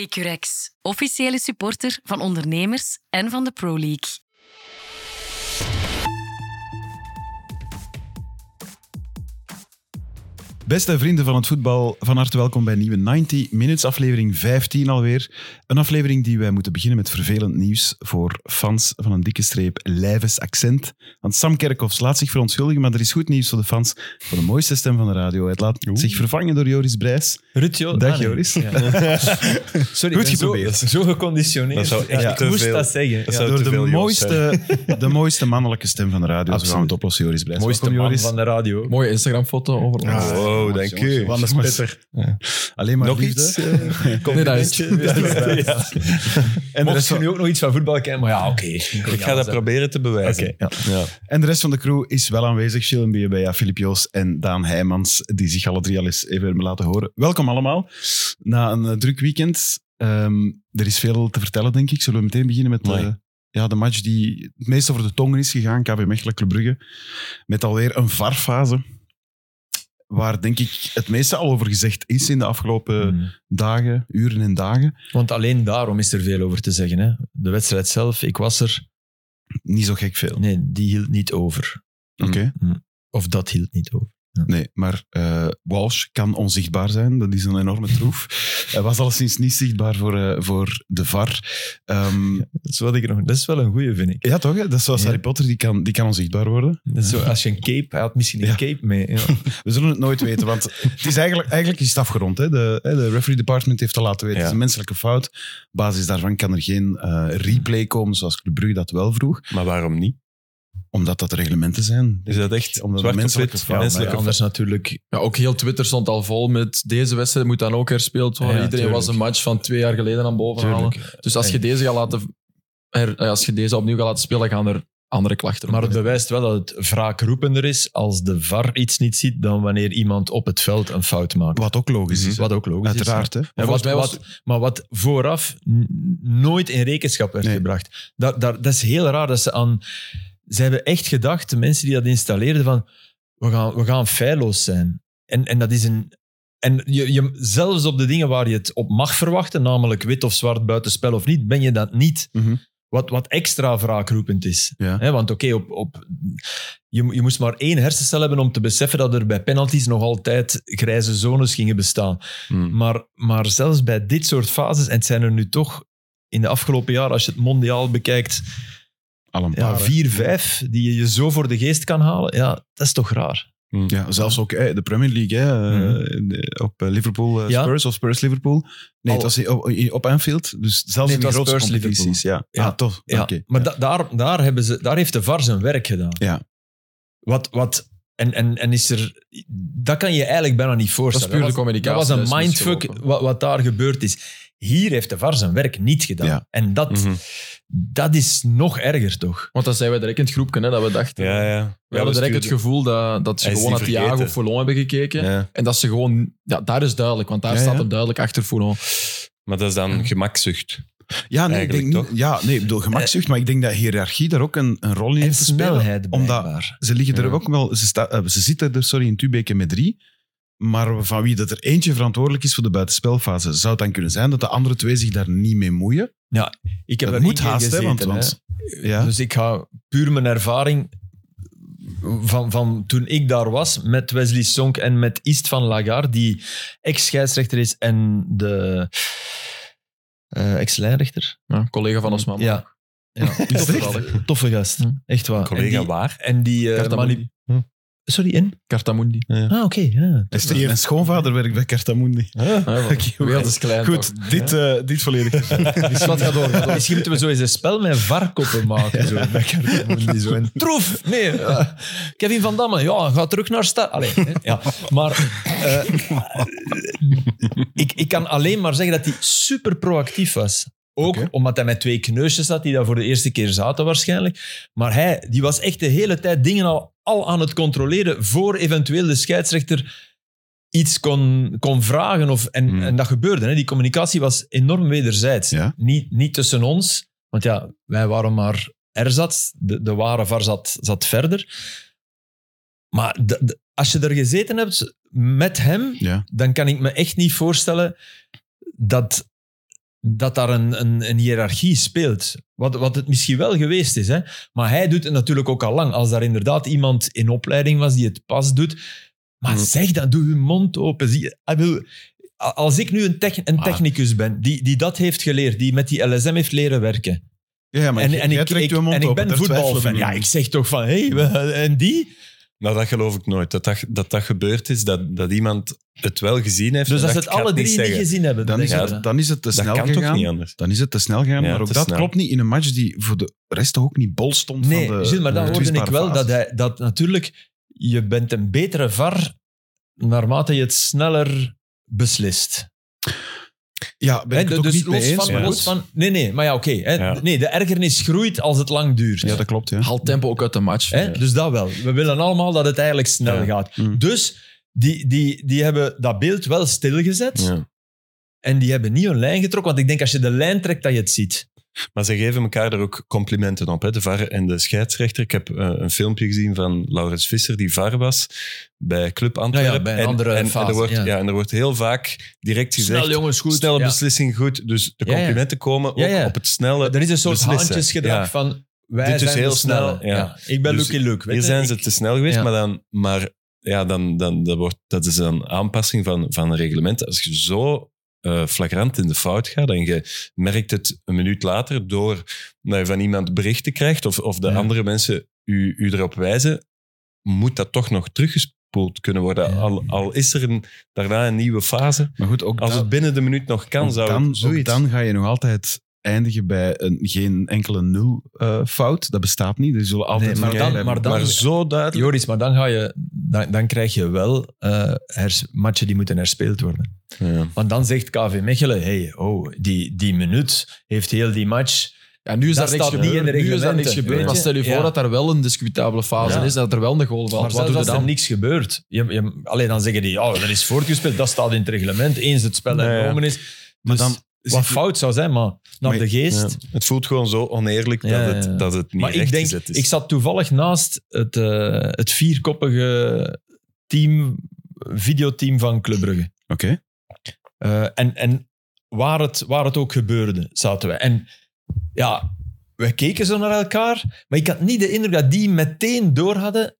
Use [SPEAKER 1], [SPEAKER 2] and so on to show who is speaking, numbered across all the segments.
[SPEAKER 1] Securex, officiële supporter van ondernemers en van de Pro League.
[SPEAKER 2] Beste vrienden van het voetbal, van harte welkom bij nieuwe 90 Minutes, aflevering 15 alweer. Een aflevering die wij moeten beginnen met vervelend nieuws voor fans van een dikke streep lijves accent. Want Sam Kerkhoffs laat zich verontschuldigen, maar er is goed nieuws voor de fans van de mooiste stem van de radio. Het laat
[SPEAKER 3] Oeh.
[SPEAKER 2] zich vervangen door Joris Brijs.
[SPEAKER 3] Rut, Jo-
[SPEAKER 2] Dag,
[SPEAKER 3] ah, nee.
[SPEAKER 2] Joris.
[SPEAKER 3] Ja. Sorry,
[SPEAKER 2] Goed
[SPEAKER 3] ik ben zo-
[SPEAKER 2] geprobeerd.
[SPEAKER 3] Zo, geconditioneerd.
[SPEAKER 4] Dat zou
[SPEAKER 3] Ja,
[SPEAKER 4] echt
[SPEAKER 3] ik
[SPEAKER 4] te
[SPEAKER 3] moest
[SPEAKER 4] veel-
[SPEAKER 3] dat zeggen.
[SPEAKER 4] dat
[SPEAKER 3] ja.
[SPEAKER 4] zou
[SPEAKER 2] door
[SPEAKER 4] te
[SPEAKER 2] de
[SPEAKER 4] veel Joos
[SPEAKER 2] mooiste, de mooiste mannelijke stem van de radio. Zo gaan we
[SPEAKER 4] Absoluut.
[SPEAKER 2] het oplossen, Joris Brijs.
[SPEAKER 3] Mooiste
[SPEAKER 2] Welkom,
[SPEAKER 3] man
[SPEAKER 2] Joris.
[SPEAKER 3] van de radio.
[SPEAKER 5] Mooie Instagram-foto over ons.
[SPEAKER 4] Ah, wow, dank u.
[SPEAKER 2] Wat een spetter. Alleen maar
[SPEAKER 4] Nog
[SPEAKER 2] liefde.
[SPEAKER 4] iets?
[SPEAKER 5] nee, dat is het.
[SPEAKER 2] En de
[SPEAKER 3] Mocht
[SPEAKER 2] rest
[SPEAKER 3] je
[SPEAKER 2] van-
[SPEAKER 3] nu ook nog iets van voetbal kennen, maar ja, oké.
[SPEAKER 4] Ik ga dat proberen te bewijzen.
[SPEAKER 3] Oké.
[SPEAKER 4] Ja.
[SPEAKER 2] En de rest van de crew is wel aanwezig. Chillen Biebeja, Filip Joos en Daan Heijmans, die zich alle drie al eens even hebben laten horen. Welkom allemaal. Na een eh, druk weekend. ehm, er is veel te vertellen, denk ik. Zullen we meteen beginnen met
[SPEAKER 4] Mooi.
[SPEAKER 2] eh, ja, de match die het meest over de tong is gegaan. KV Mechelen, Club Brugge. Met alweer een varfase. Waar, denk ik, het meeste al over gezegd is in de afgelopen
[SPEAKER 3] Hmm.
[SPEAKER 2] dagen, uren en dagen.
[SPEAKER 3] Want alleen daarom is er veel over te zeggen. Hè. De wedstrijd zelf, ik was er.
[SPEAKER 2] Niet zo gek veel.
[SPEAKER 3] Nee, die hield niet over.
[SPEAKER 2] Oké.
[SPEAKER 3] Of dat hield niet over.
[SPEAKER 2] Nee, maar eh, Walsh kan onzichtbaar zijn. Dat is een enorme troef. Hij was alleszins niet zichtbaar voor, eh, voor de VAR. Ehm,
[SPEAKER 3] Dat is, wat ik nog, dat is wel een goeie, vind ik.
[SPEAKER 2] ja, toch? hè? Dat is zoals
[SPEAKER 3] Ja.
[SPEAKER 2] Harry Potter, die kan, die kan onzichtbaar worden.
[SPEAKER 3] Dat is zo, als je een cape, hij had misschien een
[SPEAKER 2] Ja.
[SPEAKER 3] cape mee. Ja.
[SPEAKER 2] We zullen het nooit weten, want het is eigenlijk, eigenlijk is het afgerond. Hè? De, hè, de referee department heeft al laten weten. Het
[SPEAKER 4] Ja.
[SPEAKER 2] is een menselijke fout. Op basis daarvan kan er geen eh, replay komen, zoals Club Brugge dat wel vroeg.
[SPEAKER 4] Maar waarom niet?
[SPEAKER 2] Omdat dat de reglementen zijn.
[SPEAKER 4] Is dat echt
[SPEAKER 2] Omdat
[SPEAKER 4] zwart op
[SPEAKER 2] menselijke
[SPEAKER 4] wit?
[SPEAKER 2] fout,
[SPEAKER 4] menselijke
[SPEAKER 2] ja.
[SPEAKER 4] fout.
[SPEAKER 3] Anders natuurlijk.
[SPEAKER 5] Ja, ook heel Twitter stond al vol met deze wedstrijd moet dan ook herspeeld worden.
[SPEAKER 3] Ja,
[SPEAKER 5] Iedereen
[SPEAKER 3] tuurlijk.
[SPEAKER 5] was een match van twee jaar geleden aan boven halen.
[SPEAKER 3] Tuurlijk.
[SPEAKER 5] Dus als je
[SPEAKER 3] En-
[SPEAKER 5] deze gaat laten, her- eh, als je deze opnieuw gaat laten spelen, gaan er andere klachten
[SPEAKER 3] Maar
[SPEAKER 5] op.
[SPEAKER 3] het bewijst wel dat het wraakroepender is als de VAR iets niet ziet dan wanneer iemand op het veld een fout maakt.
[SPEAKER 2] Wat ook logisch is.
[SPEAKER 3] Wat ook logisch is.
[SPEAKER 2] Uiteraard. Hè?
[SPEAKER 3] En wat,
[SPEAKER 5] Volgens mij was-
[SPEAKER 3] wat, maar wat vooraf n- nooit in rekenschap werd
[SPEAKER 2] Nee.
[SPEAKER 3] gebracht. Daar, daar, dat is heel raar dat ze aan... Ze hebben echt gedacht, de mensen die dat installeerden, van we gaan, we gaan feilloos zijn. En, en dat is een... En je, je, zelfs op de dingen waar je het op mag verwachten, namelijk wit of zwart, buitenspel of niet, ben je dat niet.
[SPEAKER 2] Mhm.
[SPEAKER 3] Wat, wat extra wraakroepend is.
[SPEAKER 2] Ja.
[SPEAKER 3] Hè, want oké, op, op, je, mo- je moest maar één hersencel hebben om te beseffen dat er bij penalties nog altijd grijze zones gingen bestaan.
[SPEAKER 4] Hmm.
[SPEAKER 3] Maar, maar zelfs bij dit soort fases, en het zijn er nu toch in de afgelopen jaren, als je het mondiaal bekijkt,
[SPEAKER 2] Al een
[SPEAKER 3] ja,
[SPEAKER 2] paar, hè.
[SPEAKER 3] vier, vijf, die je je zo voor de geest kan halen. Ja, dat is toch raar.
[SPEAKER 2] Ja, zelfs ook eh, de Premier League, hè, eh, de- op eh, Liverpool eh,
[SPEAKER 3] Mhm. Ja.
[SPEAKER 2] Spurs of Spurs Liverpool. Nee, het
[SPEAKER 3] Al-
[SPEAKER 2] was i- op, i- op Anfield, dus zelfs
[SPEAKER 3] Nee,
[SPEAKER 2] in de
[SPEAKER 3] het was
[SPEAKER 2] grootste
[SPEAKER 3] Spurs Liverpool.
[SPEAKER 2] competities. Ja.
[SPEAKER 3] Ja.
[SPEAKER 2] Ah, toch?
[SPEAKER 3] Ja,
[SPEAKER 2] Oké.
[SPEAKER 3] Maar da- daar, daar, hebben ze, daar heeft de VAR zijn werk gedaan.
[SPEAKER 2] Ja.
[SPEAKER 3] Wat, wat, en, en, en is er... Dat kan je eigenlijk bijna niet
[SPEAKER 5] dat is
[SPEAKER 3] voorstellen.
[SPEAKER 5] puur de
[SPEAKER 3] Dat was-
[SPEAKER 5] communicatie.
[SPEAKER 3] Dat was een
[SPEAKER 5] is
[SPEAKER 3] mindfuck
[SPEAKER 5] misgelopen.
[SPEAKER 3] wat, wat daar gebeurd is. Hier heeft de VAR zijn werk niet gedaan.
[SPEAKER 2] Ja.
[SPEAKER 3] En dat,
[SPEAKER 4] Mhm.
[SPEAKER 3] dat is nog erger, toch?
[SPEAKER 5] Want dat zijn wij direct in het groepje, hè, dat we dachten.
[SPEAKER 4] Ja, ja.
[SPEAKER 5] We hadden direct het gevoel dat, dat ze
[SPEAKER 4] Hij is
[SPEAKER 5] gewoon naar
[SPEAKER 4] die
[SPEAKER 5] Thiago
[SPEAKER 4] vergeten.
[SPEAKER 5] Foulon hebben gekeken.
[SPEAKER 4] Ja.
[SPEAKER 5] En dat ze gewoon... Ja, daar is duidelijk, want daar
[SPEAKER 2] Ja,
[SPEAKER 5] staat
[SPEAKER 2] ja.
[SPEAKER 5] hem duidelijk achter Foulon.
[SPEAKER 4] Maar dat is dan gemakzucht.
[SPEAKER 2] Ja, nee, ik denk
[SPEAKER 4] Eigenlijk
[SPEAKER 2] niet,
[SPEAKER 4] toch?
[SPEAKER 2] ja, nee, ik bedoel
[SPEAKER 3] Eh,
[SPEAKER 2] gemakzucht, maar ik denk dat hiërarchie daar ook een, een rol in
[SPEAKER 3] En
[SPEAKER 2] heeft te spelen.
[SPEAKER 3] snelheid,
[SPEAKER 2] omdat-
[SPEAKER 3] blijkbaar.
[SPEAKER 2] Ze, liggen er
[SPEAKER 4] Ja.
[SPEAKER 2] ook wel, ze, sta- eh, ze zitten er sorry, in Tubeke met drie, maar van wie dat er eentje verantwoordelijk is voor de buitenspelfase, zou het dan kunnen zijn dat de andere twee zich daar niet mee moeien?
[SPEAKER 3] Ik heb
[SPEAKER 2] dat
[SPEAKER 3] er
[SPEAKER 2] moet
[SPEAKER 3] één keer
[SPEAKER 2] haast, hè, want-
[SPEAKER 3] gezeten,
[SPEAKER 2] want-
[SPEAKER 3] hè.
[SPEAKER 2] ja.
[SPEAKER 3] Dus ik ga puur mijn ervaring van, van toen ik daar was met Wesley Sonk en met East van Lagarde, die ex-scheidsrechter is en de eh, ex-lijnrechter.
[SPEAKER 5] Ja, collega van ons man.
[SPEAKER 3] Ja. ja.
[SPEAKER 5] Is
[SPEAKER 3] Toffe, gast. Toffe gast. Echt waar.
[SPEAKER 4] Collega
[SPEAKER 3] en die,
[SPEAKER 4] waar?
[SPEAKER 3] en die eh, mani-
[SPEAKER 5] Cartamundi.
[SPEAKER 3] Sorry, in?
[SPEAKER 5] Cartamundi.
[SPEAKER 3] Ah, oké. ja.
[SPEAKER 2] Is er- Mijn schoonvader werkt bij Cartamundi.
[SPEAKER 5] Ja,
[SPEAKER 2] Oké,
[SPEAKER 5] de wereld is klein, toch?
[SPEAKER 2] Goed, dit, eh, dit volledig.
[SPEAKER 3] Dus wat gaat door? Misschien moeten we zo eens een spel met varkoppen maken. Zo. Met Cardamondi, zo. En troef! Nee. eh, Kevin Van Damme, ja, ga terug naar start. Allee, hè, ja. Maar eh, ik, ik kan alleen maar zeggen dat hij super proactief was. Ook
[SPEAKER 2] Oké.
[SPEAKER 3] omdat hij met twee kneusjes zat, die daar voor de eerste keer zaten waarschijnlijk. Maar hij die was echt de hele tijd dingen al, al aan het controleren voor eventueel de scheidsrechter iets kon, kon vragen. Of, en,
[SPEAKER 2] Hmm.
[SPEAKER 3] en dat gebeurde. Hè. Die communicatie was enorm wederzijds.
[SPEAKER 2] Ja.
[SPEAKER 3] Niet, niet tussen ons, want ja, wij waren maar er zat. De, de ware var zat, zat verder. Maar de- de- als je er gezeten hebt met hem,
[SPEAKER 2] Ja.
[SPEAKER 3] dan kan ik me echt niet voorstellen dat, dat daar een, een, een hiërarchie speelt. Wat, wat het misschien wel geweest is. Hè? Maar hij doet het natuurlijk ook al lang. Als daar inderdaad iemand in opleiding was die het pas doet. Maar
[SPEAKER 4] Hmm.
[SPEAKER 3] zeg dan, doe je mond open. Zie, je- ik bedoel, a- als ik nu een, tech- een
[SPEAKER 5] Maar-
[SPEAKER 3] technicus ben die, die dat heeft geleerd, die met die LSM heeft leren werken.
[SPEAKER 2] Ja, ja, maar
[SPEAKER 3] en
[SPEAKER 2] jij-
[SPEAKER 3] en
[SPEAKER 2] jij
[SPEAKER 3] ik,
[SPEAKER 2] trekt
[SPEAKER 3] ik-
[SPEAKER 2] uw mond
[SPEAKER 3] en ik
[SPEAKER 2] open,
[SPEAKER 3] ben
[SPEAKER 2] daar twijfelen we
[SPEAKER 3] voetbalfan.
[SPEAKER 2] niet
[SPEAKER 3] Ja,
[SPEAKER 2] aan.
[SPEAKER 3] ik zeg toch van, hé, hey, en die?
[SPEAKER 4] Nou, dat geloof ik nooit. Dat dat, dat, dat gebeurd is, dat, dat iemand het wel gezien heeft.
[SPEAKER 3] Dus
[SPEAKER 4] en
[SPEAKER 3] als ze
[SPEAKER 4] dacht,
[SPEAKER 3] het
[SPEAKER 4] ik ga
[SPEAKER 3] alle
[SPEAKER 4] niet
[SPEAKER 3] drie niet
[SPEAKER 4] zeggen. Dus
[SPEAKER 3] gezien hebben,
[SPEAKER 2] Dan is,
[SPEAKER 3] denk ik.
[SPEAKER 2] het, dan is het te snel
[SPEAKER 4] Dat kan toch
[SPEAKER 2] gegaan.
[SPEAKER 4] niet anders?
[SPEAKER 2] Dan is het te snel gegaan,
[SPEAKER 4] Ja,
[SPEAKER 2] maar ook
[SPEAKER 4] te
[SPEAKER 2] dat
[SPEAKER 4] snel.
[SPEAKER 2] klopt niet in een match die voor de rest toch ook niet bol stond
[SPEAKER 3] Nee,
[SPEAKER 2] van de
[SPEAKER 3] Gilles, maar dan
[SPEAKER 2] de
[SPEAKER 3] hoorde ik
[SPEAKER 2] twistbare
[SPEAKER 3] wel
[SPEAKER 2] fases.
[SPEAKER 3] dat, hij, dat natuurlijk je bent een betere var naarmate je het sneller beslist.
[SPEAKER 2] Ja, ben
[SPEAKER 3] Hè,
[SPEAKER 2] ik het
[SPEAKER 3] de-
[SPEAKER 2] ook
[SPEAKER 3] dus
[SPEAKER 2] niet mee
[SPEAKER 3] los,
[SPEAKER 2] eens,
[SPEAKER 3] van,
[SPEAKER 2] maar
[SPEAKER 3] los
[SPEAKER 2] goed.
[SPEAKER 3] van... Nee, nee, maar ja, oké. hè.
[SPEAKER 4] Ja.
[SPEAKER 3] Nee, de ergernis groeit als het lang duurt.
[SPEAKER 2] Ja, dat klopt, ja.
[SPEAKER 5] Haal tempo ook uit de match.
[SPEAKER 3] Hè? Dus dat wel. We willen allemaal dat het eigenlijk snel
[SPEAKER 4] Ja.
[SPEAKER 3] gaat.
[SPEAKER 2] Mm.
[SPEAKER 3] Dus die, die, die hebben dat beeld wel stilgezet
[SPEAKER 4] Ja.
[SPEAKER 3] en die hebben niet hun lijn getrokken. Want ik denk als je de lijn trekt, dat je het ziet.
[SPEAKER 4] Maar ze geven elkaar er ook complimenten op, hè? de VAR en de scheidsrechter. Ik heb eh, een filmpje gezien van Laurens Visser, die VAR was, bij Club Antwerpen.
[SPEAKER 3] bij een
[SPEAKER 4] en,
[SPEAKER 3] andere
[SPEAKER 4] en, en
[SPEAKER 3] fase,
[SPEAKER 4] er wordt,
[SPEAKER 3] ja.
[SPEAKER 4] ja. en er wordt heel vaak direct gezegd,
[SPEAKER 5] Snel jongens, goed.
[SPEAKER 4] snelle
[SPEAKER 5] Ja.
[SPEAKER 4] beslissing, goed. Dus de
[SPEAKER 3] Ja, ja.
[SPEAKER 4] complimenten komen ook
[SPEAKER 3] Ja, ja.
[SPEAKER 4] op het snelle.
[SPEAKER 3] Er is een soort
[SPEAKER 4] Beslissen,
[SPEAKER 3] handjesgedrag
[SPEAKER 4] ja.
[SPEAKER 3] van... Wij
[SPEAKER 4] Dit is
[SPEAKER 3] zijn
[SPEAKER 4] heel
[SPEAKER 3] de snelle.
[SPEAKER 4] snel, ja.
[SPEAKER 3] Ik ben
[SPEAKER 4] Dus
[SPEAKER 3] Lucky Luke. weet
[SPEAKER 4] Hier
[SPEAKER 3] je.
[SPEAKER 4] zijn
[SPEAKER 3] Ik-
[SPEAKER 4] ze te snel geweest,
[SPEAKER 3] ja.
[SPEAKER 4] maar, dan, maar ja, dan, dan, dat, wordt, dat is een aanpassing van, van een reglement. Als je zo eh, flagrant in de fout gaat en je merkt het een minuut later door dat je van iemand berichten krijgt of, of de
[SPEAKER 3] Ja.
[SPEAKER 4] andere mensen u, u erop wijzen, moet dat toch nog teruggespoeld kunnen worden.
[SPEAKER 3] Ja.
[SPEAKER 4] Al, al is er een, daarna een nieuwe fase.
[SPEAKER 2] Maar goed, ook
[SPEAKER 4] Als
[SPEAKER 2] dat-
[SPEAKER 4] het binnen de minuut nog kan,
[SPEAKER 2] ook
[SPEAKER 4] zou
[SPEAKER 2] dan,
[SPEAKER 4] het
[SPEAKER 2] ook
[SPEAKER 4] zoiets...
[SPEAKER 2] dan ga je nog altijd eindigen bij een, geen enkele nul eh, fout. Dat bestaat niet. Er zullen altijd
[SPEAKER 3] maar
[SPEAKER 2] fouten
[SPEAKER 3] dan-
[SPEAKER 2] blijven.
[SPEAKER 3] dan-
[SPEAKER 4] maar zo duidelijk.
[SPEAKER 3] Joris, maar dan, ga je, dan, dan krijg je wel eh, hers- matchen die moeten herspeeld worden.
[SPEAKER 4] Ja.
[SPEAKER 3] Want dan zegt KV Mechelen, hey, oh, die, die minuut heeft heel die match.
[SPEAKER 5] Ja, nu is
[SPEAKER 3] Dat
[SPEAKER 5] daar niks
[SPEAKER 3] staat niet
[SPEAKER 5] gebeurd.
[SPEAKER 3] in de
[SPEAKER 5] Nu is daar niks
[SPEAKER 3] reglementen,
[SPEAKER 5] gebeurd.
[SPEAKER 3] weet
[SPEAKER 5] Maar
[SPEAKER 3] je.
[SPEAKER 5] stel je voor
[SPEAKER 3] Ja.
[SPEAKER 5] dat daar wel een discutabele fase
[SPEAKER 3] Ja.
[SPEAKER 5] is, dat er wel een goal valt.
[SPEAKER 3] Maar
[SPEAKER 5] Wat
[SPEAKER 3] zelfs
[SPEAKER 5] doe je
[SPEAKER 3] als er
[SPEAKER 5] dan?
[SPEAKER 3] niks gebeurt, je, je, allee, dan zeggen die, ja, dat is voortgespeeld, dat staat in het reglement, eens het spel
[SPEAKER 4] Nee, ja.
[SPEAKER 3] hernomen is.
[SPEAKER 2] Maar
[SPEAKER 3] Dus
[SPEAKER 2] dan
[SPEAKER 3] wat
[SPEAKER 2] zit-
[SPEAKER 3] fout zou zijn, maar naar
[SPEAKER 2] Maar-
[SPEAKER 3] de geest.
[SPEAKER 4] Ja. Het voelt gewoon zo oneerlijk
[SPEAKER 3] Ja,
[SPEAKER 4] dat, het,
[SPEAKER 3] ja.
[SPEAKER 4] dat het niet
[SPEAKER 3] Maar ik denk,
[SPEAKER 4] rechtgezet is.
[SPEAKER 3] ik zat toevallig naast het, eh, het vierkoppige team, videoteam van Club Brugge.
[SPEAKER 2] Oké.
[SPEAKER 3] Eh, en en waar, het, waar het ook gebeurde, zaten wij. En ja, we keken zo naar elkaar, maar ik had niet de indruk dat die meteen door hadden.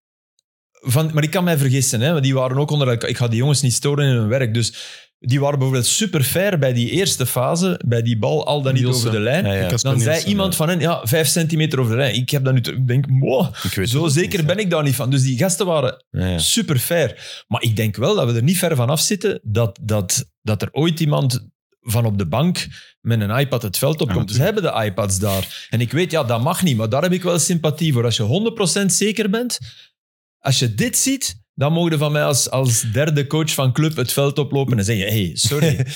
[SPEAKER 3] Van, maar ik kan mij vergissen, hè, want die waren ook onder elkaar. Ik ga die jongens niet storen in hun werk. Dus die waren bijvoorbeeld super fair bij die eerste fase, bij die bal al dan niet
[SPEAKER 5] Nielsen.
[SPEAKER 3] over de lijn.
[SPEAKER 4] Ja, ja.
[SPEAKER 2] Casper
[SPEAKER 3] Dan zei
[SPEAKER 2] Nielsen,
[SPEAKER 3] iemand
[SPEAKER 2] ja.
[SPEAKER 3] van hen, ja, vijf centimeter over de lijn. Ik heb dat nu, ter- ik denk, wow,
[SPEAKER 4] Ik weet het
[SPEAKER 3] zo
[SPEAKER 4] ook
[SPEAKER 3] zeker
[SPEAKER 4] niet.
[SPEAKER 3] ben ik daar niet van. Dus die gasten waren
[SPEAKER 4] Ja, ja.
[SPEAKER 3] super fair. Maar ik denk wel dat we er niet ver van af zitten dat, dat, dat er ooit iemand van op de bank met een iPad het veld op
[SPEAKER 2] Ja,
[SPEAKER 3] komt. Ze hebben de iPads daar. En ik weet, ja, dat mag niet, maar daar heb ik wel sympathie voor. Als je 100% zeker bent, als je dit ziet, dan mogen we van mij als, als derde coach van club het veld oplopen en zeggen, hey, sorry.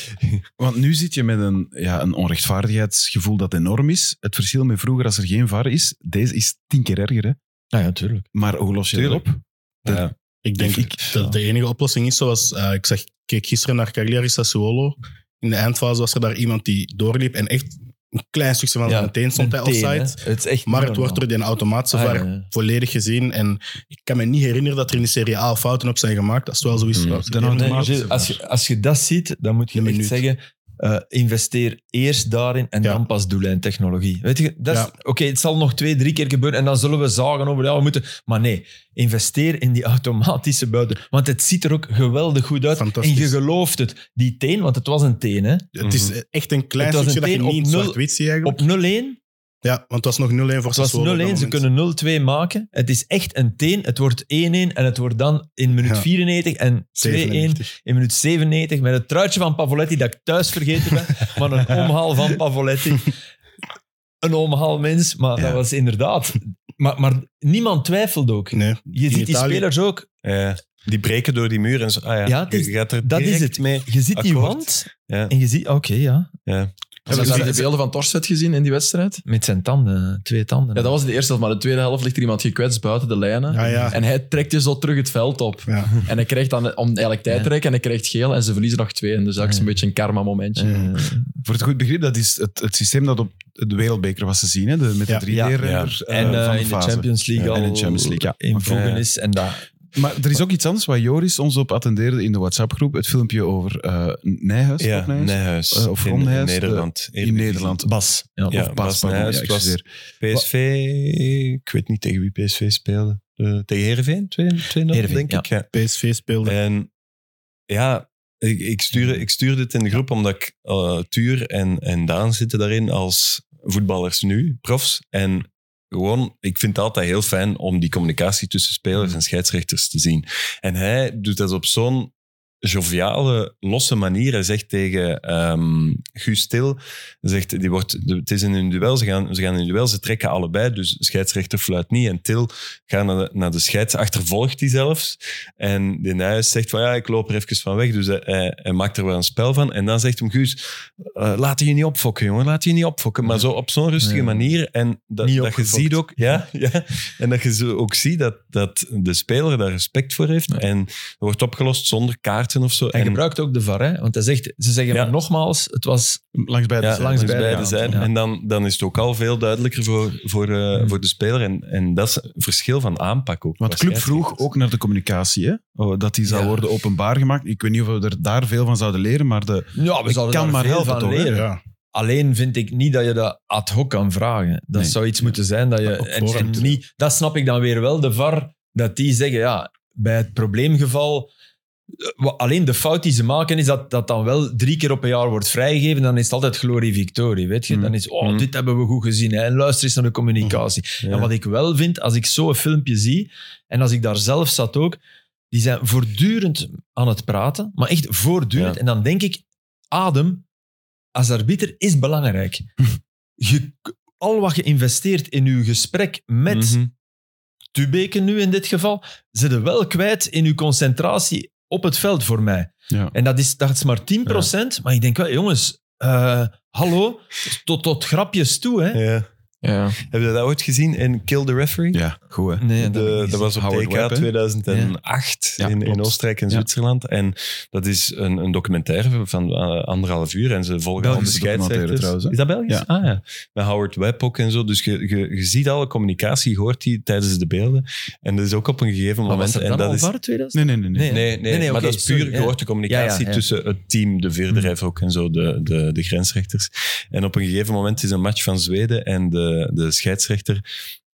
[SPEAKER 2] Want nu zit je met een, ja, een onrechtvaardigheidsgevoel dat enorm is. Het verschil met vroeger, als er geen VAR is, deze is tien keer erger. Hè?
[SPEAKER 3] nou ja, tuurlijk.
[SPEAKER 2] Maar hoe los je dat op? Dat-
[SPEAKER 4] Ja.
[SPEAKER 6] Ik denk
[SPEAKER 2] Ik-
[SPEAKER 6] dat de enige oplossing is zoals... eh, ik zeg, ik keek gisteren naar Cagliari Sassuolo. In de eindfase was er daar iemand die doorliep en echt een klein stukje van zijn teen stond hij offside.
[SPEAKER 3] Het is echt
[SPEAKER 6] Maar het
[SPEAKER 3] niet
[SPEAKER 6] wordt door
[SPEAKER 3] normaal.
[SPEAKER 6] die automatische
[SPEAKER 3] Ah,
[SPEAKER 6] VAR
[SPEAKER 3] ja, ja.
[SPEAKER 6] volledig gezien. En ik kan me niet herinneren dat er in de Serie A fouten op zijn gemaakt. Als het wel zo is.
[SPEAKER 4] Hmm.
[SPEAKER 6] trouwens.
[SPEAKER 2] Dan houdt
[SPEAKER 3] Mm. Nee,
[SPEAKER 2] Maar-
[SPEAKER 3] Gilles, als, je, als je dat ziet, dan moet je
[SPEAKER 6] Een
[SPEAKER 3] echt
[SPEAKER 6] minuut.
[SPEAKER 3] zeggen, eh, investeer eerst daarin en
[SPEAKER 6] Ja.
[SPEAKER 3] dan pas doellijntechnologie. Weet je, dat is-
[SPEAKER 6] Ja.
[SPEAKER 3] oké, het zal nog twee, drie keer gebeuren en dan zullen we zagen over, ja, we moeten... Maar nee, investeer in die automatische buiten, want het ziet er ook geweldig goed uit. En
[SPEAKER 6] Fantastisch.
[SPEAKER 3] je gelooft het. Die teen, want het was een teen, hè.
[SPEAKER 6] Het is echt een klein
[SPEAKER 3] Mm-hmm. Het was een
[SPEAKER 6] stukje dat je
[SPEAKER 3] teen op
[SPEAKER 6] niet in
[SPEAKER 3] nul-
[SPEAKER 6] zwart-wit ziet eigenlijk.
[SPEAKER 3] Op 0-1
[SPEAKER 6] Ja, want het was nog 0-1 voor
[SPEAKER 3] Het was 0-1,
[SPEAKER 6] Sassuolo. op dat
[SPEAKER 3] ze
[SPEAKER 6] moment.
[SPEAKER 3] kunnen 0-2 maken. Het is echt een teen. Het wordt 1-1 en het wordt dan in minuut
[SPEAKER 6] Ja.
[SPEAKER 3] 94 en 2-1
[SPEAKER 6] 97.
[SPEAKER 3] in minuut 97 met het truitje van Pavoletti dat ik thuis vergeten ben, maar een omhaal van Pavoletti. Een omhaal mens, maar
[SPEAKER 2] Ja.
[SPEAKER 3] dat was inderdaad... Maar, maar niemand twijfelt ook.
[SPEAKER 6] Nee,
[SPEAKER 3] Je ziet die
[SPEAKER 6] Italië-
[SPEAKER 3] spelers ook.
[SPEAKER 4] Ja, Eh, die breken door die muur en zo. Ah ja,
[SPEAKER 3] Ja, het is-
[SPEAKER 4] je gaat er
[SPEAKER 3] Dat
[SPEAKER 4] direct
[SPEAKER 3] is het.
[SPEAKER 4] mee.
[SPEAKER 3] Je ziet die
[SPEAKER 4] akkoord.
[SPEAKER 3] wand
[SPEAKER 4] Ja.
[SPEAKER 3] en je ziet... Oké, ja.
[SPEAKER 5] Hebben
[SPEAKER 6] Ze-
[SPEAKER 5] we daar de
[SPEAKER 6] ze-
[SPEAKER 5] beelden van Torset gezien in die wedstrijd?
[SPEAKER 3] Met zijn tanden, twee tanden.
[SPEAKER 5] Ja, dat was de eerste helft, maar de tweede helft ligt er iemand gekwetst buiten de lijnen.
[SPEAKER 6] Ja, Ah, ja.
[SPEAKER 5] En hij trekt je zo terug het veld op.
[SPEAKER 6] Ja.
[SPEAKER 5] En hij krijgt dan om eigenlijk tijd te rekken en hij krijgt geel en ze verliezen nog twee. En dus dat is een beetje een karma-momentje.
[SPEAKER 3] Eh,
[SPEAKER 2] Voor het goed begrip, dat is het, het systeem dat op de wereldbeker was te zien. Hè? De, met de
[SPEAKER 6] Ja.
[SPEAKER 2] 3D-renner
[SPEAKER 3] En
[SPEAKER 2] van
[SPEAKER 3] eh,
[SPEAKER 2] de
[SPEAKER 3] in de
[SPEAKER 2] fase.
[SPEAKER 3] Champions League
[SPEAKER 2] Ja,
[SPEAKER 3] al
[SPEAKER 2] en in de Champions League, ja.
[SPEAKER 3] in voegen is. En dat,
[SPEAKER 2] Maar er is ook iets anders waar Joris ons op attendeerde in de WhatsApp-groep. Het filmpje over eh, Nijhuis.
[SPEAKER 4] Ja,
[SPEAKER 2] ook Nijhuis?
[SPEAKER 4] Nijhuis.
[SPEAKER 2] Eh, of
[SPEAKER 4] in
[SPEAKER 2] Ron Nijhuis,
[SPEAKER 4] Nederland.
[SPEAKER 2] in Nederland. Bas.
[SPEAKER 3] Ja.
[SPEAKER 4] Ja,
[SPEAKER 2] of Bas,
[SPEAKER 4] Bas
[SPEAKER 2] pardon.
[SPEAKER 4] Nijhuis
[SPEAKER 2] Ja, ik
[SPEAKER 4] was-
[SPEAKER 2] excuseer.
[SPEAKER 4] PSV, ik weet niet tegen wie PSV speelde. Eh, tegen Heerenveen, 2-0
[SPEAKER 3] Heerenveen,
[SPEAKER 4] denk
[SPEAKER 3] ja.
[SPEAKER 4] ik. Ja.
[SPEAKER 6] PSV speelde.
[SPEAKER 4] En ja, ik, ik, stuur, ik stuur dit in de groep omdat ik, eh, Tuur en, en Daan zitten daarin als voetballers nu, profs. En gewoon, ik vind het altijd heel fijn om die communicatie tussen spelers en scheidsrechters te zien. En hij doet dat op zo'n joviale, losse manier. Hij zegt tegen ehm Guus Til, hij zegt, die wordt, de- het is in een duel, ze gaan, ze gaan in een duel, ze trekken allebei, dus scheidsrechter fluit niet. En Til gaat naar de, naar de scheids, achtervolgt die zelfs. En de Nijs zegt van, ja, ik loop er even van weg, dus hij, hij, hij maakt er wel een spel van. En dan zegt hem Guus, eh, laat je niet opfokken, jongen, laat je niet opfokken. Maar zo op zo'n rustige
[SPEAKER 3] Ja.
[SPEAKER 4] manier. En dat,
[SPEAKER 3] Niet
[SPEAKER 4] dat je
[SPEAKER 3] opgefokt.
[SPEAKER 4] ziet ook, ja, ja, en dat je zo ook ziet dat, dat de speler daar respect voor heeft. En dat wordt opgelost zonder kaarten of zo.
[SPEAKER 3] Hij
[SPEAKER 4] En-
[SPEAKER 3] gebruikt ook de VAR, hè? want hij zegt, ze zeggen
[SPEAKER 4] Ja.
[SPEAKER 3] maar nogmaals, het was
[SPEAKER 2] dus Langs beide
[SPEAKER 4] ja,
[SPEAKER 2] zijden.
[SPEAKER 3] langs
[SPEAKER 4] langs
[SPEAKER 3] beide
[SPEAKER 4] beide
[SPEAKER 3] kanten,
[SPEAKER 4] zijden.
[SPEAKER 3] ja.
[SPEAKER 4] En dan, dan is het ook al veel duidelijker voor, voor, eh,
[SPEAKER 3] Hmm.
[SPEAKER 4] voor de speler. En, en dat is een verschil van aanpak ook.
[SPEAKER 2] Want de club vroeg
[SPEAKER 4] Waarschijnlijk.
[SPEAKER 2] ook naar de communicatie, hè? Oh, dat die zou
[SPEAKER 3] Ja.
[SPEAKER 2] worden openbaar gemaakt. Ik weet niet of we er daar veel van zouden leren, maar de,
[SPEAKER 3] Ja, we
[SPEAKER 2] Ik
[SPEAKER 3] zouden
[SPEAKER 2] kan
[SPEAKER 3] daar
[SPEAKER 2] maar
[SPEAKER 3] veel
[SPEAKER 2] helpen,
[SPEAKER 3] van
[SPEAKER 2] toch, hè?
[SPEAKER 3] leren.
[SPEAKER 6] ja.
[SPEAKER 3] Alleen vind ik niet dat je dat ad hoc kan vragen. Dat
[SPEAKER 2] Nee.
[SPEAKER 3] zou iets moeten zijn dat je...
[SPEAKER 6] Op
[SPEAKER 3] En, en
[SPEAKER 6] voorhand.
[SPEAKER 3] niet, dat snap ik dan weer wel, de VAR, dat die zeggen, ja, bij het probleemgeval... eh, wa- Alleen de fout die ze maken is dat dat dan wel drie keer op een jaar wordt vrijgegeven. Dan is het altijd glorie victorie, weet je.
[SPEAKER 2] Mm.
[SPEAKER 3] Dan is oh,
[SPEAKER 4] Mm.
[SPEAKER 3] dit hebben we goed gezien. Hè. En luister eens naar de communicatie.
[SPEAKER 4] Ja.
[SPEAKER 3] En wat ik wel vind, als ik zo'n filmpje zie, en als ik daar zelf zat ook, die zijn voortdurend aan het praten, maar echt voortdurend.
[SPEAKER 4] Ja.
[SPEAKER 3] En dan denk ik, adem als arbiter is belangrijk. Je, al wat je investeert in je gesprek met
[SPEAKER 4] Mhm.
[SPEAKER 3] Tubeke nu in dit geval, zit je wel kwijt in je concentratie op het veld voor mij.
[SPEAKER 2] Ja.
[SPEAKER 3] En dat is, dat is maar 10%, maar ik denk wel, jongens, eh, hallo, tot, tot grapjes toe. Hè?
[SPEAKER 4] Ja.
[SPEAKER 5] Ja.
[SPEAKER 4] Heb je dat ooit gezien in Kill the Referee?
[SPEAKER 2] ja, goed, hè?
[SPEAKER 3] Nee,
[SPEAKER 4] De- dat, was op
[SPEAKER 2] Howard
[SPEAKER 4] TK
[SPEAKER 2] Webb, hè?
[SPEAKER 4] 2008
[SPEAKER 2] Ja. Ja,
[SPEAKER 4] in, in
[SPEAKER 2] klopt.
[SPEAKER 4] Oostenrijk en
[SPEAKER 2] Ja.
[SPEAKER 4] Zwitserland. En dat is een, een documentaire van eh, anderhalf uur. En ze volgen al de
[SPEAKER 2] Belgische documentaire
[SPEAKER 4] scheidsrechters.
[SPEAKER 2] trouwens, hè?
[SPEAKER 4] Is dat Belgisch?
[SPEAKER 2] Ja.
[SPEAKER 4] Ah, ja. Met Howard Webb ook en zo. Dus je, je, je ziet alle communicatie, je hoort die tijdens de beelden. En dat is ook op een gegeven
[SPEAKER 3] Maar
[SPEAKER 4] moment.
[SPEAKER 3] was er
[SPEAKER 4] en
[SPEAKER 3] dan
[SPEAKER 4] dat
[SPEAKER 3] al
[SPEAKER 4] is,
[SPEAKER 3] VAR 2000?
[SPEAKER 2] Nee, nee, nee. nee.
[SPEAKER 3] Nee.
[SPEAKER 4] Nee, nee, maar
[SPEAKER 3] oké,
[SPEAKER 4] dat is puur
[SPEAKER 3] sorry, ja.
[SPEAKER 4] gehoorde communicatie
[SPEAKER 3] Ja, Mhm. ja, ja.
[SPEAKER 4] tussen het team, de vierde ref ook en zo, de, de, de grensrechters. En op een gegeven moment is een match van Zweden en de, de scheidsrechter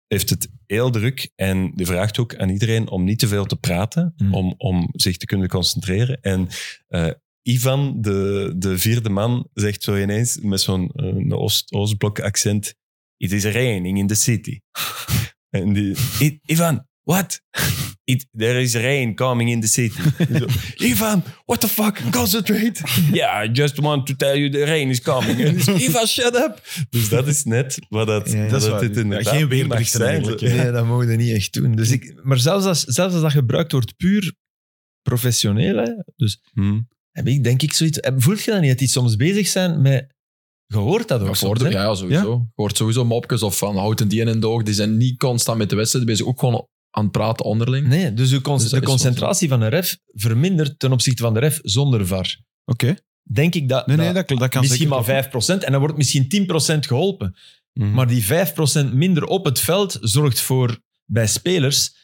[SPEAKER 4] heeft het heel druk en die vraagt ook aan iedereen om niet te veel te praten,
[SPEAKER 3] Hmm.
[SPEAKER 4] om, om zich te kunnen concentreren. En eh, Ivan, de, de vierde man, zegt zo ineens met zo'n eh, Oost, Oostblok accent, it is raining in the city. en die, "I- Ivan, what? It, there is rain coming in the city. Zo, Ivan, what the fuck? Concentrate. Yeah, I just want to tell you the rain is coming. En dus, Ivan, shut up. Dus dat is net wat dat,
[SPEAKER 3] Ja, ja.
[SPEAKER 4] dat,
[SPEAKER 3] Dat is
[SPEAKER 4] het
[SPEAKER 3] waar.
[SPEAKER 4] dit inderdaad
[SPEAKER 6] geen
[SPEAKER 4] niet mag
[SPEAKER 6] weerberichten
[SPEAKER 4] zijn.
[SPEAKER 6] eigenlijk, hè.
[SPEAKER 3] Nee, dat mogen we niet echt doen. Dus ik, maar zelfs als, zelfs als dat gebruikt wordt puur professioneel, hè, dus
[SPEAKER 4] Hmm.
[SPEAKER 3] heb ik denk ik zoiets... eh, Voelt je dat niet, dat die soms bezig zijn met... Gehoord dat ook
[SPEAKER 5] Ja,
[SPEAKER 3] soms,
[SPEAKER 5] voor de-
[SPEAKER 3] hè?
[SPEAKER 5] ja, ja, sowieso. Je hoort sowieso mopjes of van houd een die in de oog. Die zijn niet constant met de wedstrijd bezig. Ook gewoon aan het praten onderling.
[SPEAKER 3] Nee, dus de, con-
[SPEAKER 5] Dus dat
[SPEAKER 3] de
[SPEAKER 5] is soms
[SPEAKER 3] concentratie van een ref vermindert ten opzichte van de ref zonder VAR.
[SPEAKER 2] Oké.
[SPEAKER 3] Denk ik dat...
[SPEAKER 2] Nee, nee, dat,
[SPEAKER 3] dat
[SPEAKER 2] dat kan
[SPEAKER 3] Nou, misschien
[SPEAKER 2] zeker. Mhm.
[SPEAKER 3] maar 5% en dan wordt misschien 10% geholpen. Maar die 5% minder op het veld zorgt voor, bij spelers,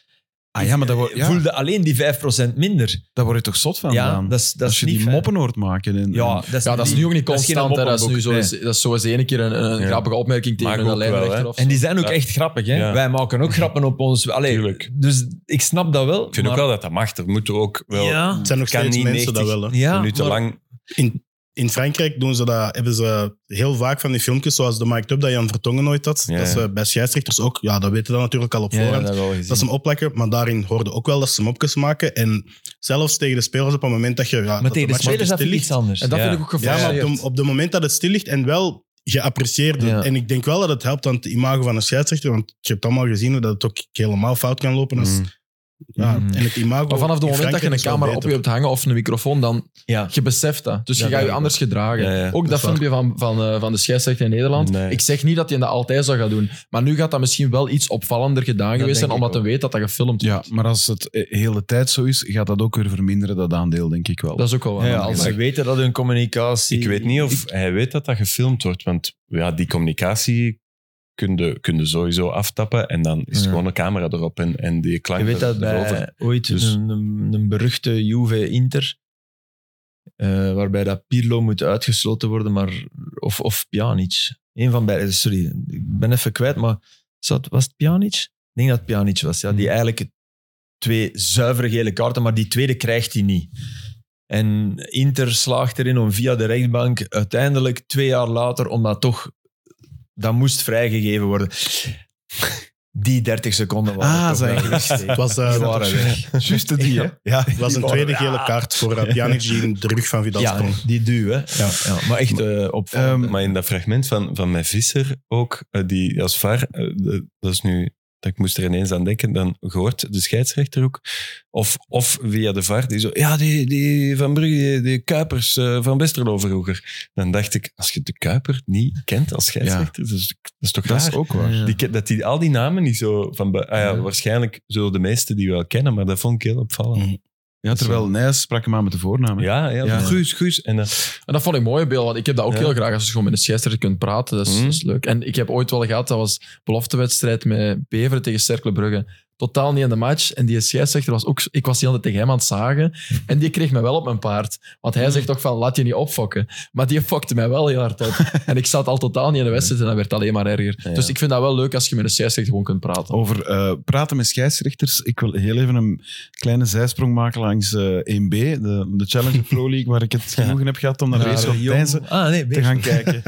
[SPEAKER 2] Ah ja, maar daar word, ja,
[SPEAKER 3] voelde alleen die 5% minder.
[SPEAKER 2] daar word je toch zot van,
[SPEAKER 3] eh, ja,
[SPEAKER 2] Daan?
[SPEAKER 3] dat is, dat
[SPEAKER 2] Als
[SPEAKER 3] is
[SPEAKER 2] je
[SPEAKER 3] niet
[SPEAKER 2] die
[SPEAKER 3] fijn.
[SPEAKER 2] moppen hoort maken. En,
[SPEAKER 3] Ja,
[SPEAKER 2] en-
[SPEAKER 3] dat is,
[SPEAKER 5] Ja, dat is nu ook niet constant. hè.
[SPEAKER 3] geen
[SPEAKER 5] Dat is nu zo
[SPEAKER 3] moppenboek,
[SPEAKER 5] eens, dat is zo eens ene keer een, een
[SPEAKER 4] Ja.
[SPEAKER 5] grappige opmerking
[SPEAKER 4] Mag
[SPEAKER 5] tegen een
[SPEAKER 4] ook wel, hè.
[SPEAKER 5] lijnrechter of zo.
[SPEAKER 3] nee. En die zijn ook
[SPEAKER 4] Ja.
[SPEAKER 3] echt grappig. Hè?
[SPEAKER 4] Ja.
[SPEAKER 3] Wij maken ook grappen op ons. Allee,
[SPEAKER 4] Tuurlijk.
[SPEAKER 3] Dus ik snap dat wel.
[SPEAKER 4] Ik vind
[SPEAKER 3] maar-
[SPEAKER 4] ook wel dat dat mag. Er moet er ook wel
[SPEAKER 3] ja,
[SPEAKER 6] Het zijn nog
[SPEAKER 4] Kan
[SPEAKER 6] steeds
[SPEAKER 4] niet
[SPEAKER 6] mensen
[SPEAKER 4] 90.
[SPEAKER 6] dat wel. hè.
[SPEAKER 3] ja,
[SPEAKER 4] minuten
[SPEAKER 3] maar-
[SPEAKER 4] lang...
[SPEAKER 6] In, in Frankrijk doen ze dat, hebben ze heel vaak van die filmpjes, zoals de Mike Up dat Jan Vertongen nooit had.
[SPEAKER 4] Ja,
[SPEAKER 6] dat
[SPEAKER 4] ja.
[SPEAKER 6] ze bij scheidsrechters ook, ja, dat weten we natuurlijk al op
[SPEAKER 3] Ja,
[SPEAKER 6] voorhand.
[SPEAKER 3] dat wel gezien.
[SPEAKER 6] Dat ze hem opplakken, maar daarin hoorde ook wel dat ze mopjes maken. En zelfs tegen de spelers op het moment dat je... Ja,
[SPEAKER 3] maar
[SPEAKER 6] dat
[SPEAKER 3] tegen de
[SPEAKER 6] match
[SPEAKER 3] spelers
[SPEAKER 6] stil
[SPEAKER 3] dat vind ik
[SPEAKER 6] ligt.
[SPEAKER 3] iets anders.
[SPEAKER 5] En dat
[SPEAKER 4] Ja.
[SPEAKER 5] vind ik ook
[SPEAKER 6] Ja, maar
[SPEAKER 5] gevaarlijk.
[SPEAKER 6] op de, op de moment dat het stil ligt en wel geapprecieerd.
[SPEAKER 3] Ja.
[SPEAKER 6] En ik denk wel dat het helpt aan het imago van een scheidsrechter, want je hebt allemaal gezien hoe dat het ook helemaal fout kan lopen. als- ja,
[SPEAKER 3] Mm.
[SPEAKER 6] en het imago
[SPEAKER 5] Maar vanaf het
[SPEAKER 6] in
[SPEAKER 5] moment dat
[SPEAKER 6] Frankrijk
[SPEAKER 5] je een
[SPEAKER 6] is wel
[SPEAKER 5] camera op
[SPEAKER 6] beter.
[SPEAKER 5] je hebt hangen of een microfoon, dan
[SPEAKER 3] Ja.
[SPEAKER 5] je beseft dat. Dus
[SPEAKER 3] Ja,
[SPEAKER 5] je gaat je
[SPEAKER 3] dat
[SPEAKER 5] anders gedragen.
[SPEAKER 4] Ja, ja.
[SPEAKER 5] Ook dat,
[SPEAKER 6] Dat is waar.
[SPEAKER 5] filmpje van, van, eh, van de scheidsrechter in Nederland.
[SPEAKER 4] Nee.
[SPEAKER 5] Ik zeg niet dat hij dat altijd zou gaan doen. Maar nu gaat dat misschien wel iets opvallender gedaan geweest
[SPEAKER 3] denk
[SPEAKER 5] zijn,
[SPEAKER 3] ik
[SPEAKER 5] omdat hij
[SPEAKER 3] ook.
[SPEAKER 5] weet dat dat gefilmd
[SPEAKER 2] ja,
[SPEAKER 5] wordt.
[SPEAKER 2] maar als het eh, hele tijd zo is, gaat dat ook weer verminderen, dat aandeel, denk ik wel.
[SPEAKER 5] Dat is ook wel waar.
[SPEAKER 3] Ja, als ze weten dat hun communicatie...
[SPEAKER 4] Ik weet niet of hij weet dat dat gefilmd wordt, want ja, die communicatie kun je, kun je sowieso aftappen en dan is het
[SPEAKER 3] Ja.
[SPEAKER 4] gewoon een camera erop en, en die klank
[SPEAKER 3] Je weet dat
[SPEAKER 4] er- erover.
[SPEAKER 3] bij ooit
[SPEAKER 4] Dus-
[SPEAKER 3] een, een, een beruchte Juve-Inter, eh, waarbij dat Pirlo moet uitgesloten worden, maar, of, of Pjanic. Eén van beide, sorry, ik ben even kwijt, maar zat, was het Pjanic? Ik denk dat het Pjanic was, ja, die eigenlijk twee zuivere gele kaarten, maar die tweede krijgt hij niet. En Inter slaagt erin om via de rechtbank uiteindelijk twee jaar later, omdat toch dat moest vrijgegeven worden. Die 30 seconden waren
[SPEAKER 2] Ah,
[SPEAKER 3] toch
[SPEAKER 2] zijn
[SPEAKER 3] wel
[SPEAKER 2] geweest.
[SPEAKER 3] gesteken.
[SPEAKER 6] Het was, eh,
[SPEAKER 3] Die waren weg.
[SPEAKER 2] Juist de die, hè? Ja.
[SPEAKER 6] Het was een tweede gele kaart voor eh, Pjanic die in de rug van Vidal
[SPEAKER 3] Ja,
[SPEAKER 6] sprong.
[SPEAKER 3] die duw, hè. Ja, ja, maar echt eh op.
[SPEAKER 2] Ehm,
[SPEAKER 4] Maar in dat fragment van, van mijn visser ook, eh, die als VAR, eh, de- dat is nu, dat ik moest er ineens aan denken, dan gehoord de scheidsrechter ook, of, of via de VAR, die zo, ja, die, die Van Brugge, die, die Kuipers eh, van Westerlo vroeger. Dan dacht ik, als je de Kuiper niet kent als scheidsrechter, dat, is, dat is toch
[SPEAKER 5] Dat
[SPEAKER 4] raar?
[SPEAKER 5] is ook waar.
[SPEAKER 4] Die ke- dat die al die namen niet zo van... be- Ah ja,
[SPEAKER 5] Ja.
[SPEAKER 4] waarschijnlijk zullen de meesten die wel kennen, maar dat vond ik heel opvallend.
[SPEAKER 2] ja, terwijl Nijs sprak hem aan met de voornaam. hè.
[SPEAKER 4] Ja, ja,
[SPEAKER 2] Ja.
[SPEAKER 4] Guus, Guus. En dan,
[SPEAKER 5] En dat vond ik mooi, Bill, want ik heb dat ook
[SPEAKER 4] Ja.
[SPEAKER 5] heel graag als je gewoon met een scheidsrechter kunt praten. Dat is,
[SPEAKER 4] Mhm.
[SPEAKER 5] dat is leuk. En ik heb ooit wel gehad, dat was beloftewedstrijd met Beveren tegen Cercle Brugge. Totaal niet in de match. En die scheidsrechter was ook... Ik was die altijd tegen hem aan het zagen. En die kreeg me wel op mijn paard. Want hij zegt toch van, laat je niet opfokken. Maar die fokte mij wel heel hard op. en ik zat al totaal niet in de wedstrijd en dat werd alleen maar erger.
[SPEAKER 4] Ja.
[SPEAKER 5] Dus ik vind dat wel leuk als je met een scheidsrechter gewoon kunt praten.
[SPEAKER 2] Over eh, praten met scheidsrechters. Ik wil heel even een kleine zijsprong maken langs eh, 1B, de, de Challenger Pro League, waar ik het genoegen heb gehad om naar Weerschot Deinzen
[SPEAKER 3] Ah, nee,
[SPEAKER 2] te gaan kijken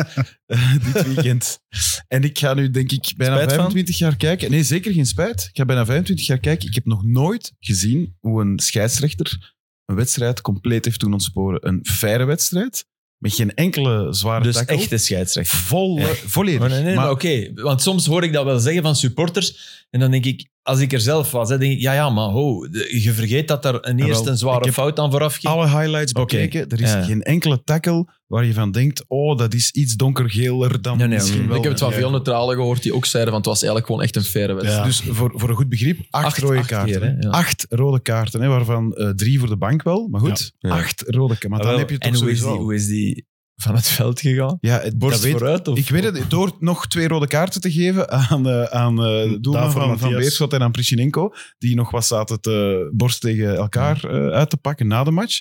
[SPEAKER 2] eh, dit weekend. En ik ga nu, denk ik, bijna
[SPEAKER 3] Spijt van?
[SPEAKER 2] 25 jaar kijken. Nee, zeker geen spijt. Ik ga bijna 25 jaar kijken. Ik heb nog nooit gezien hoe een scheidsrechter een wedstrijd compleet heeft doen ontsporen. Een faire wedstrijd, met geen enkele zware
[SPEAKER 3] Dus
[SPEAKER 2] tackle.
[SPEAKER 3] echte scheidsrechter.
[SPEAKER 2] Volle,
[SPEAKER 3] Ja.
[SPEAKER 2] Volledig.
[SPEAKER 3] Maar, Oh, nee, nee,
[SPEAKER 2] Maar-
[SPEAKER 3] maar oké, want soms hoor ik dat wel zeggen van supporters. En dan denk ik, als ik er zelf was, hè, denk ik, ja, ja, maar ho, de- je vergeet dat er een eerst
[SPEAKER 2] wel,
[SPEAKER 3] een
[SPEAKER 2] ik
[SPEAKER 3] zware
[SPEAKER 2] heb
[SPEAKER 3] fout aan vooraf ging.
[SPEAKER 2] alle highlights
[SPEAKER 3] Oké.
[SPEAKER 2] bekeken. Er is
[SPEAKER 3] Ja.
[SPEAKER 2] geen enkele tackle waar je van denkt, oh, dat is iets donkergeler dan
[SPEAKER 3] Nee, nee,
[SPEAKER 2] misschien
[SPEAKER 3] nee.
[SPEAKER 2] wel.
[SPEAKER 5] ik heb het wel
[SPEAKER 2] van
[SPEAKER 5] veel neutralen gehoord die ook zeiden van, het was eigenlijk gewoon echt een faire wedstrijd.
[SPEAKER 6] Ja.
[SPEAKER 2] Dus voor, voor een goed begrip, acht,
[SPEAKER 5] Acht-
[SPEAKER 2] rode
[SPEAKER 5] acht
[SPEAKER 2] kaarten.
[SPEAKER 5] keer, hè? Ja.
[SPEAKER 2] Acht rode kaarten, hè, waarvan eh, drie voor de bank wel. Maar goed,
[SPEAKER 4] Ja. Ja.
[SPEAKER 2] acht rode kaarten. Maar
[SPEAKER 4] Ah,
[SPEAKER 2] dan
[SPEAKER 4] wel,
[SPEAKER 2] heb je het
[SPEAKER 3] en
[SPEAKER 2] toch
[SPEAKER 3] hoe is, die,
[SPEAKER 2] sowieso...
[SPEAKER 3] hoe is die van het veld gegaan?
[SPEAKER 2] ja, het-
[SPEAKER 3] Borst
[SPEAKER 2] dat weet-
[SPEAKER 3] vooruit? Of,
[SPEAKER 2] ik weet het, door nog twee rode kaarten te geven aan, eh aan eh, de doelman
[SPEAKER 6] Daarvoor
[SPEAKER 2] van, van
[SPEAKER 6] Matthias.
[SPEAKER 2] Beerschot en aan Prichinenko, die nog wat zaten te borst tegen elkaar eh, uit te pakken na de match.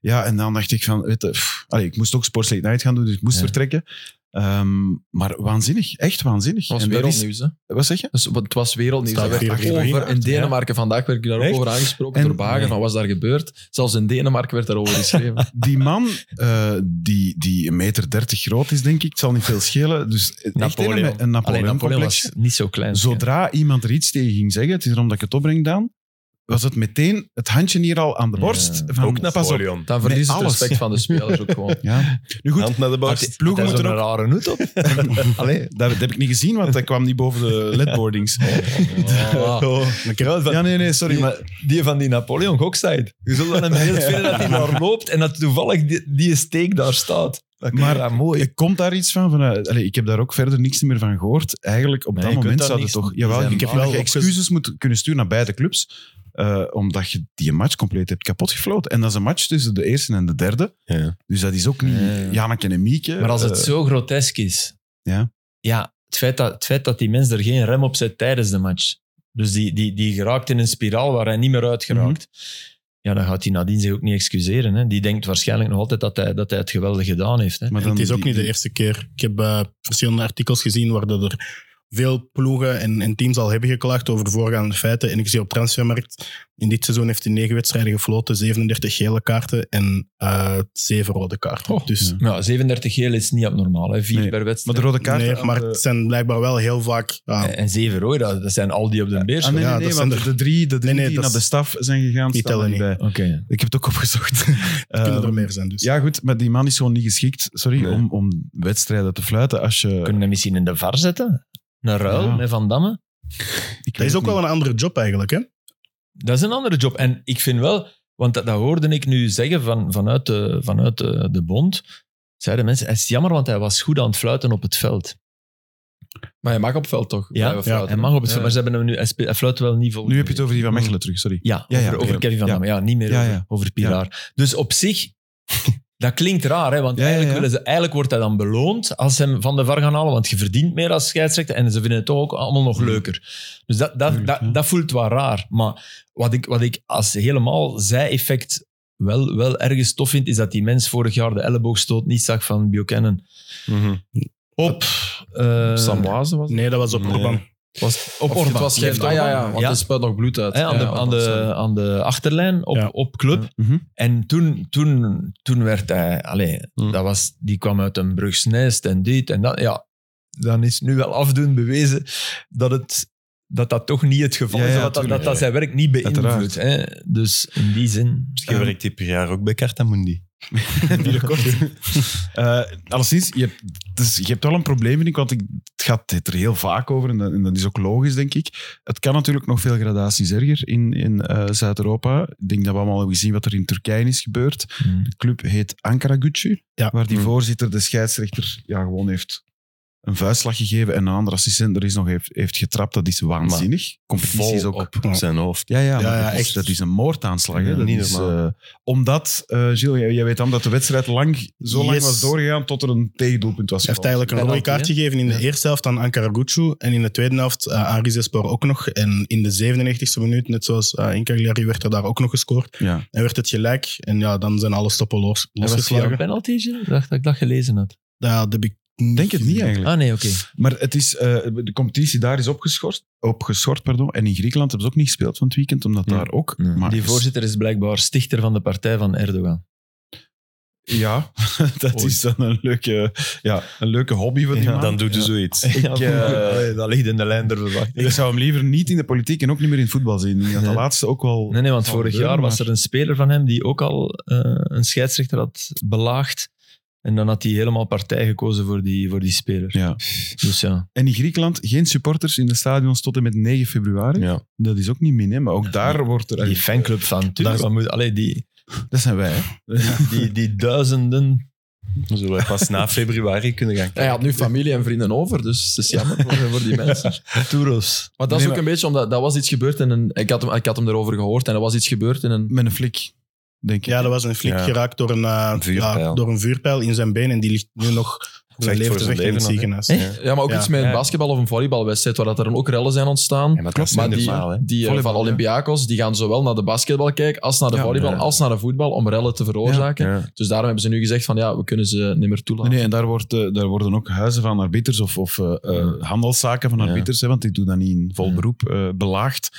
[SPEAKER 2] Ja, en dan dacht ik van, weet je, pff, allee, ik moest ook Sports Late Night gaan doen, dus ik moest
[SPEAKER 3] Ja.
[SPEAKER 2] vertrekken. Ehm, maar waanzinnig, echt waanzinnig.
[SPEAKER 5] Dat was
[SPEAKER 2] En dat is-
[SPEAKER 5] wereldnieuws, hè.
[SPEAKER 2] wat zeg je?
[SPEAKER 5] Dus, want het was wereldnieuws.
[SPEAKER 6] Staat
[SPEAKER 5] Dat werd
[SPEAKER 6] 4-3
[SPEAKER 5] over
[SPEAKER 2] geraakt,
[SPEAKER 5] in Denemarken. Vandaag werd ik daar ook
[SPEAKER 4] Echt?
[SPEAKER 5] over aangesproken
[SPEAKER 2] En-
[SPEAKER 5] door Bagen. Van, wat is daar gebeurd? Zelfs in Denemarken werd daarover geschreven.
[SPEAKER 2] Die man, eh, die, die een meter dertig groot is, denk ik, het zal niet veel schelen. Dus echt
[SPEAKER 3] Napoleon.
[SPEAKER 2] een- een
[SPEAKER 5] Alleen Napoleon
[SPEAKER 2] Napoleon-complex.
[SPEAKER 5] was niet zo klein.
[SPEAKER 2] Zodra iemand er iets tegen ging zeggen, het is erom dat ik het opbreng, Daan, was het meteen het handje hier al aan de borst. van,
[SPEAKER 4] ook
[SPEAKER 2] pas op.
[SPEAKER 4] Napoleon.
[SPEAKER 5] Dan verlies
[SPEAKER 2] Nee,
[SPEAKER 5] het
[SPEAKER 2] alles.
[SPEAKER 5] respect van de spelers ook gewoon.
[SPEAKER 2] Ja. Nu goed,
[SPEAKER 4] Hand naar de borst.
[SPEAKER 2] ploegen moeten ook...
[SPEAKER 3] rare hoed op.
[SPEAKER 2] Allee, dat, dat heb ik niet gezien, want dat kwam niet boven de ledboardings.
[SPEAKER 6] Oh, Een keer uit.
[SPEAKER 2] Ja, nee, nee, sorry. Maar
[SPEAKER 3] Die van die Napoleon Gokstijd. Je zult wel een beeld vinden dat hij daar loopt en dat toevallig die, die steek daar staat.
[SPEAKER 2] Maar-
[SPEAKER 3] ja, mooi.
[SPEAKER 2] Er komt daar iets van? vanuit? Allee, ik heb daar ook verder niks meer van gehoord. Eigenlijk op
[SPEAKER 3] Nee,
[SPEAKER 2] dat
[SPEAKER 3] je kunt
[SPEAKER 2] moment
[SPEAKER 3] daar
[SPEAKER 2] zouden
[SPEAKER 3] niks-
[SPEAKER 2] toch...
[SPEAKER 3] die
[SPEAKER 2] Jawel,
[SPEAKER 3] zijn
[SPEAKER 2] ik heb wel dat je
[SPEAKER 6] opges-
[SPEAKER 2] excuses moet kunnen sturen naar beide clubs. eh, omdat je die match compleet hebt kapotgefloten. En dat is een match tussen de eerste en de derde.
[SPEAKER 4] Ja.
[SPEAKER 2] Dus dat is ook niet
[SPEAKER 3] Ja, ja.
[SPEAKER 2] Janneke en Mieke.
[SPEAKER 3] Maar als het
[SPEAKER 2] eh,
[SPEAKER 3] zo grotesk is,
[SPEAKER 2] Ja.
[SPEAKER 3] ja het, feit dat, het feit dat die mens er geen rem op zet tijdens de match, dus die, die, die geraakt in een spiraal waar hij niet meer uit geraakt,
[SPEAKER 2] Mhm.
[SPEAKER 3] ja, dan gaat hij nadien zich ook niet excuseren. Hè. Die denkt waarschijnlijk nog altijd dat hij, dat hij het geweldig gedaan heeft. Hè.
[SPEAKER 2] maar
[SPEAKER 6] En het is ook
[SPEAKER 2] die-
[SPEAKER 6] niet de
[SPEAKER 2] die-
[SPEAKER 6] eerste keer. Ik heb eh, verschillende artikels gezien waar dat er veel ploegen en, en teams al hebben geklaagd over voorgaande feiten. En ik zie op transfermarkt, in dit seizoen heeft hij negen wedstrijden gefloten, 37 gele kaarten en eh zeven rode kaarten. dus
[SPEAKER 2] ja.
[SPEAKER 3] Nou, 37 geel is niet abnormaal, hè. vier
[SPEAKER 2] Nee,
[SPEAKER 3] per wedstrijd.
[SPEAKER 2] Maar de rode kaart... eh, Ah,
[SPEAKER 6] nee, maar Ah, het zijn blijkbaar wel heel vaak... ah,
[SPEAKER 3] En zeven rood, dat, dat zijn al die op de beers.
[SPEAKER 2] Ah, nee, nee,
[SPEAKER 6] Ja,
[SPEAKER 2] nee,
[SPEAKER 6] dat zijn
[SPEAKER 2] want
[SPEAKER 6] er-
[SPEAKER 2] de drie, de drie
[SPEAKER 6] Nee, nee,
[SPEAKER 2] die
[SPEAKER 6] dat
[SPEAKER 2] naar de
[SPEAKER 6] is-
[SPEAKER 2] staf zijn gegaan,
[SPEAKER 6] Die
[SPEAKER 2] staan er
[SPEAKER 6] tellen
[SPEAKER 2] niet bij.
[SPEAKER 3] Oké.
[SPEAKER 2] Ik heb het ook opgezocht.
[SPEAKER 6] het kunnen er
[SPEAKER 2] Ehm,
[SPEAKER 6] meer zijn, dus.
[SPEAKER 2] ja, goed, maar die man is gewoon niet geschikt, sorry,
[SPEAKER 4] Nee.
[SPEAKER 2] om, om wedstrijden te fluiten. Als je...
[SPEAKER 3] Kunnen we hem misschien in de var zetten? Een ruil
[SPEAKER 2] Ja.
[SPEAKER 3] met Van Damme?
[SPEAKER 2] ik
[SPEAKER 6] dat
[SPEAKER 2] weet
[SPEAKER 6] is ook
[SPEAKER 2] het
[SPEAKER 6] wel
[SPEAKER 2] niet.
[SPEAKER 6] een andere job eigenlijk, hè?
[SPEAKER 3] Dat is een andere job. En ik vind wel, want dat, dat hoorde ik nu zeggen van, vanuit, de, vanuit de, de bond. Zeiden mensen, het is jammer, want hij was goed aan het fluiten op het veld.
[SPEAKER 5] Maar hij mag op veld toch?
[SPEAKER 3] Ja,
[SPEAKER 5] Blijven fluiten.
[SPEAKER 3] Hij mag op het veld,
[SPEAKER 5] Ja.
[SPEAKER 3] maar ze hebben hem nu, hij, spe- hij fluit wel niet vol.
[SPEAKER 2] Nu heb je het over die van Mechelen terug, sorry.
[SPEAKER 3] Ja,
[SPEAKER 2] Ja, ja,
[SPEAKER 3] over, over
[SPEAKER 2] oké.
[SPEAKER 3] Kevin Van
[SPEAKER 2] Ja.
[SPEAKER 3] Damme. Ja, niet meer
[SPEAKER 2] Ja,
[SPEAKER 3] over,
[SPEAKER 2] ja.
[SPEAKER 3] over Pilar. Dus op zich, Dat klinkt raar, hè? want
[SPEAKER 2] Ja, ja,
[SPEAKER 3] eigenlijk,
[SPEAKER 2] ja.
[SPEAKER 3] willen ze, eigenlijk wordt dat dan beloond als ze hem van de VAR gaan halen, want je verdient meer als scheidsrechter en ze vinden het toch ook allemaal
[SPEAKER 5] Mm.
[SPEAKER 3] nog leuker. Dus dat, dat,
[SPEAKER 2] Tuurlijk,
[SPEAKER 3] dat,
[SPEAKER 2] ja.
[SPEAKER 3] dat voelt wel raar. Maar wat ik, wat ik als helemaal zij-effect wel, wel ergens tof vind, is dat die mens vorig jaar de elleboogstoot niet zag van Buchanan. Op... eh,
[SPEAKER 5] Samwaze was het?
[SPEAKER 6] Nee, dat was op
[SPEAKER 4] Nee.
[SPEAKER 6] Orban.
[SPEAKER 5] Was-
[SPEAKER 3] Op
[SPEAKER 5] of
[SPEAKER 3] Orban.
[SPEAKER 5] Het was
[SPEAKER 3] Ja,
[SPEAKER 5] geeft. Ah ja, ja, want
[SPEAKER 3] Ja.
[SPEAKER 5] er spuit nog bloed uit.
[SPEAKER 3] hè, aan,
[SPEAKER 5] Ja,
[SPEAKER 3] de,
[SPEAKER 5] ja,
[SPEAKER 3] aan, de,
[SPEAKER 5] sorry.
[SPEAKER 3] aan de achterlijn op,
[SPEAKER 6] Ja.
[SPEAKER 3] op club.
[SPEAKER 2] Mhm.
[SPEAKER 3] En toen, toen, toen werd hij... Allee,
[SPEAKER 4] Hmm.
[SPEAKER 3] dat was, die kwam uit een brugsnest en dit en dat. Ja, dan is nu wel afdoen bewezen dat het... Dat dat toch niet het geval
[SPEAKER 2] Ja,
[SPEAKER 3] is,
[SPEAKER 2] ja,
[SPEAKER 3] dat, dat,
[SPEAKER 2] tuurlijk,
[SPEAKER 3] dat dat
[SPEAKER 4] ja.
[SPEAKER 3] zijn werk niet beïnvloedt.
[SPEAKER 2] Uiteraard.
[SPEAKER 3] Hè? Dus in die zin...
[SPEAKER 4] Misschien werkt hij per jaar ook bij Cartamundi.
[SPEAKER 2] binnenkort. Eh alleszins, je hebt, dus, je hebt wel een probleem, vind ik, want ik, het gaat het er heel vaak over en dat, en dat is ook logisch, denk ik. Het kan natuurlijk nog veel gradaties erger in, in eh, Zuid-Europa. Ik denk dat we allemaal hebben gezien wat er in Turkije is gebeurd.
[SPEAKER 3] Hmm.
[SPEAKER 2] De club heet Ankara Gucci,
[SPEAKER 6] Ja.
[SPEAKER 2] waar die
[SPEAKER 4] Hmm.
[SPEAKER 2] voorzitter de scheidsrechter ja, gewoon heeft een vuistslag gegeven en een andere assistent er is nog heeft, heeft getrapt. Dat is waanzinnig. Competitie is
[SPEAKER 4] Vol
[SPEAKER 2] ook
[SPEAKER 4] op zijn hoofd.
[SPEAKER 2] ja, ja,
[SPEAKER 6] Ja,
[SPEAKER 2] maar
[SPEAKER 6] ja,
[SPEAKER 2] dat, is,
[SPEAKER 6] echt.
[SPEAKER 2] dat is een moordaanslag. Hè?
[SPEAKER 4] Ja,
[SPEAKER 2] Dat
[SPEAKER 4] niet
[SPEAKER 2] is,
[SPEAKER 4] normaal.
[SPEAKER 2] eh, omdat, eh Gilles, jij, jij weet dan dat de wedstrijd lang, zo lang
[SPEAKER 6] Yes.
[SPEAKER 2] was doorgegaan tot er een tegendoelpunt was.
[SPEAKER 6] Hij heeft
[SPEAKER 2] gevallen.
[SPEAKER 6] eigenlijk een rode
[SPEAKER 5] Penalty,
[SPEAKER 6] kaart
[SPEAKER 5] hè?
[SPEAKER 6] gegeven in de
[SPEAKER 5] Ja.
[SPEAKER 6] eerste helft aan Ankara Gucci en in de tweede helft eh, aan Rizespor ook nog. En in de 97e minuut, net zoals eh, in Cagliari, werd er daar ook nog gescoord.
[SPEAKER 2] Ja.
[SPEAKER 6] En werd het gelijk. En ja, dan zijn alle stoppen los,
[SPEAKER 3] En was het een
[SPEAKER 6] losgeslagen.
[SPEAKER 3] penalty? Gilles? Ik dacht dat ik dat gelezen had.
[SPEAKER 6] Ja, dat heb ik niet
[SPEAKER 2] Denk het niet
[SPEAKER 6] gezien.
[SPEAKER 2] eigenlijk.
[SPEAKER 3] Ah nee, oké.
[SPEAKER 2] Maar het is, eh, de competitie daar is opgeschort. opgeschort pardon. En in Griekenland hebben ze ook niet gespeeld van het weekend, omdat
[SPEAKER 3] Ja.
[SPEAKER 2] daar ook.
[SPEAKER 3] Ja.
[SPEAKER 2] maar
[SPEAKER 3] Die voorzitter is blijkbaar stichter van de partij van Erdogan.
[SPEAKER 2] Ja, dat
[SPEAKER 3] Oei.
[SPEAKER 2] is dan een leuke, ja, een leuke hobby van die man.
[SPEAKER 4] Dan doet hij
[SPEAKER 2] Ja.
[SPEAKER 4] zoiets.
[SPEAKER 2] Ik, eh,
[SPEAKER 3] dat ligt in de lijn der verwachting.
[SPEAKER 2] Ik zou hem liever niet in de politiek en ook niet meer in het voetbal zien. Ik denk dat de
[SPEAKER 3] Nee.
[SPEAKER 2] laatste ook wel.
[SPEAKER 3] Nee, nee, want
[SPEAKER 2] zal
[SPEAKER 3] vorig
[SPEAKER 2] gebeuren,
[SPEAKER 3] jaar was
[SPEAKER 2] maar-
[SPEAKER 3] er een speler van hem die ook al eh, een scheidsrechter had belaagd. En dan had hij helemaal partij gekozen voor die, voor die speler.
[SPEAKER 2] Ja.
[SPEAKER 3] Dus ja.
[SPEAKER 2] En in Griekenland geen supporters in de stadions tot en met 9 februari.
[SPEAKER 4] Ja.
[SPEAKER 2] Dat is ook niet min, hè? maar ook daar wordt er...
[SPEAKER 3] Die fanclub van
[SPEAKER 6] Daar is-
[SPEAKER 3] Tuurlijk. moet Allee, die,
[SPEAKER 2] Dat zijn wij, hè?
[SPEAKER 3] die, die duizenden.
[SPEAKER 4] Dan zullen wij pas na februari kunnen gaan
[SPEAKER 5] eh, Hij had nu familie en vrienden over, dus het is jammer voor, voor die mensen.
[SPEAKER 3] Toeros.
[SPEAKER 5] Maar dat is
[SPEAKER 2] Nee,
[SPEAKER 5] ook een beetje omdat dat was iets gebeurd in een. Ik had hem, ik had hem erover gehoord en er was iets gebeurd in een.
[SPEAKER 2] Met een flik, denk ik.
[SPEAKER 6] Ja, dat was een flik
[SPEAKER 4] Ja.
[SPEAKER 6] geraakt door een, eh,
[SPEAKER 4] Een vuurpijl.
[SPEAKER 6] ja, door een vuurpijl in zijn been. En die ligt nu nog voor zijn
[SPEAKER 4] Vecht
[SPEAKER 6] leven
[SPEAKER 4] voor
[SPEAKER 6] te
[SPEAKER 4] zijn
[SPEAKER 6] vechten in het
[SPEAKER 4] leven
[SPEAKER 6] ziekenhuis.
[SPEAKER 5] Echt? Ja, maar ook
[SPEAKER 6] Ja.
[SPEAKER 5] iets met een
[SPEAKER 4] Ja.
[SPEAKER 5] basketbal of een volleybalwedstrijd waar dat er dan ook rellen zijn ontstaan.
[SPEAKER 4] Ja, maar dat is
[SPEAKER 5] maar
[SPEAKER 4] niet
[SPEAKER 5] die,
[SPEAKER 4] normaal, hè.
[SPEAKER 5] die eh,
[SPEAKER 2] Volleybal,
[SPEAKER 5] van
[SPEAKER 2] ja.
[SPEAKER 5] Olympiakos die gaan zowel naar de basketbal kijken als naar de
[SPEAKER 2] Ja,
[SPEAKER 5] volleybal
[SPEAKER 4] ja.
[SPEAKER 5] als naar de voetbal om rellen te veroorzaken.
[SPEAKER 4] Ja.
[SPEAKER 5] Dus daarom hebben ze nu gezegd van ja, we kunnen ze niet meer
[SPEAKER 2] Nee,
[SPEAKER 5] toelaten.
[SPEAKER 2] nee, en daar, wordt, eh, daar worden ook huizen van arbiters of, of eh, eh, handelszaken van
[SPEAKER 4] Ja.
[SPEAKER 2] arbiters, hè, want die doen dat niet in vol
[SPEAKER 3] Ja.
[SPEAKER 2] beroep, eh, belaagd.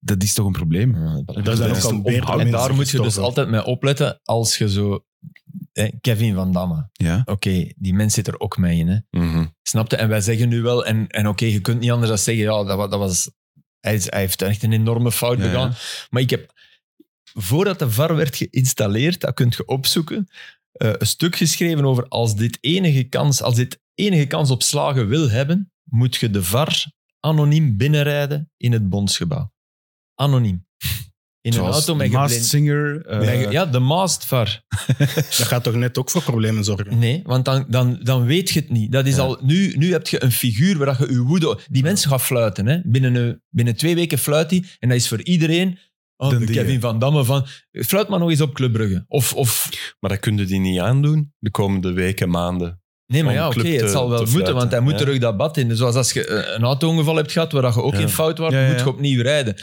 [SPEAKER 2] Dat is toch een probleem?
[SPEAKER 5] Ah,
[SPEAKER 6] Daar zijn
[SPEAKER 2] dat
[SPEAKER 6] ook
[SPEAKER 2] is
[SPEAKER 6] al
[SPEAKER 2] een
[SPEAKER 6] beter
[SPEAKER 2] onhoud.
[SPEAKER 3] En
[SPEAKER 6] mensen
[SPEAKER 3] daar moet je dus
[SPEAKER 6] gestorven.
[SPEAKER 3] altijd mee opletten als je zo... eh, Kevin Van Damme.
[SPEAKER 2] Ja.
[SPEAKER 3] Oké, die mens zit er ook mee in, hè.
[SPEAKER 4] Mhm.
[SPEAKER 3] Snapte? En wij zeggen nu wel, en, en oké, je kunt niet anders dan zeggen, ja, dat, wa- dat was, hij, is- hij heeft echt een enorme fout
[SPEAKER 2] Ja, ja.
[SPEAKER 3] begaan. Maar ik heb, voordat de VAR werd geïnstalleerd, dat kunt je opzoeken, eh, een stuk geschreven over als dit enige kans, als dit enige kans op slagen wil hebben, moet je de VAR anoniem binnenrijden in het bondsgebouw. Anoniem. In
[SPEAKER 2] Zoals
[SPEAKER 3] een auto met
[SPEAKER 2] Masked
[SPEAKER 3] geblind-
[SPEAKER 2] Singer. eh,
[SPEAKER 3] met ge- Ja, de Maast VAR.
[SPEAKER 6] Dat gaat toch net ook voor problemen zorgen?
[SPEAKER 3] Nee, want dan, dan, dan weet je het niet. Dat is
[SPEAKER 4] Ja.
[SPEAKER 3] al, nu, nu heb je een figuur waar dat je je woede... Die mensen gaan fluiten. Hè. Binnen, een, binnen twee weken fluit hij. En dat is voor iedereen... Oh,
[SPEAKER 2] Den die,
[SPEAKER 3] Kevin
[SPEAKER 2] hè.
[SPEAKER 3] Van Damme van... Fluit maar nog eens op Club Brugge. Of... of
[SPEAKER 4] Maar dat kunnen die niet aandoen de komende weken, maanden.
[SPEAKER 3] nee, maar
[SPEAKER 4] Om
[SPEAKER 3] ja, oké,
[SPEAKER 4] club te-
[SPEAKER 3] het zal wel
[SPEAKER 4] te
[SPEAKER 3] moeten,
[SPEAKER 4] fluiten,
[SPEAKER 3] want hij moet
[SPEAKER 4] ja.
[SPEAKER 3] terug dat bad in. Zoals als je eh, een auto-ongeval hebt gehad waar dat je ook
[SPEAKER 4] Ja.
[SPEAKER 3] in fout was,
[SPEAKER 2] Ja, ja,
[SPEAKER 3] moet
[SPEAKER 2] ja.
[SPEAKER 3] je opnieuw rijden.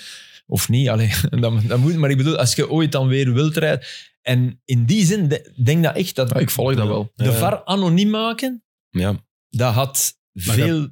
[SPEAKER 3] Of niet, alleen, dat, dat moet, maar ik bedoel, als je ooit dan weer wilt rijden... En in die zin de- denk dat echt dat
[SPEAKER 5] Ja, ik volg dat wel.
[SPEAKER 3] de
[SPEAKER 4] Ja.
[SPEAKER 3] VAR anoniem maken,
[SPEAKER 4] Ja.
[SPEAKER 3] dat had
[SPEAKER 6] Maar
[SPEAKER 3] veel...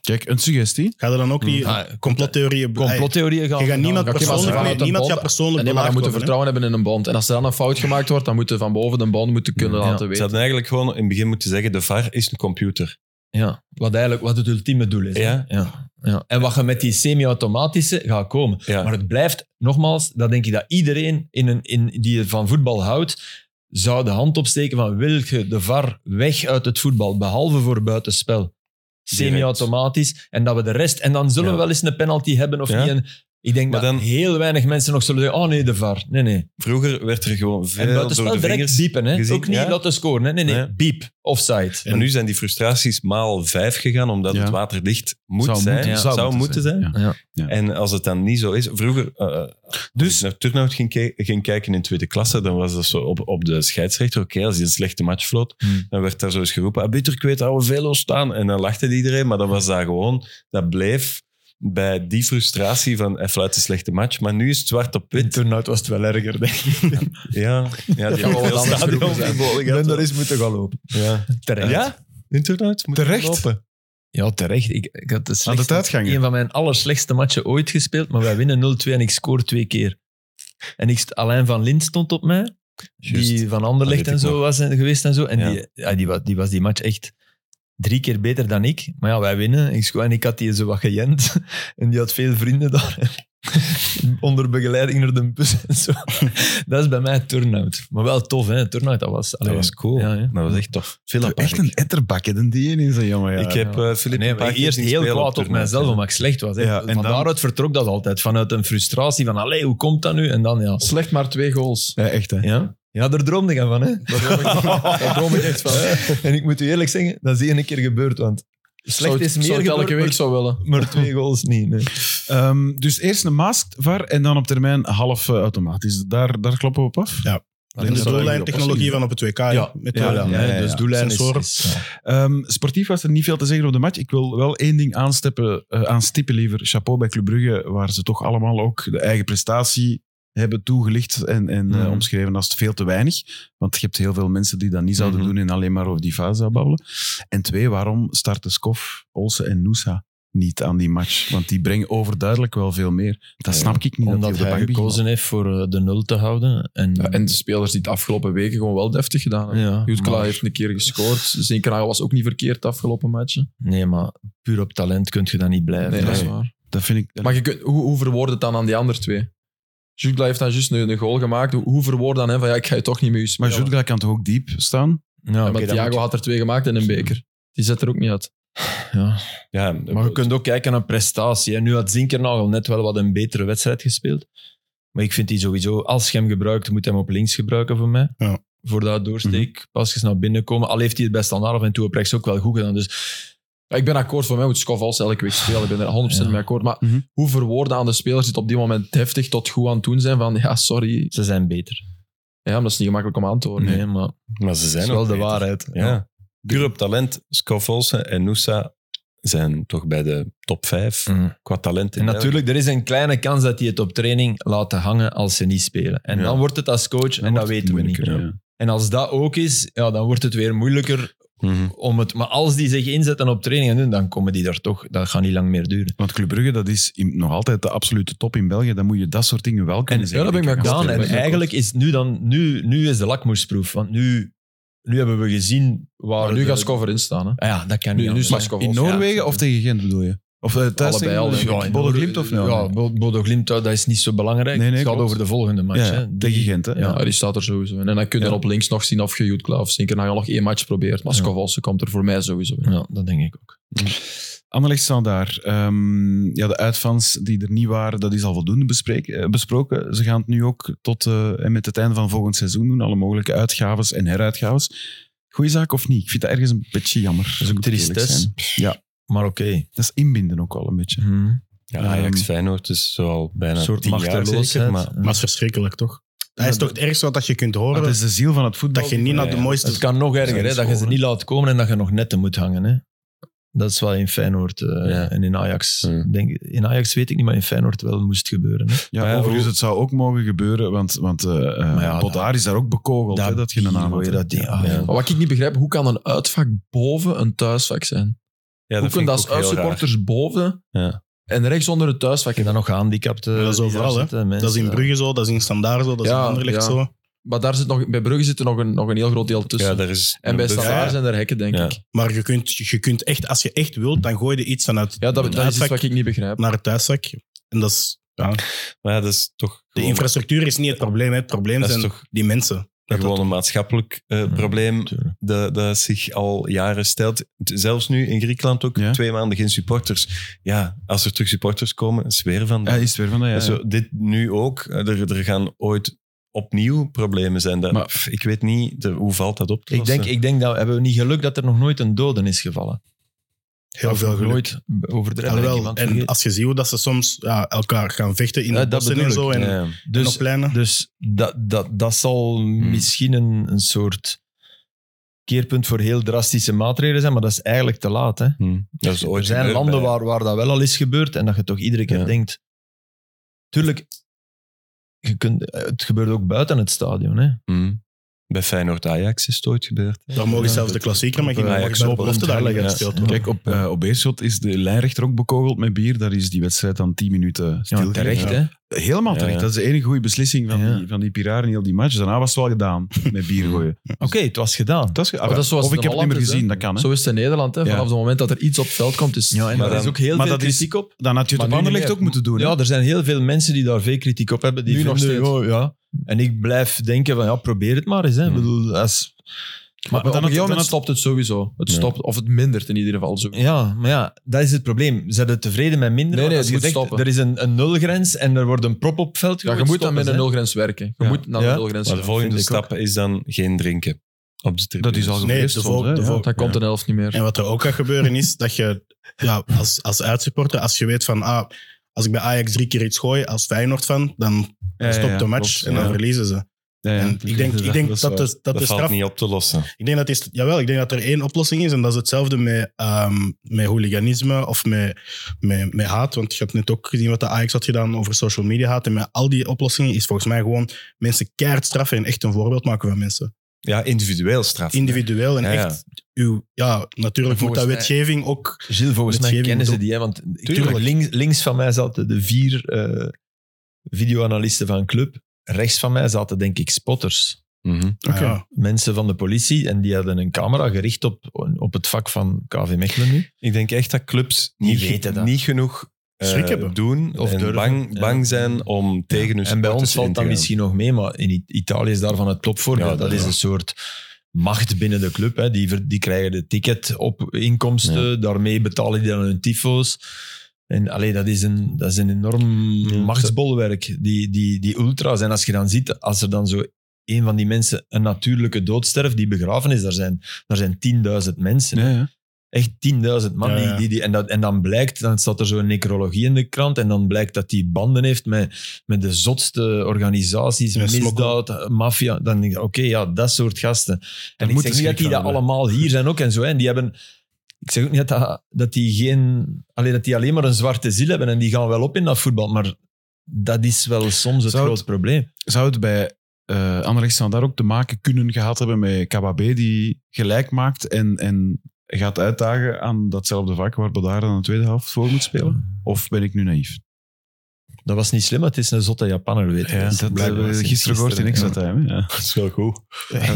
[SPEAKER 2] Kijk, een suggestie.
[SPEAKER 6] Gaat er dan ook die
[SPEAKER 3] Ah,
[SPEAKER 6] complottheorieën...
[SPEAKER 3] Complottheorieën gaan.
[SPEAKER 6] Je gaat niemand
[SPEAKER 5] Oké, maar ze
[SPEAKER 6] persoonlijk,
[SPEAKER 5] gaan
[SPEAKER 6] nee,
[SPEAKER 5] uit een
[SPEAKER 6] niemand
[SPEAKER 5] bond-
[SPEAKER 6] gaat persoonlijk
[SPEAKER 5] En nee, maar dan moeten
[SPEAKER 6] belaagd
[SPEAKER 5] we
[SPEAKER 6] worden,
[SPEAKER 5] vertrouwen hebben in een bond. En als er dan een fout gemaakt wordt, dan moeten we van boven de bond moeten kunnen
[SPEAKER 3] Ja.
[SPEAKER 5] laten
[SPEAKER 4] Ze
[SPEAKER 5] weten.
[SPEAKER 4] hadden eigenlijk gewoon in het begin moeten zeggen, de VAR is een computer.
[SPEAKER 3] Ja, wat eigenlijk wat het ultieme doel is. hè.
[SPEAKER 4] Ja.
[SPEAKER 3] Ja. ja. En wat je met die semi-automatische gaat komen.
[SPEAKER 4] Ja.
[SPEAKER 3] Maar het blijft, nogmaals, dat denk ik dat iedereen in een, in, die van voetbal houdt, zou de hand opsteken van wil je de VAR weg uit het voetbal, behalve voor buitenspel. Semi-automatisch. En dat we de rest... En dan zullen
[SPEAKER 4] Ja.
[SPEAKER 3] we wel eens een penalty hebben of
[SPEAKER 4] Ja.
[SPEAKER 3] niet. En Ik denk
[SPEAKER 4] Maar
[SPEAKER 3] dat
[SPEAKER 4] dan-
[SPEAKER 3] heel weinig mensen nog zullen zeggen, oh nee, de VAR. Nee, nee.
[SPEAKER 4] Vroeger werd er gewoon
[SPEAKER 3] En
[SPEAKER 4] veel door
[SPEAKER 3] buitenspel
[SPEAKER 4] de
[SPEAKER 3] direct
[SPEAKER 4] vingers...
[SPEAKER 3] biepen. Hè?
[SPEAKER 4] gezien,
[SPEAKER 3] Ook niet
[SPEAKER 4] ja.
[SPEAKER 3] laten scoren. Hè? Nee, nee,
[SPEAKER 4] Nee.
[SPEAKER 3] biep. Offside.
[SPEAKER 4] Maar nu zijn die frustraties maal vijf gegaan, omdat
[SPEAKER 2] Ja.
[SPEAKER 4] het waterdicht moet
[SPEAKER 2] Zou
[SPEAKER 4] zijn.
[SPEAKER 2] moeten-
[SPEAKER 4] Ja,
[SPEAKER 2] zou moeten zijn,
[SPEAKER 3] ja.
[SPEAKER 2] Ja.
[SPEAKER 4] En als het dan niet zo is... Vroeger, eh, dus, als ik naar Turnhout ging, ki- ging kijken in tweede klasse, dan was dat zo op, op de scheidsrechter. Oké, als hij een slechte match vloot,
[SPEAKER 3] Hmm.
[SPEAKER 4] dan werd daar zo eens geroepen, arbiter, ik weet oude velo staan. En dan lachte iedereen, maar dat was daar gewoon... Dat bleef bij die frustratie van hij fluit een slechte match. Maar nu is het zwart op
[SPEAKER 3] In
[SPEAKER 4] wit.
[SPEAKER 3] turnout was het wel erger, denk ik.
[SPEAKER 4] Ja, ja die
[SPEAKER 5] kan wel wat
[SPEAKER 4] hebben veel
[SPEAKER 5] anders geroepen zijn.
[SPEAKER 4] stadionverboden
[SPEAKER 3] Ik ben
[SPEAKER 4] gehad.
[SPEAKER 3] daar eens moeten gaan lopen.
[SPEAKER 4] Ja.
[SPEAKER 3] Terecht.
[SPEAKER 4] Ja? In Turnhout? Moet
[SPEAKER 3] Terecht?
[SPEAKER 4] lopen.
[SPEAKER 3] Ja, terecht. Ik, ik had de slechtste,
[SPEAKER 2] uitgangen.
[SPEAKER 3] een van mijn allerslechtste matchen ooit gespeeld, maar wij winnen 0-2 en ik scoor twee keer. En ik, st- Alain van Lint stond op mij,
[SPEAKER 4] Juist.
[SPEAKER 3] die van
[SPEAKER 4] Dat
[SPEAKER 3] Anderlecht
[SPEAKER 4] weet
[SPEAKER 3] en
[SPEAKER 4] ik
[SPEAKER 3] zo
[SPEAKER 4] nog.
[SPEAKER 3] was en, geweest en zo. En
[SPEAKER 4] Ja.
[SPEAKER 3] die, ja, die, was, die was die match echt drie keer beter dan ik. Maar ja, wij winnen. Ik scoor en ik had die zo wat gejent. En die had veel vrienden daar. Onder begeleiding naar de bus en zo. Dat is bij mij turnout. Maar wel tof, hè? Turnout, dat was...
[SPEAKER 4] Dat was cool.
[SPEAKER 3] Ja, ja.
[SPEAKER 4] Dat was echt tof. Veel apart.
[SPEAKER 2] Echt een etterbak, hè, dan die ene is dat jammer. Ja.
[SPEAKER 4] Ik heb
[SPEAKER 3] ja.
[SPEAKER 4] eh Filip
[SPEAKER 3] Nee,
[SPEAKER 4] een
[SPEAKER 3] maar
[SPEAKER 4] paar keer
[SPEAKER 3] eerst
[SPEAKER 4] zien
[SPEAKER 3] heel
[SPEAKER 4] spelen
[SPEAKER 3] kwaad op,
[SPEAKER 4] Turnhout,
[SPEAKER 3] mijzelf,
[SPEAKER 4] ja.
[SPEAKER 3] omdat ik slecht was. hè.
[SPEAKER 2] Ja, en
[SPEAKER 3] van
[SPEAKER 2] dan-
[SPEAKER 3] daaruit vertrok dat altijd. Vanuit een frustratie van, allee, hoe komt dat nu? En dan, ja.
[SPEAKER 5] Slecht maar twee goals.
[SPEAKER 2] Ja, echt, hè.
[SPEAKER 3] Ja, ja daar droomde ik van, hè.
[SPEAKER 5] Daar droom ik- daar droom ik echt van.
[SPEAKER 3] En ik moet u eerlijk zeggen, dat is één keer gebeurd, want slecht
[SPEAKER 5] Zou-
[SPEAKER 3] is meer
[SPEAKER 5] zou ik
[SPEAKER 3] gebeurd,
[SPEAKER 5] elke week
[SPEAKER 3] maar-
[SPEAKER 5] zou willen.
[SPEAKER 3] maar twee goals niet. nee.
[SPEAKER 2] Ehm, dus eerst een masked var en dan op termijn half eh, automatisch. Daar, daar kloppen we op af.
[SPEAKER 6] Ja. In de Dus doellijntechnologie van op het WK.
[SPEAKER 3] Ja,
[SPEAKER 6] met
[SPEAKER 2] ja,
[SPEAKER 6] de-
[SPEAKER 2] ja.
[SPEAKER 3] hè, Dus doellijn is...
[SPEAKER 6] Sensoren.
[SPEAKER 3] is- ja.
[SPEAKER 2] Ehm, sportief was er niet veel te zeggen op de match. Ik wil wel één ding aansteppen, eh, aanstippen, liever. Chapeau bij Club Brugge, waar ze toch allemaal ook de eigen prestatie hebben toegelicht en, en eh,
[SPEAKER 3] Mhm.
[SPEAKER 2] omschreven als veel te weinig. Want je hebt heel veel mensen die dat niet zouden
[SPEAKER 4] Mhm.
[SPEAKER 2] doen en alleen maar over die fase zouden babbelen. En twee, waarom starten Skof, Olsen en Noosa niet aan die match? Want die brengen overduidelijk wel veel meer. Dat
[SPEAKER 4] Ja,
[SPEAKER 2] snap ik niet, dat die
[SPEAKER 3] Omdat
[SPEAKER 2] op de bank
[SPEAKER 3] hij
[SPEAKER 2] beginnen.
[SPEAKER 3] gekozen heeft voor eh, de nul te houden. En,
[SPEAKER 5] Ja, en de spelers die het afgelopen weken gewoon wel deftig gedaan hebben.
[SPEAKER 3] Ja,
[SPEAKER 5] Jutkla
[SPEAKER 3] maar-
[SPEAKER 5] heeft een keer gescoord. Zinkra was ook niet verkeerd de afgelopen matchen.
[SPEAKER 3] Nee, maar puur op talent kun je dat niet blijven.
[SPEAKER 5] Nee, dat is waar.
[SPEAKER 2] Dat vind ik...
[SPEAKER 5] Maar je kunt, hoe, hoe verwoord het dan aan die andere twee? Jutkla heeft dan juist een, een goal gemaakt. Hoe, hoe verwoord dan hem van ja, ik ga je toch niet mee
[SPEAKER 2] maar
[SPEAKER 5] spelen?
[SPEAKER 2] Jutgla kan toch ook diep staan?
[SPEAKER 3] Ja,
[SPEAKER 5] Ja,
[SPEAKER 3] oké,
[SPEAKER 5] maar
[SPEAKER 3] dan
[SPEAKER 5] Thiago
[SPEAKER 3] moet
[SPEAKER 5] had er twee gemaakt en een beker. Die zet er ook niet uit.
[SPEAKER 3] je- ja.
[SPEAKER 4] Ja,
[SPEAKER 3] Maar je kunt ook kijken naar prestatie. hè. Nu had Zinkernagel net wel wat een betere wedstrijd gespeeld. Maar ik vind die sowieso, als je hem gebruikt, moet je hem op links gebruiken voor mij.
[SPEAKER 6] Ja.
[SPEAKER 3] Voor dat doorsteek, pasjes naar binnen komen. Al heeft hij het best aan af en toe op rechts ook wel goed gedaan. Dus
[SPEAKER 5] Ja, ik ben akkoord, voor mij moet Skof als elke week spelen. Ik ben er 100%
[SPEAKER 3] Ja.
[SPEAKER 5] mee akkoord. Maar
[SPEAKER 2] Mhm.
[SPEAKER 5] hoe verwoorden aan de spelers die het op dit moment heftig tot goed aan het doen zijn van ja, sorry.
[SPEAKER 3] ze zijn beter.
[SPEAKER 5] Ja, maar dat is niet gemakkelijk om aan te horen.
[SPEAKER 3] Nee, maar
[SPEAKER 4] Maar ze
[SPEAKER 3] dat
[SPEAKER 4] zijn
[SPEAKER 3] is wel
[SPEAKER 4] ook
[SPEAKER 3] de
[SPEAKER 4] beter.
[SPEAKER 3] waarheid.
[SPEAKER 4] Ja. Puur op talent, Skof Olsen en Noosa zijn toch bij de top vijf
[SPEAKER 3] Mm.
[SPEAKER 4] qua talent. in
[SPEAKER 3] En natuurlijk, er is een kleine kans dat hij het op training laat hangen als ze niet spelen. En
[SPEAKER 4] Ja.
[SPEAKER 3] dan wordt het als coach, en dat weten we niet.
[SPEAKER 4] ja.
[SPEAKER 3] En als dat ook is, ja, dan wordt het weer moeilijker
[SPEAKER 4] België. Mhm.
[SPEAKER 3] om het. Maar als die zich inzetten op training en doen, dan komen die daar toch. Dat gaat niet lang meer duren.
[SPEAKER 2] Want Club Brugge, dat is in- nog altijd de absolute top in België. Dan moet je dat soort dingen wel kunnen
[SPEAKER 3] En-
[SPEAKER 2] zeggen.
[SPEAKER 5] ja, dat ben ik mee akkoord.
[SPEAKER 3] Gedaan.
[SPEAKER 5] dat
[SPEAKER 3] En
[SPEAKER 5] is wel
[SPEAKER 3] eigenlijk is nu dan. Nu, nu is de lakmoesproef. Want nu, nu hebben we gezien waar.
[SPEAKER 5] Maar nu
[SPEAKER 3] de-
[SPEAKER 5] gaat Skof erin staan. Hè.
[SPEAKER 3] Ah Ja, dat kan
[SPEAKER 5] Nu-
[SPEAKER 3] niet.
[SPEAKER 5] nu
[SPEAKER 3] anders.
[SPEAKER 5] is Skof
[SPEAKER 2] In Noorwegen of tegen Gent bedoel je? Of eh, thuis
[SPEAKER 5] Allebei al,
[SPEAKER 2] tegen
[SPEAKER 5] denk
[SPEAKER 2] ja,
[SPEAKER 5] ik.
[SPEAKER 2] in Bodo Glimt of nou?
[SPEAKER 3] Ja, Bo- Bodo Glimt, dat is niet zo belangrijk.
[SPEAKER 2] Nee, nee,
[SPEAKER 3] het gaat
[SPEAKER 2] klopt.
[SPEAKER 3] over de volgende match.
[SPEAKER 2] Ja,
[SPEAKER 3] hè.
[SPEAKER 2] tegen Gent, hè?
[SPEAKER 5] Ja, die staat er sowieso in. En dan kun je
[SPEAKER 3] Ja.
[SPEAKER 5] dan op links nog zien of je Jutkla of Zinkernagel nog één match probeert. Maar
[SPEAKER 3] Ja.
[SPEAKER 5] Skof Olsen komt er voor mij sowieso in.
[SPEAKER 3] Ja, dat denk ik ook.
[SPEAKER 2] Anderlecht staan daar. Ehm, ja, de uitvans die er niet waren, dat is al voldoende bespreek- eh, besproken. Ze gaan het nu ook tot eh, en met het einde van volgend seizoen doen. Alle mogelijke uitgaves en heruitgaves. Goeie zaak of niet? Ik vind dat ergens een beetje jammer. Dat is
[SPEAKER 3] tristesse.
[SPEAKER 2] Ja,
[SPEAKER 3] Maar oké.
[SPEAKER 2] dat is inbinden ook al een beetje.
[SPEAKER 4] Ja, Ajax Feyenoord is zo al bijna
[SPEAKER 3] Een soort
[SPEAKER 4] tien jaar
[SPEAKER 3] machteloosheid.
[SPEAKER 4] zeker, maar
[SPEAKER 6] Maar het is verschrikkelijk, toch? Hij is toch het ergste wat je kunt
[SPEAKER 2] Dat
[SPEAKER 6] horen?
[SPEAKER 2] is de ziel van het voetbal.
[SPEAKER 6] Dat je niet naar de
[SPEAKER 4] Ja,
[SPEAKER 6] mooiste...
[SPEAKER 3] Het kan nog erger, hè, dat je ze niet laat komen en dat je nog netten moet hangen. Hè. Dat is wat in Feyenoord eh,
[SPEAKER 4] Ja.
[SPEAKER 3] en in Ajax.
[SPEAKER 4] Ja.
[SPEAKER 3] Denk, in Ajax weet ik niet, maar in Feyenoord wel moest gebeuren. Hè.
[SPEAKER 2] Ja,
[SPEAKER 4] Maar ja,
[SPEAKER 2] overigens,
[SPEAKER 4] hoe-
[SPEAKER 2] het zou ook mogen gebeuren, want, want eh, eh,
[SPEAKER 3] Maar ja,
[SPEAKER 2] Bodaar is daar ook bekogeld, hè, dat je een naam
[SPEAKER 3] hoor
[SPEAKER 2] had.
[SPEAKER 3] je dat ding. Ah,
[SPEAKER 4] Ja.
[SPEAKER 3] ja.
[SPEAKER 5] Maar wat ik niet begrijp, hoe kan een uitvak boven een thuisvak zijn?
[SPEAKER 4] ja,
[SPEAKER 5] hoe
[SPEAKER 4] vind
[SPEAKER 5] kunnen
[SPEAKER 4] ik
[SPEAKER 5] dat als
[SPEAKER 4] ook heel raar.
[SPEAKER 5] uitsupporters boven
[SPEAKER 4] Ja.
[SPEAKER 5] en rechts onder het thuisvak?
[SPEAKER 3] Wat je dan nog gehandicapte.
[SPEAKER 6] Maar dat is
[SPEAKER 3] die daar
[SPEAKER 6] overal, hè.
[SPEAKER 3] zitten, mensen.
[SPEAKER 6] Dat is in Brugge zo, dat is in Standaard zo, dat is
[SPEAKER 5] Ja,
[SPEAKER 6] in Anderlecht
[SPEAKER 5] ja.
[SPEAKER 6] zo.
[SPEAKER 5] Maar daar zit nog, bij Brugge zit er nog een, nog een heel groot deel tussen.
[SPEAKER 4] Ja, daar is
[SPEAKER 5] en bij
[SPEAKER 4] de-
[SPEAKER 5] Standaard
[SPEAKER 4] Ja.
[SPEAKER 5] zijn er hekken, denk
[SPEAKER 4] Ja.
[SPEAKER 5] ik.
[SPEAKER 6] Maar je kunt, je kunt echt, als je echt wilt, dan gooi je iets vanuit
[SPEAKER 5] Ja, dat,
[SPEAKER 6] het
[SPEAKER 5] dat is iets
[SPEAKER 6] uitvak
[SPEAKER 5] wat ik niet begrijp.
[SPEAKER 6] naar het thuiszak. En dat is, ja,
[SPEAKER 4] Maar ja, dat is toch
[SPEAKER 6] de
[SPEAKER 4] gewoon-
[SPEAKER 6] infrastructuur is niet het probleem. hè. Het probleem
[SPEAKER 4] Dat is
[SPEAKER 6] zijn
[SPEAKER 4] toch-
[SPEAKER 6] die mensen. dat
[SPEAKER 4] gewoon een maatschappelijk eh,
[SPEAKER 3] Hm.
[SPEAKER 4] probleem
[SPEAKER 3] tuurlijk.
[SPEAKER 4] dat, dat zich al jaren stelt. T- Zelfs nu in Griekenland ook,
[SPEAKER 2] Ja.
[SPEAKER 4] twee maanden geen supporters. Ja, als er terug supporters komen, is weer van
[SPEAKER 2] Ja, is het weer van dat, ja.
[SPEAKER 4] En Zo, dit nu ook. eh, Er, er gaan ooit opnieuw problemen zijn. Dat,
[SPEAKER 2] Maar-
[SPEAKER 4] pff, ik weet niet, de- hoe valt dat eh, op te
[SPEAKER 3] Ik denk,
[SPEAKER 4] lossen?
[SPEAKER 3] ik denk dat hebben we niet geluk dat er nog nooit een doden is gevallen.
[SPEAKER 6] Heel
[SPEAKER 3] Of
[SPEAKER 6] veel
[SPEAKER 3] nog
[SPEAKER 6] geluk.
[SPEAKER 3] Nooit overdreven. dat
[SPEAKER 6] Alhoewel,
[SPEAKER 3] iemand
[SPEAKER 6] en
[SPEAKER 3] vergeet.
[SPEAKER 6] als je ziet hoe dat ze soms ja, elkaar gaan vechten in
[SPEAKER 3] Ja,
[SPEAKER 6] de
[SPEAKER 3] dat
[SPEAKER 6] bossen en
[SPEAKER 3] bedoel
[SPEAKER 6] zo,
[SPEAKER 3] ik,
[SPEAKER 6] en, en
[SPEAKER 4] Ja.
[SPEAKER 3] dus,
[SPEAKER 6] op pleinen.
[SPEAKER 3] Dus dat, dat, dat zal misschien een, een soort keerpunt voor heel drastische maatregelen zijn, maar dat is eigenlijk te laat. Hè?
[SPEAKER 4] Hm.
[SPEAKER 2] Hmm.
[SPEAKER 4] Dat is ooit
[SPEAKER 3] er zijn
[SPEAKER 4] gebeurd
[SPEAKER 3] landen
[SPEAKER 4] bij-
[SPEAKER 3] waar, waar dat wel al is gebeurd en dat je toch iedere keer
[SPEAKER 4] Ja.
[SPEAKER 3] denkt. Tuurlijk, je kunt, het gebeurt ook buiten het stadion. Hè?
[SPEAKER 4] Hm. Bij Feyenoord-Ajax is het ooit gebeurd.
[SPEAKER 6] daar mogen zelfs de klassieker, maar
[SPEAKER 4] Ja,
[SPEAKER 6] ging
[SPEAKER 4] ja,
[SPEAKER 6] ook zo
[SPEAKER 4] klopt.
[SPEAKER 6] belofte daar niet
[SPEAKER 4] Ja.
[SPEAKER 6] gespeeld
[SPEAKER 3] Ja.
[SPEAKER 6] worden.
[SPEAKER 2] Kijk, op, eh, op Beerschot is de lijnrechter ook bekogeld met bier. Daar is die wedstrijd dan 10 minuten stil.
[SPEAKER 3] Ja, terecht,
[SPEAKER 2] gelegd.
[SPEAKER 3] hè?
[SPEAKER 2] Helemaal
[SPEAKER 4] Ja,
[SPEAKER 2] terecht.
[SPEAKER 4] ja.
[SPEAKER 2] Dat is de enige goede beslissing van,
[SPEAKER 3] Ja.
[SPEAKER 2] die, van die piraren in heel die match. Daarna was het wel gedaan met bier gooien.
[SPEAKER 3] Oké, het was gedaan.
[SPEAKER 2] Dat is ge-
[SPEAKER 5] Maar dat is zoals
[SPEAKER 2] of ik
[SPEAKER 5] het
[SPEAKER 2] heb
[SPEAKER 5] in
[SPEAKER 2] het niet meer
[SPEAKER 5] Holland is,
[SPEAKER 2] gezien, dat kan. Hè.
[SPEAKER 5] Zo is het in Nederland. Hè.
[SPEAKER 2] Ja.
[SPEAKER 5] Vanaf het moment dat er iets op het veld komt, is...
[SPEAKER 3] Ja, en
[SPEAKER 4] Maar
[SPEAKER 3] daar
[SPEAKER 4] dan-
[SPEAKER 3] is ook heel
[SPEAKER 2] maar
[SPEAKER 3] veel
[SPEAKER 2] dat is-
[SPEAKER 3] kritiek op.
[SPEAKER 2] Dan had je het op
[SPEAKER 5] Maar nu niet
[SPEAKER 2] Anderlecht
[SPEAKER 5] meer.
[SPEAKER 2] ook moeten doen. hè.
[SPEAKER 3] Ja, er zijn heel veel mensen die daar veel kritiek op hebben. Die
[SPEAKER 5] Nu nog
[SPEAKER 3] vinden
[SPEAKER 5] steeds.
[SPEAKER 3] gewoon, ja. En ik blijf denken van, ja, probeer het maar eens. Hè. Ik
[SPEAKER 5] Hmm.
[SPEAKER 3] bedoel, als,
[SPEAKER 5] Maar
[SPEAKER 2] dan had-
[SPEAKER 5] op een gegeven
[SPEAKER 2] dan
[SPEAKER 5] moment
[SPEAKER 2] had-
[SPEAKER 5] stopt het sowieso. Het
[SPEAKER 4] Ja.
[SPEAKER 5] stopt, of het mindert in ieder geval. Zo.
[SPEAKER 3] ja, maar ja, dat is het probleem. Zijn ze tevreden met minder?
[SPEAKER 5] Nee,
[SPEAKER 3] Want
[SPEAKER 5] nee,
[SPEAKER 3] als
[SPEAKER 5] het
[SPEAKER 3] je
[SPEAKER 5] moet
[SPEAKER 3] zegt,
[SPEAKER 5] stoppen.
[SPEAKER 3] Er is een, een nulgrens en er wordt een prop op het veld
[SPEAKER 5] Ja, je
[SPEAKER 3] gegooid,
[SPEAKER 5] moet dan
[SPEAKER 3] stoppen
[SPEAKER 5] met
[SPEAKER 3] ze,
[SPEAKER 5] een
[SPEAKER 3] hè.
[SPEAKER 5] nulgrens werken. Je
[SPEAKER 3] Ja.
[SPEAKER 5] moet naar
[SPEAKER 3] Ja.
[SPEAKER 5] de nulgrens
[SPEAKER 4] Maar
[SPEAKER 5] werken.
[SPEAKER 4] de volgende
[SPEAKER 5] vind ik ook.
[SPEAKER 4] stap is dan geen drinken op de tribune.
[SPEAKER 2] Dat is al
[SPEAKER 6] Nee,
[SPEAKER 2] geweest.
[SPEAKER 6] de
[SPEAKER 2] soms,
[SPEAKER 6] vol-
[SPEAKER 2] hè.
[SPEAKER 6] de
[SPEAKER 2] Ja.
[SPEAKER 6] vol-
[SPEAKER 5] Dat komt een elf niet meer.
[SPEAKER 6] En wat er ook gaat gebeuren is dat je ja, als, als uitsupporter, als je weet van ah, als ik bij Ajax drie keer iets gooi als Feyenoord van, dan
[SPEAKER 2] Ja, ja,
[SPEAKER 6] stopt
[SPEAKER 2] ja,
[SPEAKER 6] de match
[SPEAKER 2] klopt,
[SPEAKER 6] en dan
[SPEAKER 2] ja.
[SPEAKER 6] verliezen ze.
[SPEAKER 2] Ja, ja.
[SPEAKER 6] En ik denk, ik denk dat,
[SPEAKER 2] waar.
[SPEAKER 6] de, dat,
[SPEAKER 4] Dat
[SPEAKER 6] de
[SPEAKER 4] valt
[SPEAKER 6] straf...
[SPEAKER 4] niet op te lossen.
[SPEAKER 6] Ik denk, dat is, jawel, ik denk dat er één oplossing is en dat is hetzelfde met, ehm, met hooliganisme of met, met, met haat. Want je hebt net ook gezien wat de Ajax had gedaan over social media haat. En met al die oplossingen is volgens mij gewoon mensen keihard straffen en echt een voorbeeld maken van mensen.
[SPEAKER 4] Ja, individueel straf.
[SPEAKER 6] Individueel en
[SPEAKER 4] Ja, ja.
[SPEAKER 6] echt... Uw, ja, natuurlijk
[SPEAKER 5] En
[SPEAKER 6] moet dat
[SPEAKER 5] volgens mij-
[SPEAKER 6] wetgeving ook...
[SPEAKER 3] Gilles, volgens mij
[SPEAKER 6] Met Scheving
[SPEAKER 3] kennen ze
[SPEAKER 6] bedoel-
[SPEAKER 3] die, hè, want tuurlijk, links, links van mij zaten de vier eh, videoanalisten van Club. Rechts van mij zaten denk ik spotters.
[SPEAKER 4] Mhm.
[SPEAKER 6] Ah, ja.
[SPEAKER 3] Mensen van de politie en die hadden een camera gericht op, op het vak van KV Mechelen nu.
[SPEAKER 4] Ik denk echt dat clubs
[SPEAKER 3] Die
[SPEAKER 4] niet,
[SPEAKER 3] weten dat.
[SPEAKER 4] niet genoeg eh,
[SPEAKER 6] Schrik hebben.
[SPEAKER 4] doen
[SPEAKER 3] Of
[SPEAKER 4] en
[SPEAKER 3] durven.
[SPEAKER 4] Bang,
[SPEAKER 3] Ja.
[SPEAKER 4] bang zijn om tegen hun
[SPEAKER 3] En bij ons
[SPEAKER 4] supporters in
[SPEAKER 3] valt
[SPEAKER 4] te
[SPEAKER 3] dat
[SPEAKER 4] gaan.
[SPEAKER 3] misschien nog mee, maar in I- Italië is daarvan het topvoorbeeld.
[SPEAKER 4] Ja,
[SPEAKER 3] dat
[SPEAKER 4] dat
[SPEAKER 3] is
[SPEAKER 4] wel.
[SPEAKER 3] een soort macht binnen de club. Hè. Die, ver- die krijgen de ticket op inkomsten, daarmee betalen die dan hun tyfo's. En allee, dat, is een, dat is een enorm machtsbolwerk, die, die, die ultra's. En als je dan ziet, als er dan zo een van die mensen een natuurlijke dood sterft, die begraven is, daar zijn, daar zijn 10.000 mensen.
[SPEAKER 2] Ja, ja.
[SPEAKER 3] Echt 10.000 man.
[SPEAKER 6] Ja,
[SPEAKER 3] die-
[SPEAKER 6] ja.
[SPEAKER 3] Die, die, en, dat, en dan blijkt, dan staat er zo'n necrologie in de krant. En dan blijkt dat die banden heeft met, met de zotste organisaties,
[SPEAKER 6] Ja,
[SPEAKER 3] misdaad, eh, maffia. Dan denk ik, oké, ja, dat soort gasten. En ik
[SPEAKER 2] moet
[SPEAKER 3] zeg
[SPEAKER 2] je schrik
[SPEAKER 3] niet dat die
[SPEAKER 2] van
[SPEAKER 3] dat
[SPEAKER 2] hebben.
[SPEAKER 3] allemaal hier zijn ook en zo. hè. En die hebben. Ik zeg ook niet dat, dat die geen. Alleen dat die alleen maar een zwarte ziel hebben. En die gaan wel op in dat voetbal. Maar dat is wel soms het
[SPEAKER 2] Zou het-
[SPEAKER 3] groot probleem.
[SPEAKER 2] Zou het bij eh Anderlecht Standaard ook te maken kunnen gehad hebben met Kababé, die gelijk maakt en, en gaat uitdagen aan datzelfde vak waar Bodaar dan de tweede helft voor moet spelen? Of ben ik nu naïef?
[SPEAKER 3] Dat was niet slim, maar het is een zotte Japaner, weet je.
[SPEAKER 2] Ja, dat
[SPEAKER 3] blijkbaar
[SPEAKER 2] hebben we
[SPEAKER 3] sinds
[SPEAKER 2] gisteren gehoord in extra
[SPEAKER 3] gisteren,
[SPEAKER 2] time. hè? Ja.
[SPEAKER 4] Dat is wel goed.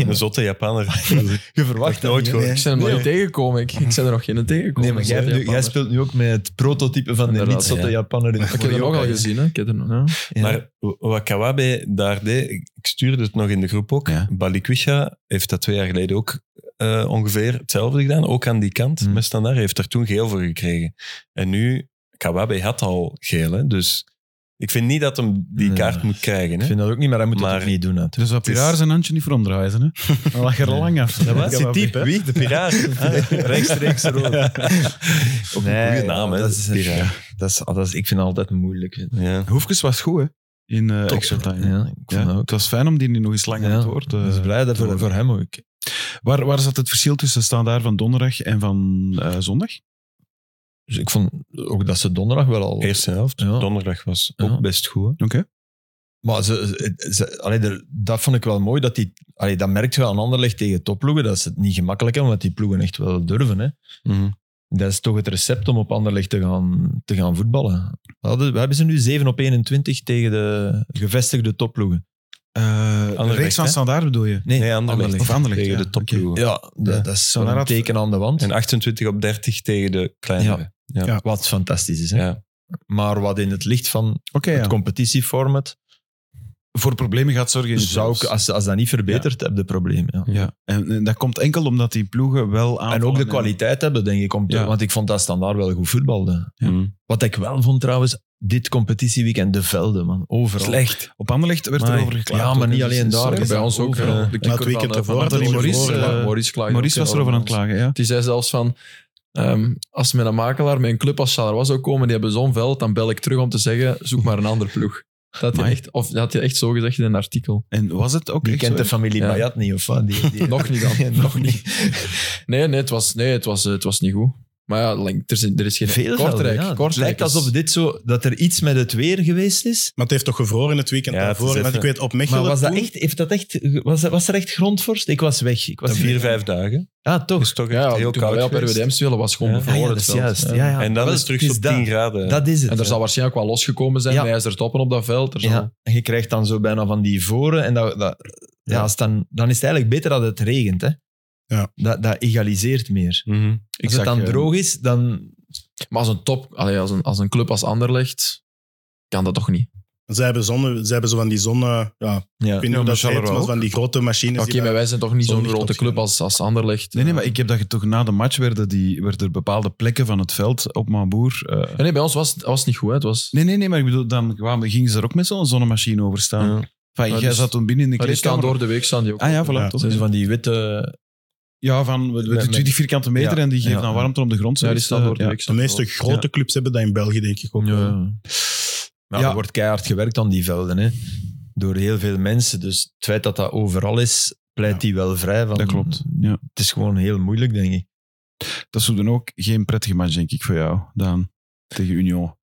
[SPEAKER 4] Een zotte Japaner.
[SPEAKER 3] ja. Je verwacht
[SPEAKER 4] Echt nooit
[SPEAKER 3] dat niet, hè.
[SPEAKER 4] gehoord.
[SPEAKER 5] Ik ben er nog niet tegengekomen. Ik, ik ben er nog geen tegengekomen.
[SPEAKER 3] Nee, maar jij, hebt nu- jij speelt nu ook met het prototype van de
[SPEAKER 5] Inderdaad,
[SPEAKER 3] niet-zotte
[SPEAKER 5] ja.
[SPEAKER 3] Japaner. In
[SPEAKER 5] Ik heb hem ook al gezien. Hè. Ik heb hem, ja.
[SPEAKER 4] Maar w- wat Kawabe daar deed, ik ik stuurde het nog in de groep ook.
[SPEAKER 2] Ja.
[SPEAKER 4] Balikwisha heeft dat twee jaar geleden ook eh, ongeveer hetzelfde gedaan. Ook aan die kant
[SPEAKER 3] Hmm.
[SPEAKER 4] met Standaard. Hij heeft er toen geel voor gekregen. En nu, Kawabe had al geel. Hè? Dus ik vind niet dat hem die
[SPEAKER 3] Nee.
[SPEAKER 4] kaart moet krijgen.
[SPEAKER 3] ik
[SPEAKER 4] Hè?
[SPEAKER 3] vind dat ook niet, maar hij moet
[SPEAKER 4] Maar-
[SPEAKER 3] het ook niet doen. hè.
[SPEAKER 2] Dus wat Piraar zijn handje niet voor omdraaien. Hè? Dan lag er al lang af.
[SPEAKER 3] Dat was die type, hè?
[SPEAKER 4] Wie? De piraat. Ah,
[SPEAKER 3] Rechtstreeks rood.
[SPEAKER 4] Ook een goede naam, hè?
[SPEAKER 3] Dat is,
[SPEAKER 4] Piraat.
[SPEAKER 3] dat is, ah, dat is, ik vind het altijd moeilijk.
[SPEAKER 4] Ja.
[SPEAKER 2] Hoefkes was goed, hè? In eh, extra time.
[SPEAKER 3] Ja, ik
[SPEAKER 2] Ja,
[SPEAKER 3] vind dat ook.
[SPEAKER 2] Het was fijn om die nu nog eens lang aan
[SPEAKER 3] Ja,
[SPEAKER 2] het woord eh,
[SPEAKER 3] Dus blij dat voor,
[SPEAKER 2] door.
[SPEAKER 3] voor hem ook.
[SPEAKER 2] Waar, waar zat het verschil tussen standaard van donderdag en van eh, zondag?
[SPEAKER 3] Dus ik vond ook dat ze donderdag wel al...
[SPEAKER 4] Eerste helft.
[SPEAKER 3] Ja.
[SPEAKER 4] Donderdag was
[SPEAKER 3] Ja.
[SPEAKER 4] ook best goed. hè.
[SPEAKER 2] Oké.
[SPEAKER 3] Maar ze, ze- ze- allee, er- dat vond ik wel mooi. Dat, die, allee, dat merkt je wel aan Anderlecht tegen topploegen. Dat ze het niet gemakkelijk hebben, want die ploegen echt wel durven. Hè. Dat is toch het recept om op Anderlecht te gaan, te gaan voetballen. We, hadden, we hebben ze nu 7 op 21 tegen de gevestigde topploegen.
[SPEAKER 2] Eh, de
[SPEAKER 4] Anderlecht,
[SPEAKER 2] reeks van
[SPEAKER 4] hè?
[SPEAKER 2] standaard bedoel je?
[SPEAKER 3] Nee,
[SPEAKER 4] Nee, Anderlecht.
[SPEAKER 2] Of Anderlecht,
[SPEAKER 4] Tegen
[SPEAKER 2] ja.
[SPEAKER 4] de topploegen.
[SPEAKER 3] Ja, dat,
[SPEAKER 2] Ja.
[SPEAKER 3] dat is
[SPEAKER 2] Maar
[SPEAKER 3] wel een
[SPEAKER 2] daar had-
[SPEAKER 3] teken aan de wand.
[SPEAKER 4] En 28 op 30 tegen de kleinere.
[SPEAKER 3] Wat fantastisch is. Hè?
[SPEAKER 4] Ja.
[SPEAKER 3] Maar wat in het licht van
[SPEAKER 2] Oké,
[SPEAKER 3] het
[SPEAKER 2] ja.
[SPEAKER 3] competitieformat
[SPEAKER 2] voor problemen gaat zorgen. in de
[SPEAKER 3] Zou ik,
[SPEAKER 2] playoffs.
[SPEAKER 3] als, als dat niet verbetert, heb je problemen. Ja.
[SPEAKER 2] ja. en, en dat komt enkel omdat die ploegen wel aan.
[SPEAKER 3] En ook de kwaliteit hebben, denk ik. Om te-
[SPEAKER 2] Ja.
[SPEAKER 3] Want ik vond dat standaard wel goed voetbalde.
[SPEAKER 4] Mhm.
[SPEAKER 3] Wat ik wel vond trouwens, dit competitieweekend, de velden, man. Overal.
[SPEAKER 4] Slecht.
[SPEAKER 2] Op Anderlecht werd
[SPEAKER 3] Amai.
[SPEAKER 2] erover geklaagd.
[SPEAKER 3] Ja, maar
[SPEAKER 2] ook,
[SPEAKER 3] niet
[SPEAKER 2] hè. Dus
[SPEAKER 3] alleen
[SPEAKER 2] het is
[SPEAKER 3] daar.
[SPEAKER 2] erg.
[SPEAKER 5] Bij ons ook.
[SPEAKER 3] Over,
[SPEAKER 5] hè.
[SPEAKER 3] eh,
[SPEAKER 5] de knieper
[SPEAKER 6] weekend
[SPEAKER 5] van, eh,
[SPEAKER 6] ervoor
[SPEAKER 5] van
[SPEAKER 6] had Anthony
[SPEAKER 5] Maurice,
[SPEAKER 6] Maurice,
[SPEAKER 5] eh,
[SPEAKER 2] eh,
[SPEAKER 5] Maurice klaagde
[SPEAKER 2] Maurice
[SPEAKER 5] ook
[SPEAKER 2] was erover aan het
[SPEAKER 5] enorm.
[SPEAKER 2] klagen, ja.
[SPEAKER 5] Die zei zelfs van... ehm, als ze met een makelaar, met een club als Charleroi zou komen, die hebben zo'n veld, dan bel ik terug om te zeggen, zoek maar een ander ploeg. Dat had hij
[SPEAKER 2] Amai.
[SPEAKER 5] echt, of dat had hij echt zo gezegd in een artikel.
[SPEAKER 2] En was het ook
[SPEAKER 3] Die
[SPEAKER 2] echt
[SPEAKER 3] kent
[SPEAKER 2] zo?
[SPEAKER 3] de familie
[SPEAKER 5] Ja.
[SPEAKER 3] Bayat niet, of wat? Die, die-
[SPEAKER 5] Nog niet dan.
[SPEAKER 3] Nog niet.
[SPEAKER 5] Nee, nee, het was, nee het, was, eh, het was niet goed. Maar ja, lang- er is, er is geen...
[SPEAKER 3] Veel
[SPEAKER 5] Kortrijk.
[SPEAKER 3] velden, ja. Het
[SPEAKER 5] Kortrijk
[SPEAKER 3] lijkt
[SPEAKER 5] is-
[SPEAKER 3] alsof dit zo, dat er iets met het weer geweest is.
[SPEAKER 6] Maar het heeft toch gevroren het weekend
[SPEAKER 4] Ja, het is
[SPEAKER 6] daarvoor.
[SPEAKER 4] even-
[SPEAKER 6] Want ik weet, op
[SPEAKER 3] Maar
[SPEAKER 6] Mechelen
[SPEAKER 3] was, dat
[SPEAKER 6] toen-
[SPEAKER 3] echt, heeft dat echt, was, dat- was er echt grondvorst? Ik was weg. Ik was
[SPEAKER 4] Vier, vijf dagen.
[SPEAKER 3] Ah, toch.
[SPEAKER 4] Is toch echt
[SPEAKER 5] Ja,
[SPEAKER 4] heel
[SPEAKER 5] toen
[SPEAKER 4] koud
[SPEAKER 5] wij op
[SPEAKER 4] geweest.
[SPEAKER 5] RWDM spelen, was gewoon
[SPEAKER 4] Ja.
[SPEAKER 3] Ah,
[SPEAKER 5] bevroren
[SPEAKER 3] ja, dat
[SPEAKER 5] het
[SPEAKER 3] is
[SPEAKER 5] veld.
[SPEAKER 3] juist.
[SPEAKER 5] Ja.
[SPEAKER 3] Ja, ja.
[SPEAKER 4] En dan
[SPEAKER 3] Wel,
[SPEAKER 4] is het terug
[SPEAKER 3] het
[SPEAKER 4] op
[SPEAKER 3] is dat.
[SPEAKER 4] 10 graden.
[SPEAKER 3] Dat is het.
[SPEAKER 5] En er
[SPEAKER 3] ja.
[SPEAKER 5] zal waarschijnlijk wel losgekomen zijn,
[SPEAKER 3] Ja.
[SPEAKER 5] ja. ijzer toppen op dat veld. Er zal-
[SPEAKER 3] Ja, en je krijgt dan zo bijna van die voren. En dat, dat, ja.
[SPEAKER 4] Ja.
[SPEAKER 3] als het dan, dan is het eigenlijk beter dat het regent. Hè?
[SPEAKER 6] Ja.
[SPEAKER 3] Dat, dat egaliseert meer.
[SPEAKER 4] Mhm.
[SPEAKER 3] Als
[SPEAKER 5] zag,
[SPEAKER 3] het dan
[SPEAKER 5] eh,
[SPEAKER 3] droog is, dan...
[SPEAKER 5] Maar als een top, allee, als, een, als een club als Anderlecht, kan dat toch niet.
[SPEAKER 6] Zij hebben, zonne, zij hebben zo van die zonne... Ja, ik
[SPEAKER 3] Ja.
[SPEAKER 6] weet niet hoe
[SPEAKER 2] maar
[SPEAKER 6] dat heet,
[SPEAKER 2] Charleroi
[SPEAKER 6] maar
[SPEAKER 2] ook.
[SPEAKER 6] van die grote machines.
[SPEAKER 5] Oké,
[SPEAKER 6] die daar-
[SPEAKER 5] maar wij zijn toch niet
[SPEAKER 6] zal
[SPEAKER 5] zo'n
[SPEAKER 6] niet
[SPEAKER 5] grote
[SPEAKER 6] top
[SPEAKER 5] club
[SPEAKER 6] zijn.
[SPEAKER 5] als, als Anderlecht.
[SPEAKER 2] Nee, nee, maar ik heb dat je toch na de match werden die, werd er bepaalde plekken van het veld op Mamboer. eh,
[SPEAKER 5] Ja, nee, bij ons was het was het niet goed. hè. Het was,
[SPEAKER 2] nee, nee, nee, maar ik bedoel, dan kwamen, gingen ze er ook met zo'n zonnemachine over staan.
[SPEAKER 4] Ja.
[SPEAKER 2] Enfin,
[SPEAKER 5] Ja,
[SPEAKER 2] jij
[SPEAKER 5] dus-
[SPEAKER 2] zat toen binnen in de
[SPEAKER 5] maar die staan
[SPEAKER 2] kleedkamer.
[SPEAKER 5] door de week staan die ook.
[SPEAKER 2] Ah ja, voilà.
[SPEAKER 6] Ja,
[SPEAKER 2] toch?
[SPEAKER 3] Zo van die witte...
[SPEAKER 2] Ja, van we- we-
[SPEAKER 3] Met-
[SPEAKER 2] 20 vierkante meter
[SPEAKER 3] ja,
[SPEAKER 2] en die geeft
[SPEAKER 3] ja,
[SPEAKER 2] dan
[SPEAKER 3] ja.
[SPEAKER 2] warmte op de grond.
[SPEAKER 5] Ja, die
[SPEAKER 2] zoiets,
[SPEAKER 5] staan
[SPEAKER 2] eh,
[SPEAKER 5] door de
[SPEAKER 2] ja.
[SPEAKER 5] week.
[SPEAKER 6] De
[SPEAKER 5] staan die
[SPEAKER 6] meeste
[SPEAKER 5] door.
[SPEAKER 6] grote clubs hebben dat in België, denk ik ook. eh. wel.
[SPEAKER 3] Ja. Maar
[SPEAKER 2] Ja.
[SPEAKER 3] er wordt keihard gewerkt aan die velden. Hè? Door heel veel mensen. Dus het feit dat dat overal is, pleit
[SPEAKER 6] Ja.
[SPEAKER 3] die wel vrij. Van,
[SPEAKER 2] Dat klopt, ja.
[SPEAKER 3] Het is gewoon heel moeilijk, denk ik.
[SPEAKER 2] Dat is hoe dan ook geen prettige match, denk ik, voor jou, Daan. Tegen Union.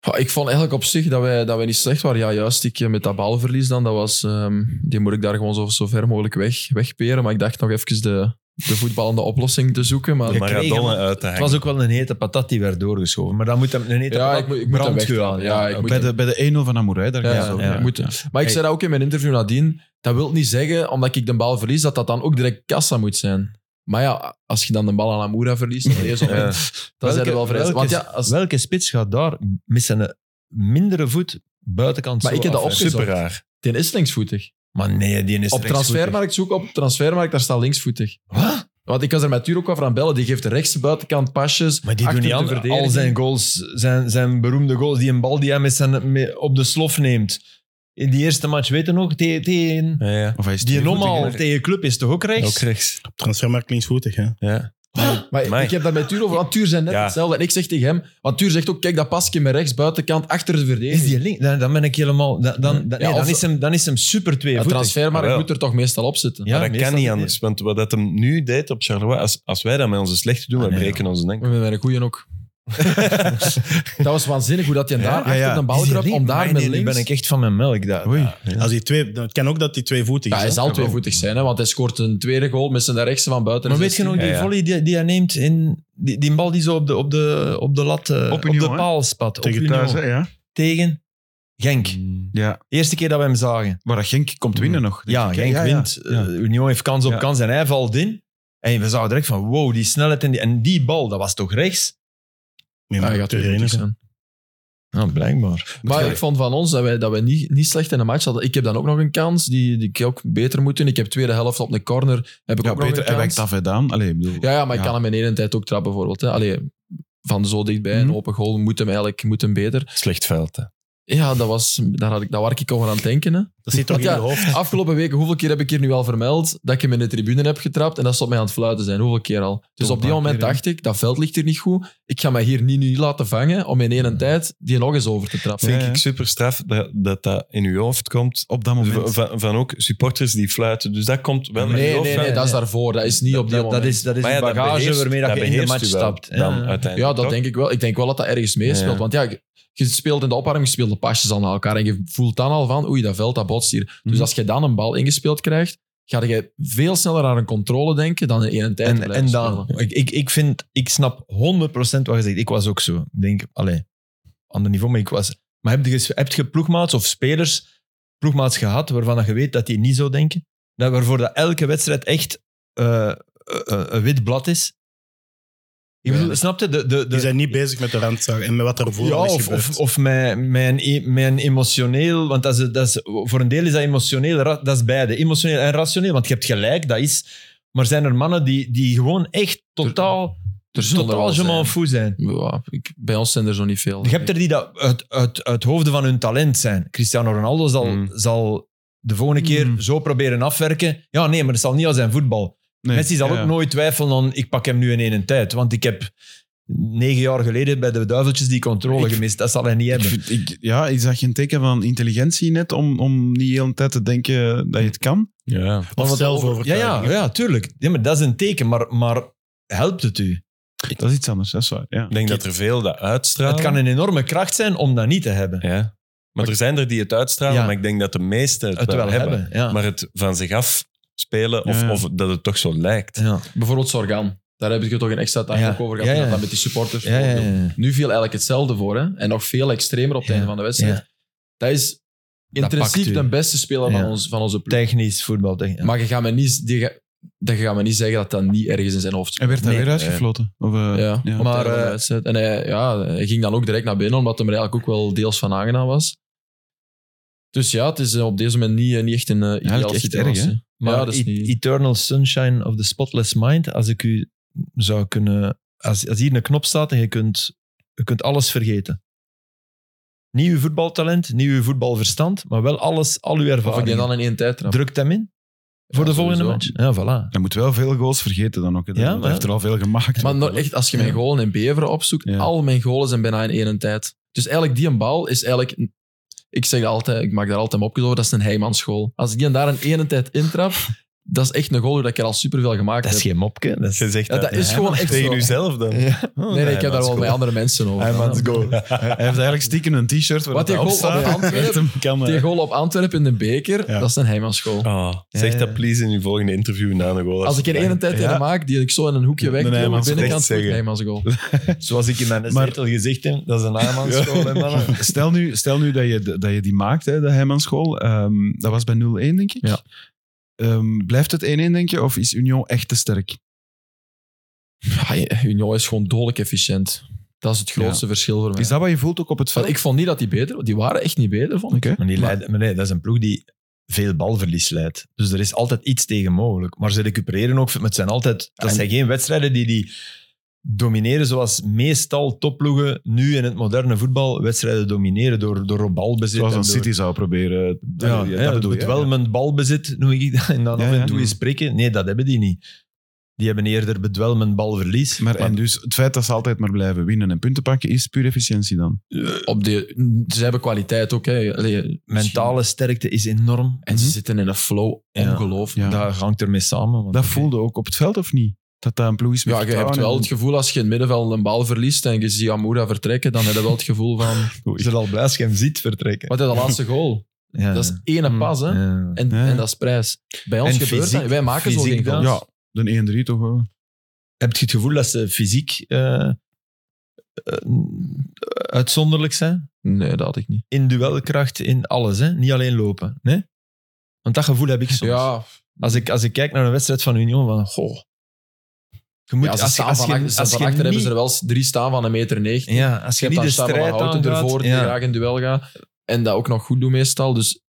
[SPEAKER 5] Ja, ik vond eigenlijk op zich dat wij, dat wij niet slecht waren. Ja, juist, ik eh, met dat balverlies dan, dat was, ehm, die moet ik daar gewoon zo, zo ver mogelijk weg, wegperen. Maar ik dacht nog even de, de voetballende oplossing te zoeken. Maar
[SPEAKER 4] De
[SPEAKER 3] Ja, kreeg hem,
[SPEAKER 4] Maradona
[SPEAKER 3] want
[SPEAKER 4] uit te
[SPEAKER 3] Het
[SPEAKER 4] hangen.
[SPEAKER 3] was ook wel een hete patat die werd doorgeschoven. Maar dan moet hem een hete
[SPEAKER 5] Ja,
[SPEAKER 3] patat
[SPEAKER 5] ik moet- ik moet hem
[SPEAKER 3] brand
[SPEAKER 5] weggaan.
[SPEAKER 3] gaan.
[SPEAKER 5] Ja, ik
[SPEAKER 3] oké.
[SPEAKER 5] moet
[SPEAKER 2] Bij de, bij de 1-0 van Amourij, daar
[SPEAKER 5] Ja,
[SPEAKER 2] gaat
[SPEAKER 5] ja,
[SPEAKER 2] het
[SPEAKER 3] ja.
[SPEAKER 2] over.
[SPEAKER 5] Moet- Maar
[SPEAKER 3] Hey.
[SPEAKER 5] ik zei dat ook in mijn interview nadien. Dat wil niet zeggen, omdat ik de bal verlies, dat dat dan ook direct kassa moet zijn. Maar ja, als je dan de bal aan Amoura verliest, op deze
[SPEAKER 4] Ja.
[SPEAKER 5] moment, dan zijn er wel vrij.
[SPEAKER 3] welke,
[SPEAKER 5] Want ja, als,
[SPEAKER 3] welke spits gaat daar met zijn eh, mindere voet buitenkant
[SPEAKER 5] Maar
[SPEAKER 3] zo
[SPEAKER 5] ik heb dat
[SPEAKER 3] af-
[SPEAKER 5] opgezocht.
[SPEAKER 4] Super raar.
[SPEAKER 5] die is linksvoetig.
[SPEAKER 3] Maar nee, die is
[SPEAKER 5] Op transfermarkt zoek op transfermarkt, daar staat linksvoetig.
[SPEAKER 3] Wat?
[SPEAKER 5] Want ik was er met Turo ook over aan bellen. Die geeft de rechtse buitenkant pasjes.
[SPEAKER 3] Maar die
[SPEAKER 5] achter
[SPEAKER 3] doen niet
[SPEAKER 5] de
[SPEAKER 3] aan.
[SPEAKER 5] verdediging.
[SPEAKER 3] Al zijn goals, zijn, zijn beroemde goals, die een bal die hij met zijn, met- op de slof neemt. In die eerste match, weet je nog? Tegen, tegen-
[SPEAKER 4] Ja, ja.
[SPEAKER 2] Of hij is
[SPEAKER 3] die
[SPEAKER 2] tweevoetig,
[SPEAKER 3] normaal
[SPEAKER 2] hè?
[SPEAKER 3] tegen club is toch ook rechts?
[SPEAKER 4] Ook rechts.
[SPEAKER 6] Transfermarkt linksvoetig, hè.
[SPEAKER 4] Ja.
[SPEAKER 5] Maar
[SPEAKER 4] Amai.
[SPEAKER 5] ik heb daar met Turo over. Want Tuur zijn net
[SPEAKER 4] Ja.
[SPEAKER 5] hetzelfde. En ik zeg tegen hem. Want Tuur zegt ook: kijk, dat pasje met rechts buitenkant achter de verdediging.
[SPEAKER 3] Is die link? Dan, dan ben ik helemaal... Dan, dan, dan-
[SPEAKER 5] Ja,
[SPEAKER 3] nee,
[SPEAKER 5] of-
[SPEAKER 3] dan, is, hem, dan is hem super
[SPEAKER 5] Ja,
[SPEAKER 3] tweevoetig.
[SPEAKER 5] transfermarkt
[SPEAKER 4] Jawel.
[SPEAKER 5] moet er toch meestal op zitten.
[SPEAKER 3] Ja,
[SPEAKER 4] maar dat
[SPEAKER 3] meestal
[SPEAKER 4] kan niet
[SPEAKER 3] niet.
[SPEAKER 4] anders. Dus Want wat dat hem nu deed op Charleroi, als, als wij dat met onze slechte doen,
[SPEAKER 3] Ah,
[SPEAKER 4] wij
[SPEAKER 3] nee,
[SPEAKER 4] breken onze denk.
[SPEAKER 5] We hebben een goeie ook. dat was waanzinnig hoe dat je daar achter
[SPEAKER 2] ja.
[SPEAKER 5] een bal
[SPEAKER 3] Is die
[SPEAKER 5] kruipt
[SPEAKER 3] link?
[SPEAKER 5] om daar
[SPEAKER 3] Nee,
[SPEAKER 5] met
[SPEAKER 3] nee, nu
[SPEAKER 5] links...
[SPEAKER 3] ben ik echt van mijn melk. Dat,
[SPEAKER 2] Oei.
[SPEAKER 6] Als die twee, dan- het kan ook dat die tweevoetig
[SPEAKER 5] Ja,
[SPEAKER 6] is.
[SPEAKER 5] hij
[SPEAKER 6] hè.
[SPEAKER 5] zal tweevoetig zijn, hè, want hij scoort een tweede goal met zijn rechtse van buiten.
[SPEAKER 3] Maar weet je nog die
[SPEAKER 4] Ja, ja.
[SPEAKER 3] volley die, die hij neemt in... Die, die bal die zo op de, op de, op de lat... eh,
[SPEAKER 2] Op
[SPEAKER 3] op,
[SPEAKER 2] Union,
[SPEAKER 3] de
[SPEAKER 2] hè?
[SPEAKER 3] paal spat.
[SPEAKER 2] Tegen
[SPEAKER 3] op Union. Mm.
[SPEAKER 2] thuis, hè, ja.
[SPEAKER 3] Tegen Genk.
[SPEAKER 2] Mm. ja.
[SPEAKER 3] Eerste keer dat we hem zagen.
[SPEAKER 2] Maar dat Genk komt winnen nog. denk
[SPEAKER 3] Ja,
[SPEAKER 2] ik, hè?
[SPEAKER 3] Genk wint.
[SPEAKER 2] Ja.
[SPEAKER 3] Eh, Union heeft kans op
[SPEAKER 2] Ja.
[SPEAKER 3] kans en hij valt in. En we zagen direct van, wow, die snelheid en die, en die bal, dat was toch rechts?
[SPEAKER 6] Nee,
[SPEAKER 5] Ja,
[SPEAKER 6] maar
[SPEAKER 5] hij gaat
[SPEAKER 6] te herinneren.
[SPEAKER 5] tweevoetig zijn.
[SPEAKER 3] Ja, blijkbaar.
[SPEAKER 5] Maar ik vond van ons dat wij, dat wij niet, niet slecht in de match hadden. Ik heb dan ook nog een kans die, die ik ook beter moet doen. Ik heb tweede helft op een corner. Heb ik
[SPEAKER 2] Ja,
[SPEAKER 5] ook nog
[SPEAKER 2] beter,
[SPEAKER 5] een
[SPEAKER 2] hij wijkt
[SPEAKER 5] kans.
[SPEAKER 2] af, hè, Daan. Allee, ik bedoel,
[SPEAKER 5] Ja, ja, maar ik
[SPEAKER 2] Ja.
[SPEAKER 5] kan hem in één tijd ook trappen bijvoorbeeld. Hè. Allee, van zo dichtbij,
[SPEAKER 2] Mhm.
[SPEAKER 5] een open goal, moet hem eigenlijk moet hem beter.
[SPEAKER 4] Slecht veld. hè.
[SPEAKER 5] Ja, dat was, daar, had ik, daar waar ik over aan het denken. Hè.
[SPEAKER 6] Dat zit toch in
[SPEAKER 5] Want ja,
[SPEAKER 6] je hoofd.
[SPEAKER 5] Afgelopen weken, hoeveel keer heb ik hier nu al vermeld dat ik hem in de tribune heb getrapt en dat ze op mij aan het fluiten zijn? Hoeveel keer al? Dus
[SPEAKER 2] Toch
[SPEAKER 5] op die
[SPEAKER 2] een paar
[SPEAKER 5] moment
[SPEAKER 2] keer, hè?
[SPEAKER 5] dacht ik, dat veld ligt hier niet goed. Ik ga mij hier niet, niet laten vangen om in
[SPEAKER 2] Mhm.
[SPEAKER 5] één tijd die nog eens over te trappen.
[SPEAKER 4] Vind
[SPEAKER 2] ja.
[SPEAKER 4] ik super straf dat, dat dat in uw hoofd komt.
[SPEAKER 2] Op dat moment.
[SPEAKER 4] V- Van, van ook supporters die fluiten. Dus dat komt wel in uw
[SPEAKER 5] Nee,
[SPEAKER 4] hoofd
[SPEAKER 5] nee,
[SPEAKER 4] van-
[SPEAKER 5] nee, dat is daarvoor. Dat is niet op die
[SPEAKER 3] dat,
[SPEAKER 5] moment.
[SPEAKER 3] dat is, dat is
[SPEAKER 4] Maar ja,
[SPEAKER 3] de
[SPEAKER 4] dat
[SPEAKER 3] bagage
[SPEAKER 4] beheerst-
[SPEAKER 3] waarmee dat je in de
[SPEAKER 4] beheerst
[SPEAKER 3] match
[SPEAKER 4] u wel
[SPEAKER 3] stapt.
[SPEAKER 4] Dan
[SPEAKER 3] Ja.
[SPEAKER 4] uiteindelijk.
[SPEAKER 5] Ja, dat
[SPEAKER 4] toch?
[SPEAKER 5] denk ik wel. Ik denk wel dat dat ergens meespeelt.
[SPEAKER 4] Ja.
[SPEAKER 5] Want ja, je speelt in de opwarming, je speelt de pasjes aan elkaar. En je voelt dan al van, oei, dat veld, dat botst hier. Dus
[SPEAKER 2] Mhm.
[SPEAKER 5] als je dan een bal ingespeeld krijgt, ga je veel sneller aan een controle denken dan in één tijd te
[SPEAKER 3] En,
[SPEAKER 5] blijven
[SPEAKER 3] en dan,
[SPEAKER 5] spelen.
[SPEAKER 3] ik, ik, ik vind, ik snap 100% wat je zegt. Ik was ook zo. Ik denk, allee, ander niveau, maar ik was. Maar heb je, heb je ploegmaats of spelers, ploegmaats gehad waarvan dat je weet dat die niet zo denken? Dat waarvoor dat elke wedstrijd echt eh, eh, eh, een wit blad is? Ik bedoel, snap je? De, de,
[SPEAKER 6] Die
[SPEAKER 3] de,
[SPEAKER 6] zijn niet bezig met de randzaak en met wat daarvoor
[SPEAKER 3] ja,
[SPEAKER 6] al is
[SPEAKER 3] of,
[SPEAKER 6] gebeurd.
[SPEAKER 3] of, of mijn, mijn, e- mijn emotioneel, want dat is, dat is, voor een deel is dat emotioneel, ra- dat is beide, emotioneel en rationeel, want je hebt gelijk, dat is, maar zijn er mannen die, die gewoon echt totaal,
[SPEAKER 5] Er zullen er
[SPEAKER 3] totaal
[SPEAKER 5] wel
[SPEAKER 3] je
[SPEAKER 5] zijn.
[SPEAKER 3] m'en fout zijn?
[SPEAKER 5] Ja, ik, bij ons zijn er zo niet veel.
[SPEAKER 3] Je hebt er die dat uit, uit, uit hoofden van hun talent zijn. Cristiano Ronaldo zal,
[SPEAKER 4] Mm.
[SPEAKER 3] zal de volgende keer
[SPEAKER 2] Mm.
[SPEAKER 3] zo proberen afwerken. Ja, nee, maar dat zal niet aan zijn voetbal.
[SPEAKER 2] Nee,
[SPEAKER 3] Messi zal
[SPEAKER 2] ja, ja.
[SPEAKER 3] ook nooit twijfelen aan, ik pak hem nu in één tijd. Want ik heb negen jaar geleden bij de duiveltjes die controle
[SPEAKER 2] Ik-
[SPEAKER 3] gemist. Dat zal hij niet
[SPEAKER 2] Ik
[SPEAKER 3] hebben.
[SPEAKER 2] vind- ik- ja, is dat geen teken van intelligentie net om, om niet heel de tijd te denken dat je het kan?
[SPEAKER 4] Ja.
[SPEAKER 6] Of
[SPEAKER 3] Ja,
[SPEAKER 6] zelfovertuiging.
[SPEAKER 3] ja, ja, tuurlijk. Ja, maar dat is een teken. Maar, maar helpt het u?
[SPEAKER 2] Dat is iets anders, dat is waar. Ja.
[SPEAKER 4] Ik denk dat er veel dat uitstralen.
[SPEAKER 3] Het kan een enorme kracht zijn om dat niet te hebben.
[SPEAKER 4] ja. Maar er zijn er die het uitstralen,
[SPEAKER 3] Ja.
[SPEAKER 4] maar ik denk dat de meesten het,
[SPEAKER 3] Het wel hebben, ja.
[SPEAKER 4] Maar het van zich af spelen, of,
[SPEAKER 2] Ja, ja.
[SPEAKER 4] of dat het toch zo lijkt.
[SPEAKER 3] ja.
[SPEAKER 5] Bijvoorbeeld Sorgan. Daar heb ik het toch een extra tijd
[SPEAKER 3] Ja.
[SPEAKER 5] ook over gehad.
[SPEAKER 3] Ja, ja.
[SPEAKER 5] dat dat met die supporters.
[SPEAKER 3] Ja, ja,
[SPEAKER 5] voordoen.
[SPEAKER 3] ja.
[SPEAKER 5] Nu viel eigenlijk hetzelfde voor. Hè? En nog veel extremer op het
[SPEAKER 3] Ja.
[SPEAKER 5] einde van de wedstrijd.
[SPEAKER 3] Ja.
[SPEAKER 5] Dat is
[SPEAKER 3] pakt u.
[SPEAKER 5] intrinsiek de beste speler van,
[SPEAKER 3] Ja.
[SPEAKER 5] ons, van onze ploeg.
[SPEAKER 3] Technisch, voetbal. technisch.
[SPEAKER 5] Maar je gaat me niet, die, ga- dat je gaat me niet zeggen dat dat niet ergens in zijn hoofd zit.
[SPEAKER 2] Hij werd daar
[SPEAKER 3] Nee,
[SPEAKER 2] weer
[SPEAKER 4] eh,
[SPEAKER 2] uitgefloten. Of, eh,
[SPEAKER 5] Ja,
[SPEAKER 2] ja.
[SPEAKER 5] maar,
[SPEAKER 3] Maar, eh,
[SPEAKER 5] en hij, ja, hij ging dan ook direct naar binnen, omdat hij er eigenlijk ook wel deels van aangenaam was. Dus ja, het is eh, op deze moment niet, eh, niet echt een eh, ideale
[SPEAKER 2] dat is echt erg,
[SPEAKER 5] situatie.
[SPEAKER 2] hè?
[SPEAKER 3] Maar
[SPEAKER 5] ja, dat is
[SPEAKER 3] E-
[SPEAKER 5] niet...
[SPEAKER 3] Eternal Sunshine of the Spotless Mind, als ik u zou kunnen... Als, als hier een knop staat en je kunt, je kunt alles vergeten. Niet uw voetbaltalent, niet uw voetbalverstand, maar wel alles, al uw
[SPEAKER 5] of ik
[SPEAKER 3] ervaring.
[SPEAKER 5] die dan in één tijd trap.
[SPEAKER 3] Drukt hem in voor
[SPEAKER 5] Ja,
[SPEAKER 3] de volgende
[SPEAKER 5] sowieso.
[SPEAKER 3] match. Ja, voilà.
[SPEAKER 2] Hij moet wel veel goals vergeten dan ook. hè.
[SPEAKER 3] eh, Ja,
[SPEAKER 2] Hij
[SPEAKER 3] maar-
[SPEAKER 2] heeft er al veel gemaakt.
[SPEAKER 5] Maar nou, echt, als je mijn golen in Beveren opzoekt,
[SPEAKER 2] Ja.
[SPEAKER 5] al mijn golen zijn bijna in één tijd. Dus eigenlijk, die een bal is eigenlijk... een- Ik zeg dat altijd, ik maak daar altijd hem over, dat is een heimansgoal. Als ik die daar in één tijd intrap, dat is echt een goal dat ik er al superveel gemaakt
[SPEAKER 3] Dat is
[SPEAKER 5] heb.
[SPEAKER 3] geen mopke. Dat is...
[SPEAKER 4] Je zegt
[SPEAKER 5] Ja, dat is
[SPEAKER 4] hè,
[SPEAKER 5] gewoon
[SPEAKER 4] maar
[SPEAKER 5] echt
[SPEAKER 4] tegen
[SPEAKER 5] zo.
[SPEAKER 4] uzelf dan.
[SPEAKER 5] Nee, nee, ik heb daar wel bij andere mensen over.
[SPEAKER 2] Hij heeft eigenlijk stiekem een t-shirt waar
[SPEAKER 5] Wat
[SPEAKER 2] hij
[SPEAKER 5] die
[SPEAKER 2] op
[SPEAKER 5] goal op
[SPEAKER 2] staat.
[SPEAKER 5] Antwerpen-
[SPEAKER 2] Echt hem kan, eh,
[SPEAKER 5] Die goal op Antwerpen in de beker,
[SPEAKER 2] Ja.
[SPEAKER 5] dat is een heimansgoal.
[SPEAKER 4] Oh, zeg
[SPEAKER 3] Ja, ja.
[SPEAKER 4] dat please in uw volgende interview na de goal.
[SPEAKER 5] Als ik er één tijd in
[SPEAKER 2] Ja.
[SPEAKER 5] maak, die ik zo in een hoekje weg,
[SPEAKER 2] Een
[SPEAKER 5] doe,
[SPEAKER 2] Heijmans
[SPEAKER 5] binnenkant
[SPEAKER 4] recht zeggen.
[SPEAKER 5] Heijmans goal.
[SPEAKER 3] Zoals ik in mijn
[SPEAKER 2] Maar-
[SPEAKER 3] zetel gezegd heb, dat is een aanmanschool. hè, mannen.
[SPEAKER 2] Stel nu, stel nu dat, je, dat je die maakt, hè, de Heimanschool. Ehm, dat was bij 0-1, denk ik.
[SPEAKER 5] Ja.
[SPEAKER 2] Ehm, blijft het 1-1, denk je? Of is Union echt te sterk?
[SPEAKER 5] Ja, Ah, Union is gewoon dodelijk efficiënt. Dat is het grootste verschil voor mij.
[SPEAKER 2] Is dat wat je voelt ook op het
[SPEAKER 5] Want
[SPEAKER 2] veld?
[SPEAKER 5] ik vond niet dat die beter Die waren echt niet beter, vond ik.
[SPEAKER 2] Oké.
[SPEAKER 3] Maar, die leiden- maar nee, dat is een ploeg die veel balverlies leidt. Dus er is altijd iets tegen mogelijk. Maar ze recupereren ook. Maar het zijn altijd, dat
[SPEAKER 2] En-
[SPEAKER 3] zijn geen wedstrijden die die domineren zoals meestal topploegen nu in het moderne voetbal wedstrijden domineren door, door op balbezit.
[SPEAKER 2] Zoals
[SPEAKER 3] en
[SPEAKER 2] een
[SPEAKER 3] door-
[SPEAKER 2] City zou proberen. eh,
[SPEAKER 3] Ja, ja,
[SPEAKER 2] dat bedoel
[SPEAKER 3] het
[SPEAKER 2] je.
[SPEAKER 3] wel
[SPEAKER 2] ja.
[SPEAKER 3] met balbezit, noem ik dat, en dan
[SPEAKER 2] Ja,
[SPEAKER 3] af
[SPEAKER 2] ja.
[SPEAKER 3] en toe eens prikken. Nee, dat hebben die niet. Die hebben eerder bedwelmend balverlies.
[SPEAKER 2] Maar, en dus het feit dat ze altijd maar blijven winnen en punten pakken, is puur efficiëntie dan.
[SPEAKER 5] Op de, ze hebben kwaliteit ook. Hè. Allee, Mhm.
[SPEAKER 3] mentale sterkte is enorm.
[SPEAKER 5] En ze zitten in een flow,
[SPEAKER 3] Ja.
[SPEAKER 5] ongelooflijk.
[SPEAKER 2] Ja.
[SPEAKER 3] Dat hangt ermee samen. want-
[SPEAKER 2] Dat voelde ook op het veld, of niet? Dat dat een ploeg is met
[SPEAKER 5] Ja, je hebt wel
[SPEAKER 2] vertrouwen
[SPEAKER 5] het gevoel als je in het middenveld een bal verliest en je ziet Amura vertrekken, dan heb je wel het gevoel van...
[SPEAKER 3] Je zal al blij als je hem ziet vertrekken.
[SPEAKER 5] Wat is dat laatste goal?
[SPEAKER 3] Ja. Mm.
[SPEAKER 5] Dat is ene pas, hè.
[SPEAKER 3] Ja.
[SPEAKER 5] En,
[SPEAKER 2] Ja.
[SPEAKER 5] en dat is prijs. Bij ons
[SPEAKER 3] En
[SPEAKER 5] gebeurt
[SPEAKER 3] fysiek-
[SPEAKER 5] dat. Wij maken zo
[SPEAKER 3] fysiek
[SPEAKER 5] geen
[SPEAKER 3] dan?
[SPEAKER 5] goals.
[SPEAKER 2] Ja, de 1-3 toch wel.
[SPEAKER 3] Heb je het gevoel dat ze fysiek eh, eh, uitzonderlijk zijn?
[SPEAKER 5] Nee, dat had ik niet.
[SPEAKER 3] In duelkracht, in alles, hè? niet alleen lopen. Nee? Want dat gevoel heb ik soms.
[SPEAKER 5] Ja,
[SPEAKER 3] Als, ik, als ik kijk naar een wedstrijd van Union, van goh. Je moet,
[SPEAKER 5] ja, ze
[SPEAKER 3] als, je-
[SPEAKER 5] staan
[SPEAKER 3] als
[SPEAKER 5] van,
[SPEAKER 3] je-
[SPEAKER 5] achter, ze
[SPEAKER 3] als
[SPEAKER 5] van
[SPEAKER 3] je
[SPEAKER 5] achter hebben
[SPEAKER 3] niet-
[SPEAKER 5] ze er wel eens drie staan van een meter negentig.
[SPEAKER 3] Ja, als
[SPEAKER 5] Je
[SPEAKER 3] je
[SPEAKER 5] hebt
[SPEAKER 3] niet
[SPEAKER 5] dan
[SPEAKER 3] de
[SPEAKER 5] Staan van
[SPEAKER 3] strijd
[SPEAKER 5] Houten ervoor,
[SPEAKER 3] aangaat,
[SPEAKER 5] die
[SPEAKER 3] ja.
[SPEAKER 5] graag in duel gaat. En dat ook nog goed doet meestal. Dus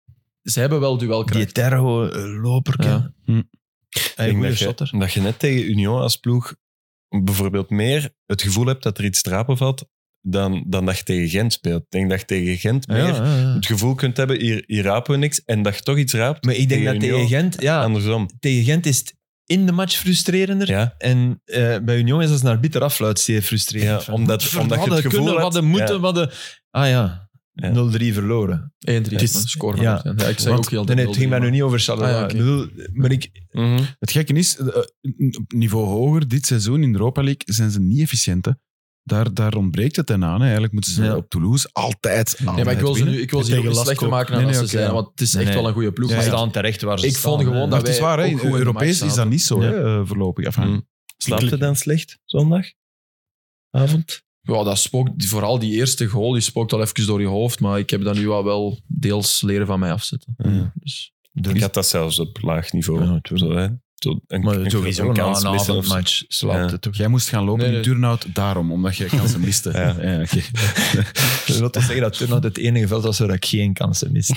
[SPEAKER 5] ze hebben wel
[SPEAKER 3] die
[SPEAKER 5] duelkracht.
[SPEAKER 3] terro, eh, loperke.
[SPEAKER 5] Ja.
[SPEAKER 2] Hm.
[SPEAKER 3] Hey,
[SPEAKER 4] Ik
[SPEAKER 3] goeie
[SPEAKER 4] denk dat
[SPEAKER 3] shotter.
[SPEAKER 4] je, dat je net tegen Union als ploeg bijvoorbeeld meer het gevoel hebt dat er iets te rapen valt dan, dan dat je tegen Gent speelt. Ik denk dat je tegen Gent
[SPEAKER 3] Ja,
[SPEAKER 4] meer
[SPEAKER 3] ja, ja.
[SPEAKER 4] het gevoel kunt hebben, hier, hier rapen we niks, en dat je toch iets raapt.
[SPEAKER 3] Maar ik denk
[SPEAKER 4] Tegen
[SPEAKER 3] dat
[SPEAKER 4] Union.
[SPEAKER 3] tegen Gent, ja,
[SPEAKER 4] Andersom.
[SPEAKER 3] tegen Gent is het in de match frustrerender.
[SPEAKER 4] Ja,
[SPEAKER 3] En eh, bij Union is dat naar bitter afluit zeer frustrerend.
[SPEAKER 4] Ja, omdat-
[SPEAKER 3] Van,
[SPEAKER 4] omdat je het
[SPEAKER 3] hadden
[SPEAKER 4] gevoel
[SPEAKER 3] kunnen,
[SPEAKER 4] hebt-
[SPEAKER 3] hadden moeten,
[SPEAKER 4] Ja.
[SPEAKER 3] hadden... Ah ja,
[SPEAKER 4] Ja.
[SPEAKER 3] 0-3 verloren.
[SPEAKER 5] 1-3. Het
[SPEAKER 6] is-
[SPEAKER 5] score
[SPEAKER 3] ja.
[SPEAKER 5] van ja. Ik zeg
[SPEAKER 3] Want-
[SPEAKER 5] ook heel
[SPEAKER 3] nee, nee, het ging mij nu niet over Charleroi.
[SPEAKER 5] Ah, ja, oké.
[SPEAKER 3] Ik bedoel, Maar ik...
[SPEAKER 4] Mhm.
[SPEAKER 2] Het gekke is, eh, eh, op niveau hoger, dit seizoen in de Europa League zijn ze niet efficiënt. Hè. Daar, daar ontbreekt het hen aan. Hè. Eigenlijk moeten ze
[SPEAKER 3] Ja.
[SPEAKER 2] op Toulouse altijd, altijd
[SPEAKER 5] Nee, maar ik wil ze,
[SPEAKER 2] winnen.
[SPEAKER 5] nu, ik wil ze
[SPEAKER 6] Tegen
[SPEAKER 5] hier ook niet
[SPEAKER 6] Lask
[SPEAKER 5] slechter
[SPEAKER 6] ook.
[SPEAKER 5] maken dan
[SPEAKER 2] Nee, nee,
[SPEAKER 5] als ze
[SPEAKER 2] oké,
[SPEAKER 5] zijn.
[SPEAKER 2] ja.
[SPEAKER 5] Want het is
[SPEAKER 3] Nee,
[SPEAKER 5] echt
[SPEAKER 3] nee.
[SPEAKER 5] wel een goede ploeg.
[SPEAKER 3] Ze
[SPEAKER 2] Ja, ja.
[SPEAKER 5] Maar
[SPEAKER 3] staan terecht waar ze
[SPEAKER 5] Ik
[SPEAKER 3] staan,
[SPEAKER 5] vond gewoon
[SPEAKER 3] hè.
[SPEAKER 5] dat
[SPEAKER 2] Maar het is
[SPEAKER 5] wij
[SPEAKER 2] waar, hè.
[SPEAKER 5] ook goed in de
[SPEAKER 2] Europees
[SPEAKER 5] match
[SPEAKER 2] is dat niet zo
[SPEAKER 3] zaten.
[SPEAKER 2] hè, eh, voorlopig. Enfin,
[SPEAKER 5] Mm.
[SPEAKER 4] Mhm. Slaapt je dan slecht zondag? Avond?
[SPEAKER 5] Ja, dat spookt, vooral die eerste goal, die spookt al even door je hoofd. Maar ik heb dat nu al wel deels leren van mij afzetten.
[SPEAKER 4] Ja.
[SPEAKER 5] Dus,
[SPEAKER 4] Ik had dat zelfs op laag niveau.
[SPEAKER 3] Ja, tuurlijk.
[SPEAKER 4] Zo, hè. Zo, een,
[SPEAKER 3] Maar sowieso
[SPEAKER 4] een
[SPEAKER 3] na
[SPEAKER 4] kans
[SPEAKER 3] een
[SPEAKER 4] missen of zo.
[SPEAKER 3] avondmatch slaapt
[SPEAKER 4] Ja.
[SPEAKER 3] het toch.
[SPEAKER 2] Jij moest gaan lopen
[SPEAKER 3] Nee,
[SPEAKER 2] in
[SPEAKER 3] nee.
[SPEAKER 2] Turnhout daarom, omdat je kansen miste.
[SPEAKER 4] Ja.
[SPEAKER 2] oké.
[SPEAKER 3] Dat wil zeggen dat Turnhout het enige veld was waar ik geen kansen miste.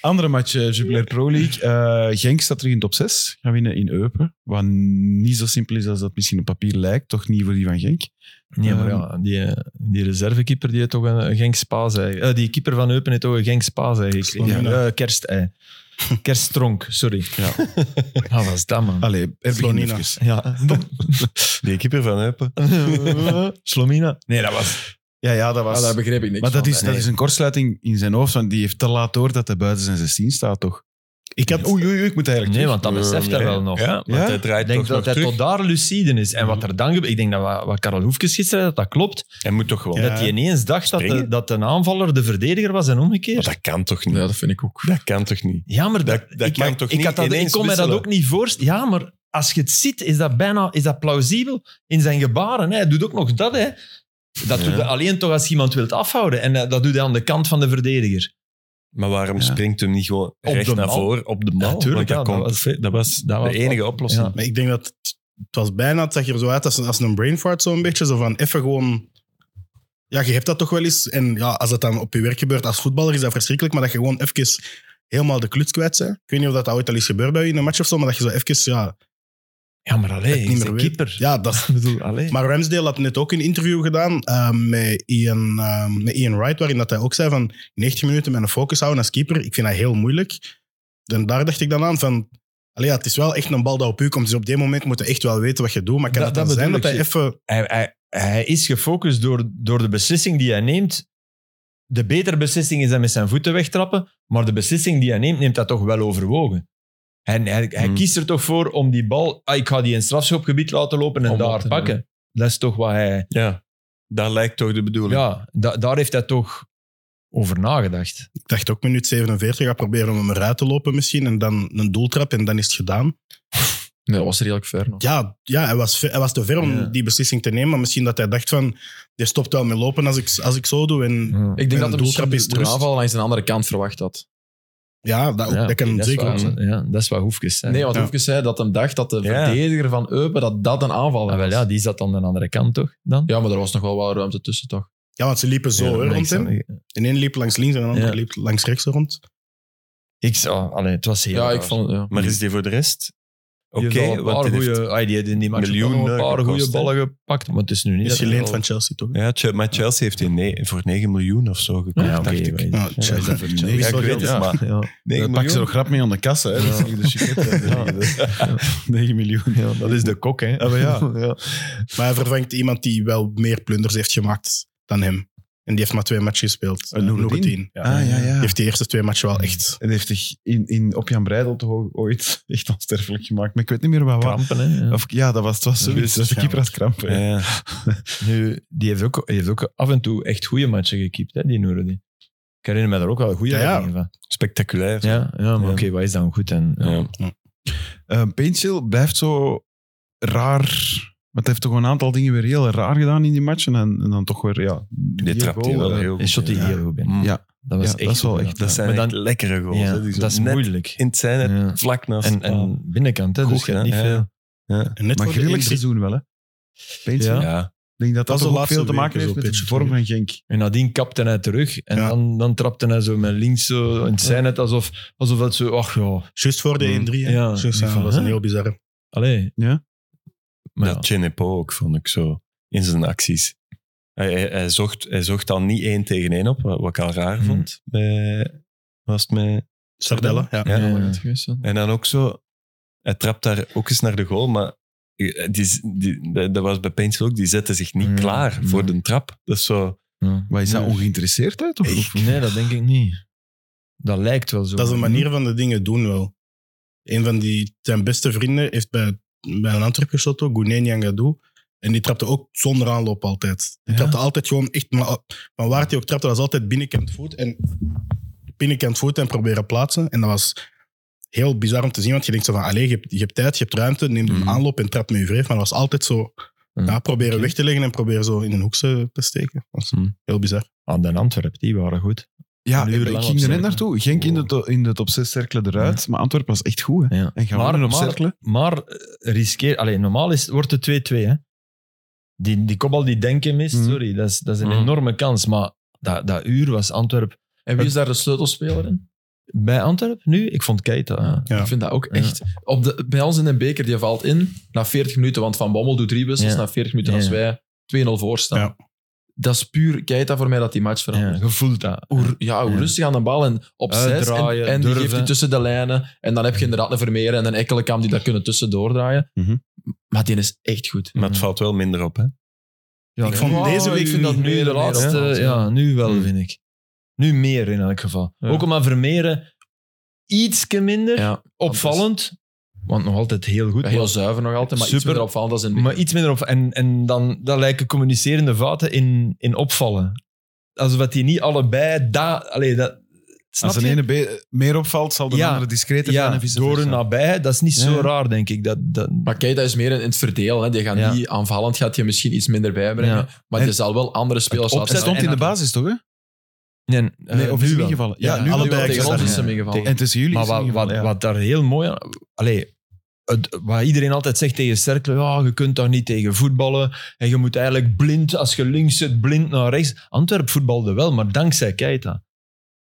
[SPEAKER 2] Andere match, eh, Jubilair Pro League. Eh, Genk staat terug in top 6. Gaan winnen in Eupen. Wat niet zo simpel is als dat misschien op papier lijkt. Toch niet voor die van Genk.
[SPEAKER 3] Nee, maar
[SPEAKER 2] Ehm.
[SPEAKER 3] ja, die, eh, die reservekeeper die heeft toch een eh, Genks paas eigenlijk. die keeper van Eupen heeft toch een Genks paas eigenlijk.
[SPEAKER 6] Slonina.
[SPEAKER 3] Ja, eh, kerstei. Kersttronk, sorry. Ja. Wat was dat, man?
[SPEAKER 2] Allee, er begin
[SPEAKER 6] Slonina.
[SPEAKER 2] even.
[SPEAKER 3] Ja.
[SPEAKER 4] Die keeper van Eupen.
[SPEAKER 3] Slomina? Nee, dat was...
[SPEAKER 2] Ja, ja, dat was...
[SPEAKER 5] Ah, daar begreep ik niks
[SPEAKER 2] maar dat
[SPEAKER 5] van.
[SPEAKER 2] is, dat is een kortsluiting in zijn hoofd, want die heeft te laat door dat hij buiten zijn 16 staat, toch?
[SPEAKER 6] Ik had,
[SPEAKER 2] Oei, oei, oei, ik moet eigenlijk...
[SPEAKER 3] Nee,
[SPEAKER 2] terug.
[SPEAKER 3] want dat beseft hij wel nog.
[SPEAKER 4] eh, Ja, want
[SPEAKER 2] Ja?
[SPEAKER 4] hij
[SPEAKER 3] Ik
[SPEAKER 4] draait
[SPEAKER 3] denk
[SPEAKER 4] toch nog
[SPEAKER 3] dat hij
[SPEAKER 4] terug. Mhm.
[SPEAKER 3] tot daar lucide is. En wat er dan gebeurt... Ik denk dat wat, wat Karel Hoefkes gisteren zei, dat dat klopt.
[SPEAKER 4] Hij moet toch wel.
[SPEAKER 6] Ja.
[SPEAKER 3] Dat hij ineens dacht dat de,
[SPEAKER 4] Springen.
[SPEAKER 3] dat een aanvaller de verdediger was en
[SPEAKER 4] Maar
[SPEAKER 3] omgekeerd.
[SPEAKER 4] dat kan toch niet?
[SPEAKER 5] Ja, dat vind ik ook.
[SPEAKER 4] Dat kan toch niet?
[SPEAKER 3] Ja, maar
[SPEAKER 4] Dat- dat kan
[SPEAKER 3] maar
[SPEAKER 4] toch
[SPEAKER 3] ik
[SPEAKER 4] niet
[SPEAKER 3] had dat, Ik
[SPEAKER 4] ineens
[SPEAKER 3] kon mij dat
[SPEAKER 4] wisselen?
[SPEAKER 3] ook niet voorstellen. Ja, maar als je het ziet, is dat bijna is dat plausibel in zijn gebaren. Hè. Hij doet ook nog dat. Hè. Dat doet hij alleen toch als iemand wilt afhouden. En eh, dat doet hij aan de kant van de verdediger.
[SPEAKER 4] Maar waarom
[SPEAKER 2] Ja.
[SPEAKER 4] springt hem niet gewoon recht
[SPEAKER 3] de
[SPEAKER 4] naar
[SPEAKER 3] bal.
[SPEAKER 4] voren op de bal?
[SPEAKER 3] tuurlijk,
[SPEAKER 4] Want
[SPEAKER 3] ja,
[SPEAKER 4] dat,
[SPEAKER 3] dat
[SPEAKER 4] kon
[SPEAKER 3] was-
[SPEAKER 4] perfect. dat was
[SPEAKER 3] dat was-
[SPEAKER 4] de enige oplossing.
[SPEAKER 3] Ja.
[SPEAKER 6] maar ik denk dat het, het was bijna, het zag er zo uit als, een- als een brain fart zo'n beetje. Zo van even gewoon. Ja, je hebt dat toch wel eens. En ja, als dat dan op je werk gebeurt als voetballer, is dat verschrikkelijk. Maar dat je gewoon even helemaal de kluts kwijt bent. Ik weet niet of dat ooit al is gebeurd bij u in een match of zo, maar dat je zo even. Ja,
[SPEAKER 3] Ja, maar alleen,
[SPEAKER 6] niet
[SPEAKER 3] is
[SPEAKER 6] meer
[SPEAKER 3] een
[SPEAKER 6] weet.
[SPEAKER 3] keeper.
[SPEAKER 6] ja dat is
[SPEAKER 3] Ik bedoel, allee.
[SPEAKER 6] Maar Ramsdale had net ook een interview gedaan eh, met, Ian, eh, met Ian Wright, waarin dat hij ook zei van 90 minuten met een focus houden als keeper, ik vind dat heel moeilijk. En daar dacht ik dan aan van, allee, ja, het is wel echt een bal dat op u komt, dus op dit moment moet je echt wel weten wat je doet. Maar kan
[SPEAKER 3] Dat-
[SPEAKER 6] het dan
[SPEAKER 3] dat
[SPEAKER 6] zijn
[SPEAKER 3] bedoel
[SPEAKER 6] dat hij
[SPEAKER 3] ik,
[SPEAKER 6] even...
[SPEAKER 3] hij, hij, hij is gefocust door, door de beslissing die hij neemt. De betere beslissing is hij met zijn voeten wegtrappen, maar de beslissing die hij neemt, neemt dat toch wel overwogen. En hij, hij
[SPEAKER 4] Hmm.
[SPEAKER 3] kiest er toch voor om die bal, ah, ik ga die in strafschopgebied laten lopen en
[SPEAKER 5] Om dat
[SPEAKER 3] daar
[SPEAKER 5] te
[SPEAKER 3] pakken. Dat is toch wat hij,
[SPEAKER 4] Ja, dat lijkt toch de bedoeling.
[SPEAKER 3] ja, da- daar heeft hij toch over nagedacht.
[SPEAKER 6] Ik dacht ook minuut 47, ga proberen om hem eruit te lopen misschien, en dan een doeltrap en dan is het gedaan.
[SPEAKER 5] Nee, dat was redelijk ver nog.
[SPEAKER 6] Ja, ja hij, was, ver- hij was te ver om
[SPEAKER 3] Ja.
[SPEAKER 6] die beslissing te nemen, maar misschien dat hij dacht van, dit stopt wel met lopen als ik, als ik zo doe. En
[SPEAKER 5] Ik denk
[SPEAKER 6] En
[SPEAKER 5] dat hij
[SPEAKER 6] doeltrap
[SPEAKER 5] misschien
[SPEAKER 6] is
[SPEAKER 5] de
[SPEAKER 6] rust.
[SPEAKER 5] aanval langs een andere kant verwacht had.
[SPEAKER 6] ja, dat, ook-
[SPEAKER 3] Ja,
[SPEAKER 6] dat kan
[SPEAKER 3] oké,
[SPEAKER 6] zeker ook
[SPEAKER 3] is
[SPEAKER 6] zijn.
[SPEAKER 3] wat, ja, dat is wat Hoefkes zei.
[SPEAKER 5] Nee, want
[SPEAKER 6] Ja.
[SPEAKER 5] Hoefkes zei dat hem dacht dat de
[SPEAKER 4] Ja.
[SPEAKER 5] verdediger van Eupen dat dat een aanval was.
[SPEAKER 3] Ah, wel, ja, die zat aan de andere kant toch? Dan?
[SPEAKER 5] Ja, maar er was nog wel wat ruimte tussen, toch?
[SPEAKER 6] Ja, want ze liepen zo
[SPEAKER 3] Ja,
[SPEAKER 6] hè,
[SPEAKER 3] maar ik
[SPEAKER 6] rond hem.
[SPEAKER 3] zou-
[SPEAKER 6] De ene liep langs links en de andere
[SPEAKER 3] Ja.
[SPEAKER 6] liep langs rechts rond.
[SPEAKER 3] Ik zou, allee, het was heel
[SPEAKER 5] Ja, ik
[SPEAKER 3] raar.
[SPEAKER 5] vond... Ja.
[SPEAKER 4] Maar is die voor de rest? Oké,
[SPEAKER 3] Die heeft wel een
[SPEAKER 4] want
[SPEAKER 3] paar
[SPEAKER 4] die heeft-
[SPEAKER 3] goede, ah, die heeft in die match
[SPEAKER 4] miljoen,
[SPEAKER 3] ook nog een
[SPEAKER 4] eh,
[SPEAKER 3] paar
[SPEAKER 4] gekost,
[SPEAKER 3] goede
[SPEAKER 4] hè.
[SPEAKER 3] ballen gepakt, maar het is nu niet.
[SPEAKER 6] Is
[SPEAKER 3] dat
[SPEAKER 6] geleend
[SPEAKER 3] hij
[SPEAKER 6] Dus van Chelsea, toch?
[SPEAKER 4] Ja, Ch- maar Chelsea heeft die ne- voor 9 miljoen of zo
[SPEAKER 3] al-
[SPEAKER 4] gekocht,
[SPEAKER 3] Ja, oké.
[SPEAKER 4] dacht ik.
[SPEAKER 3] maar-
[SPEAKER 6] Ja, Chelsea.
[SPEAKER 2] dat is
[SPEAKER 4] Ja,
[SPEAKER 2] een-
[SPEAKER 4] ik weet het,
[SPEAKER 2] Ja.
[SPEAKER 4] maar
[SPEAKER 3] Ja.
[SPEAKER 4] 9
[SPEAKER 2] Dan pak ze
[SPEAKER 4] miljoen?
[SPEAKER 2] nog grap mee aan de kassa. Hè. Dat is niet de chiquette.
[SPEAKER 3] Ja.
[SPEAKER 2] Ja. 9 miljoen. Ja,
[SPEAKER 3] Dat is de kok, hè?
[SPEAKER 2] maar ja.
[SPEAKER 6] Maar hij vervangt iemand die wel meer plunders heeft gemaakt dan hem. En die heeft maar twee matchen gespeeld.
[SPEAKER 2] Eh, Noureddin?
[SPEAKER 6] Noureddin, Ja.
[SPEAKER 2] Ah, ja, ja.
[SPEAKER 6] Die heeft die eerste twee matchen wel echt...
[SPEAKER 2] En heeft zich in, in, op Jan Breidel toch ook ooit echt onsterfelijk gemaakt. Maar ik weet niet meer waar. waar.
[SPEAKER 3] Krampen, hè?
[SPEAKER 2] Of, ja, dat was, het was zoiets.
[SPEAKER 6] Ja,
[SPEAKER 2] Dat is de keeper had krampen. hè.
[SPEAKER 4] Ja.
[SPEAKER 3] Nu, die heeft ook, die heeft ook af en toe echt goede matchen gekiept, hè, die Noureddin. Ik herinner me daar ook wel goede
[SPEAKER 6] Ja, ja.
[SPEAKER 3] dingen van.
[SPEAKER 4] Spectaculair.
[SPEAKER 3] Ja, ja maar
[SPEAKER 4] Ja.
[SPEAKER 3] oké, wat is dan goed? En, ja.
[SPEAKER 4] Ja.
[SPEAKER 2] Eh Painchill blijft zo raar. Want hij heeft toch een aantal dingen weer heel raar gedaan in die matchen. En, en dan toch weer, ja.
[SPEAKER 4] Die trapt hij wel heel
[SPEAKER 3] En
[SPEAKER 4] goed.
[SPEAKER 3] shot die
[SPEAKER 4] Ja.
[SPEAKER 3] heel goed binnen.
[SPEAKER 4] Mm.
[SPEAKER 2] Ja.
[SPEAKER 3] Dat was
[SPEAKER 2] Ja,
[SPEAKER 3] echt
[SPEAKER 2] dat is wel
[SPEAKER 3] goed,
[SPEAKER 2] echt-
[SPEAKER 3] ja.
[SPEAKER 4] Dat zijn
[SPEAKER 3] Maar dan-
[SPEAKER 4] echt lekkere goals.
[SPEAKER 3] ja,
[SPEAKER 4] hè, die zo
[SPEAKER 3] dat is
[SPEAKER 4] net
[SPEAKER 3] moeilijk.
[SPEAKER 4] In het zijn,
[SPEAKER 3] Ja.
[SPEAKER 4] vlak naast
[SPEAKER 3] En,
[SPEAKER 4] de paal.
[SPEAKER 3] en binnenkant, hè?
[SPEAKER 4] Goed
[SPEAKER 3] dus je hebt niet
[SPEAKER 4] gedaan, ja.
[SPEAKER 3] veel.
[SPEAKER 6] En net
[SPEAKER 2] Maar
[SPEAKER 6] voor de
[SPEAKER 2] grillig
[SPEAKER 6] 1-3.
[SPEAKER 2] seizoen wel, hè. Painchill.
[SPEAKER 3] Ja.
[SPEAKER 2] Ik
[SPEAKER 4] ja.
[SPEAKER 2] denk dat dat,
[SPEAKER 6] Dat is de
[SPEAKER 2] toch ook
[SPEAKER 6] laatste
[SPEAKER 2] veel te maken
[SPEAKER 6] weken
[SPEAKER 2] heeft
[SPEAKER 6] zo'n
[SPEAKER 2] met de
[SPEAKER 6] beetje
[SPEAKER 2] vorm van Genk.
[SPEAKER 3] En nadien kapte hij terug en
[SPEAKER 6] Ja.
[SPEAKER 3] dan, dan trapte hij zo met links zo. En het zijn het alsof, alsof dat zo, ach ja,
[SPEAKER 6] Juist voor de 1-3. hè.
[SPEAKER 3] Ja.
[SPEAKER 6] Juist, ja,
[SPEAKER 3] Van,
[SPEAKER 6] dat was een
[SPEAKER 3] hè?
[SPEAKER 6] heel bizarre.
[SPEAKER 3] allee.
[SPEAKER 2] Ja.
[SPEAKER 3] Maar ja.
[SPEAKER 4] Dat Chenepo ook, vond ik zo, in zijn acties. Hij, hij, hij zocht, hij zocht dan niet één tegen één op, wat wat ik al raar
[SPEAKER 3] Hmm.
[SPEAKER 4] vond. Bij- was het met...
[SPEAKER 6] Sardella, ja.
[SPEAKER 4] Ja.
[SPEAKER 5] Ja, dat gaat geweest zijn.
[SPEAKER 4] En dan ook zo... Hij trapt daar ook eens naar de goal, maar eh, die, die, dat dat was bij Paintsel ook, die zette zich niet
[SPEAKER 3] Ja.
[SPEAKER 4] klaar voor
[SPEAKER 3] Ja.
[SPEAKER 4] de trap. Dat is zo...
[SPEAKER 3] Ja.
[SPEAKER 2] Maar is dat ongeïnteresseerdheid? Of? of-
[SPEAKER 3] Nee, dat denk ik niet. Dat lijkt wel zo.
[SPEAKER 6] Dat is een manier van de dingen doen wel. Een van die, zijn beste vrienden heeft bij, bij een Antwerp geschoten, Gouné Nyangadou. En die trapte ook zonder aanloop altijd. Die
[SPEAKER 3] Ja.
[SPEAKER 6] trapte altijd gewoon echt... Maar, maar waar hij ook trapte, was altijd binnenkant voet. En binnenkant voet en proberen plaatsen. En dat was heel bizar om te zien. Want je denkt zo van, allee, je, hebt, je hebt tijd, je hebt ruimte. Neem de
[SPEAKER 4] Mhm.
[SPEAKER 6] aanloop en trap met je wreef. Maar dat was altijd zo...
[SPEAKER 3] Mhm.
[SPEAKER 6] Ja, proberen
[SPEAKER 3] Oké.
[SPEAKER 6] weg te leggen en proberen zo in een hoek eh, te steken. Dat was
[SPEAKER 4] Mhm.
[SPEAKER 6] heel bizar.
[SPEAKER 3] Aan de Antwerp, die waren goed.
[SPEAKER 2] Ja,
[SPEAKER 3] Een uur
[SPEAKER 2] ik
[SPEAKER 3] lang
[SPEAKER 2] ging er net
[SPEAKER 3] opzerken.
[SPEAKER 2] naartoe. Genk in, de to- in de top 6 cirkelen eruit, maar Antwerpen was echt goed. Hè.
[SPEAKER 3] Ja.
[SPEAKER 2] En gaan
[SPEAKER 3] Maar
[SPEAKER 2] we normaal
[SPEAKER 3] normaal,
[SPEAKER 2] cirkelen?
[SPEAKER 3] maar eh, riskeer... Allee, normaal is, wordt het 2-2. Hè? Die, die kopbal die Denken mist,
[SPEAKER 2] Mhm.
[SPEAKER 3] sorry, dat is, dat is een
[SPEAKER 4] Mhm.
[SPEAKER 3] enorme kans. Maar dat, dat uur was Antwerp...
[SPEAKER 5] En wie is daar de sleutelspeler in?
[SPEAKER 3] Bij Antwerp nu? Ik vond Keita. ja.
[SPEAKER 6] Ja.
[SPEAKER 5] Ik vind dat ook
[SPEAKER 3] Ja.
[SPEAKER 5] echt... Op de, bij ons in de beker, die valt in na 40 minuten, want Van Bommel doet drie wissels
[SPEAKER 3] Ja.
[SPEAKER 5] na 40 minuten
[SPEAKER 3] Ja.
[SPEAKER 5] als wij 2-0 voor staan.
[SPEAKER 6] Ja.
[SPEAKER 5] Dat is puur Keita voor mij dat die match verandert.
[SPEAKER 3] Ja, je voelt dat.
[SPEAKER 5] hoe, ja, hoe
[SPEAKER 3] Ja.
[SPEAKER 5] rustig aan de bal en op zes. En,
[SPEAKER 3] Uitdraaien,
[SPEAKER 5] en die geeft
[SPEAKER 3] durven.
[SPEAKER 5] hij tussen de lijnen. En dan heb je inderdaad een Vermeer en een Ekkelenkamp die daar kunnen tussendoor draaien.
[SPEAKER 2] Mhm.
[SPEAKER 5] Maar die is echt goed.
[SPEAKER 4] Maar het
[SPEAKER 3] Mhm.
[SPEAKER 4] valt wel minder op, hè?
[SPEAKER 3] Ja,
[SPEAKER 6] Ik vond deze week vind dat
[SPEAKER 3] Oh, nu
[SPEAKER 5] meer
[SPEAKER 3] de
[SPEAKER 5] en meer
[SPEAKER 3] laatste.
[SPEAKER 5] opvalt, ja.
[SPEAKER 3] ja, nu wel,
[SPEAKER 4] Hmm.
[SPEAKER 3] vind ik. Nu meer in elk geval. Ook om aan Vermeeren ietske minder
[SPEAKER 5] Ja,
[SPEAKER 3] opvallend, want nog altijd heel goed.
[SPEAKER 5] heel
[SPEAKER 3] maar-
[SPEAKER 5] zuiver nog altijd, maar iets
[SPEAKER 3] Super.
[SPEAKER 5] minder opvallend als in
[SPEAKER 3] maar iets minder op. En, en dan dat lijken communicerende vaten in, in opvallen. Alsof dat die niet allebei da, allee, dat. Snap
[SPEAKER 2] Als de
[SPEAKER 3] je?
[SPEAKER 2] ene be- meer opvalt, zal de
[SPEAKER 3] Ja.
[SPEAKER 2] andere discreter gaan
[SPEAKER 3] ja,
[SPEAKER 2] en vice
[SPEAKER 3] door
[SPEAKER 2] versa.
[SPEAKER 3] hun nabij, dat is niet
[SPEAKER 2] Ja.
[SPEAKER 3] zo raar, denk ik. Dat, dat,
[SPEAKER 5] Maar Keita is meer in, in het verdeel. Hè. Die gaat
[SPEAKER 3] Ja.
[SPEAKER 5] niet aanvallend, gaat je misschien iets minder bijbrengen.
[SPEAKER 3] Ja.
[SPEAKER 5] Maar
[SPEAKER 2] En-
[SPEAKER 5] die zal wel andere spelers
[SPEAKER 2] Hij
[SPEAKER 5] laten
[SPEAKER 2] stond in de
[SPEAKER 5] spelen.
[SPEAKER 2] basis, toch? Hè?
[SPEAKER 3] nee,
[SPEAKER 2] Nee,
[SPEAKER 3] eh,
[SPEAKER 2] of is
[SPEAKER 3] nu
[SPEAKER 2] hem
[SPEAKER 3] wel.
[SPEAKER 2] ingevallen? Ja, nu
[SPEAKER 6] allebei
[SPEAKER 2] wel.
[SPEAKER 5] tegen
[SPEAKER 2] Tegen
[SPEAKER 5] ons is
[SPEAKER 2] ons.
[SPEAKER 5] hem
[SPEAKER 3] Ja.
[SPEAKER 5] ingevallen.
[SPEAKER 2] En tussen jullie
[SPEAKER 3] Maar
[SPEAKER 2] is hem
[SPEAKER 3] wat, wat,
[SPEAKER 2] ingevallen, ja.
[SPEAKER 3] wat daar heel mooi aan... Allee, het, wat iedereen altijd zegt tegen Cercle, ja, je kunt daar niet tegen voetballen. En je moet eigenlijk blind, als je links zit, blind naar rechts. Antwerp voetbalde wel, maar dankzij Keita.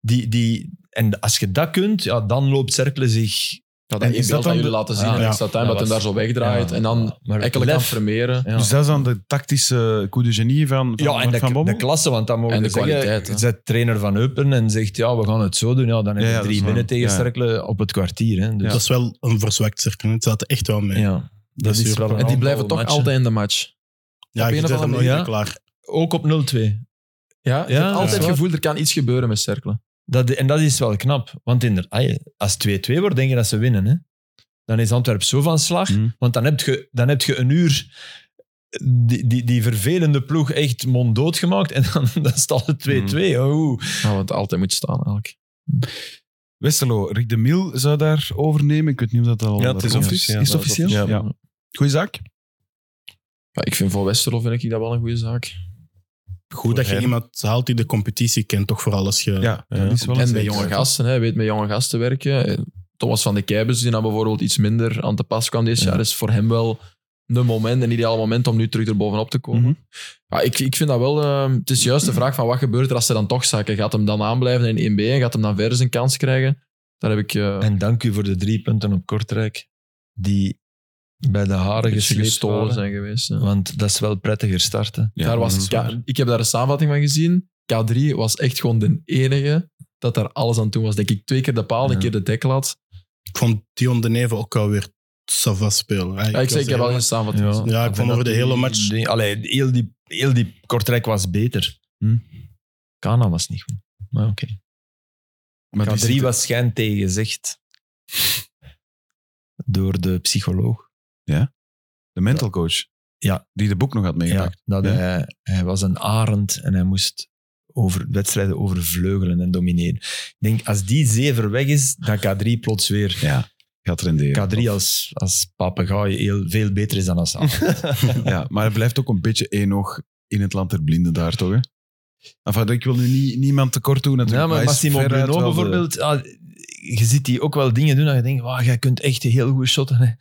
[SPEAKER 3] Die, die, en als je dat kunt, ja, dan loopt Cercle zich...
[SPEAKER 5] Ja, dat
[SPEAKER 2] En
[SPEAKER 5] ene
[SPEAKER 2] is dat
[SPEAKER 5] beeld dat
[SPEAKER 2] dan
[SPEAKER 5] jullie
[SPEAKER 2] de-
[SPEAKER 5] laten zien
[SPEAKER 3] Ah,
[SPEAKER 5] in
[SPEAKER 6] ja.
[SPEAKER 5] extra time,
[SPEAKER 3] Dat
[SPEAKER 5] dat hem daar
[SPEAKER 3] was-
[SPEAKER 5] zo wegdraait.
[SPEAKER 3] Ja,
[SPEAKER 5] en dan
[SPEAKER 3] maar
[SPEAKER 5] Ekkelenkamp,
[SPEAKER 3] lef.
[SPEAKER 5] Vermeeren.
[SPEAKER 3] Ja.
[SPEAKER 2] Dus dat is dan de tactische coup de genie van, van
[SPEAKER 3] ja, en
[SPEAKER 2] Mark Van
[SPEAKER 3] de,
[SPEAKER 2] Bommel?
[SPEAKER 3] de klasse, want dan mogen
[SPEAKER 5] En de
[SPEAKER 3] we zeggen,
[SPEAKER 5] kwaliteit, hè.
[SPEAKER 3] Zet trainer van Eupen en zegt, ja, we gaan het zo doen. Ja, dan heb
[SPEAKER 2] Ja,
[SPEAKER 3] je
[SPEAKER 2] ja, dat is
[SPEAKER 3] drie
[SPEAKER 2] waar.
[SPEAKER 3] winnen tegen
[SPEAKER 2] Ja, ja.
[SPEAKER 3] Cercle op het kwartier. Hè. Dus,
[SPEAKER 6] Dat is wel een verzwakt cirkel. Het zat er echt wel mee.
[SPEAKER 3] ja.
[SPEAKER 6] Ja,
[SPEAKER 3] dat is
[SPEAKER 6] super.
[SPEAKER 3] wel een
[SPEAKER 5] En die blijven
[SPEAKER 3] aantal
[SPEAKER 5] toch
[SPEAKER 3] matchen.
[SPEAKER 5] altijd in de match. op
[SPEAKER 6] je
[SPEAKER 5] een
[SPEAKER 6] zet
[SPEAKER 5] of
[SPEAKER 6] hem
[SPEAKER 5] andere
[SPEAKER 6] nooit
[SPEAKER 3] manier-
[SPEAKER 6] meer klaar.
[SPEAKER 3] Ook op 0-2.
[SPEAKER 5] Ja, je
[SPEAKER 3] Ja,
[SPEAKER 5] hebt altijd
[SPEAKER 3] dat is
[SPEAKER 5] het
[SPEAKER 3] waar.
[SPEAKER 5] gevoel, er kan iets gebeuren met cirkelen.
[SPEAKER 3] Dat, en dat is wel knap. Want in als 2-2 wordt, denk je dat ze winnen. Hè? Dan is Antwerp zo van slag.
[SPEAKER 2] Mhm.
[SPEAKER 5] Mm.
[SPEAKER 3] Want dan heb, je, dan heb je een uur die, die, die vervelende ploeg echt monddood gemaakt. En dan, dan staat het 2-2. Oh.
[SPEAKER 5] Ja, want altijd moet Mm. staan eigenlijk.
[SPEAKER 2] Westerlo, Rick de Miel zou daar overnemen. Ik weet niet of dat al
[SPEAKER 4] Ja, het is
[SPEAKER 2] rond
[SPEAKER 4] officieel.
[SPEAKER 2] Is het
[SPEAKER 4] Ja,
[SPEAKER 2] officieel?
[SPEAKER 4] dat is
[SPEAKER 2] Ja. Goeie zaak.
[SPEAKER 5] Ja, ik vind voor Westerlo vind ik dat wel een goede zaak.
[SPEAKER 6] Goed dat je
[SPEAKER 4] hem.
[SPEAKER 6] iemand haalt die de competitie kent, toch vooral als je...
[SPEAKER 2] Ja, dat is wel een
[SPEAKER 5] En
[SPEAKER 2] zeker.
[SPEAKER 5] met jonge gasten, hè, weet met jonge gasten werken. Eh, Thomas van de Keibers, die nou bijvoorbeeld iets minder aan te pas kwam deze jaar, is voor hem wel een moment, een ideaal moment om nu terug erbovenop te komen.
[SPEAKER 2] Mhm.
[SPEAKER 5] ja, ik, ik vind dat wel... ehm, het is juist de vraag van wat gebeurt er als ze dan toch zakken? Gaat hem dan aanblijven in 1B en gaat hem dan verder zijn kans krijgen? Daar heb ik... eh,
[SPEAKER 3] En dank u voor de drie punten op Kortrijk. Die bij de haren
[SPEAKER 5] een beetje
[SPEAKER 3] gesleept
[SPEAKER 5] gestolen
[SPEAKER 3] waren.
[SPEAKER 5] zijn geweest. ja.
[SPEAKER 3] Want dat is wel prettiger starten.
[SPEAKER 5] daar was,
[SPEAKER 2] dat is
[SPEAKER 5] K- ik heb daar een samenvatting van gezien. K3 was echt gewoon de enige dat daar alles aan toe was. Denk ik twee keer de paal,
[SPEAKER 3] Ja.
[SPEAKER 5] een keer de deklaat.
[SPEAKER 6] Ik vond Dion de Neve ook alweer Sava spelen.
[SPEAKER 5] Ja, ik, zei, ik heb wel geen samenvatting gezien.
[SPEAKER 6] Ja, ik vond over de hele match...
[SPEAKER 3] Die, allee, heel die, heel die Kortrijk was beter.
[SPEAKER 2] Hm.
[SPEAKER 3] Kana was niet goed. Maar oké.
[SPEAKER 2] Maar die
[SPEAKER 3] K3
[SPEAKER 2] zitten-
[SPEAKER 3] was schijn tegenzegd. Door de psycholoog.
[SPEAKER 2] de mental coach.
[SPEAKER 3] Ja.
[SPEAKER 2] Die de boek nog had meegepakt.
[SPEAKER 3] Ja, dat
[SPEAKER 2] Ja.
[SPEAKER 3] Hij, hij was een arend en hij moest over, wedstrijden overvleugelen en domineren. Ik denk, als die zever weg is, dan K3 plots weer.
[SPEAKER 2] Gaat renderen.
[SPEAKER 3] K3 als, als papegaai heel veel beter is dan als arend.
[SPEAKER 2] Ja, maar hij blijft ook een beetje één oog in het land der blinden daar, toch? Hè? Enfin, ik wil nu niet, niemand tekort doen natuurlijk.
[SPEAKER 3] Ja, maar
[SPEAKER 2] hij is
[SPEAKER 3] Massimo
[SPEAKER 2] veruit
[SPEAKER 3] Bruno
[SPEAKER 2] wel de-
[SPEAKER 3] bijvoorbeeld, ah, je ziet die ook wel dingen doen dat je denkt, wauw, jij kunt echt heel goed shotten. hè."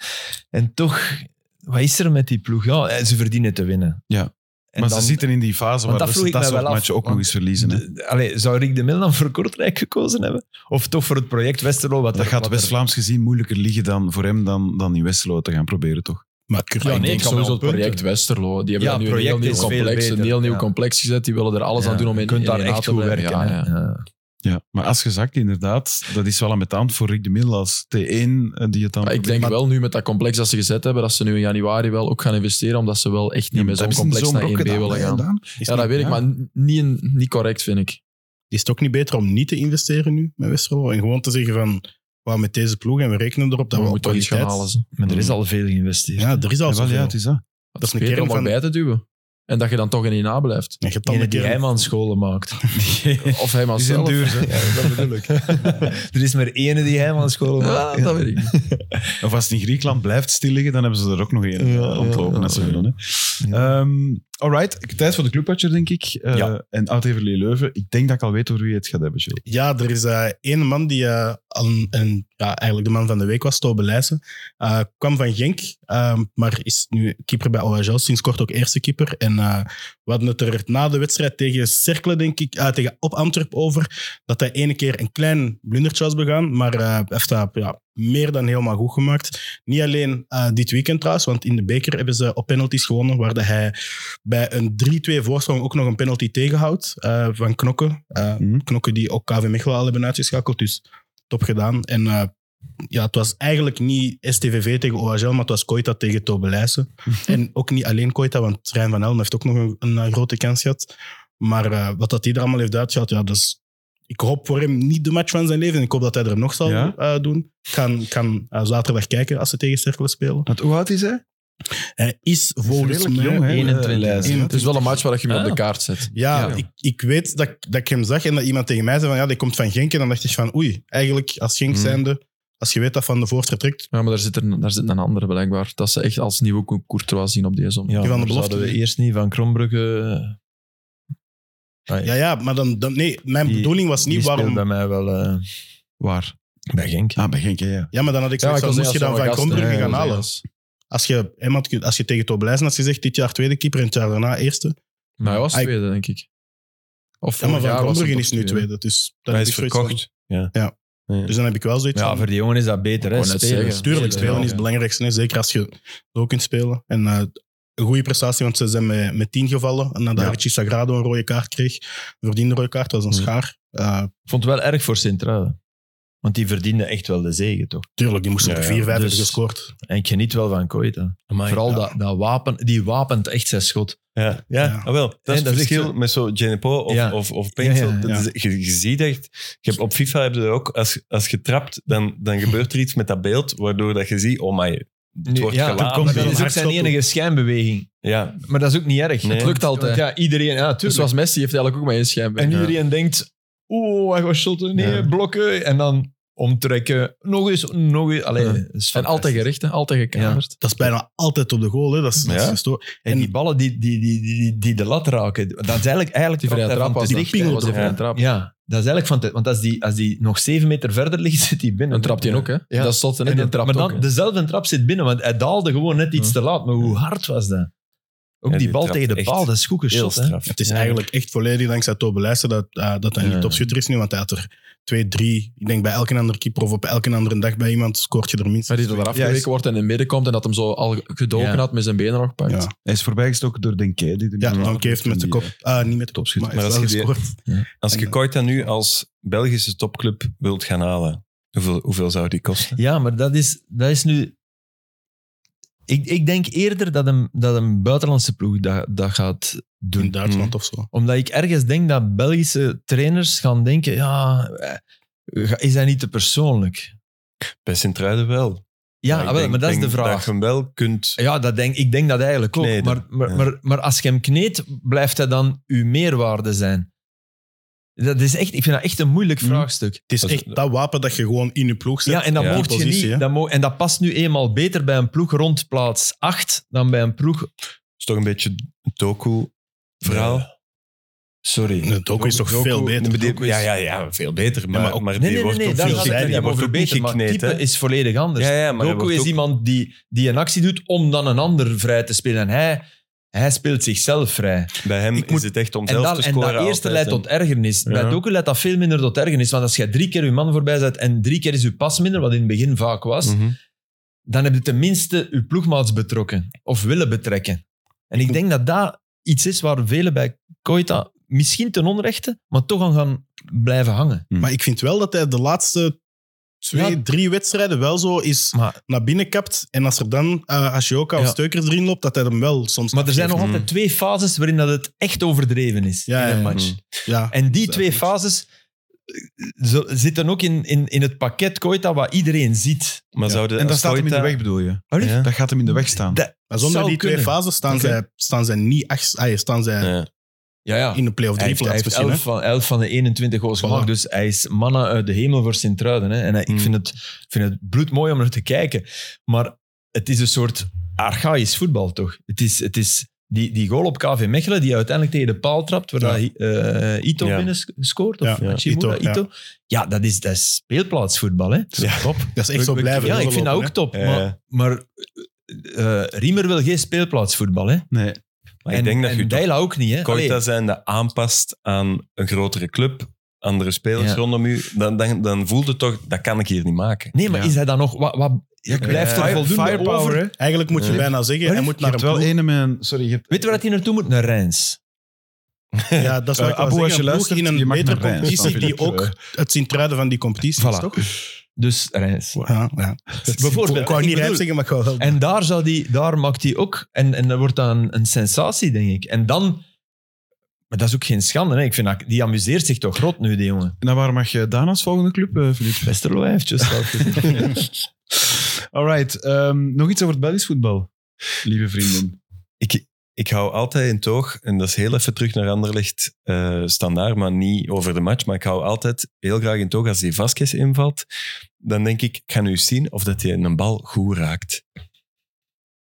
[SPEAKER 3] En toch, wat is er met die ploeg? Ja, eh, ze verdienen te winnen.
[SPEAKER 2] Ja.
[SPEAKER 3] En
[SPEAKER 2] maar
[SPEAKER 3] dan-
[SPEAKER 2] ze zitten in die fase
[SPEAKER 3] Want
[SPEAKER 2] waar
[SPEAKER 3] dat
[SPEAKER 2] ze
[SPEAKER 3] vroeg ik
[SPEAKER 2] dat
[SPEAKER 3] mij
[SPEAKER 2] soort
[SPEAKER 3] wel af,
[SPEAKER 2] matchen ook nog
[SPEAKER 3] want
[SPEAKER 2] eens verliezen. hè.
[SPEAKER 3] de- allee, zou Rick de Mil dan voor Kortrijk gekozen hebben? Of toch voor het project Westerlo? Wat
[SPEAKER 2] Dat
[SPEAKER 3] er-
[SPEAKER 2] gaat
[SPEAKER 3] wat er-
[SPEAKER 2] West-Vlaams gezien moeilijker liggen dan, voor hem dan, dan in Westerlo te gaan proberen, toch?
[SPEAKER 6] Maar
[SPEAKER 5] Ja,
[SPEAKER 6] Curtin
[SPEAKER 5] nee, ik
[SPEAKER 6] denk
[SPEAKER 5] kan sowieso
[SPEAKER 6] sowieso
[SPEAKER 5] het project Westerlo. Die hebben
[SPEAKER 3] Ja,
[SPEAKER 5] daar nu een heel
[SPEAKER 3] project
[SPEAKER 5] nieuw
[SPEAKER 3] is veel
[SPEAKER 5] complex, een
[SPEAKER 3] beter,
[SPEAKER 5] heel nieuw
[SPEAKER 3] ja.
[SPEAKER 5] complex gezet. Die willen er alles aan
[SPEAKER 3] Ja,
[SPEAKER 5] doen om
[SPEAKER 3] je
[SPEAKER 5] in
[SPEAKER 3] kunt
[SPEAKER 5] in
[SPEAKER 3] daar
[SPEAKER 5] 1A
[SPEAKER 3] echt
[SPEAKER 5] te
[SPEAKER 3] goed
[SPEAKER 5] blijven.
[SPEAKER 3] werken.
[SPEAKER 5] Ja,
[SPEAKER 3] hè.
[SPEAKER 5] ja.
[SPEAKER 3] Ja.
[SPEAKER 2] Ja, maar als gezakt inderdaad, dat is wel een betaand voor Rick de Mil als T1 eh, die het dan...
[SPEAKER 5] Maar ik denk wel nu met dat complex dat ze gezet hebben, dat ze nu in januari wel ook gaan investeren, omdat ze wel echt niet
[SPEAKER 2] Ja,
[SPEAKER 5] met zo'n
[SPEAKER 2] dat hebben ze
[SPEAKER 5] complex
[SPEAKER 2] in
[SPEAKER 5] naar 1B
[SPEAKER 2] zo'n blok
[SPEAKER 5] willen
[SPEAKER 2] gedaan,
[SPEAKER 5] gaan.
[SPEAKER 2] hè, Daan?
[SPEAKER 5] Ja, dat weet ik,
[SPEAKER 2] ja.
[SPEAKER 5] maar niet, in- niet correct vind ik.
[SPEAKER 6] Is het ook niet beter om niet te investeren nu met Westerlo? En gewoon te zeggen van, we gaan met deze ploeg en we rekenen erop dat
[SPEAKER 5] we
[SPEAKER 6] we, op
[SPEAKER 5] moeten toch iets gaan
[SPEAKER 6] kwaliteit...
[SPEAKER 5] halen. ze. Hmm.
[SPEAKER 3] Maar er is al veel geïnvesteerd.
[SPEAKER 6] Ja, er is al
[SPEAKER 2] Ja, wel,
[SPEAKER 6] zoveel.
[SPEAKER 2] ja, het is dat.
[SPEAKER 5] Dat is
[SPEAKER 6] een
[SPEAKER 5] een keer
[SPEAKER 6] kern
[SPEAKER 5] om
[SPEAKER 6] van-
[SPEAKER 5] bij te duwen. En dat je dan toch in 1A blijft.
[SPEAKER 6] En je hebt
[SPEAKER 3] Die
[SPEAKER 6] dan een
[SPEAKER 3] dat die
[SPEAKER 6] keer-
[SPEAKER 3] Heijmans scholen maakt.
[SPEAKER 5] Of hij maar
[SPEAKER 2] Die zijn
[SPEAKER 5] zelf.
[SPEAKER 2] duur, hè.
[SPEAKER 3] Ja, dat bedoel ik. er is maar ene die Heijmans scholen
[SPEAKER 5] Ja,
[SPEAKER 3] maakt.
[SPEAKER 5] Ah, dat weet ik. niet.
[SPEAKER 2] Of als het in Griekenland blijft stilliggen, dan hebben ze er ook nog één
[SPEAKER 3] Ja,
[SPEAKER 2] eh, rondlopen
[SPEAKER 3] ja, ja.
[SPEAKER 2] als ze willen. hè. Ehm, Alright, tijd voor de clubwatcher, denk ik. Eh,
[SPEAKER 4] Ja.
[SPEAKER 2] En oud Everlee Leuven. Ik denk dat ik al weet over wie het gaat hebben, Gilles.
[SPEAKER 6] Ja, er is eh één man die eh, al een, een- ja, eigenlijk de man van de week was, Tobe Leijsen. Eh, kwam van Genk, eh, maar is nu keeper bij OHL, sinds kort ook eerste keeper. En eh, we hadden het er na de wedstrijd tegen Cercle, denk ik, eh, tegen Op Antwerp over, dat hij ene keer een klein blundertje was begaan, maar eh, hij heeft dat ja, meer dan helemaal goed gemaakt. Niet alleen eh, dit weekend trouwens, want in de beker hebben ze op penalties gewonnen, waar dat hij bij een 3-2 voorsprong ook nog een penalty tegenhoudt eh, van Knokken. Eh,
[SPEAKER 2] Mhm.
[SPEAKER 6] Knokken die ook KV Mechelen al hebben uitgeschakeld, dus top gedaan. En eh, ja, het was eigenlijk niet STVV tegen OHL, maar het was Koita tegen Tobelijsen.
[SPEAKER 2] Mhm.
[SPEAKER 6] en ook niet alleen Koita, want Rijn van Elm heeft ook nog een, een, eh, grote kans gehad. Maar eh, wat dat hij er allemaal heeft uitgehaald, ja, dat is... Ik hoop voor hem niet de match van zijn leven. Ik hoop dat hij er nog zal
[SPEAKER 2] Ja?
[SPEAKER 6] eh, doen. Ik kan, ik kan eh, zaterdag kijken als ze tegen Cercle spelen.
[SPEAKER 2] Want hoe oud is hij?
[SPEAKER 6] Hij is
[SPEAKER 2] Hij is
[SPEAKER 6] volgens
[SPEAKER 2] redelijk
[SPEAKER 6] mij...
[SPEAKER 2] jong, hè?
[SPEAKER 3] 21.
[SPEAKER 2] Eh,
[SPEAKER 6] Ja.
[SPEAKER 5] Het is wel een match waar je me op de
[SPEAKER 3] Ah.
[SPEAKER 5] kaart zet.
[SPEAKER 6] Ja,
[SPEAKER 2] Ja.
[SPEAKER 6] Ik, ik weet dat, ik- dat ik hem zag en dat iemand tegen mij zei van ja, die komt van Genk. En dan dacht ik van oei, eigenlijk als Genk
[SPEAKER 5] Hmm.
[SPEAKER 6] zijnde, als je weet dat Van de Voort vertrekt,
[SPEAKER 5] Ja, maar daar zit, er, daar zit een andere blijkbaar. Dat ze echt als nieuwe Co- Courtois zien op deze zomer.
[SPEAKER 3] Ja,
[SPEAKER 6] van de
[SPEAKER 3] maar
[SPEAKER 6] belofte.
[SPEAKER 3] zouden we eerst niet van eh, Krombrugge... Ah,
[SPEAKER 6] ja ja, maar dan, dan nee, mijn
[SPEAKER 3] Die-
[SPEAKER 6] bedoeling was
[SPEAKER 3] die
[SPEAKER 6] niet
[SPEAKER 3] speelt
[SPEAKER 6] waarom.
[SPEAKER 3] bij mij wel eh,
[SPEAKER 2] Waar?
[SPEAKER 3] bij Genk.
[SPEAKER 2] Ah, bij Genk, hè, ja.
[SPEAKER 6] Ja, maar dan had ik zoiets van, moest je dan van Krombrugge gaan halen? Als je, hè, want als je tegen Toblijzen had gezegd, dit jaar tweede keeper en het jaar daarna eerste.
[SPEAKER 5] Nou, hij was
[SPEAKER 6] Hij-
[SPEAKER 5] tweede, denk ik. Of
[SPEAKER 6] Ja,
[SPEAKER 5] vorig
[SPEAKER 6] maar Van
[SPEAKER 5] jaar was hij
[SPEAKER 6] Krombrugge
[SPEAKER 5] top
[SPEAKER 6] is nu tweede, dus dan
[SPEAKER 4] Hij
[SPEAKER 6] heb
[SPEAKER 4] is
[SPEAKER 6] ik zoiets van-
[SPEAKER 4] verkocht. Ja.
[SPEAKER 6] Ja. Dus dan heb ik wel zoiets
[SPEAKER 3] Ja,
[SPEAKER 6] van...
[SPEAKER 3] voor die jongen is dat beter.
[SPEAKER 5] Ik
[SPEAKER 3] Hè?
[SPEAKER 5] wou net
[SPEAKER 3] Spelen.
[SPEAKER 5] zeggen.
[SPEAKER 6] Tuurlijk,
[SPEAKER 5] Spelen,
[SPEAKER 6] spelen is
[SPEAKER 5] ja.
[SPEAKER 6] het belangrijkste. hè. Zeker als je zo kunt spelen. En eh, een goede prestatie, want ze zijn met, met tien gevallen. En nadat
[SPEAKER 2] Ja.
[SPEAKER 6] Richie Sagrado een rode kaart kreeg, verdiende rode kaart, was een schaar. Eh,
[SPEAKER 3] Ik vond het wel erg voor Sint-Truiden. Want die verdiende echt wel de zegen, toch?
[SPEAKER 6] tuurlijk, die moesten
[SPEAKER 4] Ja,
[SPEAKER 6] er
[SPEAKER 4] ja.
[SPEAKER 6] 4 5
[SPEAKER 3] Dus-
[SPEAKER 6] gescoord.
[SPEAKER 3] En ik geniet wel van Koita. Vooral dat, dat wapen, die wapent echt zijn schot.
[SPEAKER 4] Ja, ja.
[SPEAKER 6] Ja.
[SPEAKER 4] Ah, wel. Dat
[SPEAKER 3] dat
[SPEAKER 4] is
[SPEAKER 3] is
[SPEAKER 4] het verschil
[SPEAKER 3] echt-
[SPEAKER 4] met zo Genepo of,
[SPEAKER 3] Ja.
[SPEAKER 4] of, of Pencil.
[SPEAKER 3] Ja, ja,
[SPEAKER 6] ja.
[SPEAKER 4] Dat is- je, je ziet echt... Je hebt, op FIFA heb je dat ook, als, als je trapt, dan, dan gebeurt er iets met dat beeld, waardoor dat je ziet, oh my, het wordt
[SPEAKER 3] ja,
[SPEAKER 4] geladen.
[SPEAKER 2] er komt
[SPEAKER 3] Maar
[SPEAKER 2] wel een
[SPEAKER 3] dat is ook zijn
[SPEAKER 6] hardschot toe.
[SPEAKER 3] enige schijnbeweging.
[SPEAKER 4] Ja,
[SPEAKER 3] Maar dat is ook niet erg.
[SPEAKER 4] Nee.
[SPEAKER 3] Het lukt altijd. Ja, iedereen, ja,
[SPEAKER 5] Dus zoals Messi heeft hij eigenlijk ook maar één schijn.
[SPEAKER 3] En iedereen denkt, oeh, hij gaat shotten, nee,
[SPEAKER 5] Ja.
[SPEAKER 3] blokken. En dan omtrekken. Nog eens, nog eens. Allee,
[SPEAKER 5] Ja.
[SPEAKER 3] dat is
[SPEAKER 5] en
[SPEAKER 3] fantastisch.
[SPEAKER 5] altijd gericht, hè? altijd gekamerd.
[SPEAKER 6] Dat is bijna altijd op de goal. Hè. Dat is, dat is
[SPEAKER 4] Ja.
[SPEAKER 6] gestoord.
[SPEAKER 3] En die ballen die, die, die, die, die de lat raken, dat is eigenlijk, eigenlijk
[SPEAKER 5] Die vrije
[SPEAKER 3] komt dat
[SPEAKER 5] trap
[SPEAKER 3] van
[SPEAKER 5] was
[SPEAKER 3] te
[SPEAKER 5] dat.
[SPEAKER 3] dicht, hè.
[SPEAKER 5] Dat was die
[SPEAKER 4] ja.
[SPEAKER 5] vrije trap.
[SPEAKER 3] Ja, dat is eigenlijk van te, Want als die, als die nog zeven meter verder ligt, zit die binnen.
[SPEAKER 5] Dan trapt hij ook, hè?
[SPEAKER 3] Ja.
[SPEAKER 5] Dat is tot
[SPEAKER 3] En
[SPEAKER 5] en net,
[SPEAKER 3] dan-
[SPEAKER 5] die trapt
[SPEAKER 3] maar dan,
[SPEAKER 5] ook, hè.
[SPEAKER 3] dezelfde trap zit binnen, want hij daalde gewoon net iets
[SPEAKER 5] Ja.
[SPEAKER 3] te laat. Maar hoe hard was dat? Ook die
[SPEAKER 4] Ja, die
[SPEAKER 3] bal
[SPEAKER 4] trapt
[SPEAKER 3] tegen de
[SPEAKER 4] echt
[SPEAKER 3] paal, dat is goed
[SPEAKER 4] heel
[SPEAKER 3] geschot. Hè?
[SPEAKER 4] straf.
[SPEAKER 6] Het is
[SPEAKER 4] Ja.
[SPEAKER 6] eigenlijk echt volledig dankzij Tobe Leijsen dat, eh, dat hij
[SPEAKER 3] Ja.
[SPEAKER 6] niet topschutter is nu. Want hij had er 2, 3. Ik denk bij elke andere keeper of op elke andere dag bij iemand scoort je er
[SPEAKER 5] Maar
[SPEAKER 6] minstens
[SPEAKER 5] die er
[SPEAKER 6] twee.
[SPEAKER 5] eraf geweken wordt en in het midden komt en dat hem zo al gedoken
[SPEAKER 3] Ja.
[SPEAKER 5] had met zijn benen nog pakt.
[SPEAKER 6] Ja.
[SPEAKER 2] Hij is voorbijgestoken door Denke. Die er
[SPEAKER 6] Ja,
[SPEAKER 2] nu aan
[SPEAKER 6] dan heeft met de
[SPEAKER 2] die,
[SPEAKER 6] kop.
[SPEAKER 2] eh,
[SPEAKER 6] ah, niet met de kop,
[SPEAKER 2] topschutter.
[SPEAKER 6] maar hij heeft
[SPEAKER 4] Maar
[SPEAKER 6] wel
[SPEAKER 4] als je die-
[SPEAKER 6] gescoord.
[SPEAKER 4] Als je Koita nu als Belgische topclub wilt gaan halen, hoeveel, hoeveel zou die kosten?
[SPEAKER 3] Ja, maar dat is, dat is nu... Ik, ik denk eerder dat een, dat een buitenlandse ploeg dat, dat gaat doen.
[SPEAKER 6] In Duitsland of zo.
[SPEAKER 3] Omdat ik ergens denk dat Belgische trainers gaan denken, ja, eh, is hij niet te persoonlijk?
[SPEAKER 4] Bij Sint-Truiden wel.
[SPEAKER 3] Ja, ah,
[SPEAKER 4] ik
[SPEAKER 3] wel,
[SPEAKER 4] denk-
[SPEAKER 3] maar dat is
[SPEAKER 4] denk
[SPEAKER 3] de
[SPEAKER 4] Dat
[SPEAKER 3] vraag.
[SPEAKER 4] je hem wel kunt...
[SPEAKER 3] Ja, dat denk, ik denk dat eigenlijk ook.
[SPEAKER 4] Kneden,
[SPEAKER 3] maar, maar,
[SPEAKER 4] ja.
[SPEAKER 3] maar, maar als je hem kneedt, blijft hij dan uw meerwaarde zijn? Dat is echt, ik vind dat echt een moeilijk
[SPEAKER 2] Mhm.
[SPEAKER 3] vraagstuk.
[SPEAKER 6] Het is
[SPEAKER 4] Dat is-
[SPEAKER 6] echt dat wapen dat je gewoon in je ploeg zet.
[SPEAKER 3] Ja, en Hm. dat,
[SPEAKER 4] Ja.
[SPEAKER 3] mocht
[SPEAKER 6] Die
[SPEAKER 3] je
[SPEAKER 6] positie,
[SPEAKER 3] niet,
[SPEAKER 6] hè?
[SPEAKER 3] dat mo- en dat past nu eenmaal beter bij een ploeg rond plaats 8 dan bij een ploeg...
[SPEAKER 4] is toch een beetje een doku-verhaal? Sorry.
[SPEAKER 6] De docu is toch veel
[SPEAKER 4] Die-
[SPEAKER 6] beter? Doku is-
[SPEAKER 4] ja, ja, ja, veel beter. Maar,
[SPEAKER 6] maar
[SPEAKER 4] maar,
[SPEAKER 6] ook-
[SPEAKER 4] die wordt ook
[SPEAKER 3] daar
[SPEAKER 6] veel
[SPEAKER 3] gaat
[SPEAKER 6] geleid,
[SPEAKER 3] het
[SPEAKER 4] veel
[SPEAKER 3] niet
[SPEAKER 4] Die wordt
[SPEAKER 3] over
[SPEAKER 4] ook niet
[SPEAKER 3] beter, maar
[SPEAKER 4] gekneed.
[SPEAKER 3] type
[SPEAKER 4] hè.
[SPEAKER 3] is volledig anders.
[SPEAKER 4] Ja, ja, maar hij
[SPEAKER 3] Doku
[SPEAKER 4] wordt
[SPEAKER 3] is
[SPEAKER 4] ook-
[SPEAKER 3] iemand die, die een actie doet om dan een ander vrij te spelen. En hij, hij speelt zichzelf vrij.
[SPEAKER 4] Bij hem
[SPEAKER 3] Ik moet-
[SPEAKER 4] is het echt om
[SPEAKER 3] En
[SPEAKER 4] zelf
[SPEAKER 3] dat,
[SPEAKER 4] te
[SPEAKER 3] en
[SPEAKER 4] scoren.
[SPEAKER 3] dat eerste
[SPEAKER 4] altijd.
[SPEAKER 3] leidt tot ergernis.
[SPEAKER 4] Ja.
[SPEAKER 3] Bij Doku leidt dat veel minder tot ergernis. Want als jij drie keer je man voorbij zet en drie keer is je pas minder, wat in het begin vaak was,
[SPEAKER 4] Mhm.
[SPEAKER 3] dan heb je tenminste je ploegmaats betrokken of willen betrekken. En ik denk dat dat iets is waar velen bij Koita misschien ten onrechte, maar toch aan gaan blijven hangen.
[SPEAKER 6] Maar ik vind wel dat hij de laatste twee,
[SPEAKER 3] Ja.
[SPEAKER 6] drie wedstrijden wel zo is
[SPEAKER 3] Maar,
[SPEAKER 6] naar binnen kapt. En als er dan eh Ashoka of
[SPEAKER 3] Ja.
[SPEAKER 6] Steukers erin loopt, dat hij hem wel soms...
[SPEAKER 3] maar er zijn nog
[SPEAKER 6] afgeeft.
[SPEAKER 3] altijd twee fases waarin dat het echt overdreven is in
[SPEAKER 6] Ja,
[SPEAKER 3] een
[SPEAKER 6] ja, ja.
[SPEAKER 3] match.
[SPEAKER 6] Ja.
[SPEAKER 3] En die
[SPEAKER 6] Dat
[SPEAKER 3] twee
[SPEAKER 6] is-
[SPEAKER 3] fases eh, zo- zitten ook in, in, in het pakket Koita wat iedereen ziet.
[SPEAKER 4] Maar
[SPEAKER 6] Ja.
[SPEAKER 4] zouden
[SPEAKER 2] En dat staat hem in de
[SPEAKER 4] Ascoita-
[SPEAKER 2] weg, bedoel je?
[SPEAKER 3] Allee?
[SPEAKER 4] Ja.
[SPEAKER 2] Dat gaat hem in de weg staan.
[SPEAKER 3] Dat-
[SPEAKER 6] Maar zonder
[SPEAKER 3] zou
[SPEAKER 6] die twee
[SPEAKER 3] kunnen.
[SPEAKER 6] fases staan,
[SPEAKER 3] Oké.
[SPEAKER 6] zij, staan zij niet acht... ah, ja, staan zij
[SPEAKER 4] Ja.
[SPEAKER 3] Ja, ja.
[SPEAKER 6] in de play-off
[SPEAKER 3] Hij
[SPEAKER 6] drie
[SPEAKER 3] heeft, hij
[SPEAKER 6] plaats
[SPEAKER 3] heeft
[SPEAKER 6] misschien.
[SPEAKER 3] 11 van, 11 van de 21 goals
[SPEAKER 6] Voilà.
[SPEAKER 3] gemaakt. Dus hij is mannen uit de hemel voor Sint-Truiden. hè. En hij-
[SPEAKER 4] Hmm.
[SPEAKER 3] ik vind het, ik vind het bloedmooi om naar te kijken. Maar het is een soort archaïs voetbal, toch? Het is, het is Die, die goal op KV Mechelen, die uiteindelijk tegen de paal trapt, waar
[SPEAKER 6] Ja.
[SPEAKER 3] dat, eh, Ito
[SPEAKER 4] Ja.
[SPEAKER 3] binnen sc- scoort. Of
[SPEAKER 6] Ja,
[SPEAKER 3] Hachimura,
[SPEAKER 6] Ito,
[SPEAKER 3] Ito,
[SPEAKER 6] ja.
[SPEAKER 3] ja. dat is, dat is speelplaatsvoetbal. Hè?
[SPEAKER 6] Ja.
[SPEAKER 3] Top.
[SPEAKER 6] Dat is echt zo blijven
[SPEAKER 3] Ja, ik vind dat ook
[SPEAKER 6] doorlopen,
[SPEAKER 3] top.
[SPEAKER 4] Ja,
[SPEAKER 3] Maar,
[SPEAKER 4] ja.
[SPEAKER 3] maar eh, eh, Riemer wil geen speelplaatsvoetbal. Hè?
[SPEAKER 2] Nee.
[SPEAKER 4] Maar ik denk dat
[SPEAKER 3] en
[SPEAKER 4] je toch
[SPEAKER 3] Deila ook niet. Hè? Allee,
[SPEAKER 4] Koita zijn dat aanpast aan een grotere club, andere spelers
[SPEAKER 3] Ja.
[SPEAKER 4] rondom u, dan, dan, dan voelde toch, dat kan ik hier niet maken.
[SPEAKER 3] nee, maar
[SPEAKER 2] Ja.
[SPEAKER 3] is hij dan nog... Wat, wat,
[SPEAKER 2] ik-
[SPEAKER 3] blijft er
[SPEAKER 2] Fire-
[SPEAKER 3] voldoende
[SPEAKER 2] firepower,
[SPEAKER 3] over?
[SPEAKER 2] hè?
[SPEAKER 6] hè. Eigenlijk moet je
[SPEAKER 4] Ja.
[SPEAKER 6] bijna zeggen,
[SPEAKER 3] Maar
[SPEAKER 6] hij moet
[SPEAKER 2] Je
[SPEAKER 6] naar een
[SPEAKER 2] hebt wel
[SPEAKER 6] ploeg.
[SPEAKER 2] ene met een... Sorry, je hebt...
[SPEAKER 3] Weet je waar hij naartoe moet? Naar Reims.
[SPEAKER 6] Ja, dat is wat
[SPEAKER 2] Eh,
[SPEAKER 6] ik wou
[SPEAKER 2] Abu, als
[SPEAKER 6] zeggen,
[SPEAKER 2] je
[SPEAKER 6] een ploeg
[SPEAKER 2] luistert,
[SPEAKER 6] in een
[SPEAKER 2] je mag
[SPEAKER 6] betere
[SPEAKER 2] naar Reims,
[SPEAKER 6] competitie
[SPEAKER 2] dan vind
[SPEAKER 6] die
[SPEAKER 2] ik,
[SPEAKER 6] ook het Sint-Truiden van die competitie is,
[SPEAKER 3] Voilà.
[SPEAKER 6] toch?
[SPEAKER 3] Dus Reims.
[SPEAKER 6] Ja, ja.
[SPEAKER 3] Bijvoorbeeld,
[SPEAKER 6] Ik wou niet
[SPEAKER 3] ik
[SPEAKER 6] rijp
[SPEAKER 3] bedoel-
[SPEAKER 6] zeggen, maar ik wou wel...
[SPEAKER 3] En daar, zou die, daar maakt hij ook... En, en dat wordt dan een, een sensatie, denk ik. En dan... Maar dat is ook geen schande. Hè? Ik vind dat, die amuseert zich toch rot nu, die jongen.
[SPEAKER 2] Nou, waar mag je daarna als volgende club, eh Filip?
[SPEAKER 3] Westerlo heeft just
[SPEAKER 2] All right. ehm, nog iets over het Belgisch voetbal, lieve vrienden.
[SPEAKER 4] Ik, ik hou altijd in toog, en dat is heel even terug naar Anderlecht eh standaard, maar niet over de match, maar ik hou altijd heel graag in toog als die Vasquez invalt, dan denk ik, ik ga nu eens zien of dat hij een bal goed raakt.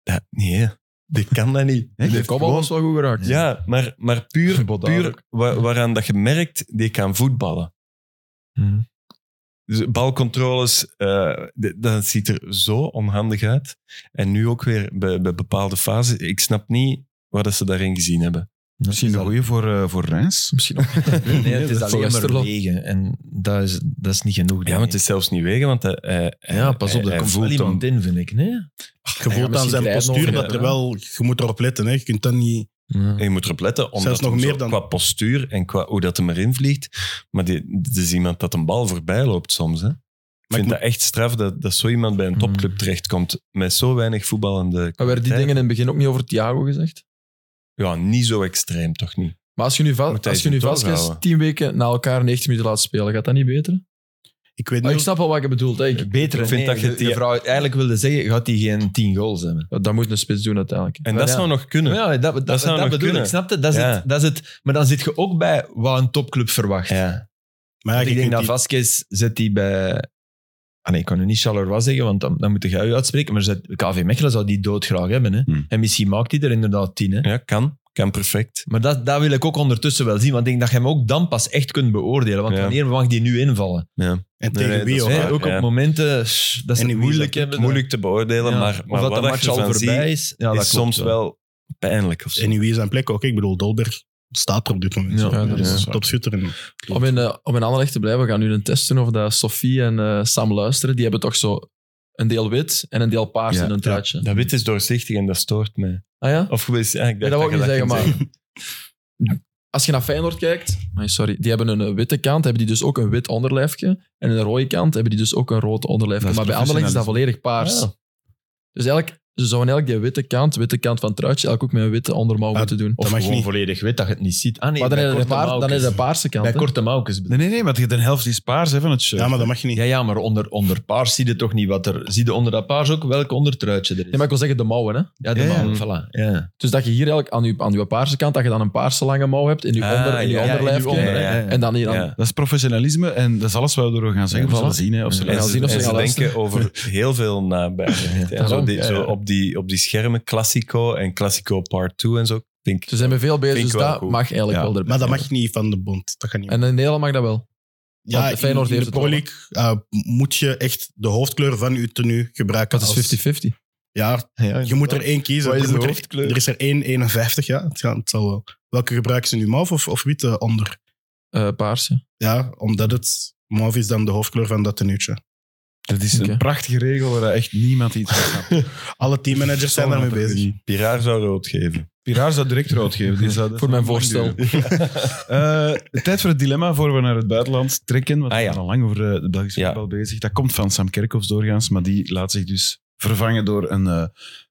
[SPEAKER 4] Dat, nee, hè. die kan dat niet.
[SPEAKER 5] De
[SPEAKER 4] Die heeft
[SPEAKER 5] kopbal
[SPEAKER 4] gewoon-
[SPEAKER 5] was wel goed geraakt.
[SPEAKER 4] Ja, maar, maar puur,
[SPEAKER 5] Bodaar
[SPEAKER 4] puur
[SPEAKER 5] ook.
[SPEAKER 4] wa- waaraan dat je merkt, die kan voetballen.
[SPEAKER 3] Mhm.
[SPEAKER 4] Dus balcontroles, eh, d- dat ziet er zo onhandig uit. En nu ook weer bij, bij bepaalde fases. Ik snap niet wat dat ze daarin gezien hebben.
[SPEAKER 2] Misschien een goeie voor, eh, voor Reims.
[SPEAKER 5] Misschien ook.
[SPEAKER 3] Nee, het is
[SPEAKER 5] dat is
[SPEAKER 3] alleen maar
[SPEAKER 5] Westerlo.
[SPEAKER 3] wegen. En dat is, dat is niet genoeg.
[SPEAKER 4] Ja,
[SPEAKER 3] denk
[SPEAKER 4] want het
[SPEAKER 3] ik.
[SPEAKER 4] is zelfs niet wegen, want eh, hij, hij-
[SPEAKER 3] ja pas op,
[SPEAKER 4] hij-
[SPEAKER 3] er
[SPEAKER 4] hij
[SPEAKER 3] komt wel
[SPEAKER 4] voelt
[SPEAKER 3] iemand
[SPEAKER 4] hem.
[SPEAKER 3] in, vind ik. Nee?
[SPEAKER 6] Je
[SPEAKER 5] Ja,
[SPEAKER 6] voelt aan
[SPEAKER 5] misschien
[SPEAKER 6] zijn
[SPEAKER 5] blijven
[SPEAKER 6] postuur
[SPEAKER 5] over,
[SPEAKER 6] dat er
[SPEAKER 5] ja.
[SPEAKER 6] wel... Je moet erop letten, hè. Je kunt dat niet...
[SPEAKER 4] En je moet erop letten, omdat
[SPEAKER 6] Zelfs nog
[SPEAKER 4] hem zo
[SPEAKER 6] meer dan-
[SPEAKER 4] qua postuur en qua hoe dat hem erin vliegt. Maar die, dit is iemand dat een bal voorbij loopt soms. Hè. Ik
[SPEAKER 6] Maar
[SPEAKER 4] vind
[SPEAKER 6] ik
[SPEAKER 4] dat echt straf dat, dat zo iemand bij een topclub
[SPEAKER 3] Mm.
[SPEAKER 4] terechtkomt met zo weinig voetballende
[SPEAKER 5] Maar werden die dingen in het begin ook niet over Thiago gezegd?
[SPEAKER 4] Ja, niet zo extreem, toch niet?
[SPEAKER 5] Maar als je nu, va
[SPEAKER 4] Moet hij
[SPEAKER 5] als je nu
[SPEAKER 4] zijn toren
[SPEAKER 5] Vasquez
[SPEAKER 4] houden?
[SPEAKER 5] tien weken na elkaar 90 minuten laat spelen, gaat dat niet beter?
[SPEAKER 6] Ik weet
[SPEAKER 5] Maar
[SPEAKER 6] niet...
[SPEAKER 5] ik snap wel wat je bedoelt. Hè. Ik-
[SPEAKER 3] Beter.
[SPEAKER 4] Ik vind
[SPEAKER 3] nee,
[SPEAKER 4] dat je
[SPEAKER 3] de-
[SPEAKER 4] die-
[SPEAKER 3] de vrouw eigenlijk wilde zeggen, gaat hij geen 10 goals hebben.
[SPEAKER 5] Dat moet een spits doen uiteindelijk.
[SPEAKER 4] En
[SPEAKER 3] Maar
[SPEAKER 4] dat
[SPEAKER 3] ja.
[SPEAKER 4] zou nog kunnen.
[SPEAKER 3] Ja, dat, nou- dat, dat,
[SPEAKER 4] zou nog
[SPEAKER 3] bedoel
[SPEAKER 4] kunnen.
[SPEAKER 3] ik. Snap je? Dat is,
[SPEAKER 4] Ja.
[SPEAKER 3] het, dat is het. Maar dan zit je ook bij wat een topclub verwacht.
[SPEAKER 4] Ja.
[SPEAKER 6] Maar ja,
[SPEAKER 3] ik
[SPEAKER 6] je
[SPEAKER 3] denk
[SPEAKER 6] kunt
[SPEAKER 3] dat
[SPEAKER 6] die-
[SPEAKER 3] Vasquez zet die bij... Ah nee, ik kan nu niet Charleroi zeggen, want dan, dan moet jij u uitspreken. Maar zet, KV Mechelen zou die doodgraag hebben. Hè.
[SPEAKER 2] Hmm.
[SPEAKER 3] En misschien maakt hij er inderdaad tien. Hè.
[SPEAKER 4] ja, kan. Kan perfect.
[SPEAKER 3] Maar dat, dat wil ik ook ondertussen wel zien. Want ik denk dat je hem ook dan pas echt kunt beoordelen. Want
[SPEAKER 4] Ja.
[SPEAKER 3] wanneer mag die nu invallen?
[SPEAKER 6] En
[SPEAKER 4] Nee,
[SPEAKER 6] tegen
[SPEAKER 4] nee,
[SPEAKER 6] wie
[SPEAKER 4] dat
[SPEAKER 6] ook.
[SPEAKER 4] is
[SPEAKER 3] Hè,
[SPEAKER 6] hè.
[SPEAKER 4] waar.
[SPEAKER 3] ook
[SPEAKER 4] ja.
[SPEAKER 3] op momenten shh, dat ze het
[SPEAKER 6] En in wie
[SPEAKER 3] moeilijk
[SPEAKER 6] is dat
[SPEAKER 3] hebben.
[SPEAKER 4] Moeilijk te beoordelen,
[SPEAKER 3] Ja.
[SPEAKER 4] maar,
[SPEAKER 3] of dat
[SPEAKER 4] maar wat
[SPEAKER 3] de
[SPEAKER 4] dat
[SPEAKER 3] match
[SPEAKER 4] je
[SPEAKER 3] al
[SPEAKER 4] ervan
[SPEAKER 3] voorbij
[SPEAKER 4] ziet,
[SPEAKER 3] is. Ja, dat
[SPEAKER 4] is soms
[SPEAKER 3] klopt
[SPEAKER 4] wel. pijnlijk. Of zo.
[SPEAKER 6] En in wie is zijn plek ook. Ik bedoel, Dolberg staat er op dit moment.
[SPEAKER 3] Ja,
[SPEAKER 6] Ja, dus
[SPEAKER 5] dat
[SPEAKER 6] dat
[SPEAKER 5] is
[SPEAKER 6] is
[SPEAKER 5] waar.
[SPEAKER 6] topschutter. en-
[SPEAKER 5] Om in, eh, om in Anderlecht te blijven, we gaan nu een test doen of dat Sophie en eh, Sam luisteren. Die hebben toch zo een deel wit en een deel paars
[SPEAKER 2] Ja,
[SPEAKER 5] in hun truitje.
[SPEAKER 4] Dat wit is doorzichtig en dat stoort mij.
[SPEAKER 5] Ah ja?
[SPEAKER 4] Of geweest, ja, ik
[SPEAKER 5] Nee,
[SPEAKER 4] dacht
[SPEAKER 5] dat wil ik niet zeggen,
[SPEAKER 4] ging
[SPEAKER 5] maar... Als je naar Feyenoord kijkt, Ai, sorry, die hebben een eh, witte kant, hebben die dus ook een wit onderlijfje. En een rode kant hebben die dus ook een rood onderlijfje.
[SPEAKER 2] Dat is
[SPEAKER 5] Maar bij Anderlecht is dat volledig paars.
[SPEAKER 4] Ja.
[SPEAKER 5] Dus eigenlijk, ze zouden eigenlijk die witte kant, witte kant van het truitje, eigenlijk ook met een witte ondermouw
[SPEAKER 6] Ah,
[SPEAKER 5] moeten doen.
[SPEAKER 3] Of
[SPEAKER 6] Dat mag
[SPEAKER 3] gewoon
[SPEAKER 6] niet.
[SPEAKER 3] volledig wit dat je het niet ziet. Ah, nee,
[SPEAKER 5] maar dan
[SPEAKER 3] bij
[SPEAKER 5] is de,
[SPEAKER 3] korte
[SPEAKER 5] paar, dan
[SPEAKER 3] mouwkes.
[SPEAKER 5] is de paarse kant.
[SPEAKER 3] Bij
[SPEAKER 5] hè.
[SPEAKER 3] korte mouwkes.
[SPEAKER 2] Nee, nee, nee, maar de helft is paars hè, van het shirt.
[SPEAKER 6] Ja, maar dat mag je niet.
[SPEAKER 3] Ja, ja, maar onder, onder paars zie je toch niet wat er... Zie je onder dat paars ook welk ondertruitje er is?
[SPEAKER 5] Nee, maar ik wil zeggen de mouwen, hè.
[SPEAKER 3] ja, de
[SPEAKER 2] Ja, ja.
[SPEAKER 3] man, voilà. Ja.
[SPEAKER 5] Dus dat je hier eigenlijk aan je, aan je paarse kant, dat je dan een paarse lange mouw hebt in je,
[SPEAKER 4] Ah,
[SPEAKER 5] onder, in je
[SPEAKER 4] ja, ja,
[SPEAKER 5] onderlijfje.
[SPEAKER 4] in je onder, ja, ja.
[SPEAKER 5] En dan Dus hier aan.
[SPEAKER 4] Ja.
[SPEAKER 2] Dat is professionalisme en dat is alles wat we door gaan zeggen.
[SPEAKER 5] Ja,
[SPEAKER 2] we zullen
[SPEAKER 5] voilà.
[SPEAKER 2] zien hè, of ze
[SPEAKER 5] Ja,
[SPEAKER 4] En
[SPEAKER 5] gaan
[SPEAKER 4] ze,
[SPEAKER 2] luisteren.
[SPEAKER 5] zien of ze
[SPEAKER 4] en
[SPEAKER 5] gaan luisteren.
[SPEAKER 4] denken over heel veel nabij. En zo
[SPEAKER 5] daarom.
[SPEAKER 4] die,
[SPEAKER 5] Ja,
[SPEAKER 4] zo
[SPEAKER 5] ja.
[SPEAKER 4] op, die, op die schermen, Classico en Classico Part 2 en zo. Ik Denk,
[SPEAKER 5] Ze zijn met veel bezig,
[SPEAKER 4] Vind
[SPEAKER 5] dus
[SPEAKER 4] ik wel
[SPEAKER 5] dat
[SPEAKER 4] goed.
[SPEAKER 5] mag eigenlijk
[SPEAKER 2] Ja,
[SPEAKER 5] wel erbij.
[SPEAKER 6] Maar dat mag niet van de bond. Dat kan niet.
[SPEAKER 5] En in Nederland mag dat wel.
[SPEAKER 6] ja,
[SPEAKER 5] want Feyenoord
[SPEAKER 6] in, in
[SPEAKER 5] heeft
[SPEAKER 6] de
[SPEAKER 5] het
[SPEAKER 6] Pro League eh, moet je echt de hoofdkleur van je tenue gebruiken.
[SPEAKER 5] Dat is 50-50.
[SPEAKER 6] als- Ja, je moet er één kiezen.
[SPEAKER 4] Wat is
[SPEAKER 6] er,
[SPEAKER 4] de
[SPEAKER 6] moet er-
[SPEAKER 4] hoofdkleur?
[SPEAKER 6] er is er één 51, ja. Het, gaat- het zal wel. Welke gebruiken ze nu? Mauve of, of witte onder?
[SPEAKER 5] Eh, paarse.
[SPEAKER 6] Ja, omdat het mauve is dan de hoofdkleur van dat tenuutje.
[SPEAKER 2] Dat is een
[SPEAKER 5] Oké.
[SPEAKER 2] prachtige regel waar echt niemand iets van snapt.
[SPEAKER 6] Alle teammanagers zijn daarmee bezig.
[SPEAKER 4] Piraar zou rood geven.
[SPEAKER 2] Piraar zou direct rood geven. Die zou, dat
[SPEAKER 5] Voor
[SPEAKER 2] zou
[SPEAKER 5] mijn
[SPEAKER 2] lang
[SPEAKER 5] voorstel.
[SPEAKER 2] duren. Eh, tijd voor het dilemma voor we naar het buitenland trekken. Want
[SPEAKER 4] Ah, ja.
[SPEAKER 2] we zijn al lang over eh, de Belgische
[SPEAKER 4] Ja.
[SPEAKER 2] voetbal bezig. Dat komt van Sam Kerkhoffs doorgaans, maar die laat zich dus vervangen door een eh,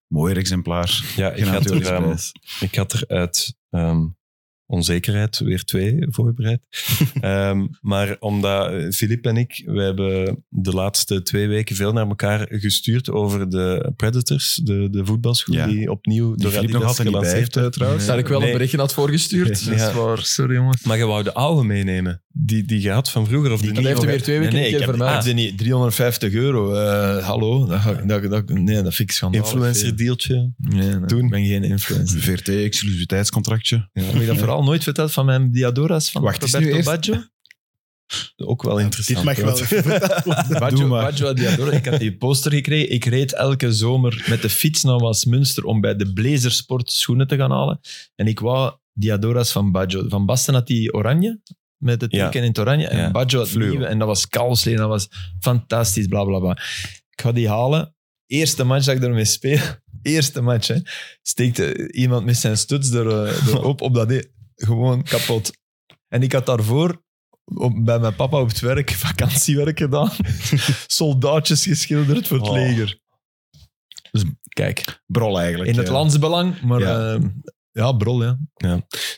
[SPEAKER 2] mooier exemplaar.
[SPEAKER 4] Ja, ik
[SPEAKER 2] Genaamd
[SPEAKER 4] had
[SPEAKER 2] Joris
[SPEAKER 4] er, ehm,
[SPEAKER 2] Prijs.
[SPEAKER 4] ik had er uit ehm, onzekerheid weer twee voorbereid. Ehm, maar omdat eh, Filip en ik, we hebben de laatste twee weken veel naar elkaar gestuurd over de Predators, de, de voetbalschoen
[SPEAKER 2] Ja.
[SPEAKER 4] die opnieuw
[SPEAKER 2] Die
[SPEAKER 4] door
[SPEAKER 2] Filip nog
[SPEAKER 4] Adidas
[SPEAKER 2] altijd niet bij
[SPEAKER 4] gelanceerd
[SPEAKER 2] heeft, eh, trouwens.
[SPEAKER 5] Daar ik wel
[SPEAKER 4] Nee.
[SPEAKER 5] een berichtje had voorgestuurd.
[SPEAKER 4] Ja.
[SPEAKER 5] Dat is waar. Sorry, jongens.
[SPEAKER 4] Maar je wou de oude meenemen. die, die je had van vroeger. Of die,
[SPEAKER 5] dat heeft hem weer twee weken
[SPEAKER 3] nee,
[SPEAKER 5] een
[SPEAKER 3] ik
[SPEAKER 5] keer
[SPEAKER 3] heb
[SPEAKER 5] vermaakt.
[SPEAKER 3] ik weet niet, 350 euro. eh, hallo? Dat, ga ik- dat, dat, nee, dat vind ik schandalig.
[SPEAKER 4] influencer dealtje.
[SPEAKER 3] Nee, nee,
[SPEAKER 4] doen.
[SPEAKER 3] Ik ben geen influencer.
[SPEAKER 2] VRT, exclusiviteitscontractje.
[SPEAKER 3] Heb je dat vooral nooit verteld van mijn Diadora's van
[SPEAKER 2] Wacht, is nu
[SPEAKER 3] Roberto
[SPEAKER 2] eerst-
[SPEAKER 3] Baggio? Ook wel interessant.
[SPEAKER 6] Dit mag wel
[SPEAKER 3] hoor.
[SPEAKER 6] even verteld worden.
[SPEAKER 3] Baggio,
[SPEAKER 2] maar.
[SPEAKER 3] Baggio Diadora. Ik had die poster gekregen. Ik reed elke zomer met de fiets naar Westminster om bij de Blazer Sport schoenen te gaan halen. En ik wou Diadora's van Baggio. Van Basten had die oranje, met het
[SPEAKER 4] Ja.
[SPEAKER 3] teken in het oranje. En
[SPEAKER 4] Ja.
[SPEAKER 3] Baggio had
[SPEAKER 4] Fluo.
[SPEAKER 3] nieuwe. En dat was kousleden, dat was fantastisch, bla bla bla. Ik ga die halen. Eerste match dat ik ermee speel. Eerste match, hè. Steekt eh, iemand met zijn stuts er, eh, er op, op dat... e- Gewoon kapot. En ik had daarvoor op- bij mijn papa op het werk vakantiewerk gedaan. Soldaatjes geschilderd voor het
[SPEAKER 2] Oh.
[SPEAKER 3] leger.
[SPEAKER 2] Dus
[SPEAKER 3] kijk,
[SPEAKER 2] Brol eigenlijk.
[SPEAKER 3] in het
[SPEAKER 6] Eh,
[SPEAKER 2] ja.
[SPEAKER 3] landsbelang, maar
[SPEAKER 2] Ja.
[SPEAKER 3] ja, ja brol, ja.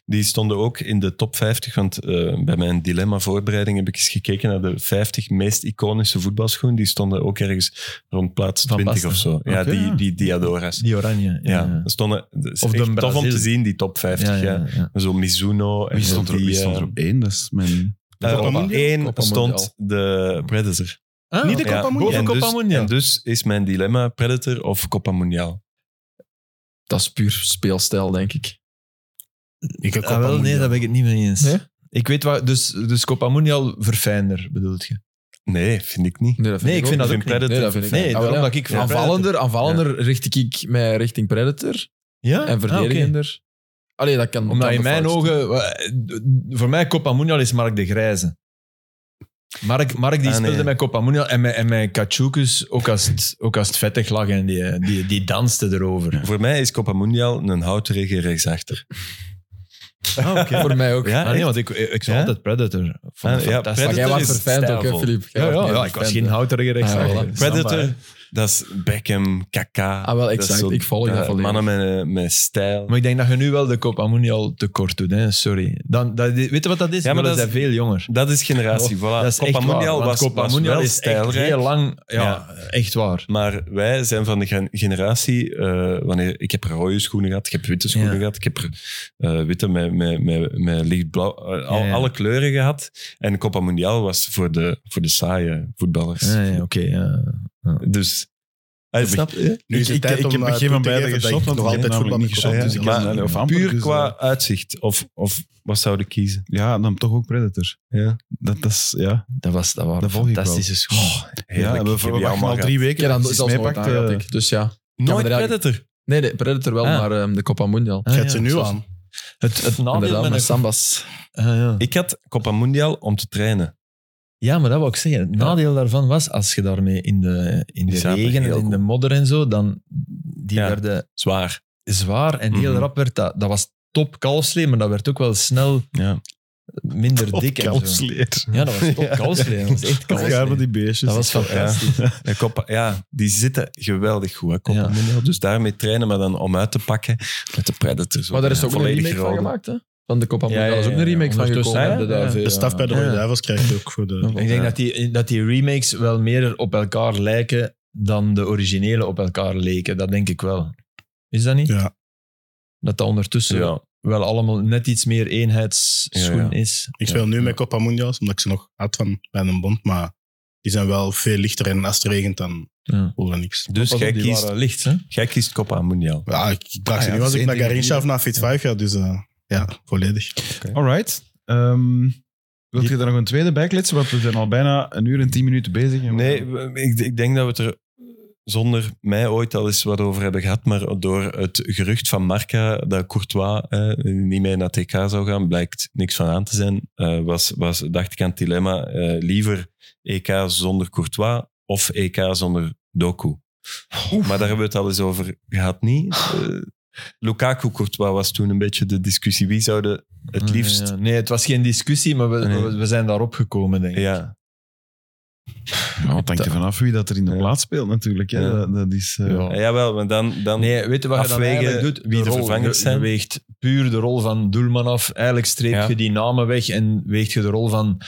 [SPEAKER 4] Die stonden ook in de top 50, want eh, bij mijn dilemma-voorbereiding heb ik eens gekeken naar de 50 meest iconische voetbalschoenen. Die stonden ook ergens rond plaats
[SPEAKER 3] Van
[SPEAKER 4] 20
[SPEAKER 3] Basten.
[SPEAKER 4] of zo. Ja,
[SPEAKER 2] Oké, ja.
[SPEAKER 4] die, die Diadora's.
[SPEAKER 3] Die oranje.
[SPEAKER 4] Ja, dat stonden, dat is
[SPEAKER 3] Of de
[SPEAKER 4] echt tof om
[SPEAKER 3] Brazil.
[SPEAKER 4] te zien, die top 50. Ja, Zo Mizuno. en
[SPEAKER 2] Wie stond er,
[SPEAKER 4] die,
[SPEAKER 2] wie stond
[SPEAKER 4] eh,
[SPEAKER 2] er op één? Dat is mijn...
[SPEAKER 4] eh,
[SPEAKER 6] Copa
[SPEAKER 4] op
[SPEAKER 6] Mundial?
[SPEAKER 4] één
[SPEAKER 5] Copa
[SPEAKER 4] stond
[SPEAKER 5] Mundial.
[SPEAKER 4] de Predator.
[SPEAKER 3] Ah.
[SPEAKER 6] Niet de
[SPEAKER 4] Ja,
[SPEAKER 6] Copa Mundial.
[SPEAKER 3] Boven
[SPEAKER 4] en
[SPEAKER 3] Copa
[SPEAKER 4] dus-
[SPEAKER 3] Mundial.
[SPEAKER 4] En dus is mijn dilemma Predator of Copa Mundial.
[SPEAKER 5] Dat is puur speelstijl, denk ik.
[SPEAKER 6] Ik heb
[SPEAKER 3] Ah, wel, nee, daar ben ik het niet mee eens.
[SPEAKER 5] Nee?
[SPEAKER 3] Ik weet waar, dus, dus Copa Mundial verfijnder, bedoelt je?
[SPEAKER 4] Nee, vind ik niet.
[SPEAKER 5] Nee, dat vind
[SPEAKER 3] Nee, ik vind dat ook
[SPEAKER 4] vind
[SPEAKER 3] niet.
[SPEAKER 4] Predator
[SPEAKER 5] Nee, dat vind ik
[SPEAKER 3] Nee,
[SPEAKER 5] ook niet. Ah, wel,
[SPEAKER 3] daarom
[SPEAKER 5] ja.
[SPEAKER 3] dat ik van
[SPEAKER 5] Aanvallender, aanvallender richt ik mij richting Predator.
[SPEAKER 3] Ja?
[SPEAKER 5] En
[SPEAKER 3] Ah, oké.
[SPEAKER 5] verdedigender. Allee, dat kan...
[SPEAKER 3] Omdat
[SPEAKER 5] kan
[SPEAKER 3] in
[SPEAKER 5] de
[SPEAKER 3] mijn
[SPEAKER 5] fout
[SPEAKER 3] ogen, wa- voor mij Copa Mundial is Mark de Grijze. Mark, Mark die
[SPEAKER 4] Ah,
[SPEAKER 3] speelde
[SPEAKER 4] nee.
[SPEAKER 3] met Copa Mundial en met, en met Katsoukus ook als het, ook als het vettig lag en die, die, die danste erover.
[SPEAKER 4] Voor mij is Copa Mundial een houtregen rechtsachter.
[SPEAKER 5] staan. Voor mij ook.
[SPEAKER 4] Ja,
[SPEAKER 3] Ah, nee,
[SPEAKER 4] echt?
[SPEAKER 3] want ik, ik, ik was
[SPEAKER 4] Ja?
[SPEAKER 3] altijd Predator. Ik vond het
[SPEAKER 4] Ah, ja,
[SPEAKER 3] fantastisch.
[SPEAKER 5] Maar jij
[SPEAKER 4] Predator
[SPEAKER 5] was
[SPEAKER 4] is
[SPEAKER 5] verfijnd ook, hè,
[SPEAKER 4] stijlvol.
[SPEAKER 5] Filip? Jij
[SPEAKER 3] Ja, ja,
[SPEAKER 5] niet
[SPEAKER 3] ja, ik was
[SPEAKER 5] verfijnd,
[SPEAKER 3] geen
[SPEAKER 5] hè.
[SPEAKER 3] houterige
[SPEAKER 5] Ah,
[SPEAKER 3] rechtsachter.
[SPEAKER 5] voilà.
[SPEAKER 4] Predator, dat is Beckham, Kaka.
[SPEAKER 5] Ah, wel,
[SPEAKER 4] Dat is
[SPEAKER 5] exact.
[SPEAKER 4] zo,
[SPEAKER 5] Ik volg dat
[SPEAKER 4] eh,
[SPEAKER 5] volledig.
[SPEAKER 4] Mannen met, eh, met stijl.
[SPEAKER 3] Maar ik denk dat je nu wel de Copa Mundial tekort doet, hè? sorry. Dan, dat, weet je wat dat is?
[SPEAKER 4] Ja, maar
[SPEAKER 3] Willen
[SPEAKER 4] dat is-
[SPEAKER 3] zij veel jonger.
[SPEAKER 4] Dat is generatie, voilà.
[SPEAKER 3] dat is
[SPEAKER 4] Copa
[SPEAKER 3] echt waar,
[SPEAKER 4] Mundial
[SPEAKER 3] want
[SPEAKER 4] was,
[SPEAKER 3] Copa
[SPEAKER 4] was
[SPEAKER 3] Mundial
[SPEAKER 4] wel
[SPEAKER 3] is echt
[SPEAKER 4] stijlrijk.
[SPEAKER 3] heel lang. Ja,
[SPEAKER 4] Ja.
[SPEAKER 3] echt waar.
[SPEAKER 4] Maar wij zijn van de gen- generatie, eh, wanneer ik heb rode schoenen gehad, ik heb witte schoenen
[SPEAKER 3] Ja.
[SPEAKER 4] gehad, ik heb eh, witte met, met, met, met lichtblauw, eh, al,
[SPEAKER 3] Ja, ja.
[SPEAKER 4] alle kleuren gehad. En Copa Mundial was voor de, voor de saaie voetballers.
[SPEAKER 3] Ja, ja, oké. ja.
[SPEAKER 4] Dus, hij snap je?
[SPEAKER 6] Nu is het
[SPEAKER 2] ik,
[SPEAKER 6] tijd
[SPEAKER 2] ik
[SPEAKER 6] om,
[SPEAKER 2] heb
[SPEAKER 6] eh,
[SPEAKER 2] met
[SPEAKER 6] toe
[SPEAKER 2] geen van
[SPEAKER 6] te
[SPEAKER 2] beide
[SPEAKER 6] geven dat
[SPEAKER 2] geshopt,
[SPEAKER 6] ik
[SPEAKER 2] want ik
[SPEAKER 6] nog
[SPEAKER 2] heb
[SPEAKER 6] altijd
[SPEAKER 2] namelijk niet
[SPEAKER 6] voetbal
[SPEAKER 2] geshopt.
[SPEAKER 6] heb
[SPEAKER 2] Dus ik
[SPEAKER 6] gedaan.
[SPEAKER 2] ken, eh, of amper,
[SPEAKER 4] Puur
[SPEAKER 2] dus,
[SPEAKER 4] qua
[SPEAKER 2] eh,
[SPEAKER 4] uitzicht, of, of wat zouden kiezen?
[SPEAKER 2] Ja, dan toch ook Predator.
[SPEAKER 4] Ja.
[SPEAKER 2] Dat, dat is... Ja,
[SPEAKER 3] Dat, was, dat waren
[SPEAKER 2] Dat volg ik wel.
[SPEAKER 3] fantastische schoenen.
[SPEAKER 4] Heerlijk,
[SPEAKER 2] ja
[SPEAKER 4] ik
[SPEAKER 2] we
[SPEAKER 4] heb die
[SPEAKER 2] verwachten
[SPEAKER 4] allemaal
[SPEAKER 2] al drie
[SPEAKER 5] Ik
[SPEAKER 2] weken
[SPEAKER 5] heb
[SPEAKER 2] dat
[SPEAKER 5] dat
[SPEAKER 2] hij
[SPEAKER 5] zelfs
[SPEAKER 2] iets
[SPEAKER 5] nooit
[SPEAKER 2] meepakt. eh,
[SPEAKER 5] aangehad, ik. Dus ja.
[SPEAKER 4] gehad.
[SPEAKER 5] Ja, maar
[SPEAKER 4] Nooit
[SPEAKER 5] daar-
[SPEAKER 4] Predator.
[SPEAKER 5] Nee, de Predator wel,
[SPEAKER 3] Ah.
[SPEAKER 5] maar ehm, de Copa Mundial.
[SPEAKER 3] Ah,
[SPEAKER 6] Ik zet
[SPEAKER 3] ja,
[SPEAKER 6] ze nu
[SPEAKER 3] zelfs-
[SPEAKER 6] aan.
[SPEAKER 3] Het, het
[SPEAKER 6] Nou,
[SPEAKER 3] nadeel
[SPEAKER 5] Inderdaad,
[SPEAKER 3] met
[SPEAKER 5] met
[SPEAKER 3] een-
[SPEAKER 5] Sambas.
[SPEAKER 3] Ah, ja.
[SPEAKER 4] Ik had Copa Mundial om te trainen.
[SPEAKER 3] ja, maar dat wou ik zeggen. Het nadeel daarvan was, als je daarmee in de, in
[SPEAKER 4] Die
[SPEAKER 3] de
[SPEAKER 4] zaten
[SPEAKER 3] regen en
[SPEAKER 4] heel
[SPEAKER 3] in de
[SPEAKER 4] goed.
[SPEAKER 3] modder en zo, dan die
[SPEAKER 4] Ja.
[SPEAKER 3] werden
[SPEAKER 4] Zwaar.
[SPEAKER 3] zwaar en heel
[SPEAKER 4] Mhm.
[SPEAKER 3] rap werd dat. Dat was top kalfsleer, maar dat werd ook wel snel
[SPEAKER 4] Ja.
[SPEAKER 3] minder dik. En zo.
[SPEAKER 2] kalfsleer.
[SPEAKER 3] Ja, dat was top
[SPEAKER 4] Ja.
[SPEAKER 3] kalfsleer. Dat was echt
[SPEAKER 2] Of ja, van
[SPEAKER 3] kalfsleer.
[SPEAKER 2] die beestjes.
[SPEAKER 3] Dat was fantastisch.
[SPEAKER 4] Ja, Copa, ja, die zitten geweldig goed, hè, Copa
[SPEAKER 3] Ja.
[SPEAKER 4] Mundial. Dus daarmee trainen, maar dan om uit te pakken met de Predators.
[SPEAKER 5] Maar daar is
[SPEAKER 4] Ja,
[SPEAKER 5] ook een
[SPEAKER 4] volledig
[SPEAKER 5] remake van
[SPEAKER 4] rode.
[SPEAKER 5] gemaakt, hè? Van de Copa
[SPEAKER 3] Ja,
[SPEAKER 5] Mundial
[SPEAKER 3] ja,
[SPEAKER 5] is ook
[SPEAKER 3] ja,
[SPEAKER 5] een
[SPEAKER 3] ja.
[SPEAKER 5] remake van
[SPEAKER 3] Ondertussen,
[SPEAKER 5] gekomen.
[SPEAKER 3] hè?
[SPEAKER 5] hè,
[SPEAKER 3] Ja.
[SPEAKER 5] daar,
[SPEAKER 6] De staf bij de
[SPEAKER 5] ja.
[SPEAKER 6] Rode Duivels krijgt ook voor de...
[SPEAKER 3] Ik denk dat, die, dat die remakes wel meer op elkaar lijken dan de originele op elkaar leken. Dat denk ik wel. Is dat niet?
[SPEAKER 6] Ja.
[SPEAKER 3] Dat dat ondertussen
[SPEAKER 4] Ja.
[SPEAKER 3] wel allemaal net iets meer eenheidsschoen
[SPEAKER 4] Ja, ja.
[SPEAKER 3] is.
[SPEAKER 6] Ik speel nu met Copa Mundials, omdat ik ze nog had van bij een bond, maar die zijn wel veel lichter en als het regent, dan
[SPEAKER 3] Ja.
[SPEAKER 6] voel je niks.
[SPEAKER 4] Dus jij kiest,
[SPEAKER 3] licht, hè?
[SPEAKER 4] jij kiest Copa Mundial.
[SPEAKER 6] Ja, ik, ik draag
[SPEAKER 2] Ah
[SPEAKER 6] ze
[SPEAKER 2] ja,
[SPEAKER 6] nu als
[SPEAKER 2] dat is
[SPEAKER 6] ik naar
[SPEAKER 2] één ding
[SPEAKER 6] Garincha
[SPEAKER 2] die-
[SPEAKER 6] of naar Fit 5 ga, dus eh, ja, volledig.
[SPEAKER 2] Alright. Ehm wilt je daar nog een tweede bij kletsen? Want we zijn al bijna een uur en tien minuten bezig. En we-
[SPEAKER 4] Nee, we- ik, ik denk dat we het er zonder mij ooit al eens wat over hebben gehad, maar door het gerucht van Marca dat Courtois eh, niet mee naar TK zou gaan, blijkt niks van aan te zijn. Eh, was, was, dacht ik aan het dilemma, eh, liever EK zonder Courtois of EK zonder Doku. Maar daar hebben we het al eens over gehad, niet? Eh, Lukaku-Courtois was toen een beetje de discussie. Wie zouden
[SPEAKER 3] Ah,
[SPEAKER 4] het liefst...
[SPEAKER 3] Ja, ja. Nee, het was geen discussie, maar we,
[SPEAKER 4] Nee.
[SPEAKER 3] we, we zijn daarop gekomen, denk ik.
[SPEAKER 4] Ja,
[SPEAKER 2] Ja, het hangt er vanaf wie dat er in de
[SPEAKER 4] Ja.
[SPEAKER 2] plaats speelt natuurlijk. Hè.
[SPEAKER 4] Ja.
[SPEAKER 2] Dat, dat is... eh,
[SPEAKER 3] Ja.
[SPEAKER 4] ja. jawel, maar dan... dan
[SPEAKER 3] Oh. Nee, weet je wat je
[SPEAKER 4] Afwegen
[SPEAKER 3] dan eigenlijk doet?
[SPEAKER 4] wie de
[SPEAKER 3] rol-
[SPEAKER 4] vervangers
[SPEAKER 3] je-
[SPEAKER 4] zijn.
[SPEAKER 3] Je weegt puur de rol van doelman af. Eigenlijk streep
[SPEAKER 4] Ja.
[SPEAKER 3] je die namen weg en weegt je de rol van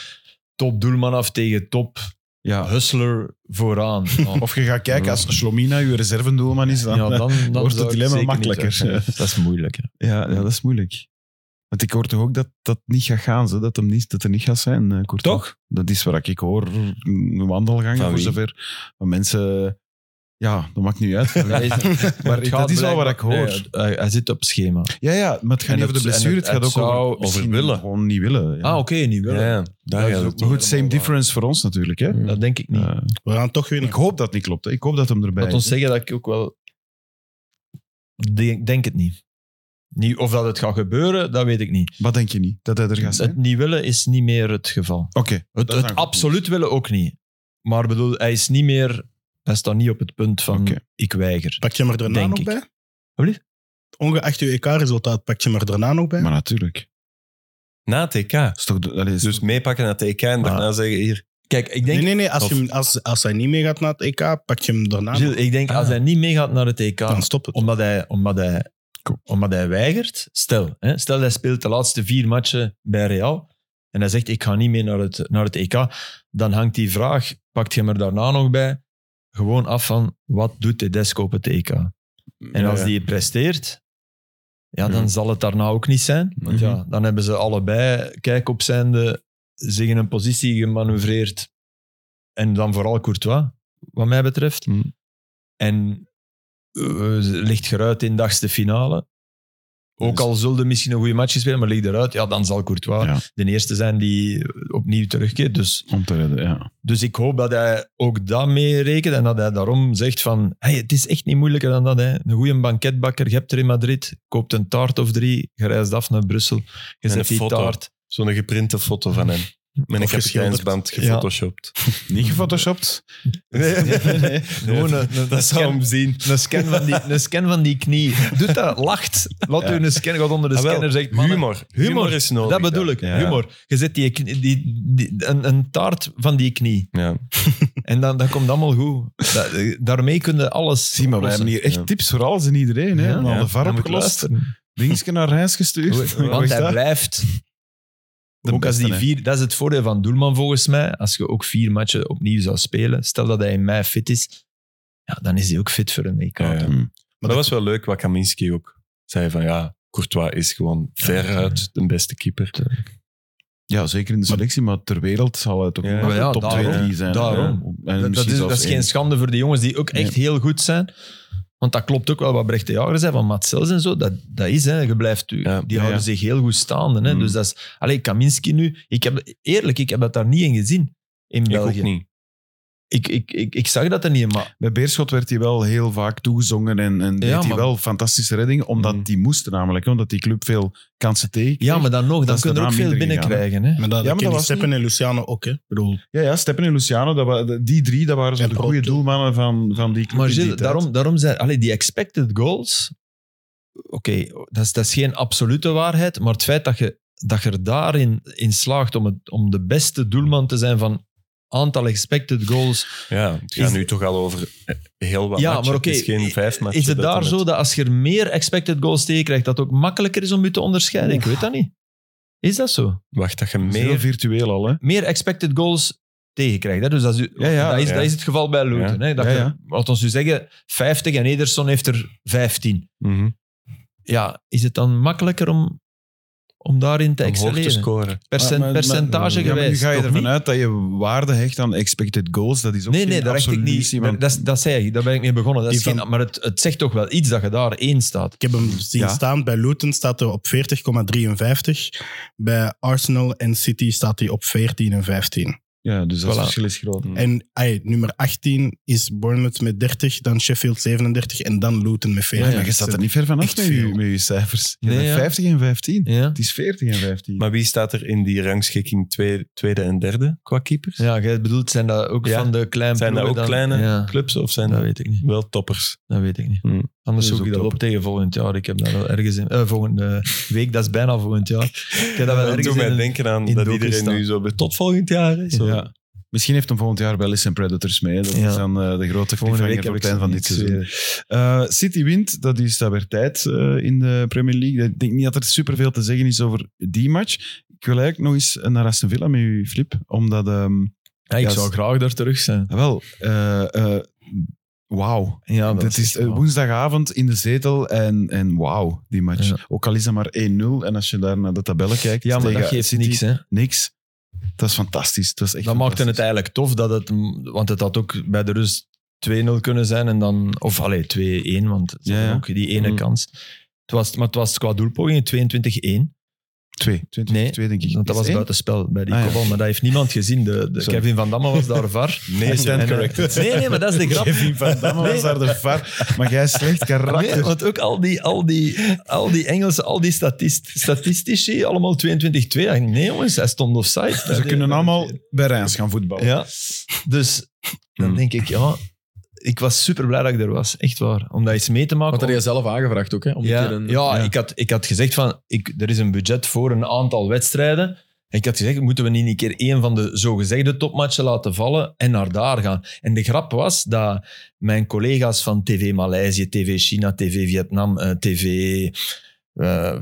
[SPEAKER 3] top doelman af tegen top
[SPEAKER 2] ja.
[SPEAKER 3] hustler vooraan. Ja,
[SPEAKER 2] Of je gaat kijken, als Slomina je reservendoelman is, dan... eh,
[SPEAKER 3] dan, dan
[SPEAKER 2] wordt het
[SPEAKER 3] zou ik
[SPEAKER 2] dilemma
[SPEAKER 3] zeker eh,
[SPEAKER 2] makkelijker.
[SPEAKER 3] niet zeggen. Dat is moeilijk. hè.
[SPEAKER 2] Ja, ja, dat is moeilijk. Want ik hoor toch ook dat dat niet gaat gaan, zo, dat, hem niet, dat er niet gaat zijn, eh, Courtois.
[SPEAKER 4] Toch?
[SPEAKER 2] Dat is wat ik hoor,
[SPEAKER 3] Mm.
[SPEAKER 2] een wandelgang,
[SPEAKER 4] Van
[SPEAKER 2] voor
[SPEAKER 4] wie?
[SPEAKER 2] zover. Van mensen... Ja, dat maakt niet uit. maar
[SPEAKER 3] Het gaat
[SPEAKER 2] dat is wel wat
[SPEAKER 3] blijkbaar-
[SPEAKER 2] ik hoor.
[SPEAKER 3] Nee, hij, hij zit op schema.
[SPEAKER 2] Ja, ja, maar het gaat
[SPEAKER 3] En
[SPEAKER 2] niet
[SPEAKER 3] het-
[SPEAKER 2] over de
[SPEAKER 3] en
[SPEAKER 2] blessure, het,
[SPEAKER 3] het-
[SPEAKER 2] gaat
[SPEAKER 3] het
[SPEAKER 2] ook over,
[SPEAKER 3] zou
[SPEAKER 2] misschien
[SPEAKER 4] over willen.
[SPEAKER 2] Gewoon niet willen. Ja.
[SPEAKER 3] Ah, oké, niet wel.
[SPEAKER 4] Ja, ja.
[SPEAKER 3] Dat is
[SPEAKER 4] daar gaat
[SPEAKER 3] ook
[SPEAKER 4] het
[SPEAKER 2] maar
[SPEAKER 4] om.
[SPEAKER 2] goed, same
[SPEAKER 3] helemaal waar. Mm.
[SPEAKER 2] difference voor ons natuurlijk. Hè?
[SPEAKER 3] Dat denk ik niet.
[SPEAKER 2] Eh,
[SPEAKER 6] We gaan toch winnen.
[SPEAKER 2] ik hoop dat het niet klopt. hè. Ik hoop dat hem erbij
[SPEAKER 3] Laat ons
[SPEAKER 2] is.
[SPEAKER 3] zeggen dat ik ook wel... Denk, denk het niet. niet. Of dat het gaat gebeuren, dat weet ik niet.
[SPEAKER 2] Wat denk je niet? Dat hij er gaat zijn?
[SPEAKER 3] Het niet willen is niet meer het geval.
[SPEAKER 2] Oké.
[SPEAKER 3] Het,
[SPEAKER 2] dat is
[SPEAKER 3] het
[SPEAKER 2] dan goed
[SPEAKER 3] absoluut willen ook niet. Maar bedoel, hij is niet meer... Hij staat niet op het punt van
[SPEAKER 2] Oké.
[SPEAKER 3] ik weiger.
[SPEAKER 6] Pak je hem er daarna
[SPEAKER 3] Denk
[SPEAKER 6] nog
[SPEAKER 3] ik.
[SPEAKER 6] bij?
[SPEAKER 3] Alsjeblieft.
[SPEAKER 6] Ongeacht je EK-resultaat, pak je hem er daarna nog bij?
[SPEAKER 2] Maar natuurlijk.
[SPEAKER 4] Na TK.
[SPEAKER 2] Is toch de- allee, is-
[SPEAKER 4] Dus meepakken naar TK en daarna zeggen hier.
[SPEAKER 3] Kijk, ik denk...
[SPEAKER 6] nee, nee, nee. Als,
[SPEAKER 4] Of-
[SPEAKER 6] je hem, als, als hij niet meegaat naar het EK, pak je hem daarna nog.
[SPEAKER 3] Gilles, Ah, ik denk, als hij niet meegaat naar het EK,
[SPEAKER 6] Dan stop het.
[SPEAKER 3] omdat hij, omdat hij, omdat hij weigert. Stel, hè, stel hij speelt de laatste vier matchen bij Real en hij zegt ik ga niet mee naar het, naar het EK. Dan hangt die vraag, pakt je hem er daarna nog bij, gewoon af van wat doet Tedesco op het E EK. En als die presteert, ja, dan
[SPEAKER 2] Mm.
[SPEAKER 4] Mhm.
[SPEAKER 3] zal het daarna ook niet zijn. Want ja,
[SPEAKER 2] Mhm.
[SPEAKER 3] dan hebben ze allebei, kijk op zijnde, zich in een positie gemanoeuvreerd. En dan vooral Courtois, wat mij betreft.
[SPEAKER 2] Mm.
[SPEAKER 4] Mhm.
[SPEAKER 3] En eh, ligt eruit in de achtste finale. Ook
[SPEAKER 2] Dus-
[SPEAKER 3] al zullen misschien een goede match spelen, maar ligt eruit, ja, dan zal Courtois
[SPEAKER 2] Ja.
[SPEAKER 3] de eerste zijn die opnieuw terugkeert. Dus
[SPEAKER 2] Om te redden, ja.
[SPEAKER 3] dus ik hoop dat hij ook dat mee rekent en dat hij daarom zegt van hey, het is echt niet moeilijker dan dat. Hè. Een goede banketbakker, je hebt er in Madrid, koopt een taart of drie, je reist af naar Brussel, je
[SPEAKER 4] En
[SPEAKER 3] zet
[SPEAKER 4] een
[SPEAKER 3] die
[SPEAKER 4] foto.
[SPEAKER 3] taart.
[SPEAKER 4] Zo'n geprinte foto van hem. Met een
[SPEAKER 6] Of geschilderd.
[SPEAKER 4] kapiteinsband gefotoshopt.
[SPEAKER 2] Niet gefotoshopt.
[SPEAKER 3] Nee, nee, nee. Gewoon een, een,
[SPEAKER 4] Dat zou
[SPEAKER 3] scan,
[SPEAKER 4] hem zien.
[SPEAKER 3] een, scan van die, een scan van die knie. Doet dat, lacht. Laat
[SPEAKER 4] Ja.
[SPEAKER 3] u een scan, gaat onder de
[SPEAKER 4] Ah, wel,
[SPEAKER 3] scanner, zegt mannen,
[SPEAKER 4] humor. Humor is nodig.
[SPEAKER 3] Dat bedoel
[SPEAKER 4] dan.
[SPEAKER 3] ik,
[SPEAKER 4] Ja.
[SPEAKER 3] humor. Je zet die, knie- die, die- een, een taart van die knie
[SPEAKER 4] Ja.
[SPEAKER 3] en dan, dat komt allemaal goed. Da- daarmee kun je alles
[SPEAKER 2] Zie maar, wij
[SPEAKER 3] oplossen.
[SPEAKER 2] hebben hier echt
[SPEAKER 4] Ja.
[SPEAKER 2] tips voor alles en iedereen. Hè?
[SPEAKER 3] Ja,
[SPEAKER 2] Al
[SPEAKER 4] ja.
[SPEAKER 2] de var
[SPEAKER 3] Dan moet je
[SPEAKER 2] opgelost,
[SPEAKER 3] luisteren.
[SPEAKER 2] Dingske naar reis gestuurd. Hoe
[SPEAKER 3] Want
[SPEAKER 2] is
[SPEAKER 3] hij
[SPEAKER 2] dat?
[SPEAKER 3] blijft.
[SPEAKER 2] De
[SPEAKER 3] ook als
[SPEAKER 2] beste,
[SPEAKER 3] die
[SPEAKER 2] hè.
[SPEAKER 3] vier, dat is het voordeel van Doelman volgens mij. Als je ook vier matchen opnieuw zou spelen, stel dat hij in mei fit is, ja, dan is hij ook fit voor een EK.
[SPEAKER 4] Ja, ja.
[SPEAKER 2] Hm.
[SPEAKER 4] Maar dat was wel leuk wat Kaminski ook zei van ja, Courtois is gewoon veruit de beste keeper.
[SPEAKER 2] Ja, zeker in de selectie, maar ter wereld zal het ook
[SPEAKER 4] Ja,
[SPEAKER 2] wel
[SPEAKER 3] ja,
[SPEAKER 2] top
[SPEAKER 3] daarom.
[SPEAKER 2] 2 zijn.
[SPEAKER 3] Daarom.
[SPEAKER 2] Ja. En
[SPEAKER 3] Dat, dat
[SPEAKER 2] misschien
[SPEAKER 3] is, dat
[SPEAKER 2] zelfs
[SPEAKER 3] is
[SPEAKER 2] één.
[SPEAKER 3] geen schande voor de jongens die ook echt
[SPEAKER 2] Nee.
[SPEAKER 3] heel goed zijn. Want dat klopt ook wel wat Brecht de Jager zei van Matsels en zo. Dat, dat is, hè, je blijft, u-
[SPEAKER 4] Ja,
[SPEAKER 3] die
[SPEAKER 2] ja,
[SPEAKER 3] houden
[SPEAKER 2] ja.
[SPEAKER 3] zich heel goed staande. Hè.
[SPEAKER 2] Mm.
[SPEAKER 3] Dus dat is, allee, Kaminski nu, ik heb, eerlijk, ik heb dat daar niet in gezien in
[SPEAKER 4] Ik ook
[SPEAKER 3] België.
[SPEAKER 4] niet.
[SPEAKER 3] Ik, ik, ik, ik zag dat er niet in, maar
[SPEAKER 2] Bij Beerschot werd hij wel heel vaak toegezongen en, en deed
[SPEAKER 3] Ja,
[SPEAKER 2] hij
[SPEAKER 3] maar-
[SPEAKER 2] wel fantastische reddingen, omdat
[SPEAKER 4] Mm.
[SPEAKER 2] die moesten namelijk, hè, omdat die club veel kansen tegen.
[SPEAKER 3] Ja, maar dan nog,
[SPEAKER 2] Dat
[SPEAKER 3] dan
[SPEAKER 2] is
[SPEAKER 3] kun je er ook
[SPEAKER 2] daarna
[SPEAKER 3] veel
[SPEAKER 2] minder gegaan,
[SPEAKER 3] binnenkrijgen. Hè?
[SPEAKER 2] maar
[SPEAKER 6] Maar dat, dat
[SPEAKER 2] dat
[SPEAKER 6] kennen
[SPEAKER 2] was
[SPEAKER 6] Steppen en Luciano ook, hè. Ik bedoel,
[SPEAKER 2] Ja, ja, Steppen en Luciano, dat wa- de- die drie, dat waren
[SPEAKER 6] En
[SPEAKER 2] zo'n
[SPEAKER 6] Brood
[SPEAKER 2] goede
[SPEAKER 6] toe.
[SPEAKER 2] doelmannen van, van die club.
[SPEAKER 3] Maar
[SPEAKER 2] in die
[SPEAKER 3] Gilles,
[SPEAKER 2] tijd.
[SPEAKER 3] daarom, daarom zijn allee, die expected goals. Oké, dat, is, dat is geen absolute waarheid, maar het feit dat je, dat je er daarin in slaagt om, het, om de beste doelman te zijn van aantal expected goals,
[SPEAKER 4] Ja, het gaat
[SPEAKER 3] Is-
[SPEAKER 4] nu toch al over eh, heel wat
[SPEAKER 3] Ja,
[SPEAKER 4] matchen.
[SPEAKER 3] maar oké,
[SPEAKER 4] Het is geen vijf matchen.
[SPEAKER 3] is het
[SPEAKER 4] dat
[SPEAKER 3] daar
[SPEAKER 4] dan
[SPEAKER 3] zo dat als je er meer expected goals tegen krijgt, dat het ook makkelijker is om je te onderscheiden? Ik weet dat niet. Is dat zo?
[SPEAKER 4] Wacht, dat je
[SPEAKER 2] Dat is heel
[SPEAKER 4] meer...
[SPEAKER 2] virtueel al, hè?
[SPEAKER 3] Meer expected goals tegenkrijgt. Hè? Dus dat is,
[SPEAKER 2] Ja, ja,
[SPEAKER 3] dat, is,
[SPEAKER 4] ja.
[SPEAKER 3] dat is het geval bij Luton.
[SPEAKER 4] Ja.
[SPEAKER 3] Hè? Dat
[SPEAKER 2] Ja,
[SPEAKER 3] je-
[SPEAKER 2] ja.
[SPEAKER 3] laat ons nu zeggen, 50 en Ederson heeft er 15.
[SPEAKER 4] Mhm.
[SPEAKER 3] ja, is het dan makkelijker om, om daarin te
[SPEAKER 4] Om hoog te
[SPEAKER 3] excelleren?
[SPEAKER 4] scoren.
[SPEAKER 3] Percent,
[SPEAKER 2] Maar- maar-
[SPEAKER 3] percentage
[SPEAKER 2] ja, maar
[SPEAKER 3] gewijs.
[SPEAKER 2] Nu ga je
[SPEAKER 3] toch
[SPEAKER 2] ervan
[SPEAKER 3] niet?
[SPEAKER 2] uit dat je waarde hecht aan expected goals. Dat is ook
[SPEAKER 3] Nee, nee,
[SPEAKER 2] geen
[SPEAKER 3] daar echt ik niet.
[SPEAKER 2] absolutie, want-
[SPEAKER 3] Dat, is- dat zei ik, daar ben ik mee begonnen. Dat is
[SPEAKER 6] Die
[SPEAKER 3] geen, maar het, het zegt toch wel iets dat je daar één staat.
[SPEAKER 6] ik heb hem zien
[SPEAKER 2] Ja.
[SPEAKER 6] staan. Bij Luton staat hij op 40,53. Bij Arsenal en City staat hij op 14 en 15.
[SPEAKER 2] ja, dus dat
[SPEAKER 3] Voilà.
[SPEAKER 2] verschil is groot.
[SPEAKER 4] Mm.
[SPEAKER 6] En ay, nummer 18 is Bournemouth met 30, dan Sheffield 37 en dan Luton met
[SPEAKER 2] Ja,
[SPEAKER 6] 40.
[SPEAKER 2] maar je staat er niet ver vanaf
[SPEAKER 6] Echt
[SPEAKER 2] met, je,
[SPEAKER 6] veel.
[SPEAKER 2] met je cijfers. Je
[SPEAKER 3] Nee,
[SPEAKER 2] bent
[SPEAKER 3] ja.
[SPEAKER 2] 50 en 15.
[SPEAKER 3] Ja,
[SPEAKER 2] Het is 40 en 15.
[SPEAKER 4] Maar wie staat er in die rangschikking twee- tweede en derde qua keepers?
[SPEAKER 3] ja jij bedoelt, zijn dat ook
[SPEAKER 4] Ja.
[SPEAKER 3] van de kleine
[SPEAKER 4] Zijn dat
[SPEAKER 3] ploegen
[SPEAKER 4] ook
[SPEAKER 3] dan?
[SPEAKER 4] kleine
[SPEAKER 3] Ja,
[SPEAKER 4] Clubs of zijn
[SPEAKER 3] dat
[SPEAKER 4] dat
[SPEAKER 3] weet ik niet.
[SPEAKER 4] wel toppers?
[SPEAKER 3] Dat weet ik niet.
[SPEAKER 4] Hmm.
[SPEAKER 3] Anders
[SPEAKER 2] Dat is
[SPEAKER 3] zoek ik
[SPEAKER 2] ook
[SPEAKER 3] dat op
[SPEAKER 2] top.
[SPEAKER 3] tegen volgend jaar. Ik heb dat wel ergens in... eh, volgende week, dat is bijna volgend jaar. Ik heb dat wel
[SPEAKER 4] Dat
[SPEAKER 3] ergens
[SPEAKER 4] doet
[SPEAKER 3] in...
[SPEAKER 4] mij
[SPEAKER 3] een-
[SPEAKER 4] denken aan
[SPEAKER 3] in
[SPEAKER 4] dat
[SPEAKER 3] docu
[SPEAKER 4] iedereen
[SPEAKER 3] staan.
[SPEAKER 4] nu zo bij tot volgend jaar is. Zo.
[SPEAKER 2] Ja. Misschien heeft hem volgend jaar wel eens zijn Predators mee. hè. Dat
[SPEAKER 3] Ja.
[SPEAKER 2] is dan eh, de grote
[SPEAKER 3] Volgende week
[SPEAKER 2] cliffhanger
[SPEAKER 3] heb
[SPEAKER 2] op
[SPEAKER 3] ik
[SPEAKER 2] het einde van dit
[SPEAKER 3] niks
[SPEAKER 2] seizoen. Eh, City wint, dat is dat weer tijd eh, in de Premier League. Ik denk niet dat er superveel te zeggen is over die match. Ik wil eigenlijk nog eens naar Aston Villa met u, Flip. Omdat, ehm,
[SPEAKER 3] Ja, ik
[SPEAKER 2] Ja,
[SPEAKER 3] zou
[SPEAKER 2] s-
[SPEAKER 3] graag daar terug zijn.
[SPEAKER 2] wel, eh, eh, wauw.
[SPEAKER 3] Ja,
[SPEAKER 2] dat is
[SPEAKER 3] echt
[SPEAKER 2] eh,
[SPEAKER 3] wel-
[SPEAKER 2] woensdagavond in de zetel en, en wauw, die match.
[SPEAKER 3] Ja.
[SPEAKER 2] Ook al is dat maar 1-0 en als je daar naar de tabellen kijkt,
[SPEAKER 3] Ja, maar
[SPEAKER 2] tegen
[SPEAKER 3] dat geeft
[SPEAKER 2] City,
[SPEAKER 3] niks, hè.
[SPEAKER 2] niks. Dat is fantastisch. Dat, is echt
[SPEAKER 3] Dat maakte het
[SPEAKER 2] fantastisch.
[SPEAKER 3] eigenlijk tof, dat het, want het had ook bij de rust 2-0 kunnen zijn en dan, of allee, 2-1, want ze
[SPEAKER 2] Ja, ja.
[SPEAKER 3] hadden
[SPEAKER 2] Hmm.
[SPEAKER 3] ook die ene
[SPEAKER 4] Mm.
[SPEAKER 3] kans. Het was, maar het was qua doelpogingen 22-1.
[SPEAKER 2] Twee, 22,
[SPEAKER 3] Nee,
[SPEAKER 2] twee denk ik.
[SPEAKER 3] Want dat
[SPEAKER 2] Is
[SPEAKER 3] was
[SPEAKER 2] één?
[SPEAKER 3] buitenspel bij die
[SPEAKER 2] Ah, ja.
[SPEAKER 3] kopbal, maar dat heeft niemand gezien. De, de
[SPEAKER 2] Sorry.
[SPEAKER 3] Kevin Van Damme was daar var.
[SPEAKER 4] Nee,
[SPEAKER 3] En,
[SPEAKER 4] stand
[SPEAKER 3] eh,
[SPEAKER 4] corrected.
[SPEAKER 3] Nee, nee, maar dat is de grap.
[SPEAKER 2] Kevin Van Damme was
[SPEAKER 3] Nee.
[SPEAKER 2] daar de var. Maar jij slecht karakter.
[SPEAKER 3] Nee, want ook al die, al die, al die Engelsen, al die statist, statistici, allemaal 22-2. Nee jongens, hij stond offside.
[SPEAKER 2] Ze Dus kunnen allemaal bij Rijns gaan voetballen.
[SPEAKER 3] Ja, dus dan
[SPEAKER 4] Hmm.
[SPEAKER 3] denk ik, ja, ik was super blij dat ik er was. Echt waar. Om dat iets mee te maken.
[SPEAKER 5] Want dat
[SPEAKER 3] om-
[SPEAKER 5] heb je zelf aangevraagd ook, hè? Om
[SPEAKER 3] ja,
[SPEAKER 5] een keer een,
[SPEAKER 3] ja, Ik, had, ik had gezegd van, ik, er is een budget voor een aantal wedstrijden. En ik had gezegd, moeten we niet een keer een van de zogezegde topmatchen laten vallen en naar daar gaan. En de grap was dat mijn collega's van TV Maleisië, TV China, TV Vietnam, eh, TV eh,
[SPEAKER 2] Ja,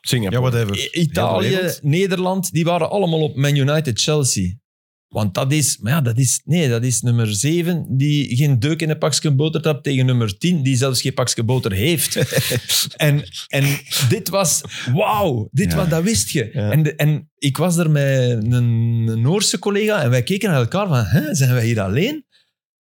[SPEAKER 4] Singapore.
[SPEAKER 2] whatever.
[SPEAKER 3] I-
[SPEAKER 2] Heel de
[SPEAKER 3] Italië,
[SPEAKER 2] wereld.
[SPEAKER 3] Nederland, die waren allemaal op Man United, Chelsea. Want dat is, maar ja, dat is, nee, dat is nummer 7 die geen deuk in een pakje boter trapt tegen nummer 10 die zelfs geen pakje boter heeft. en, en dit was, wauw, dit
[SPEAKER 2] Ja.
[SPEAKER 3] was, dat wist je.
[SPEAKER 4] Ja.
[SPEAKER 3] En, de- en ik was er met een, een Noorse collega en wij keken naar elkaar van, hè, zijn wij hier alleen?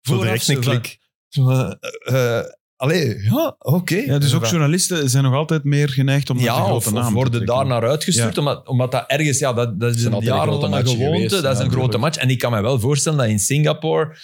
[SPEAKER 4] Zo
[SPEAKER 3] Vooraf
[SPEAKER 4] direct een
[SPEAKER 3] zo van,
[SPEAKER 4] klik.
[SPEAKER 3] zo van, eh, eh, allee, ja, oké.
[SPEAKER 2] Ja, dus ook
[SPEAKER 3] Van-
[SPEAKER 2] journalisten zijn nog altijd meer geneigd om naar de
[SPEAKER 3] ja,
[SPEAKER 2] grote
[SPEAKER 3] of, of
[SPEAKER 2] naam te
[SPEAKER 3] worden
[SPEAKER 2] trekken.
[SPEAKER 3] daar naar uitgestuurd, omdat, omdat dat ergens, ja, dat, dat is
[SPEAKER 5] zijn
[SPEAKER 3] een
[SPEAKER 5] altijd grote
[SPEAKER 3] jarenlange
[SPEAKER 5] matchen
[SPEAKER 3] gewoonte,
[SPEAKER 5] geweest,
[SPEAKER 3] dat is
[SPEAKER 5] ja,
[SPEAKER 3] een grote
[SPEAKER 5] natuurlijk.
[SPEAKER 3] match. En ik kan me wel voorstellen dat in Singapore,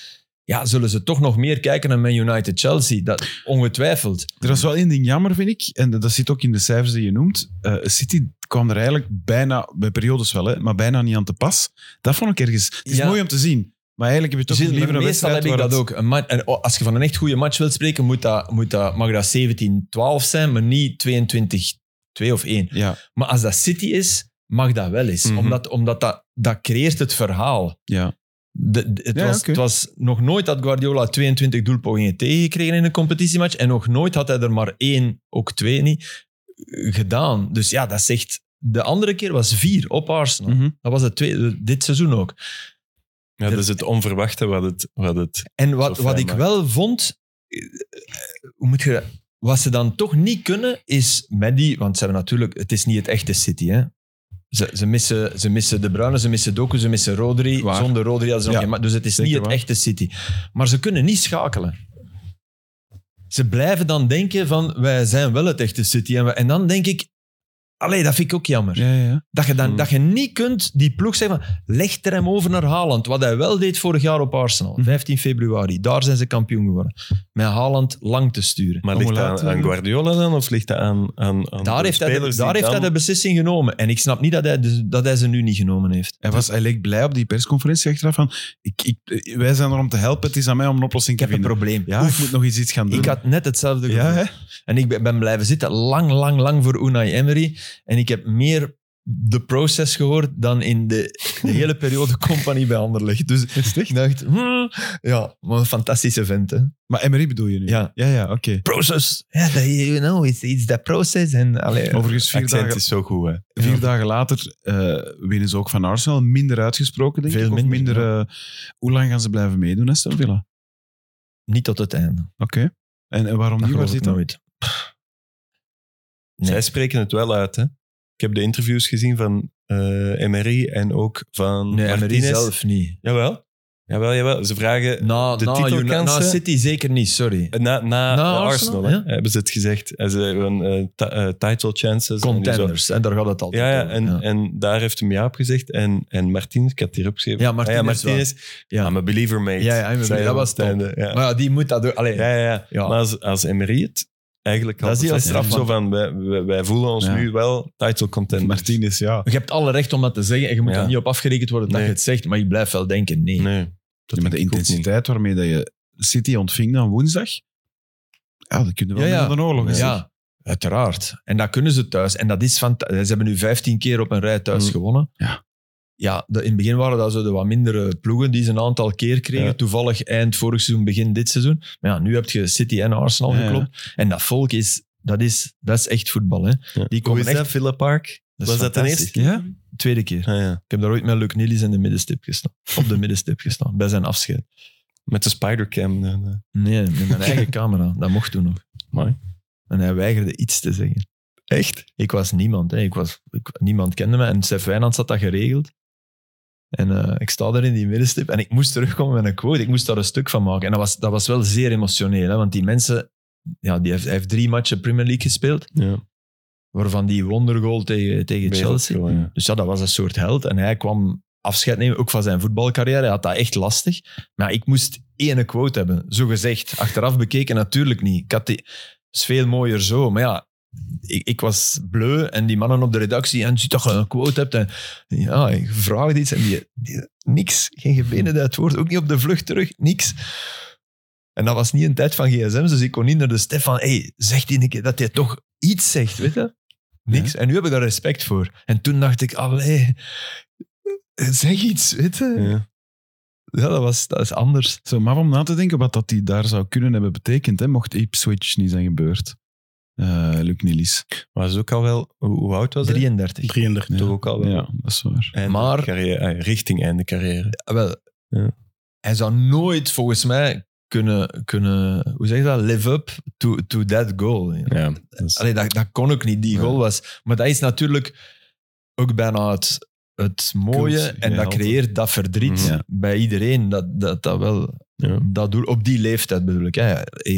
[SPEAKER 3] ja, zullen ze toch nog meer kijken naar Man United Chelsea, dat ongetwijfeld.
[SPEAKER 2] Er was wel één ding jammer, vind ik, en dat zit ook in de cijfers die je noemt. Eh, City kwam er eigenlijk bijna, bij periodes wel, hè, maar bijna niet aan te pas. Dat vond ik ergens... Het is
[SPEAKER 3] Ja.
[SPEAKER 2] mooi om te zien, maar eigenlijk heb je toch
[SPEAKER 3] Gilles,
[SPEAKER 2] liever een
[SPEAKER 3] Dus meestal
[SPEAKER 2] wedstrijd
[SPEAKER 3] heb ik
[SPEAKER 2] waar
[SPEAKER 3] dat
[SPEAKER 2] het-
[SPEAKER 3] ook. Een ma- en oh, als je van een echt goede match wilt spreken, moet dat, moet dat, mag dat 17-12 zijn, maar niet 22-2 of 1.
[SPEAKER 2] Ja,
[SPEAKER 3] Maar als dat City is, mag dat wel eens.
[SPEAKER 4] Mhm.
[SPEAKER 3] Omdat, omdat dat, dat creëert het verhaal.
[SPEAKER 2] ja.
[SPEAKER 3] De- de- het,
[SPEAKER 2] Ja,
[SPEAKER 3] was,
[SPEAKER 2] oké.
[SPEAKER 3] het was nog nooit dat Guardiola 22 doelpogingen tegengekregen in een competitiematch. En nog nooit had hij er maar één, ook twee niet, gedaan. Dus ja, dat zegt. De andere keer was vier op Arsenal.
[SPEAKER 2] Mhm.
[SPEAKER 3] Dat was het tweede, dit seizoen ook.
[SPEAKER 4] Ja, dat is het onverwachte wat het... Wat het
[SPEAKER 3] En
[SPEAKER 4] Zo
[SPEAKER 3] wat,
[SPEAKER 4] fijn,
[SPEAKER 3] wat ik
[SPEAKER 4] maar-
[SPEAKER 3] wel vond, eh, hoe moet je, dat- wat ze dan toch niet kunnen, is met die, want ze hebben natuurlijk, het is niet het echte City, hè. Ze, ze, missen, ze missen De Bruyne, ze missen Doku, ze missen Rodri.
[SPEAKER 2] Waar.
[SPEAKER 3] Zonder Rodri hadden ze nog
[SPEAKER 2] Ja,
[SPEAKER 3] geen ma- Dus het is
[SPEAKER 2] zeker
[SPEAKER 3] niet het
[SPEAKER 2] waar.
[SPEAKER 3] echte City. Maar ze kunnen niet schakelen. Ze blijven dan denken van, wij zijn wel het echte City. En, we- en dan denk ik, allee, dat vind ik ook jammer.
[SPEAKER 2] ja, ja, ja.
[SPEAKER 3] Dat je, dan,
[SPEAKER 4] Hmm.
[SPEAKER 3] dat je niet kunt die ploeg zeggen van, leg er hem over naar Haaland. Wat hij wel deed vorig jaar op Arsenal,
[SPEAKER 2] Hmm.
[SPEAKER 3] 15 februari. Daar zijn ze kampioen geworden. Met Haaland lang te sturen.
[SPEAKER 4] maar
[SPEAKER 2] Om
[SPEAKER 4] ligt
[SPEAKER 2] hoe
[SPEAKER 4] dat
[SPEAKER 2] laat,
[SPEAKER 4] aan, aan
[SPEAKER 2] eh?
[SPEAKER 4] Guardiola dan? Of ligt dat aan, aan, aan
[SPEAKER 3] daar
[SPEAKER 4] de
[SPEAKER 3] heeft, hij de,
[SPEAKER 4] spelers die
[SPEAKER 3] daar heeft hij
[SPEAKER 4] dan-
[SPEAKER 3] de beslissing genomen. En ik snap niet dat hij, de- dat hij ze nu niet genomen heeft.
[SPEAKER 2] Hij, was, hij leek blij op die persconferentie achteraf van ik, ik, wij zijn er om te helpen, het is aan mij om een oplossing
[SPEAKER 3] Ik
[SPEAKER 2] te
[SPEAKER 3] heb een
[SPEAKER 2] vinden.
[SPEAKER 3] probleem.
[SPEAKER 2] Ja, ik moet nog eens iets gaan doen.
[SPEAKER 3] Ik had net hetzelfde gevoel.
[SPEAKER 2] ja, hè?
[SPEAKER 3] En ik ben- ben blijven zitten lang, lang, lang voor Unai Emery. En ik heb meer de process gehoord dan in de, de hele periode compagnie bij Anderlecht. Dus ik dacht, hmm, ja, maar een fantastische vent, hè.
[SPEAKER 2] Maar Emery bedoel je nu?
[SPEAKER 3] Ja.
[SPEAKER 2] Ja, ja, oké.
[SPEAKER 3] Process. Ja, dat- you know, it's, it's that process. En, allee,
[SPEAKER 2] Overigens, vier,
[SPEAKER 4] accent
[SPEAKER 2] dagen,
[SPEAKER 4] is zo goed, hè.
[SPEAKER 2] vier dagen later eh, winnen ze ook van Arsenal. Minder uitgesproken, denk
[SPEAKER 3] Veel
[SPEAKER 2] ik. Of
[SPEAKER 3] minder,
[SPEAKER 2] minder, eh, hoe lang gaan ze blijven meedoen, Aston Villa? Oké.
[SPEAKER 3] niet tot het einde.
[SPEAKER 2] En, en waarom
[SPEAKER 3] Dat
[SPEAKER 2] niet? Waar
[SPEAKER 3] geloof ik
[SPEAKER 2] zit dat?
[SPEAKER 3] nooit. Nee.
[SPEAKER 4] Zij spreken het wel uit, hè. Ik heb de interviews gezien van eh Emery en ook van
[SPEAKER 3] Nee, Emery
[SPEAKER 4] Martinez.
[SPEAKER 3] zelf niet.
[SPEAKER 4] Jawel. Jawel, jawel. Ze vragen
[SPEAKER 3] Na,
[SPEAKER 4] De
[SPEAKER 3] na,
[SPEAKER 4] titelkansen-
[SPEAKER 3] na City zeker niet, sorry.
[SPEAKER 4] Na, na, eh,
[SPEAKER 3] Arsenal,
[SPEAKER 4] Arsenal,
[SPEAKER 3] ja.
[SPEAKER 4] hè, hebben ze het gezegd. En ze hebben eh, ti- eh, title chances. en zo.
[SPEAKER 3] Contenders, en daar gaat het altijd
[SPEAKER 4] Ja, ja,
[SPEAKER 3] over,
[SPEAKER 4] en,
[SPEAKER 3] ja.
[SPEAKER 4] en daar heeft hem ja op gezegd. En, en Martinez, ik had het hier opgeschreven.
[SPEAKER 3] Ja,
[SPEAKER 4] Ah
[SPEAKER 3] Martinez
[SPEAKER 4] Ja.
[SPEAKER 3] Ja.
[SPEAKER 4] I'm a believer, mate.
[SPEAKER 3] Ja, ja, I'm a
[SPEAKER 4] zei
[SPEAKER 3] believer.
[SPEAKER 4] hij
[SPEAKER 3] Dat
[SPEAKER 4] op
[SPEAKER 3] was
[SPEAKER 4] het
[SPEAKER 3] top.
[SPEAKER 4] einde, Ja.
[SPEAKER 3] Maar ja, die moet dat doen. Allee,
[SPEAKER 4] Ja, ja, ja.
[SPEAKER 3] Ja.
[SPEAKER 4] Maar als, als Emery het eigenlijk
[SPEAKER 3] Dat
[SPEAKER 4] had
[SPEAKER 3] is heel
[SPEAKER 4] bevestigd,
[SPEAKER 3] straf,
[SPEAKER 4] zo van, wij, wij, wij voelen ons
[SPEAKER 2] Ja.
[SPEAKER 4] nu wel title contenders.
[SPEAKER 2] Martinez, ja.
[SPEAKER 3] Je hebt alle recht om dat te zeggen en je moet
[SPEAKER 4] Ja.
[SPEAKER 3] er niet op afgerekend worden dat
[SPEAKER 4] Nee.
[SPEAKER 3] je het zegt, maar ik blijf wel denken, nee.
[SPEAKER 4] Nee.
[SPEAKER 2] Ja, maar de
[SPEAKER 4] denk ik ook
[SPEAKER 2] intensiteit waarmee dat je City ontving dan woensdag, ja, dat kunnen we wel
[SPEAKER 3] Ja,
[SPEAKER 2] ja,
[SPEAKER 3] ja.
[SPEAKER 2] een oorlog is.
[SPEAKER 3] Ja, uiteraard. En dat kunnen ze thuis. En dat is van... Ze hebben nu 15 keer op een rij thuis
[SPEAKER 4] Mm.
[SPEAKER 3] gewonnen.
[SPEAKER 2] Ja.
[SPEAKER 3] Ja, de- in het begin waren dat zo de wat mindere ploegen die ze een aantal keer kregen.
[SPEAKER 4] Ja.
[SPEAKER 3] Toevallig eind vorig seizoen, begin dit seizoen. Maar ja, nu heb je City en Arsenal
[SPEAKER 2] Ja, ja.
[SPEAKER 3] geklopt. En dat volk is... Dat is, dat is echt voetbal, hè. Die
[SPEAKER 4] Hoe
[SPEAKER 3] komen
[SPEAKER 4] is
[SPEAKER 3] echt...
[SPEAKER 4] dat, Villa Park?
[SPEAKER 3] dat is
[SPEAKER 4] Was dat de
[SPEAKER 3] fantastisch.
[SPEAKER 4] eerste?
[SPEAKER 2] Ja?
[SPEAKER 3] Tweede keer.
[SPEAKER 4] Ah, ja.
[SPEAKER 3] Ik heb daar ooit met Luc Nilis in de middenstip gestaan. Op de middenstip gestaan, bij zijn afscheid.
[SPEAKER 4] Met de Spidercam. En, eh,
[SPEAKER 3] Nee, met mijn eigen camera. Dat mocht toen nog.
[SPEAKER 4] Mooi.
[SPEAKER 3] En hij weigerde iets te zeggen. Echt? Ik was niemand. Hè. Ik was, ik- niemand kende me. En Stef Wijnands had dat geregeld. En eh, ik sta daar in die middenstip en ik moest terugkomen met een quote. Ik moest daar een stuk van maken. En dat was, dat was wel zeer emotioneel. Hè, want die mensen... Ja, die heeft, hij heeft drie matchen Premier League gespeeld.
[SPEAKER 4] ja,
[SPEAKER 3] Waarvan die wondergoal tegen, tegen Chelsea.
[SPEAKER 4] wereldgoal, ja.
[SPEAKER 3] Dus ja, dat was een soort held. En hij kwam afscheid nemen, ook van zijn voetbalcarrière. Hij had dat echt lastig. Maar ik moest ene quote hebben, zo gezegd. Achteraf bekeken natuurlijk niet. Ik had die... is veel mooier zo. Maar ja, ik, ik was bleu en die mannen op de redactie... En ziet dat je een quote hebt. En, ja, ik vraagde iets en die, die- Niks. Geen gebenen uit het woord. Ook niet op de vlucht terug. Niks. En dat was niet een tijd van gsm's, dus ik kon niet naar de Stefan. hey, zeg die een keer dat hij toch iets zegt, weet je? Niks. En nu heb ik daar respect voor. En toen dacht ik, allee, zeg iets, weet je? Ja,
[SPEAKER 4] Ja.
[SPEAKER 3] dat, was, dat is anders.
[SPEAKER 2] Zo, maar om na te denken wat dat die daar zou kunnen hebben betekend, hè, mocht Ipswich niet zijn gebeurd. Eh Luc Nilis.
[SPEAKER 4] Maar dat is ook al wel... Hoe, hoe oud was hij?
[SPEAKER 3] 33.
[SPEAKER 6] 33.
[SPEAKER 2] Ja.
[SPEAKER 4] Toch ook al wel.
[SPEAKER 2] Ja, dat is waar.
[SPEAKER 4] Einde
[SPEAKER 3] Maar-
[SPEAKER 4] carrière, eh, richting einde carrière.
[SPEAKER 3] Wel,
[SPEAKER 4] Ja.
[SPEAKER 3] hij zou nooit volgens mij kunnen, kunnen hoe zeg je dat, live up to, to that goal.
[SPEAKER 4] Ja, Dus- dat is-
[SPEAKER 3] Allee, dat, dat kon ook niet, die goal was. Maar dat is natuurlijk ook bijna het, het mooie.
[SPEAKER 4] Cult,
[SPEAKER 3] en
[SPEAKER 4] ja,
[SPEAKER 3] dat creëert dat verdriet
[SPEAKER 2] Mm.
[SPEAKER 4] Ja.
[SPEAKER 3] bij iedereen. Dat, dat, dat wel.
[SPEAKER 4] Ja.
[SPEAKER 3] Dat doel, op die leeftijd bedoel ik. Hè.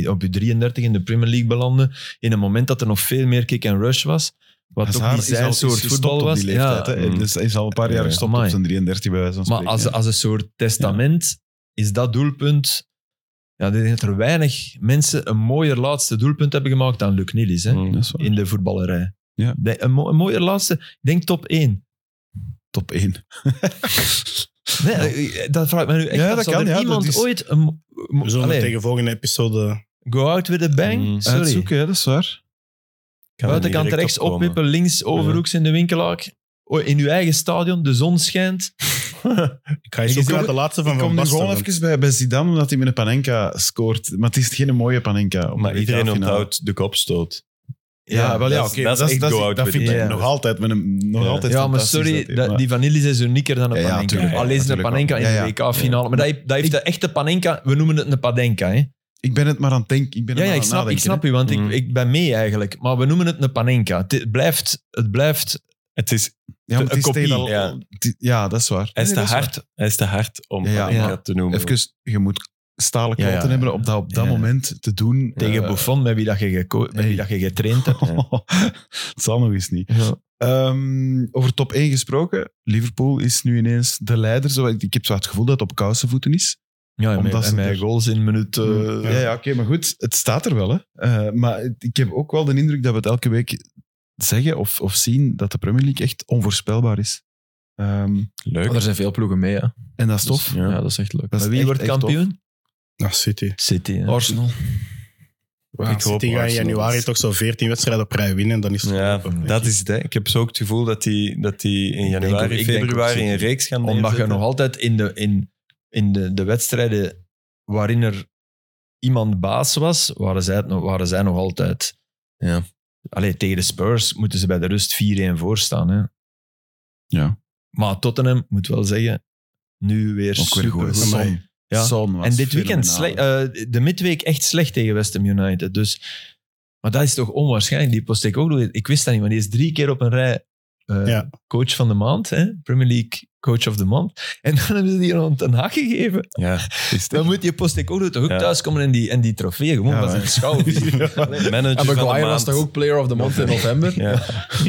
[SPEAKER 3] Op je 33 in de Premier League belanden. In een moment dat er nog veel meer kick-and-rush was. Wat
[SPEAKER 2] Hazard
[SPEAKER 3] toch niet zijn
[SPEAKER 2] al-
[SPEAKER 3] soort
[SPEAKER 2] gestopt
[SPEAKER 3] voetbal
[SPEAKER 2] op
[SPEAKER 3] was.
[SPEAKER 2] die leeftijd,
[SPEAKER 3] Ja.
[SPEAKER 2] hè.
[SPEAKER 4] Mm.
[SPEAKER 2] Dus hij is al een paar jaar
[SPEAKER 3] Ja,
[SPEAKER 2] gestopt op
[SPEAKER 3] amai.
[SPEAKER 2] zijn 33 bij wijze van
[SPEAKER 3] Maar
[SPEAKER 2] spreken,
[SPEAKER 3] als,
[SPEAKER 2] hè.
[SPEAKER 3] als een soort testament is dat doelpunt... Ja, ik denk dat er weinig mensen een mooier laatste doelpunt hebben gemaakt dan Luc Nilis. Hè?
[SPEAKER 4] Mm.
[SPEAKER 2] Dat is waar.
[SPEAKER 3] in de voetballerij.
[SPEAKER 2] Ja.
[SPEAKER 3] De- een, mo- een mooie laatste, ik denk top 1.
[SPEAKER 2] Top 1.
[SPEAKER 3] Nee, eh, eh, dat vraag ik me nu echt
[SPEAKER 2] Ja,
[SPEAKER 3] af.
[SPEAKER 2] dat
[SPEAKER 3] Zou
[SPEAKER 2] kan,
[SPEAKER 3] er
[SPEAKER 2] ja,
[SPEAKER 3] iemand
[SPEAKER 2] dat is-
[SPEAKER 3] ooit... Een, mo- mo-
[SPEAKER 6] We zullen
[SPEAKER 3] Allee,
[SPEAKER 6] tegen volgende episode...
[SPEAKER 3] Go out with a bang,
[SPEAKER 4] Mm.
[SPEAKER 3] sorry.
[SPEAKER 2] Uitzoeken, hè, dat is waar.
[SPEAKER 4] Kan er niet
[SPEAKER 3] Buitenkant
[SPEAKER 4] direct
[SPEAKER 3] rechts
[SPEAKER 4] opkomen.
[SPEAKER 3] opwippen, links overhoeks in de winkelaak. O, In uw eigen stadion, de zon schijnt.
[SPEAKER 6] Ik ga
[SPEAKER 2] Ik
[SPEAKER 6] je zoeken
[SPEAKER 2] kom-
[SPEAKER 6] naar de laatste van
[SPEAKER 2] Ik kom
[SPEAKER 6] Van
[SPEAKER 2] nu
[SPEAKER 6] Basten.
[SPEAKER 2] gewoon
[SPEAKER 6] want-
[SPEAKER 2] even bij, bij Zidane, omdat hij met een panenka scoort. Maar het is geen mooie panenka. op
[SPEAKER 4] Maar
[SPEAKER 2] de
[SPEAKER 4] iedereen
[SPEAKER 2] WK-finale.
[SPEAKER 4] onthoudt de kopstoot.
[SPEAKER 2] nou. Ja, wel ja,
[SPEAKER 4] dat is-
[SPEAKER 2] oké.
[SPEAKER 4] dat
[SPEAKER 2] maar
[SPEAKER 4] is
[SPEAKER 2] dat, is-
[SPEAKER 4] echt
[SPEAKER 2] dat, is-
[SPEAKER 4] go out
[SPEAKER 2] dat
[SPEAKER 4] with
[SPEAKER 2] vind
[SPEAKER 3] it.
[SPEAKER 2] ik
[SPEAKER 3] Ja.
[SPEAKER 2] nog altijd, met een, nog
[SPEAKER 4] Ja.
[SPEAKER 2] altijd
[SPEAKER 3] Ja, maar
[SPEAKER 2] fantastisch
[SPEAKER 3] sorry,
[SPEAKER 2] dat hij-
[SPEAKER 3] dat-
[SPEAKER 2] maar-
[SPEAKER 3] die vanillis is unieker dan een
[SPEAKER 2] Ja, ja,
[SPEAKER 3] panenka.
[SPEAKER 2] tuurlijk, ja,
[SPEAKER 3] Al is een
[SPEAKER 2] natuurlijk
[SPEAKER 3] panenka in
[SPEAKER 2] wel. Ja,
[SPEAKER 3] de
[SPEAKER 2] ja.
[SPEAKER 3] WK-finale. Maar dat, heeft- dat heeft de echte panenka... We noemen het een panenka, hè.
[SPEAKER 2] Ik ben het maar aan het denken. Ik ben
[SPEAKER 3] Ja,
[SPEAKER 2] er
[SPEAKER 3] ja
[SPEAKER 2] maar
[SPEAKER 3] ik,
[SPEAKER 2] aan
[SPEAKER 3] snap, ik
[SPEAKER 2] nadenken, hè. Mhm.
[SPEAKER 3] snap u, want
[SPEAKER 4] Mm.
[SPEAKER 3] ik, ik ben mee eigenlijk. Maar we noemen het een panenka. Het- Het blijft, het blijft
[SPEAKER 4] Het is,
[SPEAKER 2] Ja, maar
[SPEAKER 4] Een
[SPEAKER 2] het is
[SPEAKER 4] kopie,
[SPEAKER 2] tegen al-
[SPEAKER 4] ja.
[SPEAKER 2] het- ja, dat is waar.
[SPEAKER 4] hij, is
[SPEAKER 2] Nee,
[SPEAKER 4] te
[SPEAKER 2] dat waar.
[SPEAKER 4] hard, hij is te hard om
[SPEAKER 2] Ja, ja.
[SPEAKER 4] Panenka
[SPEAKER 3] Ja.
[SPEAKER 4] te noemen.
[SPEAKER 2] Even, je moet stalen
[SPEAKER 3] Ja,
[SPEAKER 2] klanten
[SPEAKER 3] ja.
[SPEAKER 2] hebben om dat op dat
[SPEAKER 3] Ja.
[SPEAKER 2] moment te doen.
[SPEAKER 3] Tegen
[SPEAKER 2] Eh,
[SPEAKER 3] Buffon, met wie, dat je, geco- met
[SPEAKER 2] hey.
[SPEAKER 3] wie dat je getraind hebt.
[SPEAKER 2] het zal nog eens niet. Ehm, over top 1 gesproken. Liverpool is nu ineens de leider. Zo, ik ik heb zo het gevoel dat het op kousenvoeten is.
[SPEAKER 3] Ja, en
[SPEAKER 2] Omdat
[SPEAKER 3] met,
[SPEAKER 2] ze
[SPEAKER 3] en met
[SPEAKER 2] er- Mhm.
[SPEAKER 3] goals in minuut... eh,
[SPEAKER 2] ja, ja oké, maar goed, het staat er wel. Hè. Eh, maar het- ik heb ook wel de indruk dat we het elke week zeggen of, of zien dat de Premier League echt onvoorspelbaar is. Ehm,
[SPEAKER 4] Leuk.
[SPEAKER 5] Maar er zijn veel ploegen mee, hè.
[SPEAKER 2] en dat is
[SPEAKER 5] Dus,
[SPEAKER 2] tof.
[SPEAKER 5] ja. dat is echt leuk.
[SPEAKER 2] Dat is
[SPEAKER 3] Maar wie
[SPEAKER 2] echt,
[SPEAKER 3] wordt
[SPEAKER 2] echt tof.
[SPEAKER 3] kampioen?
[SPEAKER 6] Ah, City.
[SPEAKER 3] City. hè.
[SPEAKER 5] Arsenal.
[SPEAKER 6] Ja,
[SPEAKER 4] Ik hoop
[SPEAKER 6] City gaat in
[SPEAKER 4] Arsenal.
[SPEAKER 6] januari toch zo'n 14 wedstrijden op rij winnen. Dan is het
[SPEAKER 4] Ja,
[SPEAKER 6] gelopen.
[SPEAKER 4] dat is het. hè. Ik heb zo ook het gevoel dat die, dat die in
[SPEAKER 3] denk ook-
[SPEAKER 4] januari,
[SPEAKER 3] ik denk ook
[SPEAKER 4] februari
[SPEAKER 3] zeker.
[SPEAKER 4] een reeks gaan
[SPEAKER 3] Omdat je
[SPEAKER 4] neerzetten.
[SPEAKER 3] nog altijd in, de, in, in de, de wedstrijden waarin er iemand baas was, waren zij, het nog- waren zij nog altijd...
[SPEAKER 4] Ja.
[SPEAKER 3] Allee, tegen de Spurs moeten ze bij de rust 4-1 voorstaan. Hè.
[SPEAKER 2] Ja.
[SPEAKER 3] Maar Tottenham, moet wel zeggen, nu weer
[SPEAKER 2] Ook weer
[SPEAKER 3] super
[SPEAKER 2] goed.
[SPEAKER 3] goed.
[SPEAKER 2] Son.
[SPEAKER 3] Ja.
[SPEAKER 2] Son was
[SPEAKER 3] En dit
[SPEAKER 2] fenomenaal.
[SPEAKER 3] weekend, slecht, eh, de midweek echt slecht tegen West Ham United. Dus, maar dat is toch onwaarschijnlijk. Die post ik ook nog. Ik wist dat niet, maar die is drie keer op een rij eh,
[SPEAKER 6] Ja.
[SPEAKER 3] coach van de maand. Hè? Premier League coach of the month. En dan hebben ze die aan Ten Hag gegeven.
[SPEAKER 4] Ja, is
[SPEAKER 3] Dan moet je post ik ook nog toch ook
[SPEAKER 4] Ja.
[SPEAKER 3] thuiskomen en die, en die trofee gewoon
[SPEAKER 2] Ja,
[SPEAKER 3] van
[SPEAKER 2] hè.
[SPEAKER 3] zijn schouw.
[SPEAKER 4] Manager
[SPEAKER 5] En
[SPEAKER 4] van de
[SPEAKER 5] Maguire was
[SPEAKER 4] maand.
[SPEAKER 5] toch ook player of the month in november?
[SPEAKER 4] Ja.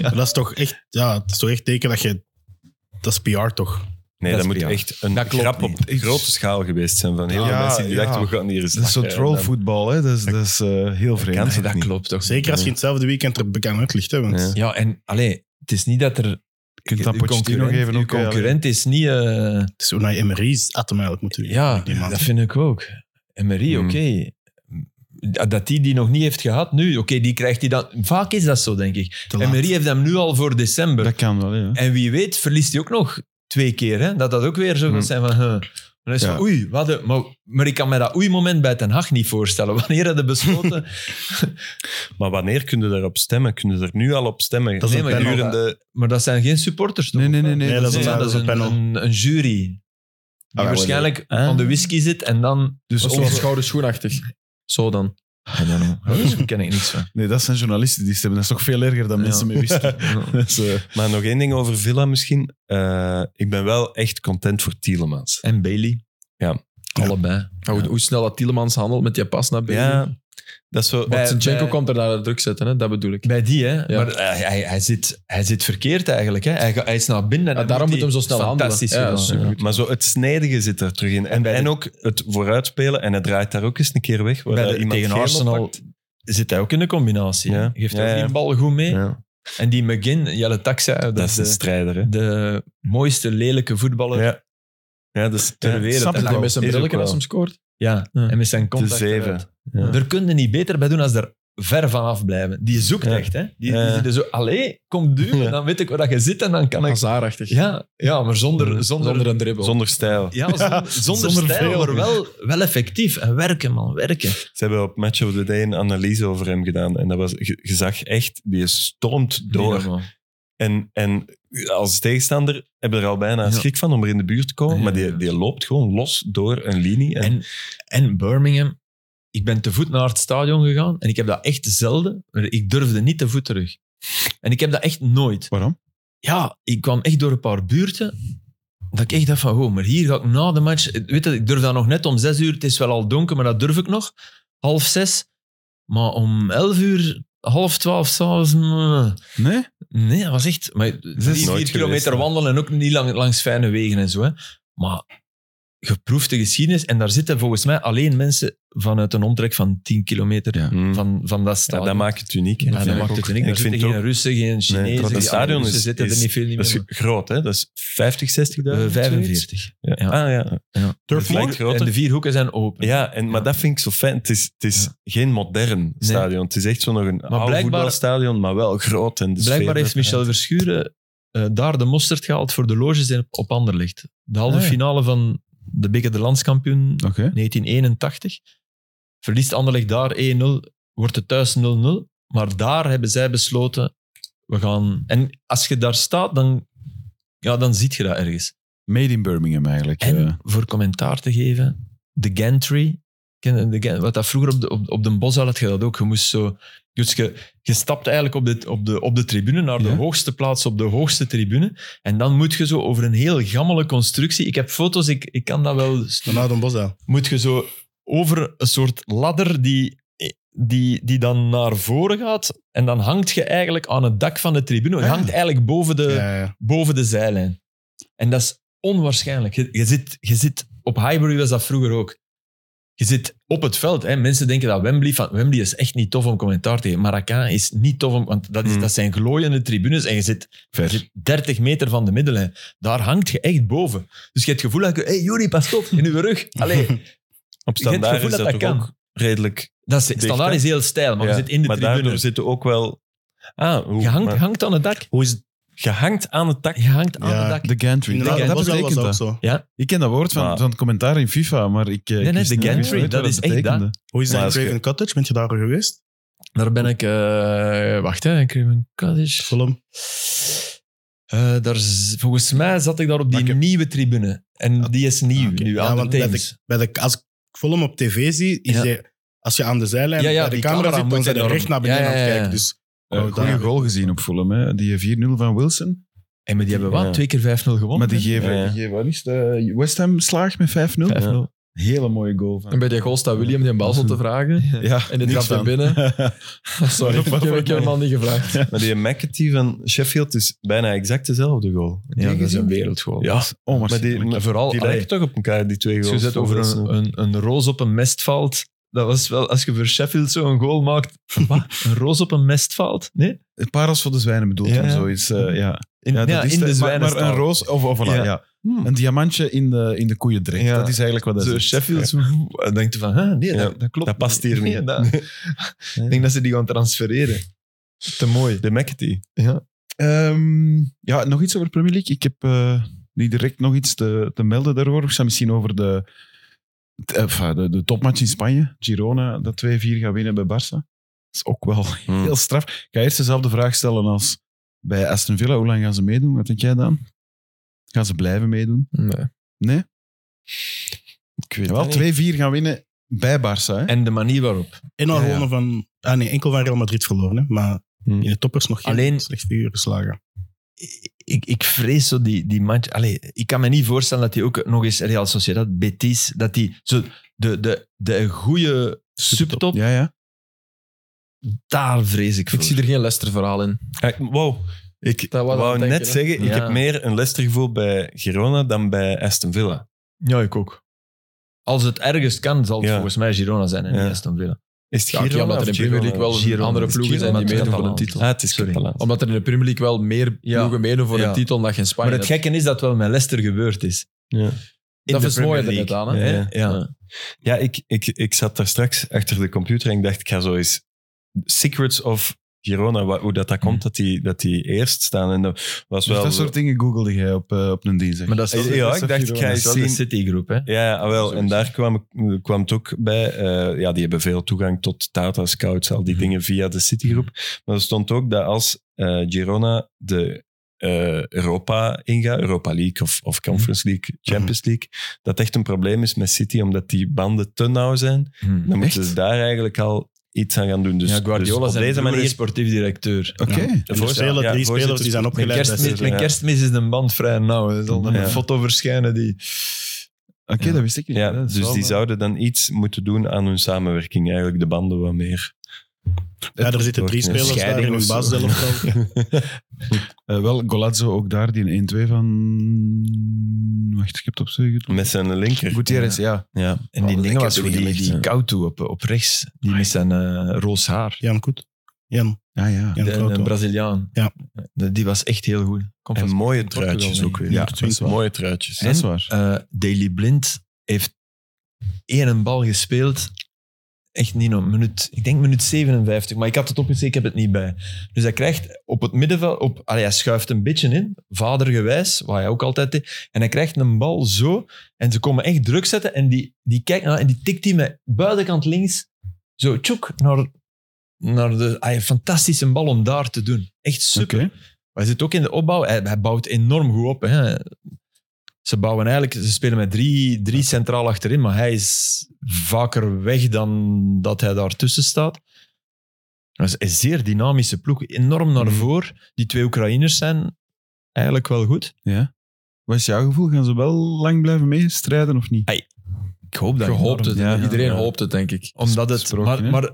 [SPEAKER 6] Maar Dat is toch echt, ja, het is toch echt teken dat je... Dat is PR toch?
[SPEAKER 3] Dat
[SPEAKER 4] Nee, dat,
[SPEAKER 3] is
[SPEAKER 4] moet
[SPEAKER 3] prima.
[SPEAKER 4] echt een
[SPEAKER 5] Dat klopt
[SPEAKER 4] grap op grote schaal geweest zijn van heel veel
[SPEAKER 2] Ja,
[SPEAKER 4] mensen die
[SPEAKER 2] ja.
[SPEAKER 4] dachten, we gaan hier eens
[SPEAKER 2] Dat is zo
[SPEAKER 4] lachen. En dan-
[SPEAKER 2] trollvoetbal, hè? Dat is, dat is eh, heel vreemd.
[SPEAKER 4] kan
[SPEAKER 2] Nee,
[SPEAKER 4] ze dat
[SPEAKER 2] niet.
[SPEAKER 5] klopt toch.
[SPEAKER 6] Zeker als je in hetzelfde weekend er bekend uit ligt. Hè, want
[SPEAKER 4] Ja.
[SPEAKER 3] Ja, en allee, het is niet dat er...
[SPEAKER 2] Je kunt dat
[SPEAKER 3] uw
[SPEAKER 2] Pochettino
[SPEAKER 3] concurrent-
[SPEAKER 2] geven
[SPEAKER 3] uw
[SPEAKER 2] ook. hè,
[SPEAKER 3] concurrent is niet... eh,
[SPEAKER 6] Het is Unai Emery's atom eigenlijk moeten we-
[SPEAKER 3] Ja,
[SPEAKER 6] die man.
[SPEAKER 3] dat vind ik ook. En Marie,
[SPEAKER 4] Mm.
[SPEAKER 3] oké. Dat- Dat die die nog niet heeft gehad nu, oké, die krijgt hij dan. Vaak is dat zo, denk ik.
[SPEAKER 6] Te
[SPEAKER 3] En
[SPEAKER 6] laat.
[SPEAKER 3] Marie heeft hem nu al voor december.
[SPEAKER 2] Dat kan wel, ja.
[SPEAKER 3] En wie weet verliest hij ook nog twee keer. Hè? Dat dat ook weer zo
[SPEAKER 4] Mm.
[SPEAKER 3] gaat zijn van... huh. Dan is het
[SPEAKER 2] Ja.
[SPEAKER 3] van, oei, wat een- maar, maar ik kan me dat oei-moment bij Ten Hag niet voorstellen. Wanneer hadden besloten...
[SPEAKER 4] Maar wanneer kunnen we daarop stemmen? Kunnen we er nu al op stemmen?
[SPEAKER 6] Dat is een
[SPEAKER 4] Nee, maar
[SPEAKER 6] panel.
[SPEAKER 4] gedurende-
[SPEAKER 3] maar dat zijn geen supporters, toch?
[SPEAKER 2] Nee, nee, nee. nee,
[SPEAKER 6] Nee, dat is
[SPEAKER 3] Nee,
[SPEAKER 6] een-
[SPEAKER 3] dat is een,
[SPEAKER 6] panel.
[SPEAKER 3] een, een jury. Die waarschijnlijk
[SPEAKER 2] Ah.
[SPEAKER 3] aan de whisky zit en dan...
[SPEAKER 2] Dus
[SPEAKER 5] Zo'n
[SPEAKER 2] onze-
[SPEAKER 5] schouder schoenachtig. Zo dan.
[SPEAKER 3] I don't know. Daar ken ik niks van.
[SPEAKER 2] Nee, dat zijn journalisten die stemmen. Dat is toch veel erger dan mensen met whisky. Dat is, eh,
[SPEAKER 4] Maar nog één ding over Villa misschien. Eh, ik ben wel echt content voor Tielemans.
[SPEAKER 3] En Bailey.
[SPEAKER 4] Ja.
[SPEAKER 3] Allebei.
[SPEAKER 5] Hoe, hoe snel dat Tielemans handelt met die pas naar binnen.
[SPEAKER 4] Ja, dat is zo...
[SPEAKER 5] Want Zinchenko
[SPEAKER 3] bij-
[SPEAKER 5] komt er naar de druk zetten, hè? dat bedoel ik.
[SPEAKER 3] Bij die, hè.
[SPEAKER 5] Ja.
[SPEAKER 3] Maar eh, hij, hij, zit, hij zit verkeerd eigenlijk. Hè. Hij, ga- hij is naar binnen. en
[SPEAKER 5] Ja, Ah, daarom
[SPEAKER 3] hij-
[SPEAKER 5] moet hem zo snel handelen.
[SPEAKER 3] Fantastisch
[SPEAKER 5] Ja,
[SPEAKER 3] gedaan,
[SPEAKER 5] supergoed.
[SPEAKER 4] Maar zo het snijdige zit er terug in. En,
[SPEAKER 3] bij de-
[SPEAKER 4] en ook het vooruitspelen. En hij draait daar ook eens een keer weg. Waar
[SPEAKER 3] Bij de-
[SPEAKER 4] daar iemand
[SPEAKER 3] tegen
[SPEAKER 4] geel
[SPEAKER 3] Arsenal
[SPEAKER 4] oppakt.
[SPEAKER 3] Zit hij ook in de combinatie. hè.
[SPEAKER 4] Ja.
[SPEAKER 3] Geeft
[SPEAKER 4] Ja,
[SPEAKER 3] hij
[SPEAKER 4] ja.
[SPEAKER 3] die bal goed mee.
[SPEAKER 4] Ja.
[SPEAKER 3] En die McGinn, Jelle Taxa, dat,
[SPEAKER 4] Dat
[SPEAKER 3] is
[SPEAKER 4] is een
[SPEAKER 3] de,
[SPEAKER 4] strijder, hè.
[SPEAKER 3] de mooiste lelijke voetballer
[SPEAKER 4] Ja. Ja, dus
[SPEAKER 3] ter wereld.
[SPEAKER 2] snap
[SPEAKER 3] En
[SPEAKER 2] ik
[SPEAKER 5] Dat
[SPEAKER 3] dan-
[SPEAKER 5] hij met zijn
[SPEAKER 4] is ook
[SPEAKER 5] brilletje
[SPEAKER 4] wel.
[SPEAKER 5] als hem scoort.
[SPEAKER 3] Ja,
[SPEAKER 5] Ja.
[SPEAKER 3] en met zijn
[SPEAKER 4] de
[SPEAKER 3] contact. eh, eruit.
[SPEAKER 4] zeven. Ja.
[SPEAKER 3] Daar kun je niet beter bij doen als daar ver vanaf blijven. Die zoekt
[SPEAKER 4] Ja.
[SPEAKER 3] echt, hè. Die, die
[SPEAKER 4] Ja.
[SPEAKER 3] zitten zo, allee, kom duwen,
[SPEAKER 4] Ja.
[SPEAKER 3] dan weet ik waar dat je zit en dan kan ik...
[SPEAKER 5] Hazardachtig.
[SPEAKER 3] Ja, ja maar zonder, zonder,
[SPEAKER 5] Zonder een dribbel.
[SPEAKER 4] Zonder stijl.
[SPEAKER 3] Ja, zonder, zonder,
[SPEAKER 2] zonder
[SPEAKER 3] stijl,
[SPEAKER 2] veel.
[SPEAKER 3] maar wel, wel effectief. En werken, man, werken.
[SPEAKER 4] Ze hebben op Match of the Day een analyse over hem gedaan. En dat was, je, je zag echt, die stormt door. En, en als tegenstander hebben we er al bijna
[SPEAKER 3] Ja.
[SPEAKER 4] schrik van om er in de buurt te komen.
[SPEAKER 3] Ja,
[SPEAKER 4] maar
[SPEAKER 3] ja.
[SPEAKER 4] die, die loopt gewoon los door een linie. En,
[SPEAKER 3] En, en Birmingham, ik ben te voet naar het stadion gegaan en ik heb dat echt zelden. maar Ik durfde niet te voet terug. En ik heb dat echt nooit.
[SPEAKER 2] waarom?
[SPEAKER 3] Ja, ik kwam echt door een paar buurten. Dat ik echt dacht van, oh, maar hier ga ik na de match... Weet je, ik durf dat nog net om zes uur. Het is wel al donker, maar dat durf ik nog. Half zes. Maar om elf uur, half twaalf s'avonds... mm,
[SPEAKER 2] Nee?
[SPEAKER 3] Nee, dat was echt. Maar drie, vier
[SPEAKER 4] nooit
[SPEAKER 3] kilometer
[SPEAKER 4] geweest, hè.
[SPEAKER 3] wandelen en ook niet lang, langs fijne wegen en zo. Hè. Maar geproefde geschiedenis. En daar zitten volgens mij alleen mensen vanuit een omtrek van 10 kilometer
[SPEAKER 2] Ja.
[SPEAKER 4] Mm.
[SPEAKER 3] van, van dat
[SPEAKER 4] ja,
[SPEAKER 3] stadion.
[SPEAKER 4] dat maakt het uniek. hè.
[SPEAKER 3] Ja, dat
[SPEAKER 4] vind ik
[SPEAKER 3] maakt
[SPEAKER 4] ook.
[SPEAKER 3] het uniek.
[SPEAKER 4] En
[SPEAKER 3] Daar
[SPEAKER 4] ik vind
[SPEAKER 3] zitten geen
[SPEAKER 4] het ook-
[SPEAKER 3] Russen, geen Chinezen.
[SPEAKER 4] Nee, want
[SPEAKER 3] die
[SPEAKER 4] dat stadion
[SPEAKER 3] Russen
[SPEAKER 4] is,
[SPEAKER 3] zitten er
[SPEAKER 4] is-
[SPEAKER 3] niet veel niet
[SPEAKER 4] dat is
[SPEAKER 3] meer.
[SPEAKER 4] groot, hè? Dat is 50, 60.000?
[SPEAKER 3] maar, eh,
[SPEAKER 4] zoiets?
[SPEAKER 3] 45.
[SPEAKER 4] Ja.
[SPEAKER 3] Ja.
[SPEAKER 4] Ah ja.
[SPEAKER 3] Ja.
[SPEAKER 4] Turf
[SPEAKER 3] De vier-
[SPEAKER 4] Moor? groter.
[SPEAKER 3] En de vier hoeken zijn open.
[SPEAKER 4] Ja, en, maar
[SPEAKER 3] Ja.
[SPEAKER 4] dat vind ik zo fijn. Het is, het is
[SPEAKER 3] Ja.
[SPEAKER 4] geen modern stadion. Het is echt zo nog een oud
[SPEAKER 3] blijkbaar-
[SPEAKER 4] voetbalstadion, maar wel groot. En de sfeer
[SPEAKER 3] Blijkbaar heeft
[SPEAKER 4] erbij.
[SPEAKER 3] Michel Verschuren eh, daar de mosterd gehaald voor de loges in- op Anderlecht. De halve
[SPEAKER 2] Ah, ja.
[SPEAKER 3] finale van de Beker de Landskampioen
[SPEAKER 2] Oké.
[SPEAKER 3] 1981. Verliest Anderlecht daar 1-0, wordt het thuis 0-0. Maar daar hebben zij besloten, we gaan... En als je daar staat, dan, ja, dan ziet je dat ergens.
[SPEAKER 2] Made in Birmingham eigenlijk.
[SPEAKER 3] En
[SPEAKER 2] eh.
[SPEAKER 3] voor commentaar te geven, de gantry. Ken je de gan- Wat dat vroeger op de, op, op de bos had je dat ook. Je moest zo... Dus je, je stapt eigenlijk op de, op, de, op de tribune, naar de
[SPEAKER 2] Ja.
[SPEAKER 3] hoogste plaats op de hoogste tribune. En dan moet je zo over een heel gammele constructie... Ik heb foto's, ik, ik kan dat wel
[SPEAKER 6] Dan houdt een bos aan.
[SPEAKER 3] moet je zo over een soort ladder die, die, die dan naar voren gaat. En dan hangt je eigenlijk aan het dak van de tribune. Je
[SPEAKER 2] Ah.
[SPEAKER 3] hangt eigenlijk boven de,
[SPEAKER 6] Ja, ja.
[SPEAKER 3] boven de zijlijn. En dat is onwaarschijnlijk. Je, je zit, je zit, op Highbury was dat vroeger ook. Je zit op het veld. Hè. Mensen denken dat Wembley, van, Wembley is echt niet tof om commentaar te geven. Maracana is niet tof om... Want dat, is,
[SPEAKER 4] Mm.
[SPEAKER 3] dat zijn glooiende tribunes en je zit
[SPEAKER 2] Ver.
[SPEAKER 3] je zit 30 meter van de middenlijn. Daar hangt je echt boven. Dus je hebt het gevoel dat je... Hé, hey, Juri, pas op, in uw rug. Allee,
[SPEAKER 4] Op
[SPEAKER 3] je hebt het
[SPEAKER 4] standaard
[SPEAKER 3] gevoel
[SPEAKER 4] is
[SPEAKER 3] dat dat
[SPEAKER 4] dat, toch
[SPEAKER 3] kan.
[SPEAKER 4] ook redelijk...
[SPEAKER 3] Dat is, standaard
[SPEAKER 4] hè?
[SPEAKER 3] is heel stijl, maar
[SPEAKER 4] Ja,
[SPEAKER 3] je zit in de
[SPEAKER 4] maar
[SPEAKER 3] tribune.
[SPEAKER 4] daardoor zitten ook wel... Ah, hoe,
[SPEAKER 3] Je hangt,
[SPEAKER 4] maar-
[SPEAKER 3] hangt aan het dak.
[SPEAKER 4] hoe is het? Je hangt aan het dak.
[SPEAKER 3] Je hangt aan
[SPEAKER 6] Ja.
[SPEAKER 3] het dak.
[SPEAKER 2] De gantry.
[SPEAKER 6] Inderdaad,
[SPEAKER 2] dat,
[SPEAKER 6] dat
[SPEAKER 2] dat
[SPEAKER 6] was
[SPEAKER 2] betekent
[SPEAKER 6] ook
[SPEAKER 2] dat.
[SPEAKER 6] zo.
[SPEAKER 2] Ik ken dat woord van,
[SPEAKER 4] Maar-
[SPEAKER 2] van het commentaar in FIFA, maar ik... eh,
[SPEAKER 3] nee,
[SPEAKER 2] ik wist
[SPEAKER 3] de
[SPEAKER 2] niet- ik wist
[SPEAKER 3] gantry,
[SPEAKER 2] nooit
[SPEAKER 3] dat
[SPEAKER 2] wat
[SPEAKER 3] is echt dat.
[SPEAKER 2] betekende.
[SPEAKER 6] Hoe is dat
[SPEAKER 4] Maar
[SPEAKER 6] in
[SPEAKER 4] als je-
[SPEAKER 6] Craven Cottage? Bent je daar geweest?
[SPEAKER 3] Daar ben ik... eh, wacht, hè. Craven Cottage.
[SPEAKER 6] Fulham.
[SPEAKER 3] Eh, daar, z- volgens mij zat ik daar op die
[SPEAKER 2] Maar ik heb-
[SPEAKER 3] nieuwe tribune. En die is nieuw
[SPEAKER 2] Ah, oké.
[SPEAKER 3] nu,
[SPEAKER 6] Ja,
[SPEAKER 3] aan
[SPEAKER 6] want
[SPEAKER 3] de
[SPEAKER 6] dat
[SPEAKER 3] Thames.
[SPEAKER 6] Bij de, als ik Fulham op tv zie, is
[SPEAKER 3] Ja.
[SPEAKER 6] hij- als je aan de zijlijn
[SPEAKER 3] Ja, ja,
[SPEAKER 6] bij de
[SPEAKER 3] die
[SPEAKER 6] camera,
[SPEAKER 3] camera
[SPEAKER 6] zit,
[SPEAKER 3] moet
[SPEAKER 6] dan zijn er
[SPEAKER 3] enorm-
[SPEAKER 6] recht naar beneden
[SPEAKER 3] Ja, ja,
[SPEAKER 6] aan het
[SPEAKER 3] ja,
[SPEAKER 6] kijken.
[SPEAKER 3] ja.
[SPEAKER 6] Dus
[SPEAKER 2] Eh,
[SPEAKER 6] Oh,
[SPEAKER 2] goede
[SPEAKER 6] daar.
[SPEAKER 2] goal gezien op Fulham, hè. die 4-0 van Wilson.
[SPEAKER 3] En maar die hebben wat?
[SPEAKER 4] Ja.
[SPEAKER 3] Twee keer 5-0 gewonnen.
[SPEAKER 2] Maar die
[SPEAKER 3] hè?
[SPEAKER 2] geven,
[SPEAKER 4] Ja.
[SPEAKER 2] die geven wat is het, eh, West Ham slaag met 5-0.
[SPEAKER 3] 5-0.
[SPEAKER 2] Hele mooie goal van...
[SPEAKER 5] En bij die goal staat William die een bal zat te vragen.
[SPEAKER 2] Ja,
[SPEAKER 5] En die
[SPEAKER 2] niks
[SPEAKER 5] trapt er
[SPEAKER 2] van.
[SPEAKER 5] binnen. Oh, Sorry, ik heb, ik heb hem al niet gevraagd.
[SPEAKER 4] Maar die McAtee van Sheffield is bijna exact dezelfde goal.
[SPEAKER 3] Ja, dat is
[SPEAKER 4] gezien?
[SPEAKER 3] een wereldgoal.
[SPEAKER 2] Oh,
[SPEAKER 4] Ja, maar die,
[SPEAKER 2] Onwaarschijnlijk.
[SPEAKER 4] maar
[SPEAKER 3] Vooral,
[SPEAKER 4] die
[SPEAKER 3] allee,
[SPEAKER 4] lijken toch op elkaar, die twee
[SPEAKER 3] als
[SPEAKER 4] goals.
[SPEAKER 3] je zet over
[SPEAKER 4] Dat is
[SPEAKER 3] een, een, een roos op een mestveld. Dat was wel, als je voor Sheffield zo'n goal maakt. Wat? Een roos op een mestveld? Nee?
[SPEAKER 2] Een paar als voor de zwijnen bedoeld
[SPEAKER 3] Ja,
[SPEAKER 2] om
[SPEAKER 3] ja.
[SPEAKER 2] zoiets. eh, ja.
[SPEAKER 3] In,
[SPEAKER 2] Ja,
[SPEAKER 3] ja,
[SPEAKER 2] dat is
[SPEAKER 3] in de
[SPEAKER 2] maar, maar
[SPEAKER 3] zwijnenstaal.
[SPEAKER 2] een roos of, of voilà,
[SPEAKER 3] Ja.
[SPEAKER 2] ja.
[SPEAKER 4] Hmm.
[SPEAKER 2] Een diamantje in de, in de koeiendrecht.
[SPEAKER 3] Ja.
[SPEAKER 2] Dat is eigenlijk wat dat
[SPEAKER 3] Zo
[SPEAKER 2] is.
[SPEAKER 3] Sheffield zo- en denkt van, hè, nee,
[SPEAKER 4] Ja,
[SPEAKER 3] dat, dat klopt
[SPEAKER 4] dat past hier
[SPEAKER 3] Nee,
[SPEAKER 4] niet.
[SPEAKER 3] dat- Ik denk dat ze die gaan transfereren. Te mooi.
[SPEAKER 4] De McAtee.
[SPEAKER 2] Ehm, ja, nog iets over Premier League. Ik heb eh, niet direct nog iets te, te melden daarover. Ik zou misschien over de, de, enfin, de, de topmatch in Spanje. Girona, dat 2-4 gaat winnen bij Barça. Dat is ook wel
[SPEAKER 4] Hmm.
[SPEAKER 2] heel straf. Ik ga eerst dezelfde vraag stellen als bij Aston Villa. Hoe lang gaan ze meedoen? Wat denk jij dan? Gaan ze blijven meedoen?
[SPEAKER 5] Nee.
[SPEAKER 2] Nee?
[SPEAKER 4] Ik weet
[SPEAKER 2] Jawel,
[SPEAKER 4] het niet.
[SPEAKER 2] 2-4 gaan winnen bij Barça. Hè?
[SPEAKER 3] En de manier waarop.
[SPEAKER 6] En al
[SPEAKER 2] Ja, ja.
[SPEAKER 6] gewonnen van... Ah nee, enkel van Real Madrid verloren. Hè. Maar
[SPEAKER 3] Hmm.
[SPEAKER 6] in de toppers nog geen
[SPEAKER 3] Alleen-
[SPEAKER 6] slecht figuur geslagen.
[SPEAKER 3] Ik, ik vrees zo die, die match. Allee, ik kan me niet voorstellen dat die ook nog eens Real Sociedad, Betis, dat die zo de, de, de goede subtop,
[SPEAKER 2] Ja, ja.
[SPEAKER 3] daar vrees ik voor.
[SPEAKER 5] Ik zie er geen Leicester-verhaal in.
[SPEAKER 4] Ja, ik- Wow. Ik
[SPEAKER 5] Dat wou
[SPEAKER 4] wou,
[SPEAKER 5] ik denken,
[SPEAKER 4] net
[SPEAKER 5] hè.
[SPEAKER 4] zeggen, ik
[SPEAKER 3] Ja.
[SPEAKER 4] heb meer een Leicester gevoel bij Girona dan bij Aston Villa.
[SPEAKER 3] Ja, ik ook. Als het ergens kan, zal het
[SPEAKER 4] Ja.
[SPEAKER 3] volgens mij Girona zijn en
[SPEAKER 4] Ja.
[SPEAKER 3] niet Aston Villa.
[SPEAKER 4] Is het
[SPEAKER 5] Ja, oké,
[SPEAKER 4] Girona
[SPEAKER 5] omdat er in
[SPEAKER 4] of
[SPEAKER 5] Premier League
[SPEAKER 4] Girona?
[SPEAKER 5] wel
[SPEAKER 3] Girona.
[SPEAKER 5] andere
[SPEAKER 3] Het is
[SPEAKER 5] ploegen zijn die
[SPEAKER 3] Girona,
[SPEAKER 5] meedoen voor de
[SPEAKER 3] Catalan.
[SPEAKER 5] titel.
[SPEAKER 4] Ah, het is
[SPEAKER 3] Sorry.
[SPEAKER 4] Catalans.
[SPEAKER 5] Omdat er in de Premier League wel meer
[SPEAKER 3] Ja.
[SPEAKER 5] ploegen meedoen voor
[SPEAKER 3] Ja.
[SPEAKER 5] de titel dan je in Spanje
[SPEAKER 3] Maar het
[SPEAKER 5] hebt.
[SPEAKER 3] gekke is dat wel met Leicester gebeurd is.
[SPEAKER 4] Ja.
[SPEAKER 3] In
[SPEAKER 5] Dat
[SPEAKER 3] de
[SPEAKER 5] is het mooie
[SPEAKER 3] Premier League.
[SPEAKER 5] er net aan, hè?
[SPEAKER 3] Ja,
[SPEAKER 4] Ja.
[SPEAKER 3] ja.
[SPEAKER 4] Ja, ik, ik, ik zat daar straks achter de computer en ik dacht, ik ga zo eens Secrets of Girona, wa- hoe dat, dat komt, dat die, dat die eerst staan. En dat was
[SPEAKER 2] Hmm. Dus
[SPEAKER 4] wel...
[SPEAKER 2] dat soort dingen googelde jij op, eh, op een dinsdag.
[SPEAKER 3] Maar dat is wel,
[SPEAKER 4] Ja,
[SPEAKER 3] dat is
[SPEAKER 4] ik
[SPEAKER 3] wel
[SPEAKER 4] dacht,
[SPEAKER 3] Girona.
[SPEAKER 4] ik ga
[SPEAKER 3] Dat is wel
[SPEAKER 4] eens
[SPEAKER 3] de
[SPEAKER 4] zien.
[SPEAKER 3] City-groep, hè?
[SPEAKER 4] Ja, ah, wel. En daar kwam, kwam het ook bij. Eh, ja, die hebben veel toegang tot data scouts, al die
[SPEAKER 2] Hmm.
[SPEAKER 4] dingen via de Citigroep. Maar er stond ook dat als eh, Girona de eh, Europa ingaat, Europa League of, of Conference
[SPEAKER 2] Hmm.
[SPEAKER 4] League, Champions League, dat echt een probleem is met City, omdat die banden te nauw zijn. Dan moeten ze daar eigenlijk al iets aan gaan doen. Dus,
[SPEAKER 3] ja, Guardiola
[SPEAKER 4] dus
[SPEAKER 3] is
[SPEAKER 4] op deze manier...
[SPEAKER 3] sportief directeur.
[SPEAKER 2] Oké.
[SPEAKER 6] Ja. En de
[SPEAKER 4] Voorzitter,
[SPEAKER 6] spelers,
[SPEAKER 4] ja,
[SPEAKER 6] Dus drie
[SPEAKER 4] voorzitter,
[SPEAKER 6] spelers die zijn
[SPEAKER 3] Mijn,
[SPEAKER 6] opgeleid. bij
[SPEAKER 3] kerstmis,
[SPEAKER 6] City.
[SPEAKER 3] mijn kerstmis is de band vrij nauw. Er zal
[SPEAKER 4] Ja.
[SPEAKER 3] een foto verschijnen die...
[SPEAKER 2] Oké, dat wist ik niet.
[SPEAKER 4] Ja,
[SPEAKER 2] Dat is
[SPEAKER 4] dus
[SPEAKER 2] wel,
[SPEAKER 4] die
[SPEAKER 2] eh,
[SPEAKER 4] zouden dan iets moeten doen aan hun samenwerking. Eigenlijk de banden wat meer.
[SPEAKER 6] Ja, er zitten drie
[SPEAKER 4] wordt een
[SPEAKER 6] spelers daar in
[SPEAKER 4] scheiding
[SPEAKER 6] hun
[SPEAKER 4] of
[SPEAKER 6] baas
[SPEAKER 4] zo.
[SPEAKER 6] zelf wel.
[SPEAKER 2] eh, wel, Golazzo ook daar, die een 1-2 van... Wacht, ik heb het op zeggen.
[SPEAKER 4] Met zijn linker.
[SPEAKER 2] Gutierrez, ja.
[SPEAKER 4] Ja.
[SPEAKER 3] En die
[SPEAKER 4] Oh,
[SPEAKER 3] dingen
[SPEAKER 4] lekker
[SPEAKER 3] was zo, die,
[SPEAKER 4] doorgelegd, ja.
[SPEAKER 3] die Couto op, op rechts, die met zijn eh, roos haar.
[SPEAKER 6] Jan Koet. Jan,
[SPEAKER 2] Ja, ja.
[SPEAKER 6] Jan
[SPEAKER 3] De- Een
[SPEAKER 6] Couto.
[SPEAKER 3] Braziliaan.
[SPEAKER 6] Ja.
[SPEAKER 3] Die die was echt heel goed. Komt
[SPEAKER 4] En
[SPEAKER 3] van
[SPEAKER 4] mooie
[SPEAKER 3] Portugal,
[SPEAKER 4] truitjes
[SPEAKER 3] denk
[SPEAKER 4] ook
[SPEAKER 3] ik.
[SPEAKER 4] weer.
[SPEAKER 2] Ja,
[SPEAKER 4] dat is
[SPEAKER 2] waar.
[SPEAKER 4] mooie truitjes.
[SPEAKER 2] Dat is waar.
[SPEAKER 3] eh Daily Blind heeft één bal gespeeld. Echt niet nog, minuut, ik denk minuut 57, maar ik had het opgeschreven, ik heb het niet bij. Dus hij krijgt op het middenveld, op, allee, hij schuift een beetje in, vadergewijs, wat hij ook altijd deed. En hij krijgt een bal zo, en ze komen echt druk zetten, en die, die kijkt naar, en die tikt die met buitenkant links, zo tjoek, naar, naar de, allee, fantastische bal om daar te doen. Echt super.
[SPEAKER 2] Oké.
[SPEAKER 3] Maar hij zit ook in de opbouw. Hij, hij bouwt enorm goed op. Hè. Ze bouwen eigenlijk, ze spelen met drie, drie centraal achterin, maar hij is vaker weg dan dat hij daartussen staat. Dat is een zeer dynamische ploeg. Enorm naar
[SPEAKER 2] Mhm.
[SPEAKER 3] voor. Die twee Oekraïners zijn eigenlijk wel goed.
[SPEAKER 2] Ja. Wat is jouw gevoel? Gaan ze wel lang blijven meestrijden of niet?
[SPEAKER 3] Ik hoop dat
[SPEAKER 5] Je hoopt het.
[SPEAKER 2] Ja,
[SPEAKER 5] hè. Iedereen
[SPEAKER 3] ja.
[SPEAKER 5] hoopt het, denk ik.
[SPEAKER 3] Omdat het...
[SPEAKER 2] Sprookje, hè?
[SPEAKER 3] maar maar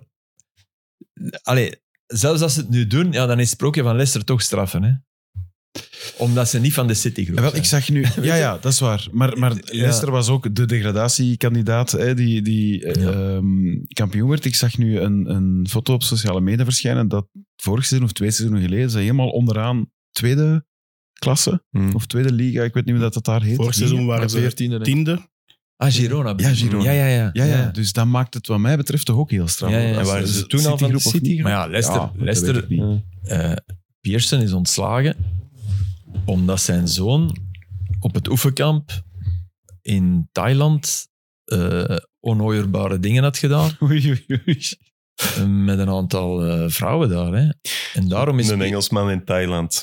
[SPEAKER 3] allee, zelfs als ze het nu doen, ja, dan is het sprookje van Leicester toch straffen. Hè? Omdat ze niet van de City groep
[SPEAKER 2] Ja, wel, ik zag nu... Ja, ja, dat is waar. Maar, maar
[SPEAKER 3] Ja.
[SPEAKER 2] Leicester was ook de degradatiekandidaat hè, die, die eh,
[SPEAKER 3] Ja.
[SPEAKER 2] ehm, kampioen werd. Ik zag nu een, een foto op sociale media verschijnen dat vorig seizoen of twee seizoenen geleden ze helemaal onderaan tweede klasse
[SPEAKER 4] Hmm.
[SPEAKER 2] of tweede liga, ik weet niet hoe dat, dat daar heet.
[SPEAKER 6] Vorig seizoen
[SPEAKER 2] Liga.
[SPEAKER 6] waren ze
[SPEAKER 5] Veertiende. denk ik.
[SPEAKER 6] tiende.
[SPEAKER 3] Ah, Girona.
[SPEAKER 2] Ja, Girona.
[SPEAKER 3] Ja, ja, ja.
[SPEAKER 2] Ja, ja, dus dat maakt het wat mij betreft toch ook heel straf.
[SPEAKER 3] Ja, ja, ja.
[SPEAKER 2] Als-
[SPEAKER 4] Waren ze
[SPEAKER 2] als
[SPEAKER 4] toen al van de
[SPEAKER 2] Citigroep of niet?
[SPEAKER 3] Maar ja, Leicester,
[SPEAKER 2] Ja, dat weet
[SPEAKER 3] Leicester
[SPEAKER 2] ik niet.
[SPEAKER 3] eh, Pearson is ontslagen omdat zijn zoon op het oefenkamp in Thailand eh onhooierbare dingen had gedaan
[SPEAKER 2] Oei, oei, oei.
[SPEAKER 3] eh, met een aantal eh, vrouwen daar. Hè. En daarom is
[SPEAKER 4] Een Engelsman in Thailand.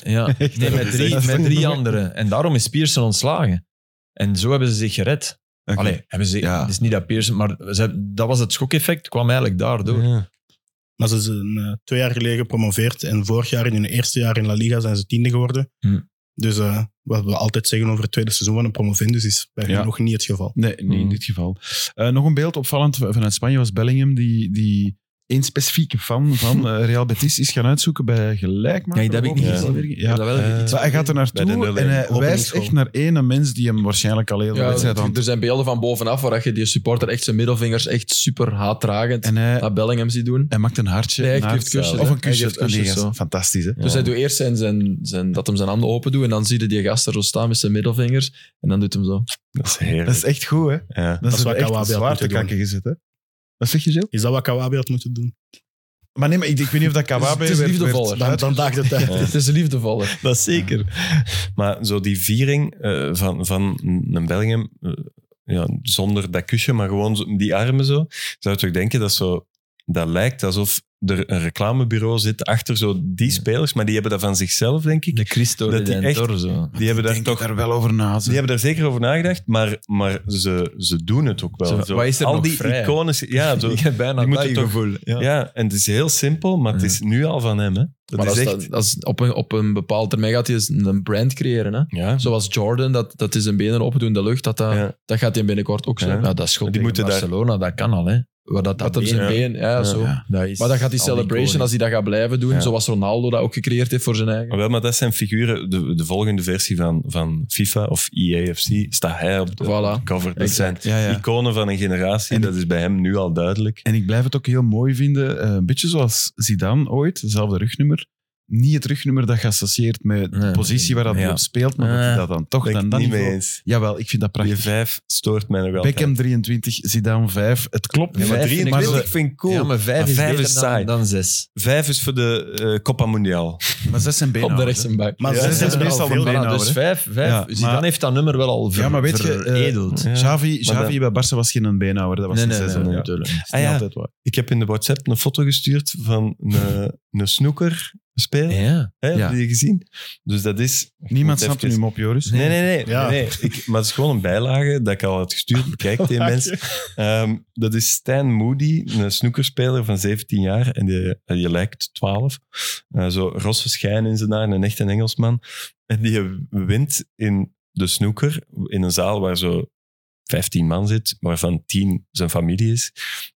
[SPEAKER 3] Ja, nee, met drie,
[SPEAKER 2] echt-
[SPEAKER 3] met drie anderen. En daarom is Pearson ontslagen. En zo hebben ze zich gered.
[SPEAKER 2] Oké.
[SPEAKER 3] Allee, hebben ze,
[SPEAKER 2] Ja.
[SPEAKER 3] het is niet dat Pearson, maar ze- dat was het schokeffect, kwam eigenlijk daardoor.
[SPEAKER 6] Maar ze zijn eh, twee jaar geleden gepromoveerd. En vorig jaar, in hun eerste jaar in La Liga, zijn ze tiende geworden.
[SPEAKER 3] Hm.
[SPEAKER 6] Dus eh, wat we altijd zeggen over het tweede seizoen van een promovendus is bij
[SPEAKER 2] Ja.
[SPEAKER 6] hen nog niet het geval.
[SPEAKER 2] Nee, niet in
[SPEAKER 4] Mhm.
[SPEAKER 2] dit geval. Eh, nog een beeld opvallend van- vanuit Spanje was Bellingham, die, die één specifieke fan van eh, Real Betis is gaan uitzoeken bij gelijk.
[SPEAKER 3] Ja, dat heb ik niet gezien.
[SPEAKER 2] Ja.
[SPEAKER 3] Dat wel
[SPEAKER 4] Eh,
[SPEAKER 3] iets
[SPEAKER 2] Maar hij gaat er
[SPEAKER 4] Bij de
[SPEAKER 2] naartoe
[SPEAKER 4] nul-
[SPEAKER 2] en hij wijst
[SPEAKER 6] openingsgoal.
[SPEAKER 2] echt naar één mens die hem waarschijnlijk al heel de
[SPEAKER 5] Ja,
[SPEAKER 2] wedstrijd aan
[SPEAKER 5] er zijn beelden van bovenaf waar je die supporter echt zijn middelvingers echt super haatdragend
[SPEAKER 2] En hij,
[SPEAKER 3] Ah.
[SPEAKER 5] naar Bellingham ziet doen.
[SPEAKER 2] hij maakt een hartje.
[SPEAKER 5] Nee, hij
[SPEAKER 2] naar-
[SPEAKER 5] geeft kusjes,
[SPEAKER 2] of
[SPEAKER 5] hè.
[SPEAKER 2] een
[SPEAKER 5] Hij
[SPEAKER 2] kusje.
[SPEAKER 5] geeft kusjes,
[SPEAKER 2] Nee, dat is
[SPEAKER 5] zo.
[SPEAKER 2] Fantastisch, hè?
[SPEAKER 5] Dus hij doet eerst zijn, zijn, zijn, dat hem zijn handen open doet en dan zie je die gast er zo staan met zijn middelvingers en dan doet hem zo.
[SPEAKER 4] Dat is
[SPEAKER 2] Dat
[SPEAKER 4] heerlijk.
[SPEAKER 2] is echt goed, hè?
[SPEAKER 4] Ja.
[SPEAKER 2] Dat
[SPEAKER 6] is
[SPEAKER 2] is
[SPEAKER 6] wat
[SPEAKER 2] echt
[SPEAKER 6] Kawabe had
[SPEAKER 2] zwaar te
[SPEAKER 6] moeten doen.
[SPEAKER 2] kakken gezet, hè? Wat zeg je, Jill?
[SPEAKER 6] Is dat wat Kawabe had moeten doen?
[SPEAKER 2] Maar nee, maar ik, ik weet niet of dat Kawabe
[SPEAKER 5] Het is
[SPEAKER 2] werd-
[SPEAKER 5] liefdevoller.
[SPEAKER 2] werd-
[SPEAKER 6] Dan, dan daagt het uit.
[SPEAKER 4] Ja.
[SPEAKER 5] Het is liefdevoller.
[SPEAKER 4] Dat zeker. Maar zo die viering eh, van, van een Bellingham, eh, ja, zonder dat kusje, maar gewoon zo- die armen zo, zou je toch denken dat zo, dat lijkt alsof er een reclamebureau zit achter zo die spelers, maar die hebben dat van zichzelf, denk ik.
[SPEAKER 3] De Cristo
[SPEAKER 4] Dat die
[SPEAKER 3] de
[SPEAKER 4] echt-
[SPEAKER 3] Torzo.
[SPEAKER 4] Die hebben daar
[SPEAKER 2] Denk
[SPEAKER 4] toch
[SPEAKER 2] daar wel over na.
[SPEAKER 4] Die hebben daar zeker over nagedacht, maar, maar ze, ze doen het ook wel.
[SPEAKER 3] Zo,
[SPEAKER 4] Zo,
[SPEAKER 3] wat is er
[SPEAKER 4] Al
[SPEAKER 3] nog
[SPEAKER 4] die
[SPEAKER 3] vrij?
[SPEAKER 4] iconen, ja, zo,
[SPEAKER 3] Ik heb bijna
[SPEAKER 4] die moeten
[SPEAKER 3] dat
[SPEAKER 4] toch-
[SPEAKER 3] gevoel. Ja.
[SPEAKER 4] ja, en het is heel simpel, maar het is nu al van hem. Hè. Dat
[SPEAKER 5] Maar
[SPEAKER 4] is
[SPEAKER 5] als,
[SPEAKER 4] echt,
[SPEAKER 5] dat, als op, een, op een bepaalde termijn gaat hij eens een brand creëren. Hè?
[SPEAKER 4] ja,
[SPEAKER 5] Zoals Jordan, dat, dat is een benen opdoen in de lucht. Dat, dat,
[SPEAKER 4] Ja.
[SPEAKER 5] dat gaat hij binnenkort ook zo.
[SPEAKER 4] Ja.
[SPEAKER 5] Ja, dat schot
[SPEAKER 4] Die
[SPEAKER 5] tegen
[SPEAKER 4] moeten daar-
[SPEAKER 5] Barcelona, dat kan al. Hè? Waar dat, dat hem
[SPEAKER 4] been,
[SPEAKER 5] zijn
[SPEAKER 4] ja.
[SPEAKER 5] been, ja, zo.
[SPEAKER 3] Dat is
[SPEAKER 5] Maar dan gaat die
[SPEAKER 3] al
[SPEAKER 5] celebration,
[SPEAKER 3] iconisch.
[SPEAKER 5] als hij dat gaat blijven doen,
[SPEAKER 4] Ja.
[SPEAKER 5] zoals Ronaldo dat ook gecreëerd heeft voor zijn eigen.
[SPEAKER 4] maar wel, maar dat zijn figuren. De, de volgende versie van, van FIFA of E EAFC staat hij op de
[SPEAKER 5] Voilà.
[SPEAKER 4] cover. Dat
[SPEAKER 5] Exact.
[SPEAKER 4] zijn
[SPEAKER 2] Ja, ja.
[SPEAKER 4] iconen van een generatie,
[SPEAKER 2] En-
[SPEAKER 4] dat is bij hem nu al duidelijk.
[SPEAKER 2] En ik blijf het ook heel mooi vinden, eh, een beetje zoals Zidane ooit, hetzelfde rugnummer. Niet het rugnummer dat geassocieerd met de
[SPEAKER 3] Nee.
[SPEAKER 2] positie waar dat hij
[SPEAKER 4] Ja.
[SPEAKER 2] op speelt, maar dat hij
[SPEAKER 3] Eh,
[SPEAKER 2] dat dan toch
[SPEAKER 4] Ben ik
[SPEAKER 2] dan,
[SPEAKER 4] het
[SPEAKER 2] dan
[SPEAKER 4] niet mee
[SPEAKER 2] niveau-
[SPEAKER 4] eens.
[SPEAKER 2] Jawel, ik vind dat
[SPEAKER 4] Die
[SPEAKER 2] prachtig.
[SPEAKER 4] vijf stoort mij nog wel.
[SPEAKER 2] Beckham 23, Zidane 5. Het klopt.
[SPEAKER 3] Ja,
[SPEAKER 4] maar
[SPEAKER 3] vijf vind ik
[SPEAKER 2] ze-
[SPEAKER 4] 23 vind, ik cool.
[SPEAKER 3] Ja, maar vijf
[SPEAKER 4] Maar
[SPEAKER 3] is
[SPEAKER 4] vijf
[SPEAKER 3] beter
[SPEAKER 4] is
[SPEAKER 3] dan-
[SPEAKER 4] saai.
[SPEAKER 3] dan zes.
[SPEAKER 4] Vijf is voor de eh, Copa Mundial.
[SPEAKER 2] maar zes zijn benen.
[SPEAKER 5] Op de
[SPEAKER 2] houden,
[SPEAKER 5] rechts en buik.
[SPEAKER 6] Maar
[SPEAKER 2] Ja,
[SPEAKER 6] ze
[SPEAKER 2] dat is
[SPEAKER 6] hebben er
[SPEAKER 2] meestal
[SPEAKER 6] al veel
[SPEAKER 2] een
[SPEAKER 6] van.
[SPEAKER 2] been.
[SPEAKER 3] Voilà,
[SPEAKER 2] nou,
[SPEAKER 3] dus
[SPEAKER 2] hè.
[SPEAKER 3] vijf. vijf.
[SPEAKER 2] Ja,
[SPEAKER 3] Zidane
[SPEAKER 2] maar-
[SPEAKER 3] heeft dat nummer wel al ver,
[SPEAKER 2] Ja, maar weet je, eh,
[SPEAKER 3] veredeld.
[SPEAKER 2] hè.
[SPEAKER 4] Ja.
[SPEAKER 2] Xavi, Xavi
[SPEAKER 4] dat-
[SPEAKER 2] bij Barça was geen een beenhouwer, dat was
[SPEAKER 3] nee,
[SPEAKER 2] een
[SPEAKER 3] nee, nee,
[SPEAKER 2] zes.
[SPEAKER 3] nee,
[SPEAKER 2] ja.
[SPEAKER 3] natuurlijk.
[SPEAKER 2] Dat is
[SPEAKER 4] Ah, ja.
[SPEAKER 2] niet altijd waar.
[SPEAKER 4] Ik heb in de WhatsApp een foto gestuurd van een, eh, een snoeker speler.
[SPEAKER 3] Ja.
[SPEAKER 4] Hè,
[SPEAKER 2] Ja.
[SPEAKER 4] Heb je die gezien? Dus dat is...
[SPEAKER 2] Niemand
[SPEAKER 4] Moet
[SPEAKER 2] snapt
[SPEAKER 4] even-
[SPEAKER 2] hem op, Joris.
[SPEAKER 4] Nee, nee, nee.
[SPEAKER 6] Ja.
[SPEAKER 4] nee, nee. Ik, maar het is gewoon een bijlage dat ik al had gestuurd. Bekijk die mensen. Ehm, dat is Stijn Moody, een snoekerspeler van 17 jaar. En die, die lijkt 12. Eh, zo rosse schijn in zijn haar, een echte Engelsman. En die wint in de snoeker, in een zaal waar zo 15 man zit, waarvan 10 zijn familie is.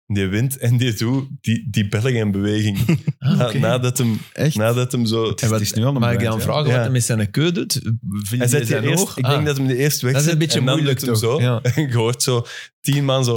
[SPEAKER 4] Die wint en die doet die, die Bellingham-beweging.
[SPEAKER 3] Ah,
[SPEAKER 4] Na- nadat, hem,
[SPEAKER 2] Echt?
[SPEAKER 4] nadat hem zo...
[SPEAKER 2] En wat, is nu al een
[SPEAKER 3] Mag ik
[SPEAKER 2] brand,
[SPEAKER 3] dan
[SPEAKER 2] ja.
[SPEAKER 3] vragen
[SPEAKER 4] Ja.
[SPEAKER 3] wat hij met zijn keu doet?
[SPEAKER 4] Hij
[SPEAKER 3] Vindt
[SPEAKER 4] zet die
[SPEAKER 3] zijn
[SPEAKER 4] eerst,
[SPEAKER 3] oog?
[SPEAKER 4] ik
[SPEAKER 3] Ah.
[SPEAKER 4] denk dat hem de eerst weg
[SPEAKER 3] Dat is een
[SPEAKER 4] zet
[SPEAKER 3] beetje
[SPEAKER 4] en dan
[SPEAKER 3] moeilijk
[SPEAKER 4] doet hem
[SPEAKER 3] toch?
[SPEAKER 4] zo.
[SPEAKER 3] Ja.
[SPEAKER 4] En je hoort zo tien man zo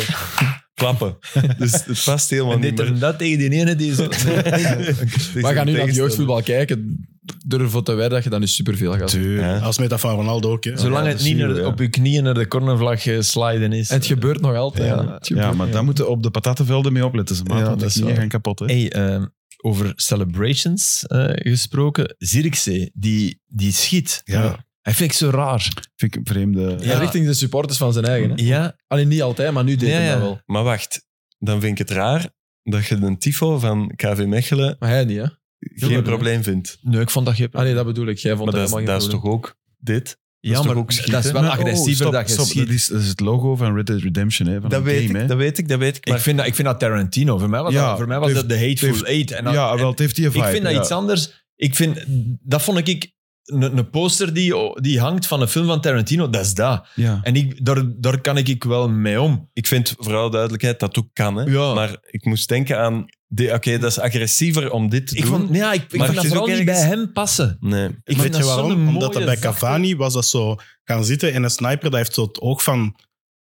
[SPEAKER 4] klappen. Dus het past helemaal
[SPEAKER 3] En
[SPEAKER 4] niet
[SPEAKER 3] dit
[SPEAKER 4] meer.
[SPEAKER 3] en dat tegen die ene die zo...
[SPEAKER 5] We gaan nu naar het jeugdvoetbal kijken. Durf voor te wijden dat je dan nu superveel gaat doen.
[SPEAKER 2] Tuurlijk.
[SPEAKER 4] Ja.
[SPEAKER 6] Als met dat van Ronaldo ook. Hè.
[SPEAKER 3] Zolang het niet naar- op je knieën naar de cornervlag eh, sliden is.
[SPEAKER 5] En het gebeurt nog altijd.
[SPEAKER 3] Ja.
[SPEAKER 5] hè. Het gebeurt-
[SPEAKER 2] Ja, maar daar moeten op de patatenvelden mee opletten. Ze
[SPEAKER 3] Ja,
[SPEAKER 2] maken
[SPEAKER 3] dat
[SPEAKER 2] de
[SPEAKER 3] is
[SPEAKER 2] knieën
[SPEAKER 3] waar.
[SPEAKER 2] gaan kapot. Hè.
[SPEAKER 3] Hey, ehm, over celebrations eh, gesproken. Zirkzee, die, die schiet.
[SPEAKER 2] Ja.
[SPEAKER 3] Hij vind ik zo raar.
[SPEAKER 2] Vind ik een vreemde...
[SPEAKER 3] Ja.
[SPEAKER 5] Richting de supporters van zijn eigen. Hè?
[SPEAKER 3] Ja,
[SPEAKER 5] Alleen niet altijd, maar nu deed
[SPEAKER 3] Ja,
[SPEAKER 5] hij
[SPEAKER 3] ja.
[SPEAKER 5] dat wel.
[SPEAKER 4] Maar wacht, dan vind ik het raar dat je een tifo van KV Mechelen
[SPEAKER 5] Maar hij niet, hè?
[SPEAKER 4] geen probleem vindt.
[SPEAKER 3] nee, ik vond dat je...
[SPEAKER 5] Ah nee, dat bedoel ik. Jij vond
[SPEAKER 4] Maar dat,
[SPEAKER 5] dat
[SPEAKER 4] is-
[SPEAKER 5] helemaal
[SPEAKER 4] dat is
[SPEAKER 5] geen
[SPEAKER 4] toch ook dit?
[SPEAKER 3] ja,
[SPEAKER 4] toch
[SPEAKER 3] maar
[SPEAKER 4] ook schieten?
[SPEAKER 3] dat is wel
[SPEAKER 2] Maar- oh,
[SPEAKER 3] agressiever
[SPEAKER 2] stop,
[SPEAKER 3] dat je
[SPEAKER 2] stop.
[SPEAKER 3] schiet.
[SPEAKER 2] Dat is, dat is het logo van Red Dead Redemption. Hè, van
[SPEAKER 4] Dat
[SPEAKER 2] een
[SPEAKER 4] weet,
[SPEAKER 2] game,
[SPEAKER 4] ik,
[SPEAKER 2] hè.
[SPEAKER 4] dat weet ik, dat weet ik.
[SPEAKER 3] Maar
[SPEAKER 4] Maar
[SPEAKER 3] ik vind dat, ik vind dat Tarantino. Voor mij was,
[SPEAKER 2] Ja,
[SPEAKER 3] dat, voor mij was
[SPEAKER 2] het
[SPEAKER 3] dat de Hateful Eight. En dan-
[SPEAKER 2] ja, wel, het heeft die vibe.
[SPEAKER 3] ik vind dat
[SPEAKER 2] ja.
[SPEAKER 3] iets anders. Ik vind, dat vond ik een, een poster die, die hangt van een film van Tarantino. Dat is dat.
[SPEAKER 2] Ja.
[SPEAKER 3] En ik, daar, daar kan ik ik wel mee om.
[SPEAKER 4] ik vind vooral duidelijkheid dat ook kan. Hè?
[SPEAKER 3] Ja.
[SPEAKER 4] Maar ik moest denken aan... die- Oké, dat is agressiever om dit te
[SPEAKER 3] Ik
[SPEAKER 4] doen.
[SPEAKER 3] vond, nee, ja, ik, ik vond
[SPEAKER 4] Maar het
[SPEAKER 3] dat
[SPEAKER 4] is
[SPEAKER 3] vooral
[SPEAKER 4] ook
[SPEAKER 3] niet bij
[SPEAKER 4] ergens-
[SPEAKER 3] hem passen.
[SPEAKER 4] Nee.
[SPEAKER 3] Ik
[SPEAKER 6] Weet
[SPEAKER 3] vind
[SPEAKER 6] je
[SPEAKER 3] dat zo'n
[SPEAKER 6] waarom? Omdat dat
[SPEAKER 3] mooie
[SPEAKER 6] bij
[SPEAKER 3] zachte-
[SPEAKER 6] Cavani was dat zo gaan zitten en een sniper dat heeft zo het oog van...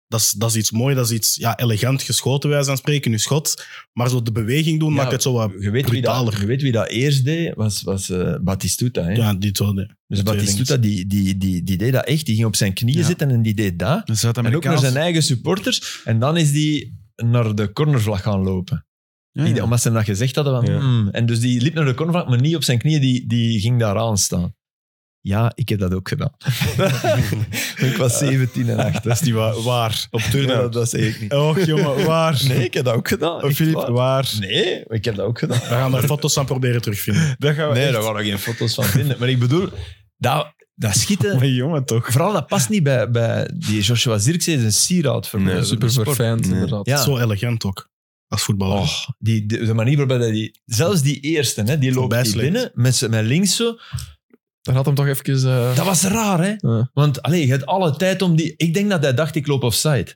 [SPEAKER 6] Dat is, dat is iets mooi, dat is iets ja, elegant geschoten, wij zijn spreken, nu schot. Maar zo de beweging doen
[SPEAKER 3] Ja,
[SPEAKER 6] maakt het zo wat...
[SPEAKER 3] Je weet, wie dat,
[SPEAKER 6] brutaler.
[SPEAKER 3] je weet wie dat eerst deed, was, was eh, Batistuta. Hè?
[SPEAKER 6] Ja, die zo. nee.
[SPEAKER 3] dus Batistuta die, die, die, die deed dat echt. Die ging op zijn knieën
[SPEAKER 2] Ja.
[SPEAKER 3] zitten en die deed dat.
[SPEAKER 2] Een
[SPEAKER 3] En ook naar
[SPEAKER 2] Zuid-Amerikaans.
[SPEAKER 3] zijn eigen supporters. En dan is die naar de cornervlag gaan lopen.
[SPEAKER 2] Ja,
[SPEAKER 3] Die-
[SPEAKER 2] ja.
[SPEAKER 3] Omdat ze hem dat gezegd hadden. Van,
[SPEAKER 4] Ja.
[SPEAKER 3] "Hmm." En dus die liep naar de cornervlak, maar niet op zijn knieën. Die, die ging daar aan staan. Ja, ik heb dat ook gedaan. ik was 17 en 8.
[SPEAKER 2] Dat is niet waar. waar.
[SPEAKER 4] Op
[SPEAKER 3] Ja,
[SPEAKER 4] turnout.
[SPEAKER 3] dat was ik niet.
[SPEAKER 2] Och, jongen, waar.
[SPEAKER 3] Nee, ik heb dat ook gedaan.
[SPEAKER 2] Oh,
[SPEAKER 3] Echt
[SPEAKER 2] Filip,
[SPEAKER 3] waar.
[SPEAKER 2] waar.
[SPEAKER 3] Nee, ik heb dat ook gedaan.
[SPEAKER 6] We gaan er foto's van proberen terugvinden.
[SPEAKER 2] Dat gaan we
[SPEAKER 3] Nee,
[SPEAKER 2] echt...
[SPEAKER 3] daar waren geen foto's van vinden. Maar ik bedoel, dat, dat schieten...
[SPEAKER 2] Maar jongen, toch.
[SPEAKER 3] Vooral dat past niet bij, bij die Joshua Zirkzee, is een sieraad voor
[SPEAKER 4] Nee,
[SPEAKER 3] mij.
[SPEAKER 5] Super verfijnd,
[SPEAKER 4] Nee.
[SPEAKER 5] inderdaad.
[SPEAKER 3] Ja.
[SPEAKER 6] Zo elegant ook, als voetballer.
[SPEAKER 3] Oh, die, de, de manier waarbij dat die... Zelfs die eerste, hè, die loopt
[SPEAKER 6] Voorbij
[SPEAKER 3] die
[SPEAKER 6] sleept.
[SPEAKER 3] binnen met, z'n- met links zo.
[SPEAKER 5] Daar had hem toch even... eh,
[SPEAKER 3] Dat was raar, hè?
[SPEAKER 5] Ja.
[SPEAKER 3] Want allee, je hebt alle tijd om die... Ik denk dat hij dacht, ik loop offside.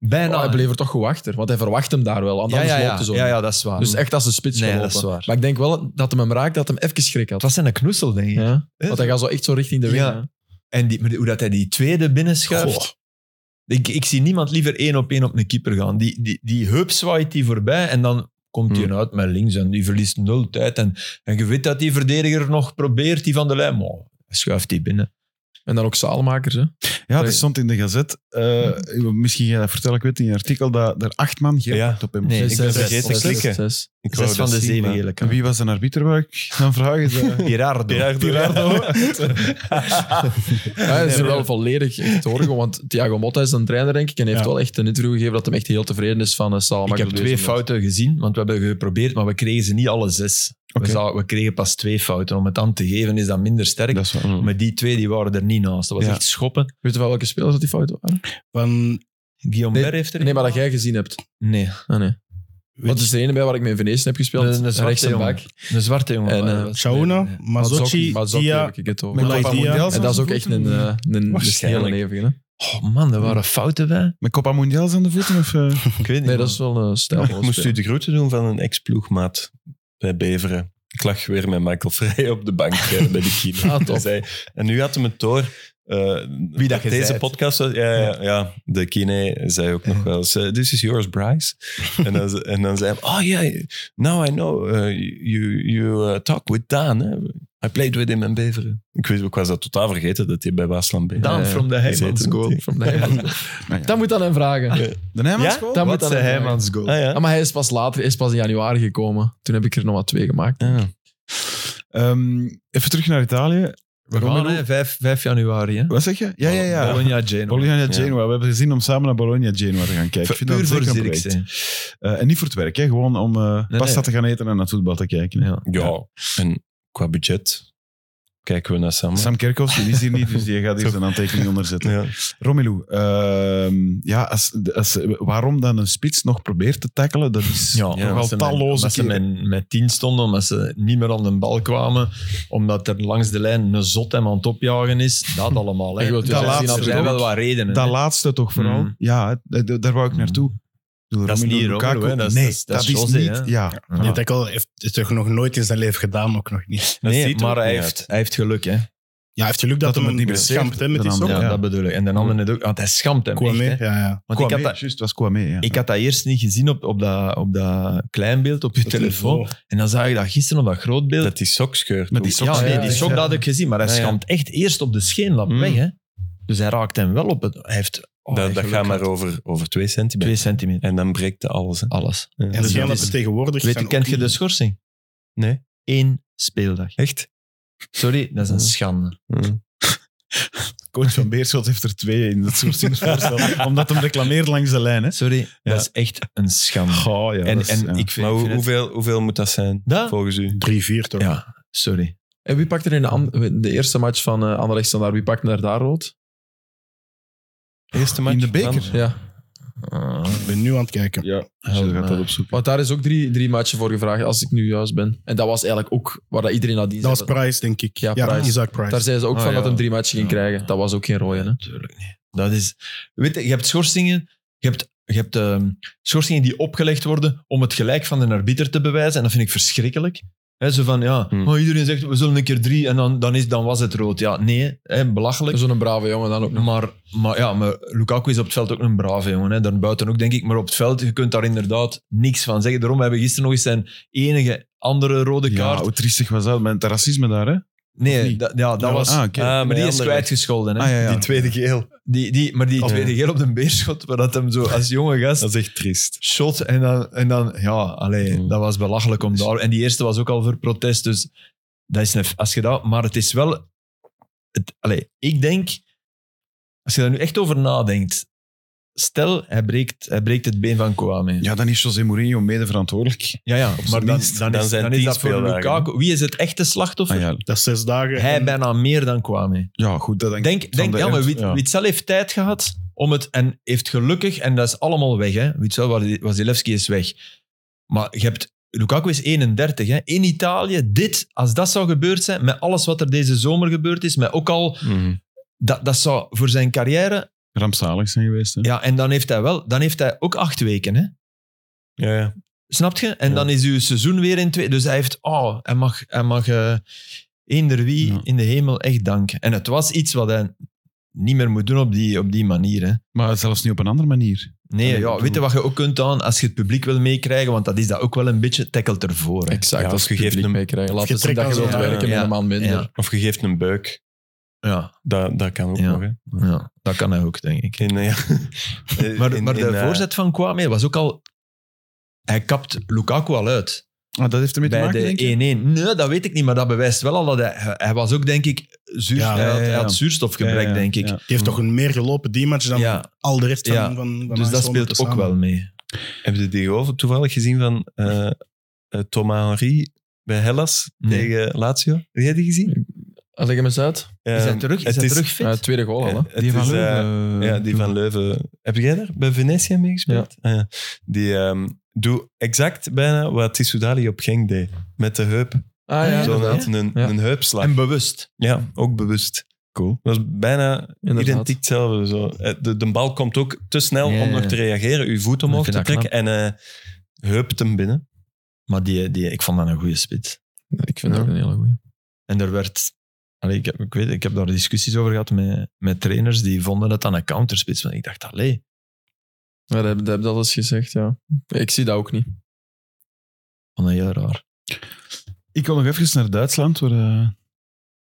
[SPEAKER 3] Bijna.
[SPEAKER 5] Oh, hij bleef er toch goed achter, want hij verwacht hem daar wel.
[SPEAKER 3] ja,
[SPEAKER 5] Anders
[SPEAKER 3] ja,
[SPEAKER 5] loopt
[SPEAKER 3] ja.
[SPEAKER 5] hij zo.
[SPEAKER 3] ja, ja, dat is waar.
[SPEAKER 5] Dus echt als een spits
[SPEAKER 3] Nee, dat
[SPEAKER 5] gelopen.
[SPEAKER 3] is waar.
[SPEAKER 5] Maar ik denk wel dat hem hem raakt, dat hem even schrik
[SPEAKER 3] Het
[SPEAKER 5] had.
[SPEAKER 3] was zijn knoesel, denk ik.
[SPEAKER 5] Ja. Want hij gaat zo echt zo richting de wing.
[SPEAKER 3] Ja.
[SPEAKER 5] hè.
[SPEAKER 3] En die, maar hoe dat hij die tweede binnenschuift.
[SPEAKER 6] Goh.
[SPEAKER 3] Ik, ik zie niemand liever één op één op een keeper gaan. Die, die, die heup zwaait die voorbij en dan komt
[SPEAKER 5] Hmm.
[SPEAKER 3] hij uit met links en die verliest nul tijd. En, en je weet dat die verdediger nog probeert, die van de lijn. Maar hij schuift die binnen.
[SPEAKER 5] En dan ook zaalmakers. Hè?
[SPEAKER 2] Ja, dat stond in de gazet. eh, misschien ga je dat vertellen, ik weet niet, in een artikel dat er acht man geel
[SPEAKER 4] Ja.
[SPEAKER 2] kaart op hem
[SPEAKER 3] Nee,
[SPEAKER 2] moest.
[SPEAKER 3] ik ben vergeten
[SPEAKER 4] te klikken.
[SPEAKER 5] Zes.
[SPEAKER 4] Ik wou
[SPEAKER 3] Zes van
[SPEAKER 4] dat
[SPEAKER 3] de
[SPEAKER 4] zien,
[SPEAKER 3] zeven
[SPEAKER 4] maar-
[SPEAKER 3] gele
[SPEAKER 2] En
[SPEAKER 3] kaarten.
[SPEAKER 2] wie was een arbiter, wou ik dan vragen? Ze-
[SPEAKER 3] Gerardo.
[SPEAKER 4] Gerardo.
[SPEAKER 5] Ja, hij is er wel volledig echt horen, want Thiago Motta is een trainer, denk ik, en heeft
[SPEAKER 6] Ja.
[SPEAKER 5] wel echt een interview gegeven dat hem echt heel tevreden is van uh,
[SPEAKER 3] Ik heb twee fouten gezien, want we hebben geprobeerd, maar we kregen ze niet alle zes.
[SPEAKER 2] Oké.
[SPEAKER 3] We, zou- we kregen pas twee fouten. Om het dan te geven is dat minder sterk.
[SPEAKER 2] Dat is waar.
[SPEAKER 4] Mm.
[SPEAKER 3] Maar die twee die waren er niet naast. Dat was
[SPEAKER 2] Ja.
[SPEAKER 3] echt schoppen.
[SPEAKER 5] Weet je van welke spelers dat die fouten waren?
[SPEAKER 6] Van,
[SPEAKER 3] Guillaume
[SPEAKER 5] Nee,
[SPEAKER 3] Ber heeft er
[SPEAKER 5] Nee, maar dat
[SPEAKER 3] een-
[SPEAKER 5] jij gezien hebt.
[SPEAKER 3] Nee,
[SPEAKER 5] Ah, nee. Want er is er ene bij waar ik mee in Venetië heb gespeeld.
[SPEAKER 3] Een- een zwarte
[SPEAKER 5] rechts en
[SPEAKER 3] jongen.
[SPEAKER 5] back.
[SPEAKER 3] een zwarte jongen.
[SPEAKER 5] En, eh,
[SPEAKER 3] Dat was-
[SPEAKER 6] Shauna,
[SPEAKER 3] nee, nee.
[SPEAKER 6] Mazzocchi,
[SPEAKER 5] Mazzocchi
[SPEAKER 6] Dia,
[SPEAKER 5] heb ik het over.
[SPEAKER 2] Met
[SPEAKER 6] Mulai
[SPEAKER 2] Copa
[SPEAKER 6] Dia.
[SPEAKER 2] Mundial
[SPEAKER 5] En dat is ook echt een, eh, een, een
[SPEAKER 4] Waarschijnlijk.
[SPEAKER 5] hele levige, hè?
[SPEAKER 3] Oh man, dat waren fouten wij.
[SPEAKER 2] Met Copa Mundials aan de voeten? Of, eh?
[SPEAKER 3] Ik weet niet.
[SPEAKER 5] Nee, dat
[SPEAKER 3] man.
[SPEAKER 5] is wel een
[SPEAKER 4] Ik moest u de groeten doen van een ex-ploegmaat bij Beveren. Ik lag weer met Michael Vrij op de bank eh, bij de kino.
[SPEAKER 5] Ah, top.
[SPEAKER 4] Hij zei- en nu had hem het door. eh,
[SPEAKER 3] Wie dat je
[SPEAKER 4] Deze
[SPEAKER 3] zijt.
[SPEAKER 4] podcast, was- ja, ja, ja, de kine zei ook nog wel eens, eh, this is yours, Bryce. en, dan, ze- en dan zei hij, oh yeah, now I know, eh, you, you eh, talk with Daan. hè. I played with him in Beveren. Ik, wist, ik was dat totaal vergeten, dat hij bij Waasland Beveren...
[SPEAKER 3] Daan
[SPEAKER 4] Eh,
[SPEAKER 3] from the Heijmans
[SPEAKER 4] Gezeten.
[SPEAKER 3] goal. Oh,
[SPEAKER 5] From the Heijmans.
[SPEAKER 2] Nou ja.
[SPEAKER 5] Dat moet aan hem vragen.
[SPEAKER 2] De Nijmansschool?
[SPEAKER 5] Dat moet
[SPEAKER 3] Wat
[SPEAKER 5] aan
[SPEAKER 3] de
[SPEAKER 5] hem vragen.
[SPEAKER 3] Heijmans goal.
[SPEAKER 4] Ah, ja.
[SPEAKER 5] Ah, maar hij is pas later, hij is pas in januari gekomen. Toen heb ik er nog maar twee gemaakt.
[SPEAKER 4] Ah.
[SPEAKER 2] Ehm, even terug naar Italië.
[SPEAKER 3] We gaan,
[SPEAKER 2] Romelu-
[SPEAKER 3] hè, 5, 5 januari. Hè?
[SPEAKER 2] Wat zeg je? Ja, ja, ja.
[SPEAKER 3] Bologna, Genoa.
[SPEAKER 2] Bologna-Genoa. We hebben gezien om samen naar Bologna-Genoa te gaan kijken. Ik vind dat
[SPEAKER 3] Puur voor
[SPEAKER 2] zeker een
[SPEAKER 3] Zirkzee.
[SPEAKER 2] project. Eh, en niet voor het werk, hè. gewoon om eh, pasta
[SPEAKER 3] nee.
[SPEAKER 2] te gaan eten en naar het voetbal te kijken.
[SPEAKER 3] Ja.
[SPEAKER 4] Ja, en qua budget kijken we naar Sam.
[SPEAKER 2] Sam Kerkhoffs die is hier niet, dus die gaat hier
[SPEAKER 4] Toch.
[SPEAKER 2] zijn aantekening onder zetten.
[SPEAKER 4] Ja.
[SPEAKER 2] Romelu, ehm, ja, als, als, waarom dan een spits nog probeert te tackelen, dat is
[SPEAKER 3] Ja,
[SPEAKER 2] toch al
[SPEAKER 3] omdat ze met-
[SPEAKER 2] talloze
[SPEAKER 3] omdat ze
[SPEAKER 2] keren.
[SPEAKER 3] met, met tien stonden, omdat ze niet meer aan de bal kwamen, omdat er langs de lijn een zot hem aan het opjagen is. Dat allemaal.
[SPEAKER 5] En
[SPEAKER 3] Hè.
[SPEAKER 5] je wilt
[SPEAKER 3] Dus
[SPEAKER 5] dus
[SPEAKER 3] er
[SPEAKER 2] laatste
[SPEAKER 3] zijn- er zijn
[SPEAKER 2] toch?
[SPEAKER 3] wel wat redenen.
[SPEAKER 2] Dat
[SPEAKER 3] hè.
[SPEAKER 2] laatste toch vooral.
[SPEAKER 3] Mm.
[SPEAKER 2] Ja, hè, eh, d- d- daar wou ik
[SPEAKER 3] Mm.
[SPEAKER 2] naartoe. Door
[SPEAKER 3] Dat is
[SPEAKER 2] Romelu
[SPEAKER 3] niet
[SPEAKER 2] Lukaku.
[SPEAKER 3] Romelu, hè. Dat is-
[SPEAKER 2] nee,
[SPEAKER 3] dat is- dat is
[SPEAKER 2] is
[SPEAKER 3] Jose,
[SPEAKER 2] niet.
[SPEAKER 3] hè.
[SPEAKER 2] Ja.
[SPEAKER 6] ja. die Dekkel heeft het toch nog nooit in zijn leven gedaan, ook nog niet.
[SPEAKER 4] Dat
[SPEAKER 3] nee,
[SPEAKER 4] ziet er
[SPEAKER 3] maar
[SPEAKER 4] ook
[SPEAKER 3] hij
[SPEAKER 4] niet
[SPEAKER 3] heeft,
[SPEAKER 4] uit.
[SPEAKER 3] hij heeft geluk. Hè. Ja,
[SPEAKER 6] Ja, hij heeft geluk
[SPEAKER 2] Dat
[SPEAKER 6] dat,
[SPEAKER 2] hem
[SPEAKER 6] hem
[SPEAKER 2] het niet
[SPEAKER 6] een
[SPEAKER 2] beschreef,
[SPEAKER 6] schampt hè, met
[SPEAKER 2] de
[SPEAKER 6] die sok.
[SPEAKER 2] andere. Ja.
[SPEAKER 3] dat bedoel ik. En de andere het ook, want hij schamt hem
[SPEAKER 6] Kwame,
[SPEAKER 3] echt. Hè.
[SPEAKER 6] ja, ja.
[SPEAKER 3] Want
[SPEAKER 2] Kwame,
[SPEAKER 3] ik had dat...
[SPEAKER 2] juist, was Kwame, ja.
[SPEAKER 3] Ik had dat eerst niet gezien op, op, dat, op dat kleinbeeld, op je telefoon. En dan zag ik dat gisteren op dat grootbeeld.
[SPEAKER 4] Dat die sok scheurt.
[SPEAKER 2] Met die
[SPEAKER 4] ook.
[SPEAKER 2] sok.
[SPEAKER 3] ja,
[SPEAKER 5] Ja,
[SPEAKER 3] nee,
[SPEAKER 5] ja,
[SPEAKER 3] die
[SPEAKER 5] ja.
[SPEAKER 3] sok dat had ik gezien, maar hij
[SPEAKER 4] Ja, ja.
[SPEAKER 3] schamt echt eerst op de scheenlap
[SPEAKER 4] Mm.
[SPEAKER 3] weg. Hè. Dus hij raakt hem wel op het... Hij heeft... oh, hij
[SPEAKER 4] dat dat
[SPEAKER 3] geluk
[SPEAKER 4] gaat maar
[SPEAKER 3] gehad.
[SPEAKER 4] over, over twee centimeter.
[SPEAKER 3] Twee centimeter.
[SPEAKER 4] En dan breekt de alles. Hè.
[SPEAKER 3] Alles.
[SPEAKER 4] Ja.
[SPEAKER 6] En
[SPEAKER 3] Dus
[SPEAKER 6] schijnbaar
[SPEAKER 3] dat is-
[SPEAKER 6] tegenwoordig
[SPEAKER 3] Weet, je,
[SPEAKER 6] zijn
[SPEAKER 3] kent
[SPEAKER 6] ook
[SPEAKER 3] je de
[SPEAKER 6] niet-
[SPEAKER 3] schorsing?
[SPEAKER 4] Nee.
[SPEAKER 3] Eén speeldag.
[SPEAKER 4] Echt?
[SPEAKER 3] Sorry, dat is een
[SPEAKER 4] Ja.
[SPEAKER 3] schande.
[SPEAKER 2] Coach van Beerschot heeft er twee in dat soortingsvoorstel. omdat hem reclameert langs de lijn. Hè.
[SPEAKER 3] Sorry,
[SPEAKER 2] Ja.
[SPEAKER 3] dat is echt een schande.
[SPEAKER 2] Goh, ja,
[SPEAKER 3] en
[SPEAKER 2] dat is-
[SPEAKER 3] en
[SPEAKER 2] ja.
[SPEAKER 3] ik vind...
[SPEAKER 4] Maar
[SPEAKER 3] ik
[SPEAKER 4] hoe-
[SPEAKER 3] vind het-
[SPEAKER 4] hoeveel, hoeveel moet dat zijn,
[SPEAKER 3] Dat?
[SPEAKER 4] volgens u?
[SPEAKER 6] 3-4 toch?
[SPEAKER 3] Ja, sorry.
[SPEAKER 5] En wie pakt er in de, an- de eerste match van eh Anderlecht Standaard? Wie pakt er daar rood?
[SPEAKER 4] Eerste match?
[SPEAKER 2] In de beker?
[SPEAKER 4] Van-
[SPEAKER 5] Ja.
[SPEAKER 6] Ik ben nu aan het kijken.
[SPEAKER 2] Ja, dus je gaat dat opzoeken.
[SPEAKER 5] Want daar is ook drie, drie matchen voor gevraagd, als ik nu juist ben. En dat was eigenlijk ook waar dat iedereen nadien
[SPEAKER 6] Dat was
[SPEAKER 5] zei dat-
[SPEAKER 6] Price, denk ik.
[SPEAKER 5] Ja,
[SPEAKER 6] Ja,
[SPEAKER 5] Price.
[SPEAKER 6] Isaac Price.
[SPEAKER 5] Daar zeiden ze ook
[SPEAKER 3] Ah,
[SPEAKER 5] van
[SPEAKER 3] ja.
[SPEAKER 5] dat hem drie matchen ging
[SPEAKER 3] Ja.
[SPEAKER 5] krijgen. Dat was ook geen rode, hè?
[SPEAKER 3] Natuurlijk niet. Dat is, weet je, je hebt schorsingen, je hebt, je hebt ehm, schorsingen die opgelegd worden om het gelijk van de arbiter te bewijzen. En dat vind ik verschrikkelijk. Hè, zo van, ja,
[SPEAKER 4] Hmm.
[SPEAKER 3] oh, iedereen zegt, we zullen een keer drie en dan, dan, is, dan was het rood. Ja, nee, hè, belachelijk.
[SPEAKER 5] Zo'n brave jongen dan ook nog.
[SPEAKER 3] Maar, maar, ja, maar Lukaku is op het veld ook een brave jongen. Hè. Daarbuiten ook, denk ik. Maar op het veld, je kunt daar inderdaad niks van zeggen. Daarom hebben we gisteren nog eens zijn enige andere rode
[SPEAKER 2] Ja,
[SPEAKER 3] kaart.
[SPEAKER 2] hoe triestig was dat? Met het racisme daar, hè?
[SPEAKER 3] nee,
[SPEAKER 2] niet?
[SPEAKER 3] dat, ja, dat
[SPEAKER 2] Ja,
[SPEAKER 3] was...
[SPEAKER 2] ah, oké.
[SPEAKER 3] maar die is
[SPEAKER 4] Anderlecht.
[SPEAKER 3] kwijtgescholden. Hè.
[SPEAKER 2] Ah, ja, ja.
[SPEAKER 3] Die tweede geel. Die, die, maar die
[SPEAKER 4] Oh.
[SPEAKER 3] tweede geel op de beerschot, waar dat hem zo als jonge gast
[SPEAKER 4] Dat is echt triest.
[SPEAKER 3] shot en dan, en dan ja, allee,
[SPEAKER 4] Mm.
[SPEAKER 3] dat was belachelijk om daar. En die eerste was ook al voor protest, dus dat is een, als je dat, maar het is wel, het, allee, ik denk, als je daar nu echt over nadenkt, stel hij breekt, hij breekt het been van Kouame.
[SPEAKER 2] Ja, dan is José Mourinho mede verantwoordelijk.
[SPEAKER 3] Ja, ja,
[SPEAKER 2] zijn
[SPEAKER 3] maar dan,
[SPEAKER 2] minst.
[SPEAKER 3] dan,
[SPEAKER 4] Dan
[SPEAKER 3] is,
[SPEAKER 4] zijn
[SPEAKER 3] dan is
[SPEAKER 4] tien
[SPEAKER 3] dat voor
[SPEAKER 4] speeldagen,
[SPEAKER 3] Lukaku. Wie is het echte slachtoffer?
[SPEAKER 2] Ah, ja.
[SPEAKER 6] Dat is zes dagen.
[SPEAKER 3] Hij
[SPEAKER 6] en
[SPEAKER 3] bijna meer dan Kouame.
[SPEAKER 2] ja, goed, dat denk ik.
[SPEAKER 3] Denk,
[SPEAKER 2] Van
[SPEAKER 3] denk
[SPEAKER 2] de
[SPEAKER 3] ja, maar
[SPEAKER 2] Ent,
[SPEAKER 3] Wit-
[SPEAKER 2] ja.
[SPEAKER 3] Witzel heeft tijd gehad om het en heeft gelukkig, en dat is allemaal weg, hè. Witzel, Wa- Wasilewski is weg. Maar je hebt, Lukaku is 31, hè. In Italië, dit, als dat zou gebeurd zijn, met alles wat er deze zomer gebeurd is, met ook al,
[SPEAKER 2] Mhm.
[SPEAKER 3] dat, dat zou voor zijn carrière,
[SPEAKER 2] rampzalig zijn geweest. Hè?
[SPEAKER 3] ja, en dan heeft hij wel, dan heeft hij ook acht weken, hè.
[SPEAKER 4] Ja, ja.
[SPEAKER 3] Snap je? En
[SPEAKER 4] Ja.
[SPEAKER 3] dan is uw seizoen weer in twee. Dus hij heeft, oh, hij mag, hij mag eh, eender wie
[SPEAKER 2] Ja.
[SPEAKER 3] in de hemel echt danken. En het was iets wat hij niet meer moet doen op die, op die manier. Hè.
[SPEAKER 2] Maar zelfs niet op een andere manier.
[SPEAKER 3] Nee,
[SPEAKER 2] Nee, ik
[SPEAKER 3] ja, weet je
[SPEAKER 2] bedoel-
[SPEAKER 3] wat je ook kunt aan als je het publiek wil meekrijgen? Want dat is dat ook wel een beetje tackelt ervoor. Hè.
[SPEAKER 5] Exact,
[SPEAKER 4] Ja,
[SPEAKER 5] als
[SPEAKER 4] of
[SPEAKER 5] je
[SPEAKER 4] je geeft
[SPEAKER 5] geeft
[SPEAKER 4] hem-
[SPEAKER 5] meekrijgen. Laat
[SPEAKER 6] je
[SPEAKER 5] eens zien
[SPEAKER 6] trekt
[SPEAKER 5] dat je
[SPEAKER 6] aan
[SPEAKER 5] wilt
[SPEAKER 6] zijn-
[SPEAKER 5] werken
[SPEAKER 3] ja,
[SPEAKER 5] met een man minder.
[SPEAKER 3] ja.
[SPEAKER 4] Of je geeft een beuk.
[SPEAKER 3] Ja,
[SPEAKER 4] Dat, dat kan ook
[SPEAKER 3] Ja.
[SPEAKER 4] nog. Hè.
[SPEAKER 3] ja, dat kan hij ook, denk ik.
[SPEAKER 4] In, eh, ja.
[SPEAKER 3] Maar,
[SPEAKER 4] In-
[SPEAKER 3] maar de
[SPEAKER 4] in, eh,
[SPEAKER 3] voorzet van Kwame was ook al... Hij kapt Lukaku al uit.
[SPEAKER 2] Ah, dat heeft ermee te
[SPEAKER 3] bij
[SPEAKER 2] maken,
[SPEAKER 3] de 1-1.
[SPEAKER 2] denk je?
[SPEAKER 3] Nee, dat weet ik niet, maar dat bewijst wel al dat hij... Hij was ook, denk ik, zuurstof,
[SPEAKER 6] Ja,
[SPEAKER 3] hij had,
[SPEAKER 2] ja, ja.
[SPEAKER 3] hij had zuurstofgebrek,
[SPEAKER 2] Ja, ja,
[SPEAKER 3] denk ik.
[SPEAKER 2] ja.
[SPEAKER 3] Ja,
[SPEAKER 6] Die heeft toch een meer gelopen die match dan al de rest van...
[SPEAKER 3] Ja.
[SPEAKER 6] van, van
[SPEAKER 3] dus dat
[SPEAKER 6] Ajax
[SPEAKER 3] speelt ook
[SPEAKER 6] samen.
[SPEAKER 3] wel mee.
[SPEAKER 4] Heb je die over toevallig gezien van eh eh, Thomas Henry bij Hellas
[SPEAKER 3] Nee.
[SPEAKER 4] tegen Lazio? Heb jij die gezien?
[SPEAKER 5] Leg hem eens uit.
[SPEAKER 3] Is hij
[SPEAKER 4] Ehm,
[SPEAKER 3] terug, is
[SPEAKER 4] het
[SPEAKER 3] hij
[SPEAKER 4] is-
[SPEAKER 3] terug
[SPEAKER 5] Eh,
[SPEAKER 3] fit?
[SPEAKER 5] tweede goal al, hè.
[SPEAKER 4] Het is, eh, ja, die van Leuven. Heb jij daar bij Venetië mee gespeeld? Ah, ja. Die ehm doet exact bijna wat Tissoudali op Genk deed. Met de heup.
[SPEAKER 5] Ah ja,
[SPEAKER 4] Zo
[SPEAKER 5] inderdaad.
[SPEAKER 4] had een,
[SPEAKER 5] Ja.
[SPEAKER 4] een heupslag.
[SPEAKER 3] en bewust.
[SPEAKER 4] Ja, ook bewust. Cool. Dat is bijna
[SPEAKER 5] Inderdaad.
[SPEAKER 4] identiek hetzelfde. Zo. Eh, De, de bal komt ook te snel
[SPEAKER 3] Ja,
[SPEAKER 4] om
[SPEAKER 3] ja,
[SPEAKER 4] nog
[SPEAKER 3] ja.
[SPEAKER 4] te reageren. Uw voet omhoog
[SPEAKER 3] vind
[SPEAKER 4] te
[SPEAKER 3] dat
[SPEAKER 4] trekken en eh heupt hem binnen.
[SPEAKER 3] Maar die, die, ik vond dat een goede spits.
[SPEAKER 5] Ik vind dat ook een hele goeie.
[SPEAKER 3] En er werd... Allee, ik, heb, ik, weet, ik heb daar discussies over gehad met, met trainers die vonden dat dan een counterspits. Want ik dacht, allee,
[SPEAKER 5] Ja, dat, heb- dat heb je al eens gezegd, ja. Ik zie dat ook niet.
[SPEAKER 3] ik vond dat heel raar.
[SPEAKER 2] Ik wil nog even naar Duitsland, waar eh,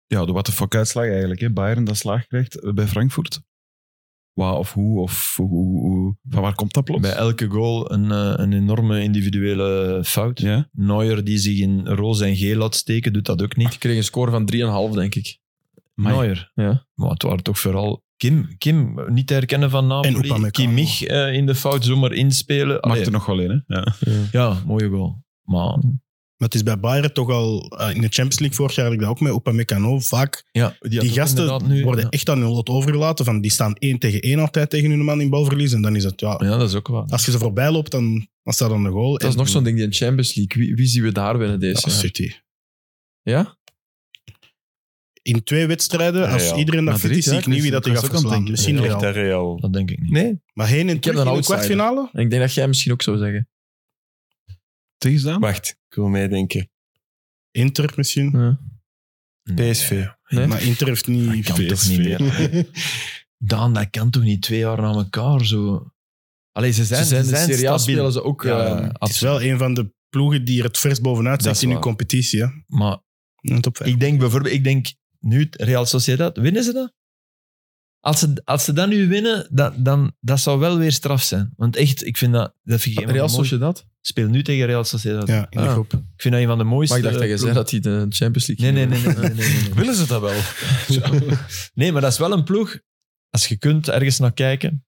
[SPEAKER 2] ja, de what the fuck uitslag eigenlijk. Hè. Bayern dat slaag krijgt eh, bij Frankfurt. Waar of hoe, of hoe, hoe- hoe- van waar komt dat plots?
[SPEAKER 3] Bij elke goal een, eh, een enorme individuele fout.
[SPEAKER 2] ja.
[SPEAKER 3] Neuer die zich in roze en geel laat steken, doet dat ook niet.
[SPEAKER 5] Ik kreeg een score van 3,5, denk ik.
[SPEAKER 2] Amai.
[SPEAKER 3] Neuer.
[SPEAKER 5] Ja.
[SPEAKER 3] Maar het waren toch vooral Kim, Kim niet te herkennen van
[SPEAKER 6] En
[SPEAKER 3] Napoli.
[SPEAKER 6] Upamecano.
[SPEAKER 3] Kimmich eh, in de fout zomaar inspelen. Allee,
[SPEAKER 2] Maakt er nog wel in, hè? Ja.
[SPEAKER 3] Ja, mooie goal. Maar
[SPEAKER 6] Maar het is bij Bayern toch al... eh, in de Champions League vorig jaar had ik dat ook met Upamecano. Vaak
[SPEAKER 3] ja, die, had
[SPEAKER 6] die
[SPEAKER 3] ook inderdaad
[SPEAKER 6] gasten
[SPEAKER 3] nu,
[SPEAKER 6] worden
[SPEAKER 3] ja.
[SPEAKER 6] echt aan hun lot overgelaten. Van, die staan één tegen één altijd tegen hun man in balverlies. En dan is het, ja...
[SPEAKER 3] Ja, dat is ook waar.
[SPEAKER 6] Als je ze voorbij loopt, dan, dan staat dan de goal.
[SPEAKER 5] Dat is
[SPEAKER 6] En-
[SPEAKER 5] nog zo'n ding, die Champions League. Wie, wie zien we daar winnen
[SPEAKER 6] Ja,
[SPEAKER 5] deze jaar?
[SPEAKER 6] City.
[SPEAKER 5] Ja?
[SPEAKER 6] In twee wedstrijden, als
[SPEAKER 4] Real.
[SPEAKER 6] iedereen dat
[SPEAKER 2] Madrid,
[SPEAKER 6] fit is, zie
[SPEAKER 2] ja,
[SPEAKER 6] ik niet wie dat die
[SPEAKER 2] ik
[SPEAKER 6] gaat
[SPEAKER 2] was ook aan het
[SPEAKER 6] verslaan.
[SPEAKER 2] denken.
[SPEAKER 6] Misschien
[SPEAKER 4] Echt
[SPEAKER 6] Real.
[SPEAKER 4] daar Real.
[SPEAKER 3] Dat denk ik niet.
[SPEAKER 4] Nee.
[SPEAKER 6] Maar heen en
[SPEAKER 5] Ik heb
[SPEAKER 6] terug
[SPEAKER 5] een
[SPEAKER 6] in de
[SPEAKER 5] outsider.
[SPEAKER 6] kwartfinale?
[SPEAKER 5] En ik denk dat jij misschien ook zou zeggen.
[SPEAKER 2] Tegenstaan?
[SPEAKER 4] Wacht, ik wil meedenken.
[SPEAKER 6] Inter misschien.
[SPEAKER 5] Ja.
[SPEAKER 4] PSV.
[SPEAKER 5] Nee?
[SPEAKER 6] Maar Inter heeft niet...
[SPEAKER 3] Dat kan toch niet meer. Daan, dat kan toch niet twee jaar na elkaar zo... Allee, ze zijn,
[SPEAKER 5] Ze zijn,
[SPEAKER 3] ze zijn
[SPEAKER 5] in Serie A
[SPEAKER 3] stabiel.
[SPEAKER 5] spelen ze ook...
[SPEAKER 3] Ja,
[SPEAKER 5] eh,
[SPEAKER 6] Het is wel een van de ploegen die er het vers bovenuit
[SPEAKER 3] Dat
[SPEAKER 6] zit
[SPEAKER 3] is
[SPEAKER 6] in de
[SPEAKER 3] waar.
[SPEAKER 6] competitie. Hè?
[SPEAKER 3] Maar
[SPEAKER 6] In de top vijf.
[SPEAKER 3] Ik denk bijvoorbeeld, ik denk nu Real Sociedad, winnen ze dat? Als ze, als ze dat nu winnen, dat, dan, dat zou wel weer straf zijn. Want echt, ik vind dat... dat vind ik een van de
[SPEAKER 5] Real
[SPEAKER 3] mooiste-
[SPEAKER 5] Sociedad?
[SPEAKER 3] Speel nu tegen Real Sociedad.
[SPEAKER 6] Ja, in de
[SPEAKER 5] Ah.
[SPEAKER 6] groep.
[SPEAKER 3] Ik vind dat een van de mooiste...
[SPEAKER 5] Maar ik dacht dat je zei
[SPEAKER 3] ploegen.
[SPEAKER 5] dat hij de Champions League...
[SPEAKER 3] Nee, nee,
[SPEAKER 5] ging
[SPEAKER 3] nee. nee, nee,
[SPEAKER 5] winnen.
[SPEAKER 3] nee, nee, nee.
[SPEAKER 4] Willen ze dat wel?
[SPEAKER 3] Nee, maar dat is wel een ploeg. Als je kunt ergens naar kijken,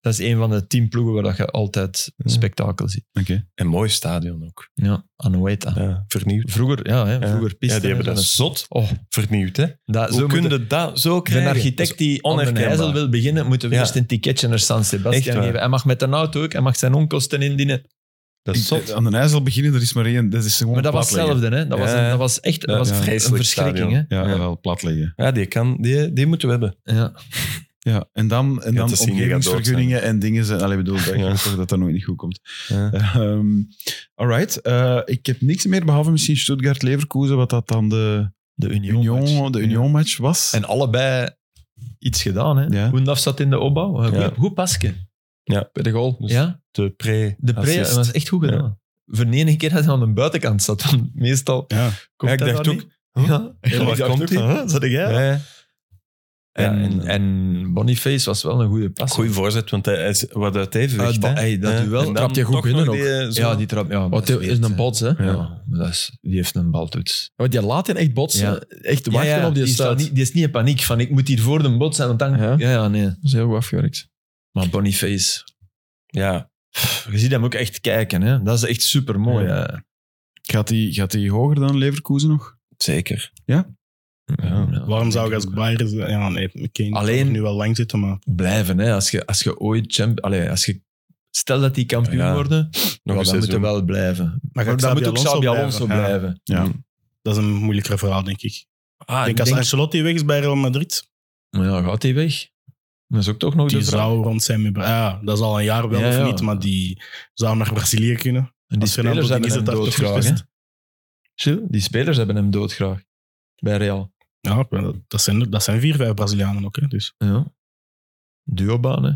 [SPEAKER 3] dat is een van de tien ploegen waar dat je altijd spektakel ziet.
[SPEAKER 2] Oké.
[SPEAKER 4] En mooi stadion ook.
[SPEAKER 3] Ja, Anoeta.
[SPEAKER 4] Ja, vernieuwd.
[SPEAKER 3] Vroeger, ja, hè,
[SPEAKER 4] Ja.
[SPEAKER 3] vroeger piste.
[SPEAKER 4] Ja, die hebben dat zot
[SPEAKER 3] Oh,
[SPEAKER 4] vernieuwd, hè?
[SPEAKER 3] dat,
[SPEAKER 4] Hoe
[SPEAKER 3] zo
[SPEAKER 4] kun
[SPEAKER 3] moeten-
[SPEAKER 4] je dat zo krijgen?
[SPEAKER 3] Een architect die aan een
[SPEAKER 4] onherkenbaar.
[SPEAKER 3] IJssel wil beginnen, moeten we
[SPEAKER 4] Ja.
[SPEAKER 3] eerst een ticketje naar San
[SPEAKER 4] Echt
[SPEAKER 3] Sebastian
[SPEAKER 4] waar.
[SPEAKER 3] geven. Hij mag met een auto ook, hij mag zijn onkosten indienen.
[SPEAKER 4] Dat is zot.
[SPEAKER 2] Ik- Aan de IJssel beginnen, er is maar één. Dat is gewoon
[SPEAKER 3] Maar dat was
[SPEAKER 2] platleggen.
[SPEAKER 3] hetzelfde, hè? Dat, was,
[SPEAKER 4] Ja,
[SPEAKER 3] een, dat was echt dat
[SPEAKER 4] ja,
[SPEAKER 3] was
[SPEAKER 4] ja.
[SPEAKER 3] een
[SPEAKER 4] Vreselijk
[SPEAKER 3] verschrikking, hè?
[SPEAKER 4] stadion.
[SPEAKER 2] Ja,
[SPEAKER 4] Ja.
[SPEAKER 2] wel platleggen.
[SPEAKER 4] Ja, die, kan, die, die moeten we hebben.
[SPEAKER 3] Ja.
[SPEAKER 2] Ja, en dan, en
[SPEAKER 4] Ja,
[SPEAKER 2] dan
[SPEAKER 4] te zien, die gaat
[SPEAKER 2] omgevingsvergunningen en dingen. Zijn, allee, bedoel, dat,
[SPEAKER 4] Ja.
[SPEAKER 2] dat dat nooit niet goed komt.
[SPEAKER 4] Ja.
[SPEAKER 2] Ehm alright. Eh, ik heb niks meer, behalve misschien Stuttgart-Leverkusen, wat dat dan de
[SPEAKER 3] De Union.
[SPEAKER 2] Union-match
[SPEAKER 3] match.
[SPEAKER 2] Union match was.
[SPEAKER 3] Ja. En allebei iets gedaan, hè?
[SPEAKER 2] Ja.
[SPEAKER 3] Hoendaf zat in de opbouw. Goed,
[SPEAKER 4] Ja.
[SPEAKER 3] goed pasje.
[SPEAKER 5] Bij de goal.
[SPEAKER 4] Dus
[SPEAKER 3] ja?
[SPEAKER 4] De pre
[SPEAKER 3] De pre dat was echt goed gedaan. Voor de enige keer dat hij aan de buitenkant zat. want meestal
[SPEAKER 6] Ja.
[SPEAKER 3] komt
[SPEAKER 4] Ja, ik
[SPEAKER 3] dat
[SPEAKER 4] dacht
[SPEAKER 3] dan
[SPEAKER 4] ook,
[SPEAKER 3] niet. Ja,
[SPEAKER 4] waar
[SPEAKER 3] Ik dacht
[SPEAKER 4] komt
[SPEAKER 3] ook
[SPEAKER 4] die?
[SPEAKER 3] van, huh, Zat ik, hè?
[SPEAKER 4] Ja,
[SPEAKER 3] En,
[SPEAKER 4] Ja, en-
[SPEAKER 3] en, Boniface was wel een goede pas.
[SPEAKER 4] Goeie voorzet, want hij is wat uit evenwicht.
[SPEAKER 3] Uitba-
[SPEAKER 4] hè.
[SPEAKER 3] hey, dat
[SPEAKER 4] Ja.
[SPEAKER 3] duel
[SPEAKER 4] En dan
[SPEAKER 5] trapt hij goed
[SPEAKER 4] toch
[SPEAKER 5] binnen
[SPEAKER 4] nog
[SPEAKER 5] ook.
[SPEAKER 4] die, eh, zo-
[SPEAKER 3] Ja, die trap. Ja,
[SPEAKER 5] Wat is een
[SPEAKER 3] bal.
[SPEAKER 5] bots, hè?
[SPEAKER 3] Ja,
[SPEAKER 5] Ja.
[SPEAKER 3] maar dat is, die heeft een baltoets.
[SPEAKER 5] Want die laat je echt botsen.
[SPEAKER 3] Ja.
[SPEAKER 5] Echt wachten op die,
[SPEAKER 3] is
[SPEAKER 5] stuit.
[SPEAKER 3] dan niet, die is niet in paniek van ik moet hier voor de bot zijn, want dan...
[SPEAKER 5] Ja?
[SPEAKER 3] Ja, ja, nee.
[SPEAKER 5] Dat is heel goed afgewerkt.
[SPEAKER 3] Maar Boniface,
[SPEAKER 4] ja.
[SPEAKER 3] pff, je ziet hem ook echt kijken. Hè. Dat is echt supermooi.
[SPEAKER 2] Ja.
[SPEAKER 3] hè.
[SPEAKER 2] Gaat die, gaat die hoger dan Leverkusen nog?
[SPEAKER 4] zeker.
[SPEAKER 3] Ja.
[SPEAKER 6] Waarom zou ik als Bayern... z- Ja, nee, ik kan
[SPEAKER 3] Alleen-
[SPEAKER 6] nu wel lang zitten, maar...
[SPEAKER 3] Blijven, hè. Als je, als je ooit... Champ... Allee, als je... Stel dat die kampioen
[SPEAKER 4] Ja.
[SPEAKER 3] worden,
[SPEAKER 4] Nog
[SPEAKER 3] ja,
[SPEAKER 4] een
[SPEAKER 3] dan moeten
[SPEAKER 4] seizoen.
[SPEAKER 3] wel blijven.
[SPEAKER 6] Maar
[SPEAKER 3] Maar
[SPEAKER 6] gaat
[SPEAKER 3] dan
[SPEAKER 6] Xabi
[SPEAKER 3] moet ook
[SPEAKER 6] Alonso
[SPEAKER 3] Xabi
[SPEAKER 6] blijven?
[SPEAKER 3] Alonso
[SPEAKER 6] Ja.
[SPEAKER 3] blijven.
[SPEAKER 2] Ja.
[SPEAKER 6] Dat is een moeilijker verhaal, denk ik.
[SPEAKER 3] Ah,
[SPEAKER 6] ik denk
[SPEAKER 3] ik
[SPEAKER 6] als
[SPEAKER 3] denk-
[SPEAKER 6] Ancelotti weg is bij Real Madrid,
[SPEAKER 3] Maar ja, gaat hij weg? Dat is ook toch nog
[SPEAKER 6] die
[SPEAKER 3] de vraag.
[SPEAKER 6] zou rond zijn met... Ja, dat is al een jaar wel
[SPEAKER 3] Ja,
[SPEAKER 6] of
[SPEAKER 3] ja.
[SPEAKER 6] niet, maar die zou naar Brazilië kunnen.
[SPEAKER 3] En die
[SPEAKER 6] Als Fernando
[SPEAKER 3] spelers hebben hem
[SPEAKER 6] Diniz het daar
[SPEAKER 3] doodgraag.
[SPEAKER 6] toch
[SPEAKER 3] hè.
[SPEAKER 6] verpest.
[SPEAKER 3] Gilles, Die spelers hebben hem doodgraag. Bij Real.
[SPEAKER 6] Ja, maar dat- dat zijn, dat zijn vier, vijf Brazilianen ook, hè, dus...
[SPEAKER 3] Ja. Duobaan, hè.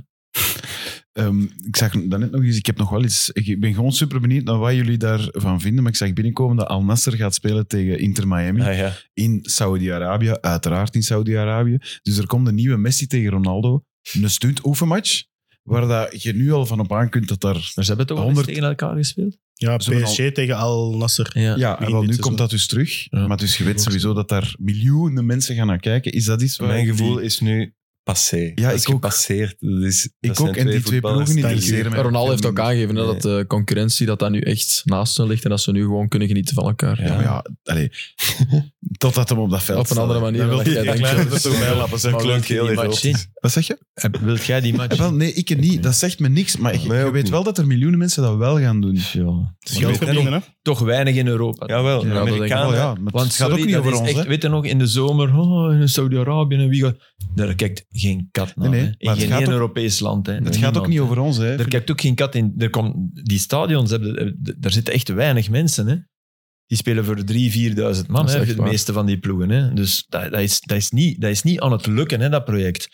[SPEAKER 2] Ehm, ik zag daarnet nog eens, ik heb nog wel eens, ik ben gewoon super benieuwd naar wat jullie daarvan vinden, maar ik zag binnenkomen dat Al Nasser gaat spelen tegen Inter Miami
[SPEAKER 4] Ah, ja.
[SPEAKER 2] in Saudi-Arabië, uiteraard in Saudi-Arabië. Dus er komt een nieuwe Messi tegen Ronaldo, een stunt oefenmatch, waar dat je nu al van op aan kunt dat daar...
[SPEAKER 3] Maar ze hebben toch al eens
[SPEAKER 2] 100
[SPEAKER 3] tegen elkaar gespeeld?
[SPEAKER 6] Ja,
[SPEAKER 2] Zullen we
[SPEAKER 6] PSG tegen Al Nasser.
[SPEAKER 3] Ja.
[SPEAKER 2] Ja, en wel,
[SPEAKER 6] begin dit
[SPEAKER 2] nu
[SPEAKER 6] seizoen.
[SPEAKER 2] komt dat dus terug,
[SPEAKER 3] Ja.
[SPEAKER 2] maar dus je weet sowieso dat daar miljoenen mensen gaan naar kijken. Is dat iets waar...
[SPEAKER 4] Mijn gevoel
[SPEAKER 2] die-
[SPEAKER 4] is nu passé.
[SPEAKER 2] Ja,
[SPEAKER 4] dat is
[SPEAKER 2] ik ook.
[SPEAKER 4] gepasseerd. Dat is, dat
[SPEAKER 2] Ik
[SPEAKER 4] zijn
[SPEAKER 2] ook, en die twee
[SPEAKER 4] voetballers
[SPEAKER 2] ploegen
[SPEAKER 4] die-
[SPEAKER 2] interesseren mij.
[SPEAKER 5] Ronaldo heeft ook aangegeven hè,
[SPEAKER 4] Nee.
[SPEAKER 5] dat de concurrentie dat dat nu echt naast hen ligt en dat ze nu gewoon kunnen genieten van elkaar.
[SPEAKER 2] Ja,
[SPEAKER 4] Ja.
[SPEAKER 2] maar ja, allee, totdat hem op dat veld
[SPEAKER 5] Op een
[SPEAKER 2] staat,
[SPEAKER 5] andere
[SPEAKER 2] hè.
[SPEAKER 5] manier
[SPEAKER 2] Dan
[SPEAKER 5] dan
[SPEAKER 2] wil
[SPEAKER 5] dat
[SPEAKER 2] je
[SPEAKER 5] jij
[SPEAKER 2] die
[SPEAKER 5] denkt.
[SPEAKER 2] kleine dat zo bijlappen, zeg,
[SPEAKER 3] Maar wil
[SPEAKER 2] klonk
[SPEAKER 3] jij die
[SPEAKER 2] heel
[SPEAKER 3] match
[SPEAKER 2] even.
[SPEAKER 3] zien?
[SPEAKER 2] Wat zeg je? Eh,
[SPEAKER 3] Heb- Wilt jij die match?
[SPEAKER 2] Wel, nee, ik het niet.
[SPEAKER 4] niet.
[SPEAKER 2] Dat zegt me niks. Maar ik-
[SPEAKER 4] Nee,
[SPEAKER 2] je
[SPEAKER 4] ook
[SPEAKER 2] weet
[SPEAKER 4] niet.
[SPEAKER 2] wel dat er miljoenen mensen dat wel gaan doen.
[SPEAKER 3] Ja.
[SPEAKER 6] Het is geld verdienen, hè?
[SPEAKER 3] Toch weinig in Europa.
[SPEAKER 4] Jawel, de
[SPEAKER 5] Ja, dat denk ik
[SPEAKER 4] Amerikanen.
[SPEAKER 2] Oh ja, maar het
[SPEAKER 3] Want
[SPEAKER 2] gaat
[SPEAKER 3] sorry,
[SPEAKER 2] ook niet
[SPEAKER 3] dat
[SPEAKER 2] over
[SPEAKER 3] is
[SPEAKER 2] ons.
[SPEAKER 3] echt,
[SPEAKER 2] hè.
[SPEAKER 3] Weet je nog, in de zomer, oh, in Saudi-Arabië en wie gaat... Daar kijkt geen kat naar.
[SPEAKER 2] Nee, nee,
[SPEAKER 3] hè.
[SPEAKER 2] maar
[SPEAKER 3] In
[SPEAKER 2] het
[SPEAKER 3] geen
[SPEAKER 2] gaat
[SPEAKER 3] één
[SPEAKER 2] ook-
[SPEAKER 3] Europees land. Hè.
[SPEAKER 2] Het
[SPEAKER 3] Nee,
[SPEAKER 2] gaat ook
[SPEAKER 3] niemand.
[SPEAKER 2] niet over ons. Hè.
[SPEAKER 3] Daar kijkt ook geen kat in. Er komt, die stadions, hebben, eh, daar zitten echt weinig mensen. Hè. Die spelen voor 3.000, 4.000 man,
[SPEAKER 5] Dat is
[SPEAKER 3] hè,
[SPEAKER 5] echt
[SPEAKER 3] de
[SPEAKER 5] waar.
[SPEAKER 3] meeste van die ploegen. Hè. Dus dat, dat, is, dat, is niet, dat is niet aan het lukken, hè, dat project.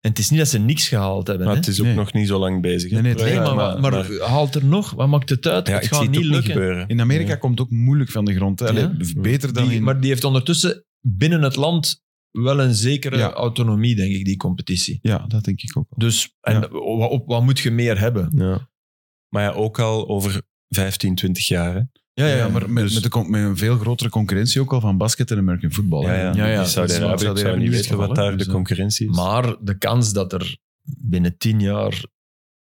[SPEAKER 3] En het is niet dat ze niks gehaald hebben.
[SPEAKER 4] Maar
[SPEAKER 3] hè.
[SPEAKER 4] het is ook
[SPEAKER 2] Nee.
[SPEAKER 4] nog niet zo lang bezig. hè.
[SPEAKER 2] Nee, nee, het
[SPEAKER 3] Nee,
[SPEAKER 2] Ja,
[SPEAKER 3] maar, maar, haalt er nog? Wat maakt het uit?
[SPEAKER 4] ja,
[SPEAKER 3] het
[SPEAKER 4] ik zie
[SPEAKER 3] gaat
[SPEAKER 4] het ook
[SPEAKER 3] niet
[SPEAKER 4] niet
[SPEAKER 3] lukken.
[SPEAKER 4] gebeuren.
[SPEAKER 2] In Amerika komt het ook moeilijk van de grond. Hè. Allee,
[SPEAKER 3] Ja.
[SPEAKER 2] Beter dan
[SPEAKER 3] Die-
[SPEAKER 2] in...
[SPEAKER 3] Maar die heeft ondertussen binnen het land wel een zekere
[SPEAKER 2] Ja.
[SPEAKER 3] autonomie, denk ik, die competitie.
[SPEAKER 2] Ja, dat denk ik ook wel.
[SPEAKER 3] Dus en
[SPEAKER 2] Ja.
[SPEAKER 3] wa- op, wat moet je meer hebben?
[SPEAKER 4] Ja. Maar ja, ook al over 15, 20 jaar. hè.
[SPEAKER 2] Ja, ja, maar met,
[SPEAKER 3] dus-
[SPEAKER 2] met, de con- met een veel grotere concurrentie ook al van basket en American football. hè.
[SPEAKER 5] ja, ja.
[SPEAKER 4] Die
[SPEAKER 2] Dat
[SPEAKER 4] Saudi-Arabië,
[SPEAKER 2] zou
[SPEAKER 4] ik zou
[SPEAKER 2] niet
[SPEAKER 4] niet weten
[SPEAKER 2] vallen,
[SPEAKER 4] wat daar
[SPEAKER 2] dus,
[SPEAKER 4] de
[SPEAKER 2] eh.
[SPEAKER 4] concurrentie is.
[SPEAKER 3] Maar de kans dat er binnen tien jaar,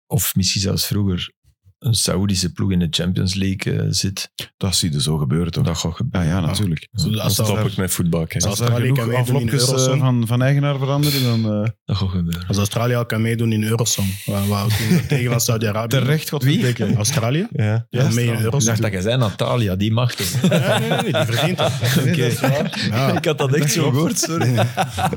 [SPEAKER 3] of misschien zelfs vroeger, een Saoedische ploeg in de Champions League eh, zit,
[SPEAKER 2] Dat zie je zo gebeuren, toch?
[SPEAKER 3] dat gaat gebeuren. Ah.
[SPEAKER 2] Ja, ja, natuurlijk.
[SPEAKER 6] Zo,
[SPEAKER 4] dan
[SPEAKER 6] Als
[SPEAKER 4] stop
[SPEAKER 6] dat-
[SPEAKER 4] ik met voetbal. hè.
[SPEAKER 6] Als
[SPEAKER 2] Als er
[SPEAKER 6] Australië
[SPEAKER 2] genoeg
[SPEAKER 6] kan meedoen in
[SPEAKER 2] envelopjes eh,
[SPEAKER 6] Eurosong.
[SPEAKER 2] van, van eigenaar veranderen, dan... eh
[SPEAKER 3] Dat gaat gebeuren.
[SPEAKER 6] als Australië al kan meedoen in Eurosong. Waar, waar doen we tegen van Saudi-Arabië.
[SPEAKER 2] terecht, God weet ik.
[SPEAKER 6] Australië?
[SPEAKER 4] Ja.
[SPEAKER 6] Ja, mee in
[SPEAKER 2] Australië.
[SPEAKER 6] Eurosong.
[SPEAKER 3] Ik dacht dat jij zei Natalia, die mag toch?
[SPEAKER 6] Ja, nee, nee, nee, die verdient dat. Ja.
[SPEAKER 3] Ik had dat echt zo gehoord, sorry.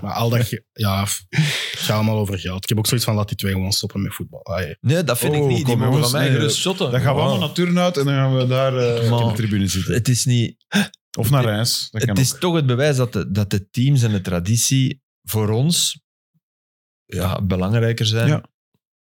[SPEAKER 6] Maar al dat... ge- Ja, f- het gaat allemaal over geld. Ik heb ook zoiets van, laat die twee gewoon stoppen met voetbal. Allee.
[SPEAKER 3] Nee, dat vind
[SPEAKER 2] Oh,
[SPEAKER 3] ik niet. Die
[SPEAKER 2] kom,
[SPEAKER 3] mogen
[SPEAKER 2] jongens,
[SPEAKER 3] van mij
[SPEAKER 2] nee,
[SPEAKER 3] gerust shotten.
[SPEAKER 2] Dan gaan we
[SPEAKER 3] Wow.
[SPEAKER 2] allemaal naar Turnhout en dan gaan we daar eh
[SPEAKER 3] Man.
[SPEAKER 2] op de tribune zitten.
[SPEAKER 3] Het is niet...
[SPEAKER 2] Of naar Reims. Dat kan
[SPEAKER 3] het is
[SPEAKER 2] ook.
[SPEAKER 3] toch het bewijs dat de, dat de teams en de traditie voor ons ja, belangrijker zijn.
[SPEAKER 2] Ja,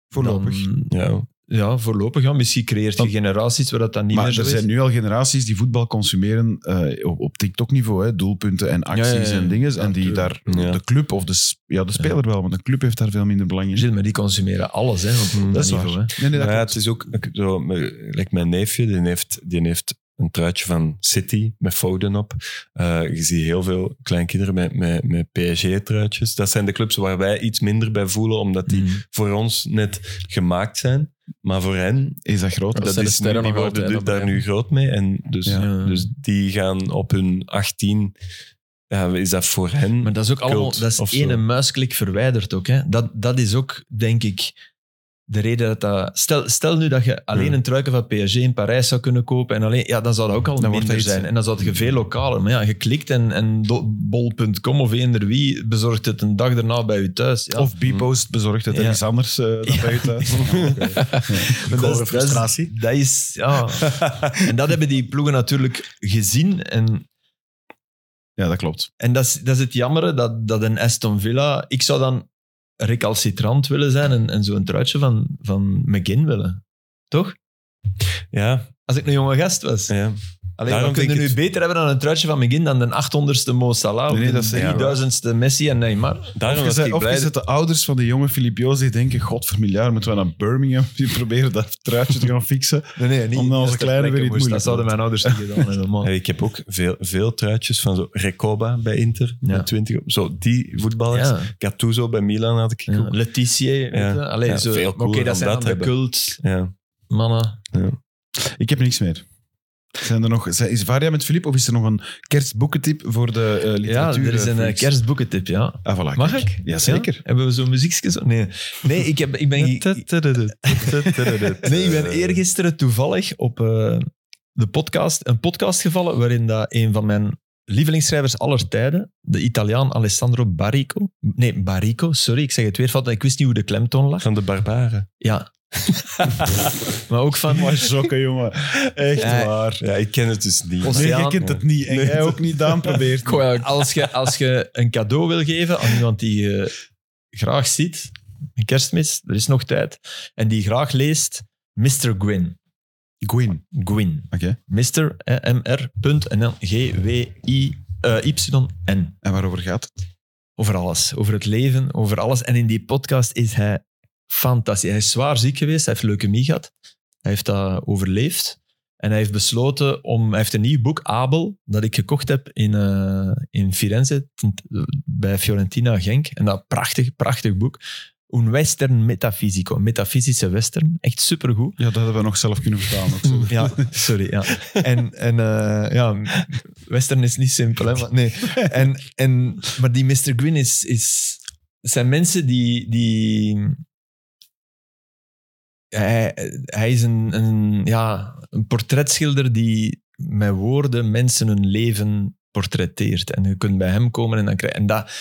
[SPEAKER 2] Voorlopig.
[SPEAKER 3] dan-
[SPEAKER 4] Ja.
[SPEAKER 3] ja, voorlopig. Ja. Misschien creëert je generaties waar dat dan niet
[SPEAKER 2] Maar
[SPEAKER 3] meer
[SPEAKER 2] er
[SPEAKER 3] zo is.
[SPEAKER 2] zijn nu al generaties die voetbal consumeren eh, op, op TikTok-niveau. hè. Doelpunten en acties
[SPEAKER 3] Ja, ja, ja.
[SPEAKER 2] en dingen. en die
[SPEAKER 3] tuurlijk.
[SPEAKER 2] daar
[SPEAKER 4] Ja.
[SPEAKER 2] de club of de, s- ja, de speler wel, want de club heeft daar veel minder belang in.
[SPEAKER 3] Gilles, maar die consumeren alles hè, op dat,
[SPEAKER 2] dat is
[SPEAKER 3] niveau. Hè.
[SPEAKER 2] Nee, nee, dat
[SPEAKER 4] Maar ja,
[SPEAKER 2] klopt.
[SPEAKER 4] het is ook ik- zo, me- like mijn neefje, die heeft, die heeft een truitje van City met Foden op. Eh, je ziet heel veel kleinkinderen met, met, met PSG-truitjes. Dat zijn de clubs waar wij iets minder bij voelen, omdat die
[SPEAKER 3] Mm.
[SPEAKER 4] voor ons net gemaakt zijn. Maar voor hen,
[SPEAKER 2] Is dat groot?
[SPEAKER 5] Dat
[SPEAKER 4] dat
[SPEAKER 5] zijn de
[SPEAKER 4] is,
[SPEAKER 5] sterren
[SPEAKER 4] nu- die
[SPEAKER 5] nog
[SPEAKER 4] worden
[SPEAKER 5] altijd, hè,
[SPEAKER 4] du- daar
[SPEAKER 5] bij hen.
[SPEAKER 4] nu groot mee. En dus,
[SPEAKER 3] Ja.
[SPEAKER 4] dus die gaan op hun 18... Ja, is dat voor
[SPEAKER 2] Hmm.
[SPEAKER 4] hen?
[SPEAKER 3] Maar dat is ook allemaal,
[SPEAKER 4] Cult
[SPEAKER 3] dat
[SPEAKER 4] of
[SPEAKER 3] is
[SPEAKER 4] zo.
[SPEAKER 3] ene muisklik verwijderd ook. Hè. Dat, dat is ook, denk ik, de reden dat dat... Stel, stel nu dat je alleen
[SPEAKER 2] Hmm.
[SPEAKER 4] Ja.
[SPEAKER 3] een truiken van PSG in Parijs zou kunnen kopen en alleen... Ja, dan zou dat ook al
[SPEAKER 2] Dan wordt
[SPEAKER 3] minder
[SPEAKER 2] dat iets,
[SPEAKER 3] zijn.
[SPEAKER 2] hè.
[SPEAKER 3] En dan zou je veel lokaler... Maar ja, je klikt en, en do- bol.com of eender wie bezorgt het een dag daarna bij je thuis. Ja.
[SPEAKER 2] Of B-Post bezorgt het
[SPEAKER 3] Ja.
[SPEAKER 2] ergens anders eh, dan bij je thuis.
[SPEAKER 3] Maar dat is-
[SPEAKER 6] Gore
[SPEAKER 3] dat is-
[SPEAKER 6] frustratie.
[SPEAKER 3] Dat is, ja. en dat hebben die ploegen natuurlijk gezien. En
[SPEAKER 2] Ja, dat klopt.
[SPEAKER 3] En dat is, dat is het jammere, dat, dat een Aston Villa... Ik zou dan recalcitrant willen zijn en, en zo'n truitje van, van McGinn willen. Toch?
[SPEAKER 4] Ja,
[SPEAKER 3] Als ik een jonge gast was.
[SPEAKER 4] ja.
[SPEAKER 3] Alleen, we
[SPEAKER 4] Daarom
[SPEAKER 3] kunnen
[SPEAKER 4] denk
[SPEAKER 3] nu
[SPEAKER 4] ik het-
[SPEAKER 3] beter hebben dan een truitje van McGinn dan de 800ste Mo Salah
[SPEAKER 2] Nee, nee, dat
[SPEAKER 3] of
[SPEAKER 2] is
[SPEAKER 3] de
[SPEAKER 2] echt waar.
[SPEAKER 3] 3000ste Messi en Neymar.
[SPEAKER 4] Daarom
[SPEAKER 2] Of
[SPEAKER 4] was
[SPEAKER 2] je
[SPEAKER 4] ik
[SPEAKER 2] zet- of
[SPEAKER 4] blij
[SPEAKER 2] je zet de ouders van de jonge Filip Joos die denken, godvermiljaar, moeten we naar Birmingham die proberen dat truitje te gaan fixen.
[SPEAKER 3] Nee, nee, niet.
[SPEAKER 2] Om dan onze
[SPEAKER 3] Dat is ter
[SPEAKER 2] kleine
[SPEAKER 3] plekke
[SPEAKER 2] weer iets moeilijk
[SPEAKER 3] moest. Dat zouden mijn ouders niet gedaan hebben, man.
[SPEAKER 4] Ja, ik heb ook veel, veel truitjes van zo Recoba bij Inter,
[SPEAKER 3] Ja.
[SPEAKER 4] met 20, op. zo die voetballers.
[SPEAKER 3] Ja.
[SPEAKER 4] Gattuso bij Milan had ik
[SPEAKER 3] Ja,
[SPEAKER 4] ook.
[SPEAKER 3] Letitia, weet je.
[SPEAKER 4] Ja.
[SPEAKER 3] Allee,
[SPEAKER 4] Ja,
[SPEAKER 3] zo-
[SPEAKER 4] veel
[SPEAKER 3] maar Oké,
[SPEAKER 4] cooler dan
[SPEAKER 3] dat zijn
[SPEAKER 4] dat
[SPEAKER 3] dan de
[SPEAKER 4] hebben.
[SPEAKER 3] cult,
[SPEAKER 4] Ja.
[SPEAKER 3] mannen.
[SPEAKER 2] Ik heb niks meer. Zijn er nog, zijn- is Varia met Filip of is er nog een kerstboekentip voor de eh
[SPEAKER 3] Ja,
[SPEAKER 2] literatuur?
[SPEAKER 3] er is een eh,
[SPEAKER 2] freaks?
[SPEAKER 3] kerstboekentip, ja.
[SPEAKER 2] Ah, voilà,
[SPEAKER 3] Mag
[SPEAKER 2] kijk.
[SPEAKER 3] ik?
[SPEAKER 2] Jazeker.
[SPEAKER 3] Ja? Hebben we zo'n muziekje? Zo? Nee, nee ik, heb, ik ben... ge- Nee, ik ben
[SPEAKER 4] Eh,
[SPEAKER 3] eergisteren toevallig op eh, de podcast, een podcast gevallen waarin dat een van mijn lievelingsschrijvers aller tijden, de Italiaan Alessandro Barrico, nee, Barrico, sorry, ik zeg het weer fout, ik wist niet hoe de klemtoon lag.
[SPEAKER 4] Van de Barbaren.
[SPEAKER 3] Ja. maar ook van...
[SPEAKER 2] Maar sokken, jongen. Echt
[SPEAKER 3] Ja.
[SPEAKER 2] waar.
[SPEAKER 4] Ja, ik ken het dus niet.
[SPEAKER 3] Ons-
[SPEAKER 2] Nee,
[SPEAKER 3] Oceaan,
[SPEAKER 2] jij kent het niet. En jij ook niet, Daan probeert.
[SPEAKER 5] Goh, ja, ik-
[SPEAKER 3] Als je, als je een cadeau wil geven aan iemand die je graag ziet, een kerstmis, er is nog tijd, en die graag leest Mr. Gwyn.
[SPEAKER 2] Gwyn.
[SPEAKER 3] Gwyn.
[SPEAKER 2] Oké.
[SPEAKER 3] Mr. eh, Mr. punt En dan G-W-I-Y-N.
[SPEAKER 2] En waarover gaat het?
[SPEAKER 3] eh, Over alles. Over het leven, over alles. En in die podcast is hij fantastisch. Hij is zwaar ziek geweest. Hij heeft leukemie gehad. Hij heeft dat overleefd. En hij heeft besloten om... Hij heeft een nieuw boek, Abel, dat ik gekocht heb in, eh, in Firenze, ten- bij Fiorentina Genk. En dat prachtig, prachtig boek. Een western metafysico. Een metafysische western. Echt supergoed.
[SPEAKER 2] Ja, dat hebben we nog zelf kunnen vertalen. Ook zo.
[SPEAKER 3] Ja, sorry. Ja. En, en eh, ja, western is niet simpel, hè, maar, nee. en, en, maar die Mr. Green is, is, zijn mensen die... die hij, hij is een, een, ja, een portretschilder die met woorden mensen hun leven portretteert. En je kunt bij hem komen en dan krijg En dat...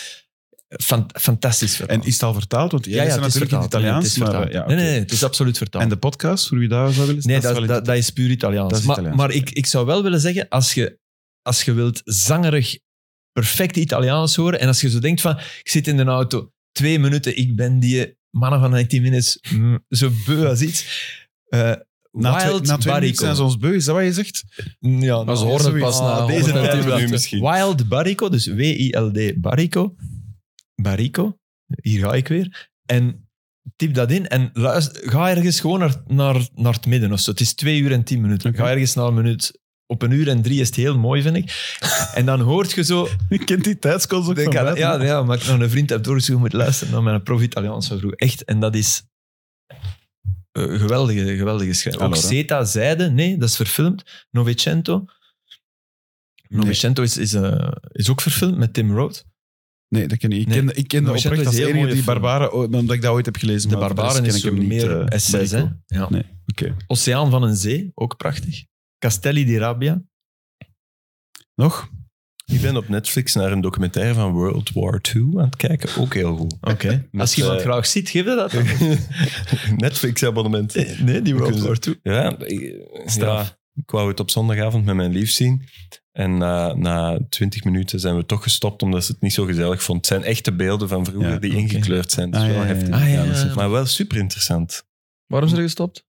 [SPEAKER 3] fan- fantastisch verhaal.
[SPEAKER 2] En is het al vertaald? Want jij ja,
[SPEAKER 3] het is
[SPEAKER 2] natuurlijk in het
[SPEAKER 3] vertaald. Ja,
[SPEAKER 2] Italiaans.
[SPEAKER 3] het is
[SPEAKER 2] maar, eh,
[SPEAKER 3] vertaald.
[SPEAKER 2] ja,
[SPEAKER 3] Nee,
[SPEAKER 2] oké.
[SPEAKER 3] nee, nee, het is absoluut vertaald.
[SPEAKER 2] En de podcast, voor wie daar zou willen
[SPEAKER 3] Nee,
[SPEAKER 2] Dus dat
[SPEAKER 3] dat,
[SPEAKER 2] is
[SPEAKER 3] is-
[SPEAKER 2] wel
[SPEAKER 3] dat, dat is puur Italiaans.
[SPEAKER 2] Dat is
[SPEAKER 3] maar
[SPEAKER 2] Italiaans,
[SPEAKER 3] maar
[SPEAKER 2] oké.
[SPEAKER 3] ik, ik zou wel willen zeggen, als je, als je wilt zangerig perfect Italiaans horen, en als je zo denkt van, ik zit in een auto, twee minuten, ik ben die mannen van 19 minutes mm, zo beu als iets. Eh,
[SPEAKER 2] na twee,
[SPEAKER 3] Wild
[SPEAKER 2] na twee minuten
[SPEAKER 3] Barrico.
[SPEAKER 2] zijn ze ons beu, is dat wat je zegt?
[SPEAKER 3] Ja,
[SPEAKER 5] Maar ze horen het pas na
[SPEAKER 3] Ah, deze
[SPEAKER 5] 110
[SPEAKER 3] tijd.
[SPEAKER 5] minuten.
[SPEAKER 4] nu misschien.
[SPEAKER 3] Wild Barrico, dus W-I-L-D Barrico. Barrico, hier ga ik weer. En typ dat in en luister, ga ergens gewoon naar, naar, naar het midden of zo. Het is twee uur en tien minuten.
[SPEAKER 2] Oké.
[SPEAKER 3] Ga ergens naar een minuut. Op een uur en drie is het heel mooi, vind ik. En dan hoort je zo...
[SPEAKER 2] Je kent die tijdscodes ook
[SPEAKER 3] Denk
[SPEAKER 2] van
[SPEAKER 3] aan-
[SPEAKER 2] buiten.
[SPEAKER 3] ja, ja, maar ik nog een vriend heb doorgezogen, moet luisteren naar mijn prof-Italiaans van vroeger. Echt, en dat is... eh, geweldige, geweldige schrijver. Ook
[SPEAKER 2] Allora.
[SPEAKER 3] Zeta Zijde, nee, dat is verfilmd. Novecento. Novecento is, is, eh, is ook verfilmd met Tim Roth.
[SPEAKER 2] Nee, dat ken ik. Ik
[SPEAKER 3] Nee.
[SPEAKER 2] ken, ik ken dat
[SPEAKER 3] Novecento
[SPEAKER 2] oprecht
[SPEAKER 3] is
[SPEAKER 2] als
[SPEAKER 3] een heel
[SPEAKER 2] enige
[SPEAKER 3] mooie
[SPEAKER 2] die
[SPEAKER 3] film.
[SPEAKER 2] Barbaren, ooit- omdat ik dat ooit heb gelezen.
[SPEAKER 3] De
[SPEAKER 2] maar voor
[SPEAKER 3] Barbaren
[SPEAKER 2] rest
[SPEAKER 3] is
[SPEAKER 2] ken ik
[SPEAKER 3] zo
[SPEAKER 2] hem niet,
[SPEAKER 3] meer
[SPEAKER 2] eh,
[SPEAKER 3] essays. Hè?
[SPEAKER 2] Barrico.
[SPEAKER 3] Ja.
[SPEAKER 2] Nee, oké.
[SPEAKER 3] Oceaan van een zee, ook prachtig. Castelli di Rabbia.
[SPEAKER 2] Nog?
[SPEAKER 4] Ik ben op Netflix naar een documentaire van World War II aan het kijken. Ook heel goed.
[SPEAKER 3] Oké. Als je
[SPEAKER 4] Met,
[SPEAKER 3] iemand
[SPEAKER 4] eh,
[SPEAKER 3] graag ziet, geef je dat. dan.
[SPEAKER 4] Netflix-abonnement.
[SPEAKER 3] Nee, die
[SPEAKER 4] World War
[SPEAKER 3] II.
[SPEAKER 4] Ja, ik,
[SPEAKER 3] Straf.
[SPEAKER 4] ja, ik wou het op zondagavond met mijn lief zien. En na, na 20 minuten zijn we toch gestopt omdat ze het niet zo gezellig vond. Het zijn echte beelden van vroeger
[SPEAKER 2] Ja,
[SPEAKER 4] die
[SPEAKER 3] oké.
[SPEAKER 4] ingekleurd zijn. Dat is
[SPEAKER 2] Ah,
[SPEAKER 4] wel
[SPEAKER 2] ja, ja, ja.
[SPEAKER 4] heftig.
[SPEAKER 3] Ah, ja,
[SPEAKER 2] dat is
[SPEAKER 3] ja,
[SPEAKER 2] het.
[SPEAKER 4] Maar wel super interessant.
[SPEAKER 5] Waarom zijn ze gestopt?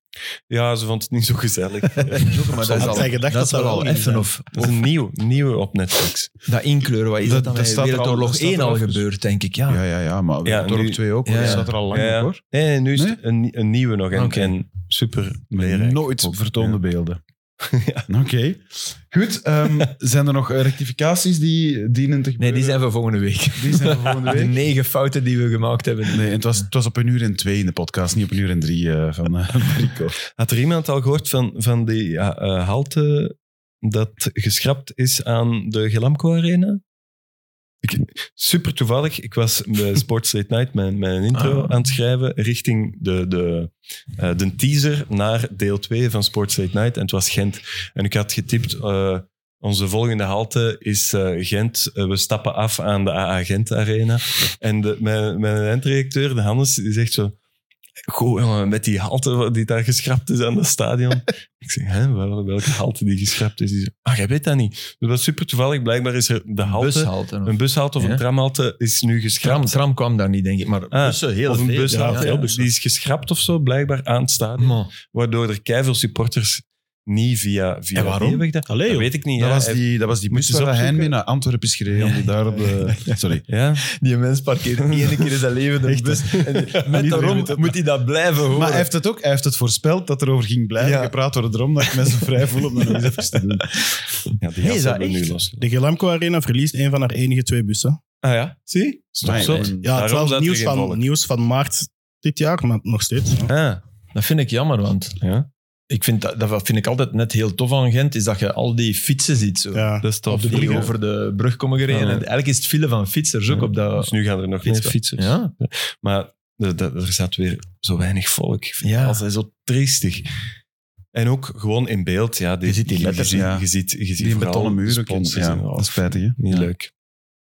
[SPEAKER 4] Ja, ze vond het niet zo gezellig.
[SPEAKER 3] Maar dat is
[SPEAKER 6] Had
[SPEAKER 3] al,
[SPEAKER 6] zij gedacht
[SPEAKER 3] dat
[SPEAKER 6] dat
[SPEAKER 3] is al,
[SPEAKER 6] dat
[SPEAKER 3] al
[SPEAKER 6] wel ging
[SPEAKER 3] effen
[SPEAKER 6] zijn?
[SPEAKER 3] of,
[SPEAKER 4] Dat is een nieuw, nieuwe op Netflix.
[SPEAKER 3] dat inkleuren. Wat is
[SPEAKER 2] Dat-
[SPEAKER 3] dat, dan
[SPEAKER 2] dat
[SPEAKER 3] bij
[SPEAKER 2] staat er al- dat
[SPEAKER 3] Wereldoorlog
[SPEAKER 2] staat
[SPEAKER 3] 1 al
[SPEAKER 2] er al.
[SPEAKER 3] gebeurd, denk ik. Ja.
[SPEAKER 2] Ja, ja, ja. Maar
[SPEAKER 4] Ja,
[SPEAKER 2] Dorp
[SPEAKER 4] nu-
[SPEAKER 2] 2 ook, hoor.
[SPEAKER 3] Ah. Ja,
[SPEAKER 2] dat
[SPEAKER 3] ja.
[SPEAKER 2] staat er al lang
[SPEAKER 4] Ja, ja.
[SPEAKER 2] op, hoor.
[SPEAKER 4] Nee, nee, nu is het
[SPEAKER 2] Nee?
[SPEAKER 4] een, nie- een nieuwe nog en,
[SPEAKER 3] Oké.
[SPEAKER 4] en super leerrijk.
[SPEAKER 2] Nooit
[SPEAKER 4] Ook,
[SPEAKER 2] vertoonde
[SPEAKER 4] ja.
[SPEAKER 2] beelden. Oké. Goed. ehm, zijn er nog eh, rectificaties die dienen te
[SPEAKER 3] Nee,
[SPEAKER 2] gebeuren?
[SPEAKER 3] die zijn voor volgende week.
[SPEAKER 2] Die zijn voor volgende
[SPEAKER 3] De
[SPEAKER 2] week.
[SPEAKER 3] negen fouten die we gemaakt hebben.
[SPEAKER 2] Nee, en het was, het was op een uur en twee in de podcast, niet op een uur en drie eh, van eh Rico.
[SPEAKER 4] Had er iemand al gehoord van, van die ja, eh, halte dat geschrapt is aan de Gelamco Arena? Ik, super toevallig, ik was bij Sports Late Night mijn, mijn intro
[SPEAKER 3] Ah.
[SPEAKER 4] aan het schrijven richting de, de, eh, de teaser naar deel 2 van Sports Late Night en het was Gent. En ik had getipt, eh, onze volgende halte is eh, Gent. Eh, we stappen af aan de AA Gent Arena. En de, mijn, mijn eindredacteur, de Hannes, die zegt zo... Goh, jongen, met die halte die daar geschrapt is aan dat stadion. ik zeg, hè, wel- welke halte die geschrapt is? Die zegt, ah, jij weet dat niet. Dus dat was super toevallig. Blijkbaar is er de halte...
[SPEAKER 3] Bushalte. of-
[SPEAKER 4] Een bushalte of
[SPEAKER 3] Ja.
[SPEAKER 4] een tramhalte is nu geschrapt.
[SPEAKER 3] Tram, tram kwam daar niet, denk ik. Maar
[SPEAKER 4] Ah,
[SPEAKER 3] bussen, heel
[SPEAKER 4] of een
[SPEAKER 3] veel.
[SPEAKER 4] bushalte,
[SPEAKER 3] Ja, ja.
[SPEAKER 4] die is geschrapt of zo, blijkbaar aan het stadion.
[SPEAKER 3] Man.
[SPEAKER 4] Waardoor er keiveel supporters niet via, via
[SPEAKER 3] En waarom?
[SPEAKER 4] die weg daar-
[SPEAKER 6] Allee,
[SPEAKER 4] dat
[SPEAKER 6] joh.
[SPEAKER 4] weet ik niet.
[SPEAKER 2] dat,
[SPEAKER 4] ja.
[SPEAKER 2] was die, dat was die
[SPEAKER 4] Moet
[SPEAKER 2] bus
[SPEAKER 4] je eens
[SPEAKER 2] waar hij
[SPEAKER 4] opzoeken?
[SPEAKER 2] mee naar Antwerpen is gereden. om die daar op de, sorry.
[SPEAKER 4] Ja.
[SPEAKER 3] Die mens parkeert één keer in zijn leven de bus. En die- met daarom moet hij dat blijven horen.
[SPEAKER 2] Maar hij heeft het ook hij heeft het voorspeld dat er over ging blijven
[SPEAKER 3] Ja.
[SPEAKER 2] gepraat worden. Daarom dat ik me zo vrij voel om dat nog eens even te doen.
[SPEAKER 4] Ja,
[SPEAKER 3] Hey,
[SPEAKER 4] die
[SPEAKER 3] is
[SPEAKER 4] gasten
[SPEAKER 3] dat
[SPEAKER 4] hebben
[SPEAKER 3] echt?
[SPEAKER 4] nu los.
[SPEAKER 6] De Gelamco Arena verliest een van haar enige twee bussen.
[SPEAKER 4] Ah ja, zie? Stop
[SPEAKER 2] Maar-
[SPEAKER 4] zot.
[SPEAKER 2] Ja,
[SPEAKER 6] Ja,
[SPEAKER 4] Daarom
[SPEAKER 6] het was
[SPEAKER 4] zat
[SPEAKER 6] het
[SPEAKER 4] er
[SPEAKER 6] nieuws
[SPEAKER 4] geen volk.
[SPEAKER 6] van, nieuws van maart dit jaar, maar nog steeds. ja.
[SPEAKER 4] Ah,
[SPEAKER 3] Dat vind ik jammer, want
[SPEAKER 4] ja.
[SPEAKER 3] ik vind dat, dat vind ik altijd net heel tof aan Gent, is dat je al die fietsen ziet zo.
[SPEAKER 6] Ja.
[SPEAKER 4] dat is tof.
[SPEAKER 6] Op de
[SPEAKER 3] die
[SPEAKER 6] bruggen.
[SPEAKER 3] over de brug komen gereden.
[SPEAKER 4] Ja, ja.
[SPEAKER 3] En eigenlijk is het file van fietsers ook
[SPEAKER 4] Ja.
[SPEAKER 3] op dat...
[SPEAKER 4] Dus nu gaan er nog meer
[SPEAKER 3] Fietsen.
[SPEAKER 4] fietsers.
[SPEAKER 3] Ja.
[SPEAKER 4] Maar de- de- er zat weer zo weinig volk. Ik vind
[SPEAKER 3] Ja.
[SPEAKER 4] dat altijd zo triestig. En ook gewoon in beeld. Ja,
[SPEAKER 3] Je ziet die letters,
[SPEAKER 4] Je, ziet-
[SPEAKER 2] ja.
[SPEAKER 4] je ziet, je ziet
[SPEAKER 2] Die
[SPEAKER 4] vooral
[SPEAKER 2] betonnen
[SPEAKER 4] de
[SPEAKER 2] muren.
[SPEAKER 4] sponsors
[SPEAKER 2] Ja,
[SPEAKER 4] en-
[SPEAKER 2] dat
[SPEAKER 4] oh,
[SPEAKER 2] is spijtig, hè?
[SPEAKER 4] Niet
[SPEAKER 3] Ja.
[SPEAKER 4] leuk.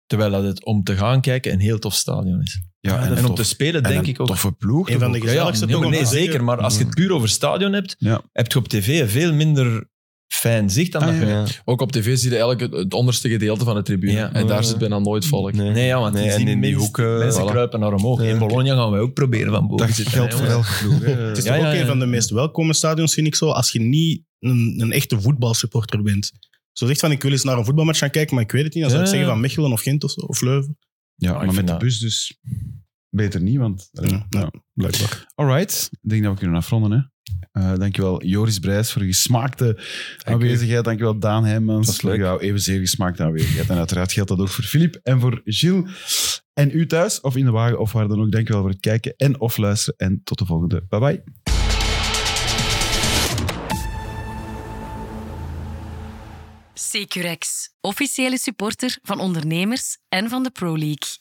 [SPEAKER 3] Terwijl dat het om te gaan kijken een heel tof stadion is.
[SPEAKER 2] Ja,
[SPEAKER 3] en
[SPEAKER 2] Ah, tof.
[SPEAKER 3] om te spelen,
[SPEAKER 2] En
[SPEAKER 3] denk
[SPEAKER 2] een
[SPEAKER 3] ik ook.
[SPEAKER 2] toffe ploeg.
[SPEAKER 6] Een van de
[SPEAKER 3] Ja, ja,
[SPEAKER 6] gezelligste
[SPEAKER 3] nee,
[SPEAKER 6] toch
[SPEAKER 3] maar
[SPEAKER 6] om
[SPEAKER 3] nee,
[SPEAKER 6] te zeggen.
[SPEAKER 3] zeker. Maar als je het puur over stadion hebt,
[SPEAKER 2] Ja.
[SPEAKER 3] heb je op tv veel minder fijn zicht aan
[SPEAKER 2] Ah,
[SPEAKER 3] dat
[SPEAKER 2] ja.
[SPEAKER 3] je-
[SPEAKER 4] Ja.
[SPEAKER 5] Ook op tv zie je eigenlijk het- het onderste gedeelte van de tribune.
[SPEAKER 3] Ja.
[SPEAKER 5] En daar zit bijna nooit volk.
[SPEAKER 3] Nee, ja, want
[SPEAKER 4] Nee,
[SPEAKER 3] die
[SPEAKER 4] en
[SPEAKER 3] zien
[SPEAKER 4] in die
[SPEAKER 3] mensen-
[SPEAKER 4] hoeken-
[SPEAKER 3] mensen
[SPEAKER 4] Voilà.
[SPEAKER 3] kruipen naar omhoog. In Bologna gaan wij ook proberen van boven
[SPEAKER 2] Dat
[SPEAKER 3] te zitten.
[SPEAKER 2] geldt
[SPEAKER 3] hè,
[SPEAKER 2] voor
[SPEAKER 3] jongen.
[SPEAKER 2] elke ploeg. hè.
[SPEAKER 6] Het is
[SPEAKER 3] Eh, Ja,
[SPEAKER 6] toch
[SPEAKER 3] ja,
[SPEAKER 6] ook
[SPEAKER 3] ja.
[SPEAKER 6] een van de meest welkome stadions, vind ik zo, als je niet een, een echte voetbalsupporter bent. Zo zegt van, ik wil eens naar een voetbalmatch gaan kijken, maar ik weet het niet. Dan zou ik
[SPEAKER 3] Ja.
[SPEAKER 6] zeggen van Mechelen of Gent of, zo, of Leuven.
[SPEAKER 2] Ja, maar
[SPEAKER 3] vind
[SPEAKER 2] met de
[SPEAKER 3] dat-
[SPEAKER 2] bus dus beter niet, want... eh,
[SPEAKER 6] Ja, ja, blijkbaar.
[SPEAKER 2] Alright, ik denk dat we kunnen afronden. Hè. Eh, dankjewel Joris Brijs voor je gesmaakte aanwezigheid. Dankjewel Daan
[SPEAKER 4] Dat
[SPEAKER 2] Heijmans
[SPEAKER 4] was leuk.
[SPEAKER 2] voor jouw evenzeer gesmaakte aanwezigheid. En uiteraard geldt dat ook voor Filip en voor Gilles. En u thuis, of in de wagen, of waar dan ook. Dankjewel voor het kijken en of luisteren. En tot de volgende. Bye bye.
[SPEAKER 1] Securex, officiële supporter van ondernemers en van de Pro League.